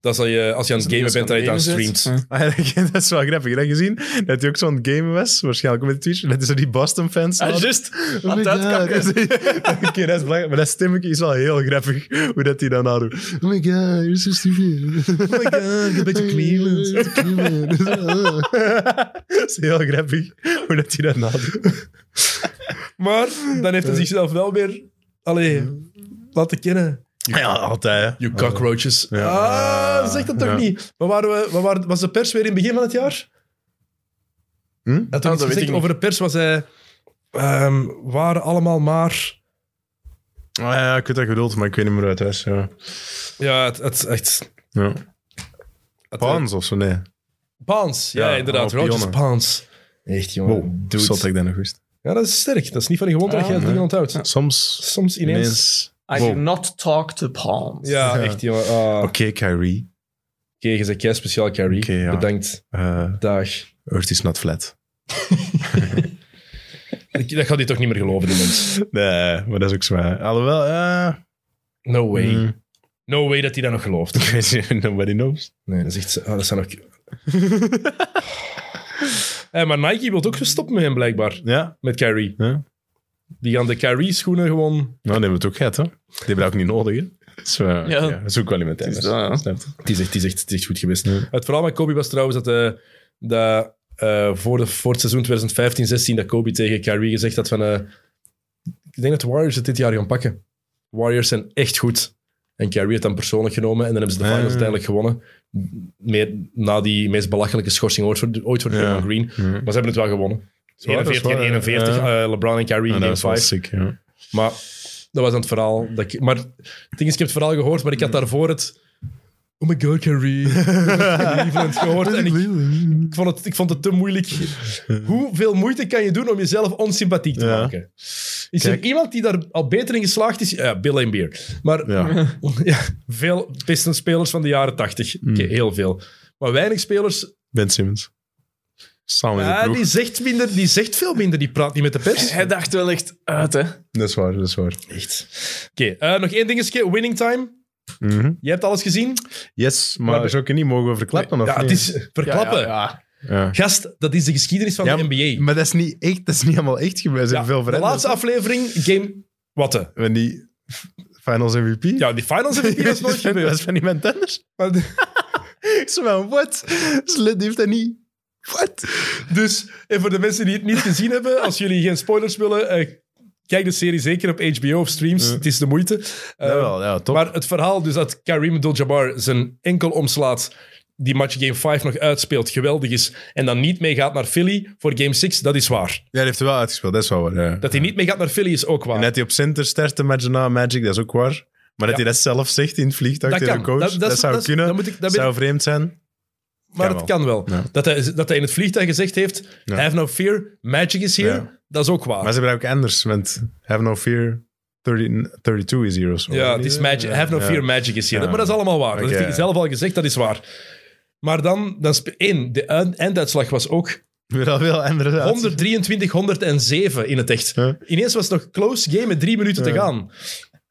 Speaker 1: Dat is dat je, als je aan het gamen bent, dat je daar streamt.
Speaker 3: Ah, ja, dat is wel grappig. Heb je gezien dat hij ook zo'n game was? Waarschijnlijk ook met Twitch. Dat is zo die Boston-fans.
Speaker 2: Ah,
Speaker 3: hadden.
Speaker 2: just.
Speaker 3: Oh
Speaker 2: Aan
Speaker 3: my
Speaker 2: het uitkakken.
Speaker 3: God. Oké, dat is belangrijk. Maar dat stemmetje is wel heel grappig, hoe dat hij dan aan doet.
Speaker 4: Oh my god, you're so stupid.
Speaker 3: Oh my god, een beetje Cleveland.
Speaker 4: Ah.
Speaker 3: dat is heel grappig, hoe dat hij dat nadoet.
Speaker 1: Maar dan heeft hij zichzelf wel weer allee, laten kennen.
Speaker 3: Ja, altijd, hè.
Speaker 1: You cockroaches.
Speaker 3: Ja.
Speaker 1: Ah, zeg dat toch
Speaker 3: Ja.
Speaker 1: niet? Maar waren we, waar waren- was de pers weer in het begin van het jaar?
Speaker 3: Hm?
Speaker 1: Had
Speaker 2: Ah,
Speaker 1: hij iets
Speaker 2: dat weet ik
Speaker 1: gezegd
Speaker 2: niet.
Speaker 1: over de pers? Was hij... ehm, waren allemaal maar...
Speaker 3: Ah, ja, ik weet dat geduld, maar ik weet niet meer hoe het was. Ja.
Speaker 1: Ja, het, het echt...
Speaker 3: Ja.
Speaker 1: het-
Speaker 3: Paans of zo, nee.
Speaker 1: Paans, ja,
Speaker 3: Ja,
Speaker 1: inderdaad.
Speaker 3: allemaal
Speaker 1: Rogers
Speaker 3: pionnen.
Speaker 1: Paans. Echt, jongen.
Speaker 3: Wow,
Speaker 1: doe het.
Speaker 3: zat ik dat nog wist.
Speaker 1: Ja, dat is sterk. Dat is niet van je gewond dat
Speaker 2: Ah,
Speaker 1: je het
Speaker 2: nee.
Speaker 1: dingen onthoudt.
Speaker 3: Soms
Speaker 1: Soms ineens...
Speaker 3: ineens...
Speaker 2: I
Speaker 3: Wow.
Speaker 2: do not talk to palms.
Speaker 1: Ja,
Speaker 3: Ja.
Speaker 1: echt, jongen. Ah, Oké,
Speaker 3: Oké, Kyrie.
Speaker 1: je zegt jij speciaal, Carrie.
Speaker 3: Oké, ja.
Speaker 1: Bedankt.
Speaker 3: Eh,
Speaker 1: Dag.
Speaker 3: Earth is not flat.
Speaker 1: Ik- Dat gaat hij toch niet meer geloven, die mens.
Speaker 3: Nee, maar dat is ook zwaar. Alhoewel, eh...
Speaker 1: No way.
Speaker 3: mm,
Speaker 1: No way dat hij dat nog gelooft.
Speaker 3: ik weet niet, nobody knows.
Speaker 1: Nee, dat is echt... ah, dat zijn ook... Eh, maar Nike wil ook gestopt met hem, blijkbaar.
Speaker 3: Ja?
Speaker 1: Met Kyrie.
Speaker 3: Ja.
Speaker 1: Die gaan de Kyrie-schoenen gewoon...
Speaker 3: Nou, die hebben we het ook gehad, hè. Die hebben dat ook niet nodig, hè. Dus, eh, ja.
Speaker 2: Ja.
Speaker 3: dat is ook wel iemand
Speaker 2: Het is
Speaker 3: anders.
Speaker 2: dat, ja.
Speaker 3: Snap je?
Speaker 1: Het is echt, het is echt, het is echt goed geweest.
Speaker 3: Ja.
Speaker 1: Het verhaal met Kobe was trouwens dat, eh, dat eh, voor, de, voor het seizoen 2015-16 dat Kobe tegen Kyrie gezegd had van... eh, ik denk dat de Warriors het dit jaar gaan pakken. Warriors zijn echt goed. En Kyrie heeft dan persoonlijk genomen en dan hebben ze de
Speaker 3: Ah.
Speaker 1: finals uiteindelijk gewonnen. Meer na die meest belachelijke schorsing ooit voor, ooit voor
Speaker 3: Ja.
Speaker 1: Draymond Green.
Speaker 3: Ja.
Speaker 1: Maar ze hebben het wel gewonnen.
Speaker 3: waar, dat is
Speaker 1: 41 en
Speaker 3: waar,
Speaker 1: 41,
Speaker 3: ja.
Speaker 1: eh, LeBron en Kyrie
Speaker 3: Ja,
Speaker 1: in
Speaker 3: dat
Speaker 1: game
Speaker 3: is wel
Speaker 1: 5.
Speaker 3: sick, ja.
Speaker 1: Maar dat was dan het verhaal. Dat ik, maar het ding is, ik heb het verhaal gehoord, maar ik had daarvoor het... Oh my god, Kyrie. Cleveland gehoord. En ik, ik, vond het, ik vond het te moeilijk. Hoeveel moeite kan je doen om jezelf onsympathiek te
Speaker 3: Ja.
Speaker 1: maken? Is
Speaker 3: Kijk.
Speaker 1: er iemand die daar al beter in geslaagd is? Ja, Bill en Beer. Maar
Speaker 3: Ja.
Speaker 1: ja, veel Pistons-spelers van de jaren tachtig.
Speaker 3: Hmm.
Speaker 1: Oké, heel veel. Maar weinig spelers...
Speaker 3: Ben Simmons. Samen in de
Speaker 1: Ah,
Speaker 3: ploeg.
Speaker 1: die, zegt minder, die zegt veel minder. Die praat niet met de pers.
Speaker 2: Hij dacht wel echt uit, hè.
Speaker 3: Dat is waar, dat is waar.
Speaker 1: Echt. Oké, eh, nog één dingetje. Winning time.
Speaker 3: Mhm.
Speaker 1: Je hebt alles gezien?
Speaker 3: Yes, maar,
Speaker 1: Maar-
Speaker 3: dat zou ik niet mogen verklappen, of
Speaker 1: ja,
Speaker 3: niet?
Speaker 1: het is verklappen.
Speaker 2: Ja, ja,
Speaker 3: Ja.
Speaker 1: Gast, dat is de geschiedenis van
Speaker 3: Ja,
Speaker 1: de NBA.
Speaker 3: Maar dat is niet echt, dat is niet helemaal echt gebeurd. Ze
Speaker 1: Ja,
Speaker 3: hebben veel
Speaker 1: de
Speaker 3: veranderd.
Speaker 1: laatste aflevering, game... Watte.
Speaker 3: Van die finals MVP.
Speaker 1: Ja, die finals MVP was nooit
Speaker 3: Dat
Speaker 1: gebeurd.
Speaker 3: was van iemand anders.
Speaker 1: Maar de-
Speaker 3: Ik zei wel, wat? Slit heeft dat niet. Wat?
Speaker 1: Dus, en voor de mensen die het niet gezien hebben, als jullie geen spoilers willen, eh, kijk de serie zeker op HBO of streams. Het is de moeite. Eh,
Speaker 3: Jawel, ja, top.
Speaker 1: maar het verhaal dus dat Kareem Abdul-Jabbar zijn enkel omslaat, die match game 5 nog uitspeelt, geweldig is, en dan niet meegaat naar Philly voor game 6, dat is waar.
Speaker 3: ja, die heeft er wel uitgespeeld, dat is wel waar. Ja.
Speaker 1: Dat hij niet meegaat naar Philly is ook waar.
Speaker 3: En dat hij op center start de match na Magic, dat is ook waar. Maar dat hij dat zelf zegt in het vliegtuig
Speaker 1: Dat
Speaker 3: tegen
Speaker 1: kan.
Speaker 3: de coach,
Speaker 1: Dat-
Speaker 3: dat,
Speaker 1: dat is-
Speaker 3: zou
Speaker 1: dat is-
Speaker 3: kunnen.
Speaker 1: dat moet ik- dat ben
Speaker 3: zou vreemd zijn.
Speaker 1: Maar
Speaker 3: Kan
Speaker 1: het
Speaker 3: wel.
Speaker 1: kan wel.
Speaker 3: Ja.
Speaker 1: Dat, hij, dat hij in het vliegtuig gezegd heeft:
Speaker 3: Ja.
Speaker 1: Have no fear, magic is here.
Speaker 3: Ja.
Speaker 1: Dat is ook waar.
Speaker 3: Maar ze hebben dat ook anders, want Have No Fear 30, 32 is hier of zo.
Speaker 1: ja, het is magic. Have no
Speaker 3: Ja.
Speaker 1: fear, magic is here.
Speaker 3: Ja.
Speaker 1: Maar dat is allemaal waar. Dat
Speaker 3: Oké.
Speaker 1: heeft hij zelf al gezegd, dat is waar. Maar dan, dan spe- één, de eind- einduitslag was ook
Speaker 3: Weer al veel andere
Speaker 1: 123-107 in het echt.
Speaker 3: Ja.
Speaker 1: Ineens was het nog close game met drie minuten te
Speaker 3: Ja.
Speaker 1: gaan.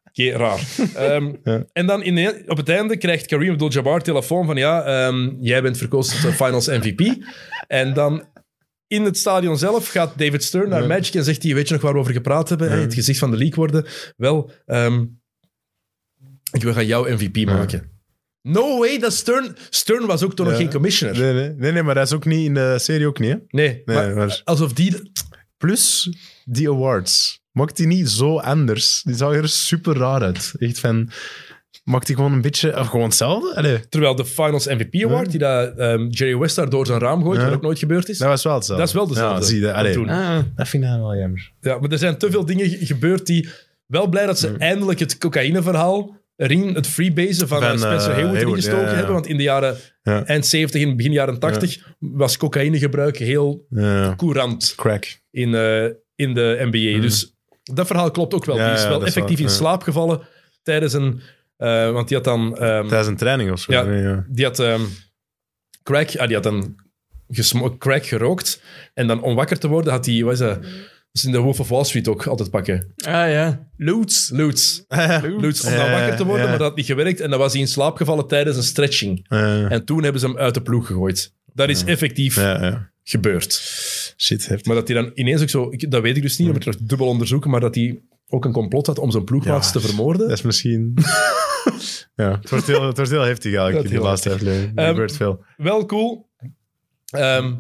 Speaker 1: Oké, raar. Ehm,
Speaker 3: Ja.
Speaker 1: En dan ine- op het einde krijgt Kareem Abdul-Jabbar telefoon van ja, ehm, jij bent verkozen tot de finals MVP. en dan in het stadion zelf gaat David Stern naar Magic en zegt hij, weet je nog waar we over gepraat hebben? Hey, Het gezicht van de league worden. Wel, ehm, ik wil gaan jou MVP maken. No way dat Stern... Stern was ook toen nog
Speaker 3: Ja.
Speaker 1: geen commissioner.
Speaker 3: Nee nee, nee, nee, maar dat is ook niet in de serie ook niet. Hè?
Speaker 1: Nee,
Speaker 3: Nee,
Speaker 1: maar
Speaker 3: maar-
Speaker 1: alsof die...
Speaker 3: Plus die awards. Maakt die niet zo anders? Die zag er super raar uit. Echt van. Maakt die gewoon een beetje. Of gewoon hetzelfde? Allee,
Speaker 1: Terwijl de Finals MVP Award, die dat, ehm, Jerry West daar door zijn raam gooit,
Speaker 3: Ja.
Speaker 1: wat ook nooit gebeurd is.
Speaker 3: dat was wel hetzelfde.
Speaker 1: Dat is wel dezelfde.
Speaker 3: Ja, zie je dat? Allee,
Speaker 1: Toen.
Speaker 2: Ah,
Speaker 3: dat vind ik dan wel jammer.
Speaker 1: Ja, maar er zijn te veel dingen ge- gebeurd die... Wel blij dat ze eindelijk het cocaïneverhaal ring, het freebasen van,
Speaker 3: Van,
Speaker 1: eh, Spencer
Speaker 3: eh,
Speaker 1: Hayward
Speaker 3: Hayward,
Speaker 1: ingestoken
Speaker 3: ja, ja.
Speaker 1: hebben. Want in de jaren
Speaker 3: Ja.
Speaker 1: eind 70 en begin jaren 80 was cocaïnegebruik heel
Speaker 3: Ja.
Speaker 1: courant
Speaker 3: Crack.
Speaker 1: in, eh, in de NBA.
Speaker 3: Mm.
Speaker 1: Dus dat verhaal klopt ook wel.
Speaker 3: Ja,
Speaker 1: die is
Speaker 3: ja,
Speaker 1: wel
Speaker 3: dat is
Speaker 1: effectief
Speaker 3: wel,
Speaker 1: in
Speaker 3: ja.
Speaker 1: slaap gevallen tijdens een... eh, want die had dan... ehm,
Speaker 3: Tijdens een training of zo.
Speaker 1: Ja.
Speaker 3: Nee, ja.
Speaker 1: die had ehm, crack, ah, die had dan gesmo- crack gerookt. En dan om wakker te worden had hij, wat is dat? Dat is in de Wolf of Wall Street ook altijd pakken.
Speaker 2: Ah ja. Loots.
Speaker 1: Loots. Loots. Om dan
Speaker 3: Ja,
Speaker 1: wakker te worden,
Speaker 3: ja.
Speaker 1: maar dat had niet gewerkt. En dan was hij in slaap gevallen tijdens een stretching.
Speaker 3: Eh,
Speaker 1: En toen hebben ze hem uit de ploeg gegooid. Dat is effectief
Speaker 3: ja, ja.
Speaker 1: gebeurd.
Speaker 3: Shit, heftig.
Speaker 1: Maar dat hij dan ineens ook zo, ik- dat weet ik dus niet, dat moet ik nog dubbel onderzoeken, maar dat hij ook een complot had om zijn ploegmaats
Speaker 3: Ja,
Speaker 1: te vermoorden.
Speaker 3: Dat is misschien... ja, het wordt, heel, het wordt heel heftig
Speaker 1: Dat
Speaker 3: eigenlijk in
Speaker 1: is
Speaker 3: die
Speaker 1: heel
Speaker 3: laatste aflevering. Er
Speaker 1: Ehm,
Speaker 3: gebeurt veel.
Speaker 1: Wel cool. Ehm,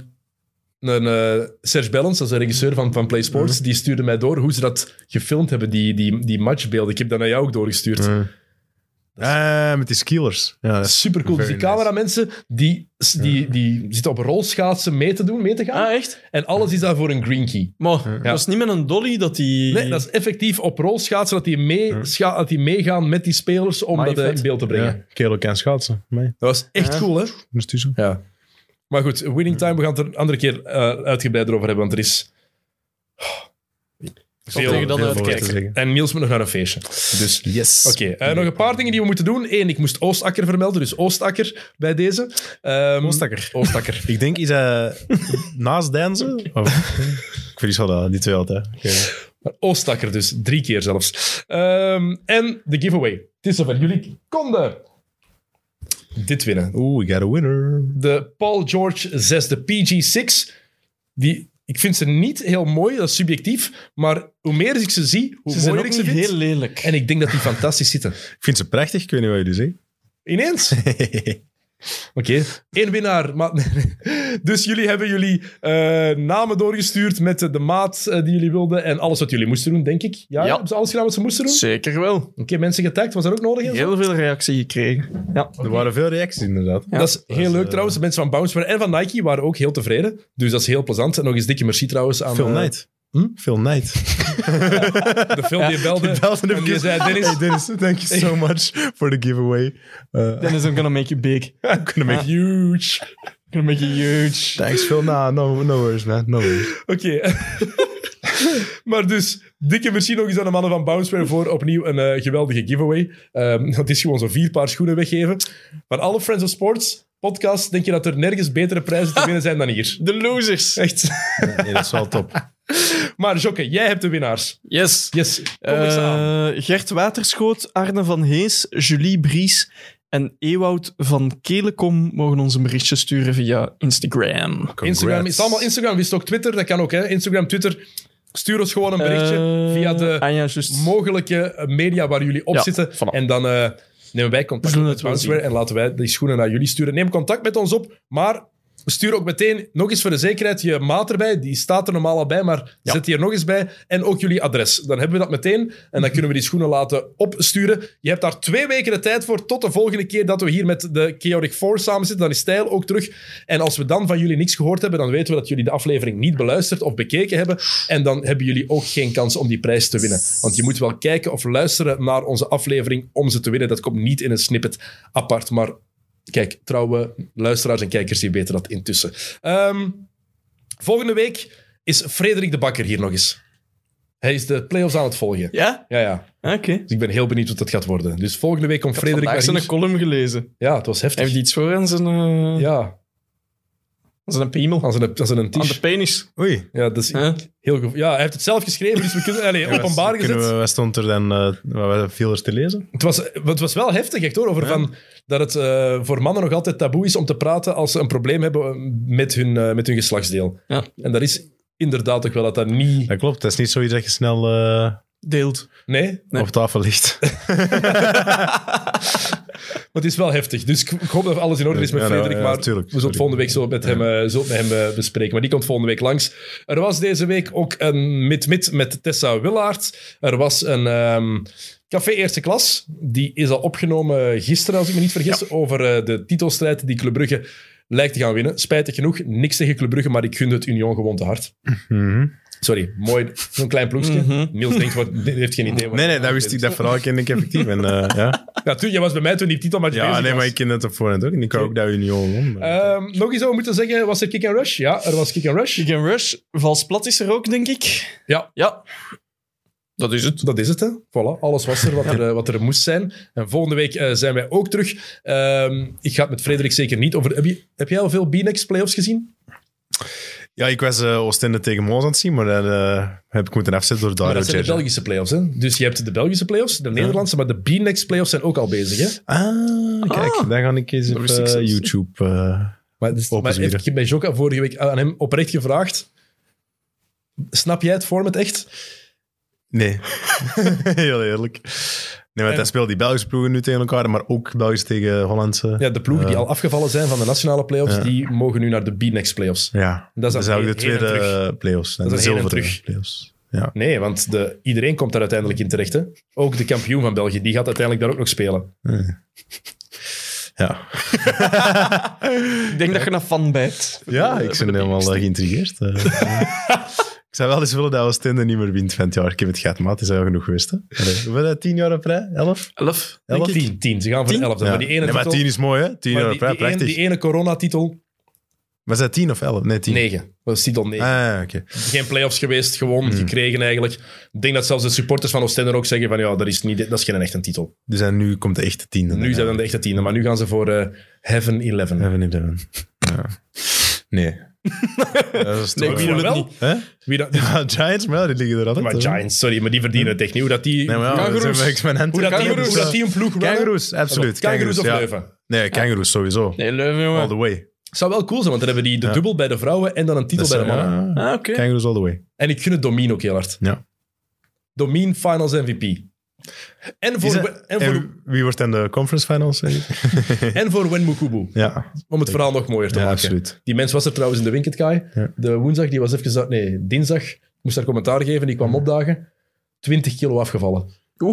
Speaker 1: een, eh, Serge Bellens, dat is de regisseur van, van Play Sports, die stuurde mij door hoe ze dat gefilmd hebben, die, die, die matchbeelden. Ik heb dat naar jou ook doorgestuurd.
Speaker 3: Eh. Eh, met die skillers. Ja, dat is-
Speaker 1: Super cool. Dus die
Speaker 3: Very
Speaker 1: cameramensen die, die, die zitten op rolschaatsen mee te doen, mee te gaan.
Speaker 2: Ah, echt?
Speaker 1: En alles is daar voor een green key.
Speaker 2: Maar dat is niet met een dolly dat die...
Speaker 1: Nee, dat is effectief op rolschaatsen dat die, mee, scha- dat die meegaan met die spelers om
Speaker 2: Amai,
Speaker 1: dat eh,
Speaker 2: vet.
Speaker 1: in beeld te brengen.
Speaker 3: Ja, kerel kan schaatsen. Mij.
Speaker 1: Dat was echt
Speaker 2: Ja.
Speaker 1: cool, hè?
Speaker 3: Moest u zo.
Speaker 1: Ja. Maar goed, Winning Time, we gaan het er een andere keer eh, uitgebreider over hebben, want er is...
Speaker 2: Veel- tegen dan
Speaker 3: veel
Speaker 2: uit
Speaker 3: voor te
Speaker 2: kijken.
Speaker 3: zeggen.
Speaker 1: En Niels moet nog naar een feestje. Dus,
Speaker 2: Yes.
Speaker 1: oké. eh, nog een paar dingen die we moeten doen. Eén, ik moest Oostakker vermelden, dus Oostakker bij deze. Ehm,
Speaker 3: Oostakker.
Speaker 1: Oostakker.
Speaker 3: Ik denk, is hij naast dansen? Of, ik verlies wel die twee altijd. Oké.
Speaker 1: Maar Oostakker dus, drie keer zelfs. Ehm, en de giveaway. Het is zover. Jullie konden dit winnen.
Speaker 3: Oeh, I got a winner.
Speaker 1: de Paul George 6, de PG6. Die, ik vind ze niet heel mooi, dat is subjectief. Maar hoe meer ik ze zie, hoe
Speaker 2: Ze zijn
Speaker 1: mooier
Speaker 2: ook
Speaker 1: ik ze
Speaker 2: niet
Speaker 1: vind.
Speaker 2: heel lelijk.
Speaker 1: En ik denk dat die fantastisch zitten.
Speaker 3: Ik vind ze prachtig, ik weet niet wat jullie zeggen.
Speaker 1: Ineens. Oké, één winnaar. Maar, dus jullie hebben jullie eh, namen doorgestuurd met de, de maat eh, die jullie wilden en alles wat jullie moesten doen, denk ik. Ja,
Speaker 2: Ja.
Speaker 1: hebben ze alles gedaan wat ze moesten doen?
Speaker 2: Zeker wel.
Speaker 1: Oké, mensen getagd, was dat ook nodig? en zo?
Speaker 2: Heel veel reactie gekregen. Ja.
Speaker 3: Er waren veel reacties inderdaad.
Speaker 2: Ja.
Speaker 1: dat is heel
Speaker 3: is,
Speaker 1: leuk
Speaker 3: eh,
Speaker 1: trouwens. De mensen van Bounceware en van Nike waren ook heel tevreden. Dus dat is heel plezant. En nog eens dikke merci trouwens aan
Speaker 3: Phil
Speaker 1: eh,
Speaker 3: Knight. Phil Knight.
Speaker 1: de film die belde.
Speaker 3: Belden
Speaker 1: en die zei, Dennis,
Speaker 3: hey Dennis, thank you so much for the giveaway. Uh,
Speaker 2: Then is I'm gonna make you big.
Speaker 3: I'm gonna make you...
Speaker 1: Huge.
Speaker 2: gonna make you huge.
Speaker 3: Thanks Phil. Nah, no, no worries man, no worries.
Speaker 1: Oké. maar dus, dikke merci nog eens aan de mannen van Bounceware voor opnieuw een eh, geweldige giveaway. Ehm, dat is gewoon zo vier paar schoenen weggeven. Van alle Friends of Sports podcasts denk je dat er nergens betere prijzen te winnen zijn dan hier.
Speaker 2: De losers.
Speaker 1: Echt.
Speaker 3: Nee, dat is wel top.
Speaker 1: Maar Jokke, jij hebt de winnaars.
Speaker 2: Yes.
Speaker 1: Yes, kom eens aan.
Speaker 2: Eh, Gert Waterschoot, Arne van Hees, Julie Bries en Ewout van Kelekom mogen ons een berichtje sturen via Instagram.
Speaker 1: Instagram, het
Speaker 3: Congrats.
Speaker 1: is allemaal Instagram, wist ook Twitter, dat kan ook hè. Instagram, Twitter, stuur ons gewoon een berichtje
Speaker 2: Eh,
Speaker 1: via de
Speaker 2: ah ja, juist.
Speaker 1: mogelijke eh, media waar jullie op
Speaker 2: Ja,
Speaker 1: zitten.
Speaker 2: voilà.
Speaker 1: En dan eh, nemen wij contact
Speaker 2: We zullen
Speaker 1: met
Speaker 2: het wel
Speaker 1: Bounceware en laten wij die schoenen naar jullie sturen. Neem contact met ons op, maar stuur ook meteen, nog eens voor de zekerheid, je maat erbij. Die staat er normaal al bij, maar
Speaker 2: Ja.
Speaker 1: zet die er nog eens bij. En ook jullie adres. Dan hebben we dat meteen en dan kunnen we die schoenen laten opsturen. Je hebt daar twee weken de tijd voor, tot de volgende keer dat we hier met de Chaotic Four samen zitten. Dan is Stijl ook terug. En als we dan van jullie niks gehoord hebben, dan weten we dat jullie de aflevering niet beluisterd of bekeken hebben. En dan hebben jullie ook geen kans om die prijs te winnen. Want je moet wel kijken of luisteren naar onze aflevering om ze te winnen. Dat komt niet in een snippet apart, maar Kijk, trouwe luisteraars en kijkers, die weten dat intussen. Ehm, volgende week is Frederik de Bakker hier nog eens. Hij is de play-offs aan het volgen.
Speaker 2: Ja?
Speaker 1: Ja, ja.
Speaker 2: Oké.
Speaker 1: Dus ik ben heel benieuwd wat dat gaat worden. Dus volgende week komt Frederik
Speaker 2: Vandaag
Speaker 1: naar
Speaker 2: zijn een
Speaker 1: hier.
Speaker 2: column gelezen.
Speaker 1: Ja, het was heftig.
Speaker 2: Heeft hij iets voor aan zijn, eh
Speaker 1: Ja,
Speaker 2: aan zijn piemel?
Speaker 1: als een, als een
Speaker 2: Aan de
Speaker 1: tisch.
Speaker 2: penis.
Speaker 3: Oei.
Speaker 1: Ja, dat is
Speaker 2: Huh?
Speaker 1: heel gevo- ja, hij heeft het zelf geschreven, dus we kunnen... Allee, openbaar
Speaker 3: Kunnen
Speaker 1: gezet.
Speaker 3: we- Wat stond er dan, eh, wat viel er te lezen?
Speaker 1: Het was, het was wel heftig, echt hoor. Over van, dat het eh, voor mannen nog altijd taboe is om te praten als ze een probleem hebben met hun, eh, met hun geslachtsdeel.
Speaker 2: Ja.
Speaker 1: En dat is inderdaad ook wel dat dat niet.
Speaker 3: Dat klopt, dat is niet zoiets dat je snel eh,
Speaker 2: Deelt.
Speaker 1: Nee,
Speaker 2: Nee.
Speaker 3: op tafel ligt.
Speaker 1: maar het is wel heftig. Dus ik, ik hoop dat alles in orde is met
Speaker 3: Ja, nou,
Speaker 1: Frederik.
Speaker 3: ja,
Speaker 1: maar
Speaker 3: tuurlijk,
Speaker 1: we zullen het
Speaker 3: sorry.
Speaker 1: volgende week zo met hem, eh, zo met hem eh, bespreken. Maar die komt volgende week langs. Er was deze week ook een mid-mid met Tessa Willaert. Er was een ehm, Café Eerste Klas. Die is al opgenomen gisteren, als ik me niet vergis, over eh, de titelstrijd die Club Brugge lijkt te gaan winnen. Spijtig genoeg, niks tegen Club Brugge, maar ik gun het Union gewoon te hard.
Speaker 3: Mhm.
Speaker 1: Sorry, mooi. Zo'n klein ploegje. Niels denkt, wat, heeft geen idee. wat-
Speaker 3: Nee, nee, dat wist ik. Dat verhaal kende ik effectief. En, eh, ja,
Speaker 1: Ja, toen, jij was bij mij toen die titel maar
Speaker 3: ja nee, maar ik ken het op voorhand ook. En ik hou ook dat Union. om,
Speaker 1: Eh.
Speaker 3: maar-
Speaker 1: nog eens zou moeten zeggen, was er kick and rush? Ja, er was kick and rush.
Speaker 2: Kick and Rush, vals plat is er ook, denk ik.
Speaker 1: Ja.
Speaker 2: Ja. Dat is het.
Speaker 1: Dat is het, hè. Voilà, alles was er wat, er, eh, wat er moest zijn. En volgende week eh, zijn wij ook terug. Ehm, ik ga het met Frederik zeker niet over... Heb, je, heb jij al veel B-Next playoffs gezien?
Speaker 3: Ja, ik was eh Oostende tegen Moos aan het zien, maar dat eh, heb ik moeten afzetten door
Speaker 1: Maar
Speaker 3: Dario
Speaker 1: dat zijn de
Speaker 3: Gerger.
Speaker 1: Belgische playoffs, hè. Dus je hebt de Belgische playoffs, de Nederlandse, maar de B-Next playoffs zijn ook al bezig, hè.
Speaker 3: Ah, kijk, daar ga ik eens op
Speaker 2: wist ik
Speaker 3: eh,
Speaker 2: zelfs.
Speaker 3: YouTube. eh,
Speaker 1: Maar, dus,
Speaker 3: Open
Speaker 1: maar
Speaker 3: zwieren.
Speaker 1: ik heb bij Jokka vorige week aan hem oprecht gevraagd. Snap jij het format echt?
Speaker 3: nee, heel eerlijk. Nee, want
Speaker 1: En-
Speaker 3: dan speelt die Belgische ploegen nu tegen elkaar, maar ook Belgisch tegen Hollandse. Ja,
Speaker 1: Ja, de ploegen die al afgevallen zijn van de nationale playoffs,
Speaker 3: Ja.
Speaker 1: die mogen nu naar de B-Next playoffs.
Speaker 3: dat
Speaker 1: Dat is
Speaker 3: is,
Speaker 1: dan
Speaker 3: ook
Speaker 1: heen-
Speaker 3: de
Speaker 1: heen en
Speaker 3: tweede
Speaker 1: terug.
Speaker 3: eh, play-offs. En
Speaker 1: Dat
Speaker 3: de
Speaker 1: is dan heen en
Speaker 3: zilveren
Speaker 1: terug.
Speaker 3: play-offs. Ja.
Speaker 1: Nee, want de, iedereen komt daar uiteindelijk in terecht. Hè? Ook de kampioen van België, die gaat uiteindelijk daar ook nog spelen.
Speaker 3: Ja.
Speaker 2: Ik denk dat je een fan bijt.
Speaker 3: ja, ik ben helemaal eh, geïntrigeerd. eh. ik zou wel eens willen dat Oostende niet meer wint van het jaar. Ik heb het gehad, maar het is al genoeg geweest. Hè? Allee, Hoeveel dat, tien jaar op rij? Elf?
Speaker 2: Elf.
Speaker 1: Elf? Tien, tien. Ze gaan voor
Speaker 2: Tien?
Speaker 1: elf.
Speaker 3: Ja.
Speaker 1: Maar die ene
Speaker 3: nee, maar
Speaker 1: titel,
Speaker 3: tien is mooi, hè? Tien
Speaker 1: maar
Speaker 3: jaar
Speaker 1: die,
Speaker 3: op rij,
Speaker 1: die, ene,
Speaker 3: prachtig.
Speaker 1: die ene coronatitel,
Speaker 3: Maar is dat tien of elf? Nee, tien.
Speaker 1: negen. Dat was titel negen.
Speaker 3: Ah, Hmm. ja, oké.
Speaker 1: Geen play-offs geweest, gewoon gekregen eigenlijk. Ik denk dat zelfs de supporters van Oostende ook zeggen van ja, dat is, niet, dat is geen echte titel.
Speaker 3: Dus dan nu komt de echte tiende.
Speaker 1: Nu zijn dan de echte tiende, maar nu gaan ze voor eh, Heaven 11.
Speaker 3: Heaven Eleven. Ja. Nee. dat is
Speaker 2: Nee,
Speaker 3: toch-
Speaker 2: ik voel het
Speaker 1: wel.
Speaker 2: niet.
Speaker 3: Hè?
Speaker 1: Wie dat,
Speaker 3: Ja, Giants, maar ja, die liggen er altijd.
Speaker 1: maar
Speaker 3: hè.
Speaker 1: Giants, sorry, maar die verdienen het echt niet. Hoe dat die...
Speaker 3: Nee, maar ja,
Speaker 2: Kangaroes.
Speaker 3: dat is- ik ben aan het-
Speaker 1: hoe, dat die
Speaker 2: Kangaroes.
Speaker 1: hoe dat die een ploeg runnen.
Speaker 3: Kangaroes, absoluut.
Speaker 1: Kangaroes of
Speaker 3: ja.
Speaker 1: Leuven?
Speaker 3: Nee, kangaroes sowieso.
Speaker 2: Nee, Leuven,
Speaker 3: All
Speaker 2: jongen.
Speaker 3: the way.
Speaker 1: Het zou wel cool zijn, want dan hebben die de
Speaker 3: Ja.
Speaker 1: dubbel bij de vrouwen en dan een titel
Speaker 3: Dat
Speaker 1: bij de
Speaker 3: is,
Speaker 1: mannen.
Speaker 3: ja,
Speaker 2: Ah, oké.
Speaker 3: Kangaroos all the way.
Speaker 1: En ik gun het Domien ook heel hard.
Speaker 3: Ja.
Speaker 1: Domien Finals MVP. En
Speaker 3: Is
Speaker 1: voor,
Speaker 3: dat-
Speaker 1: en voor,
Speaker 3: En wie wordt dan de conference finals? denk ik?
Speaker 1: en voor Wenmukubu.
Speaker 3: Ja,
Speaker 1: Om het verhaal nog mooier te
Speaker 3: ja
Speaker 1: maken.
Speaker 3: absoluut.
Speaker 1: Die mens was er trouwens in de Winketkaai.
Speaker 3: Ja.
Speaker 1: De woensdag, die was even... uit- Nee, dinsdag. Moest daar commentaar geven. Die kwam opdagen. 20 kilo afgevallen.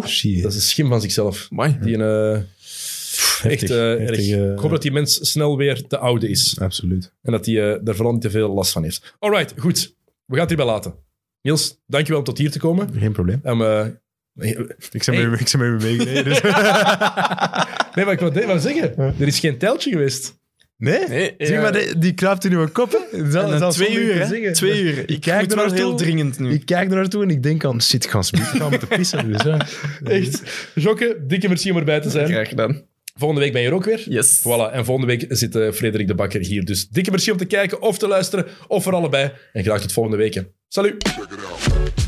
Speaker 3: Shit.
Speaker 1: Dat is een schim van zichzelf.
Speaker 2: Amai.
Speaker 1: Die een... eh, echt
Speaker 3: Heftig,
Speaker 1: eh,
Speaker 3: heftig,
Speaker 1: erg.
Speaker 3: eh,
Speaker 1: Ik hoop dat die mens snel weer te oude is.
Speaker 3: Absoluut.
Speaker 1: En dat hij eh, daar vooral niet te veel last van heeft. Alright, goed. We gaan het hierbij laten. Niels, dankjewel om tot hier te komen. Ehm, eh,
Speaker 3: Geen probleem.
Speaker 1: En, we-
Speaker 3: Ik ben met ik ben met u meegereden. dus-
Speaker 1: Nee, maar ik wil nee, maar zeggen. Er is geen teltje geweest.
Speaker 3: Nee?
Speaker 2: Nee,
Speaker 3: Zie
Speaker 2: ja.
Speaker 3: maar, die, die kruipt in uw kop. Hè? Zal-
Speaker 2: En dan
Speaker 3: zal
Speaker 2: twee
Speaker 3: zonder
Speaker 2: uur,
Speaker 3: te
Speaker 2: hè?
Speaker 3: zeggen.
Speaker 2: Twee uur. Ik
Speaker 3: kijk
Speaker 2: kijk
Speaker 3: er
Speaker 2: wel
Speaker 3: naartoe.
Speaker 2: heel dringend nu.
Speaker 3: Ik kijk er naartoe en ik denk aan, shit, ik ga smieten, ik ga moeten pissen. Dus, ja.
Speaker 1: Echt. Jokke, dikke merci om erbij te zijn.
Speaker 2: Graag gedaan.
Speaker 1: Volgende week ben je er ook weer.
Speaker 2: Yes.
Speaker 1: Voilà, en volgende week zit eh, Frederik de Bakker hier. Dus dikke merci om te kijken of te luisteren, of voor allebei. En graag tot volgende week. hè. Salut!
Speaker 4: Check it out.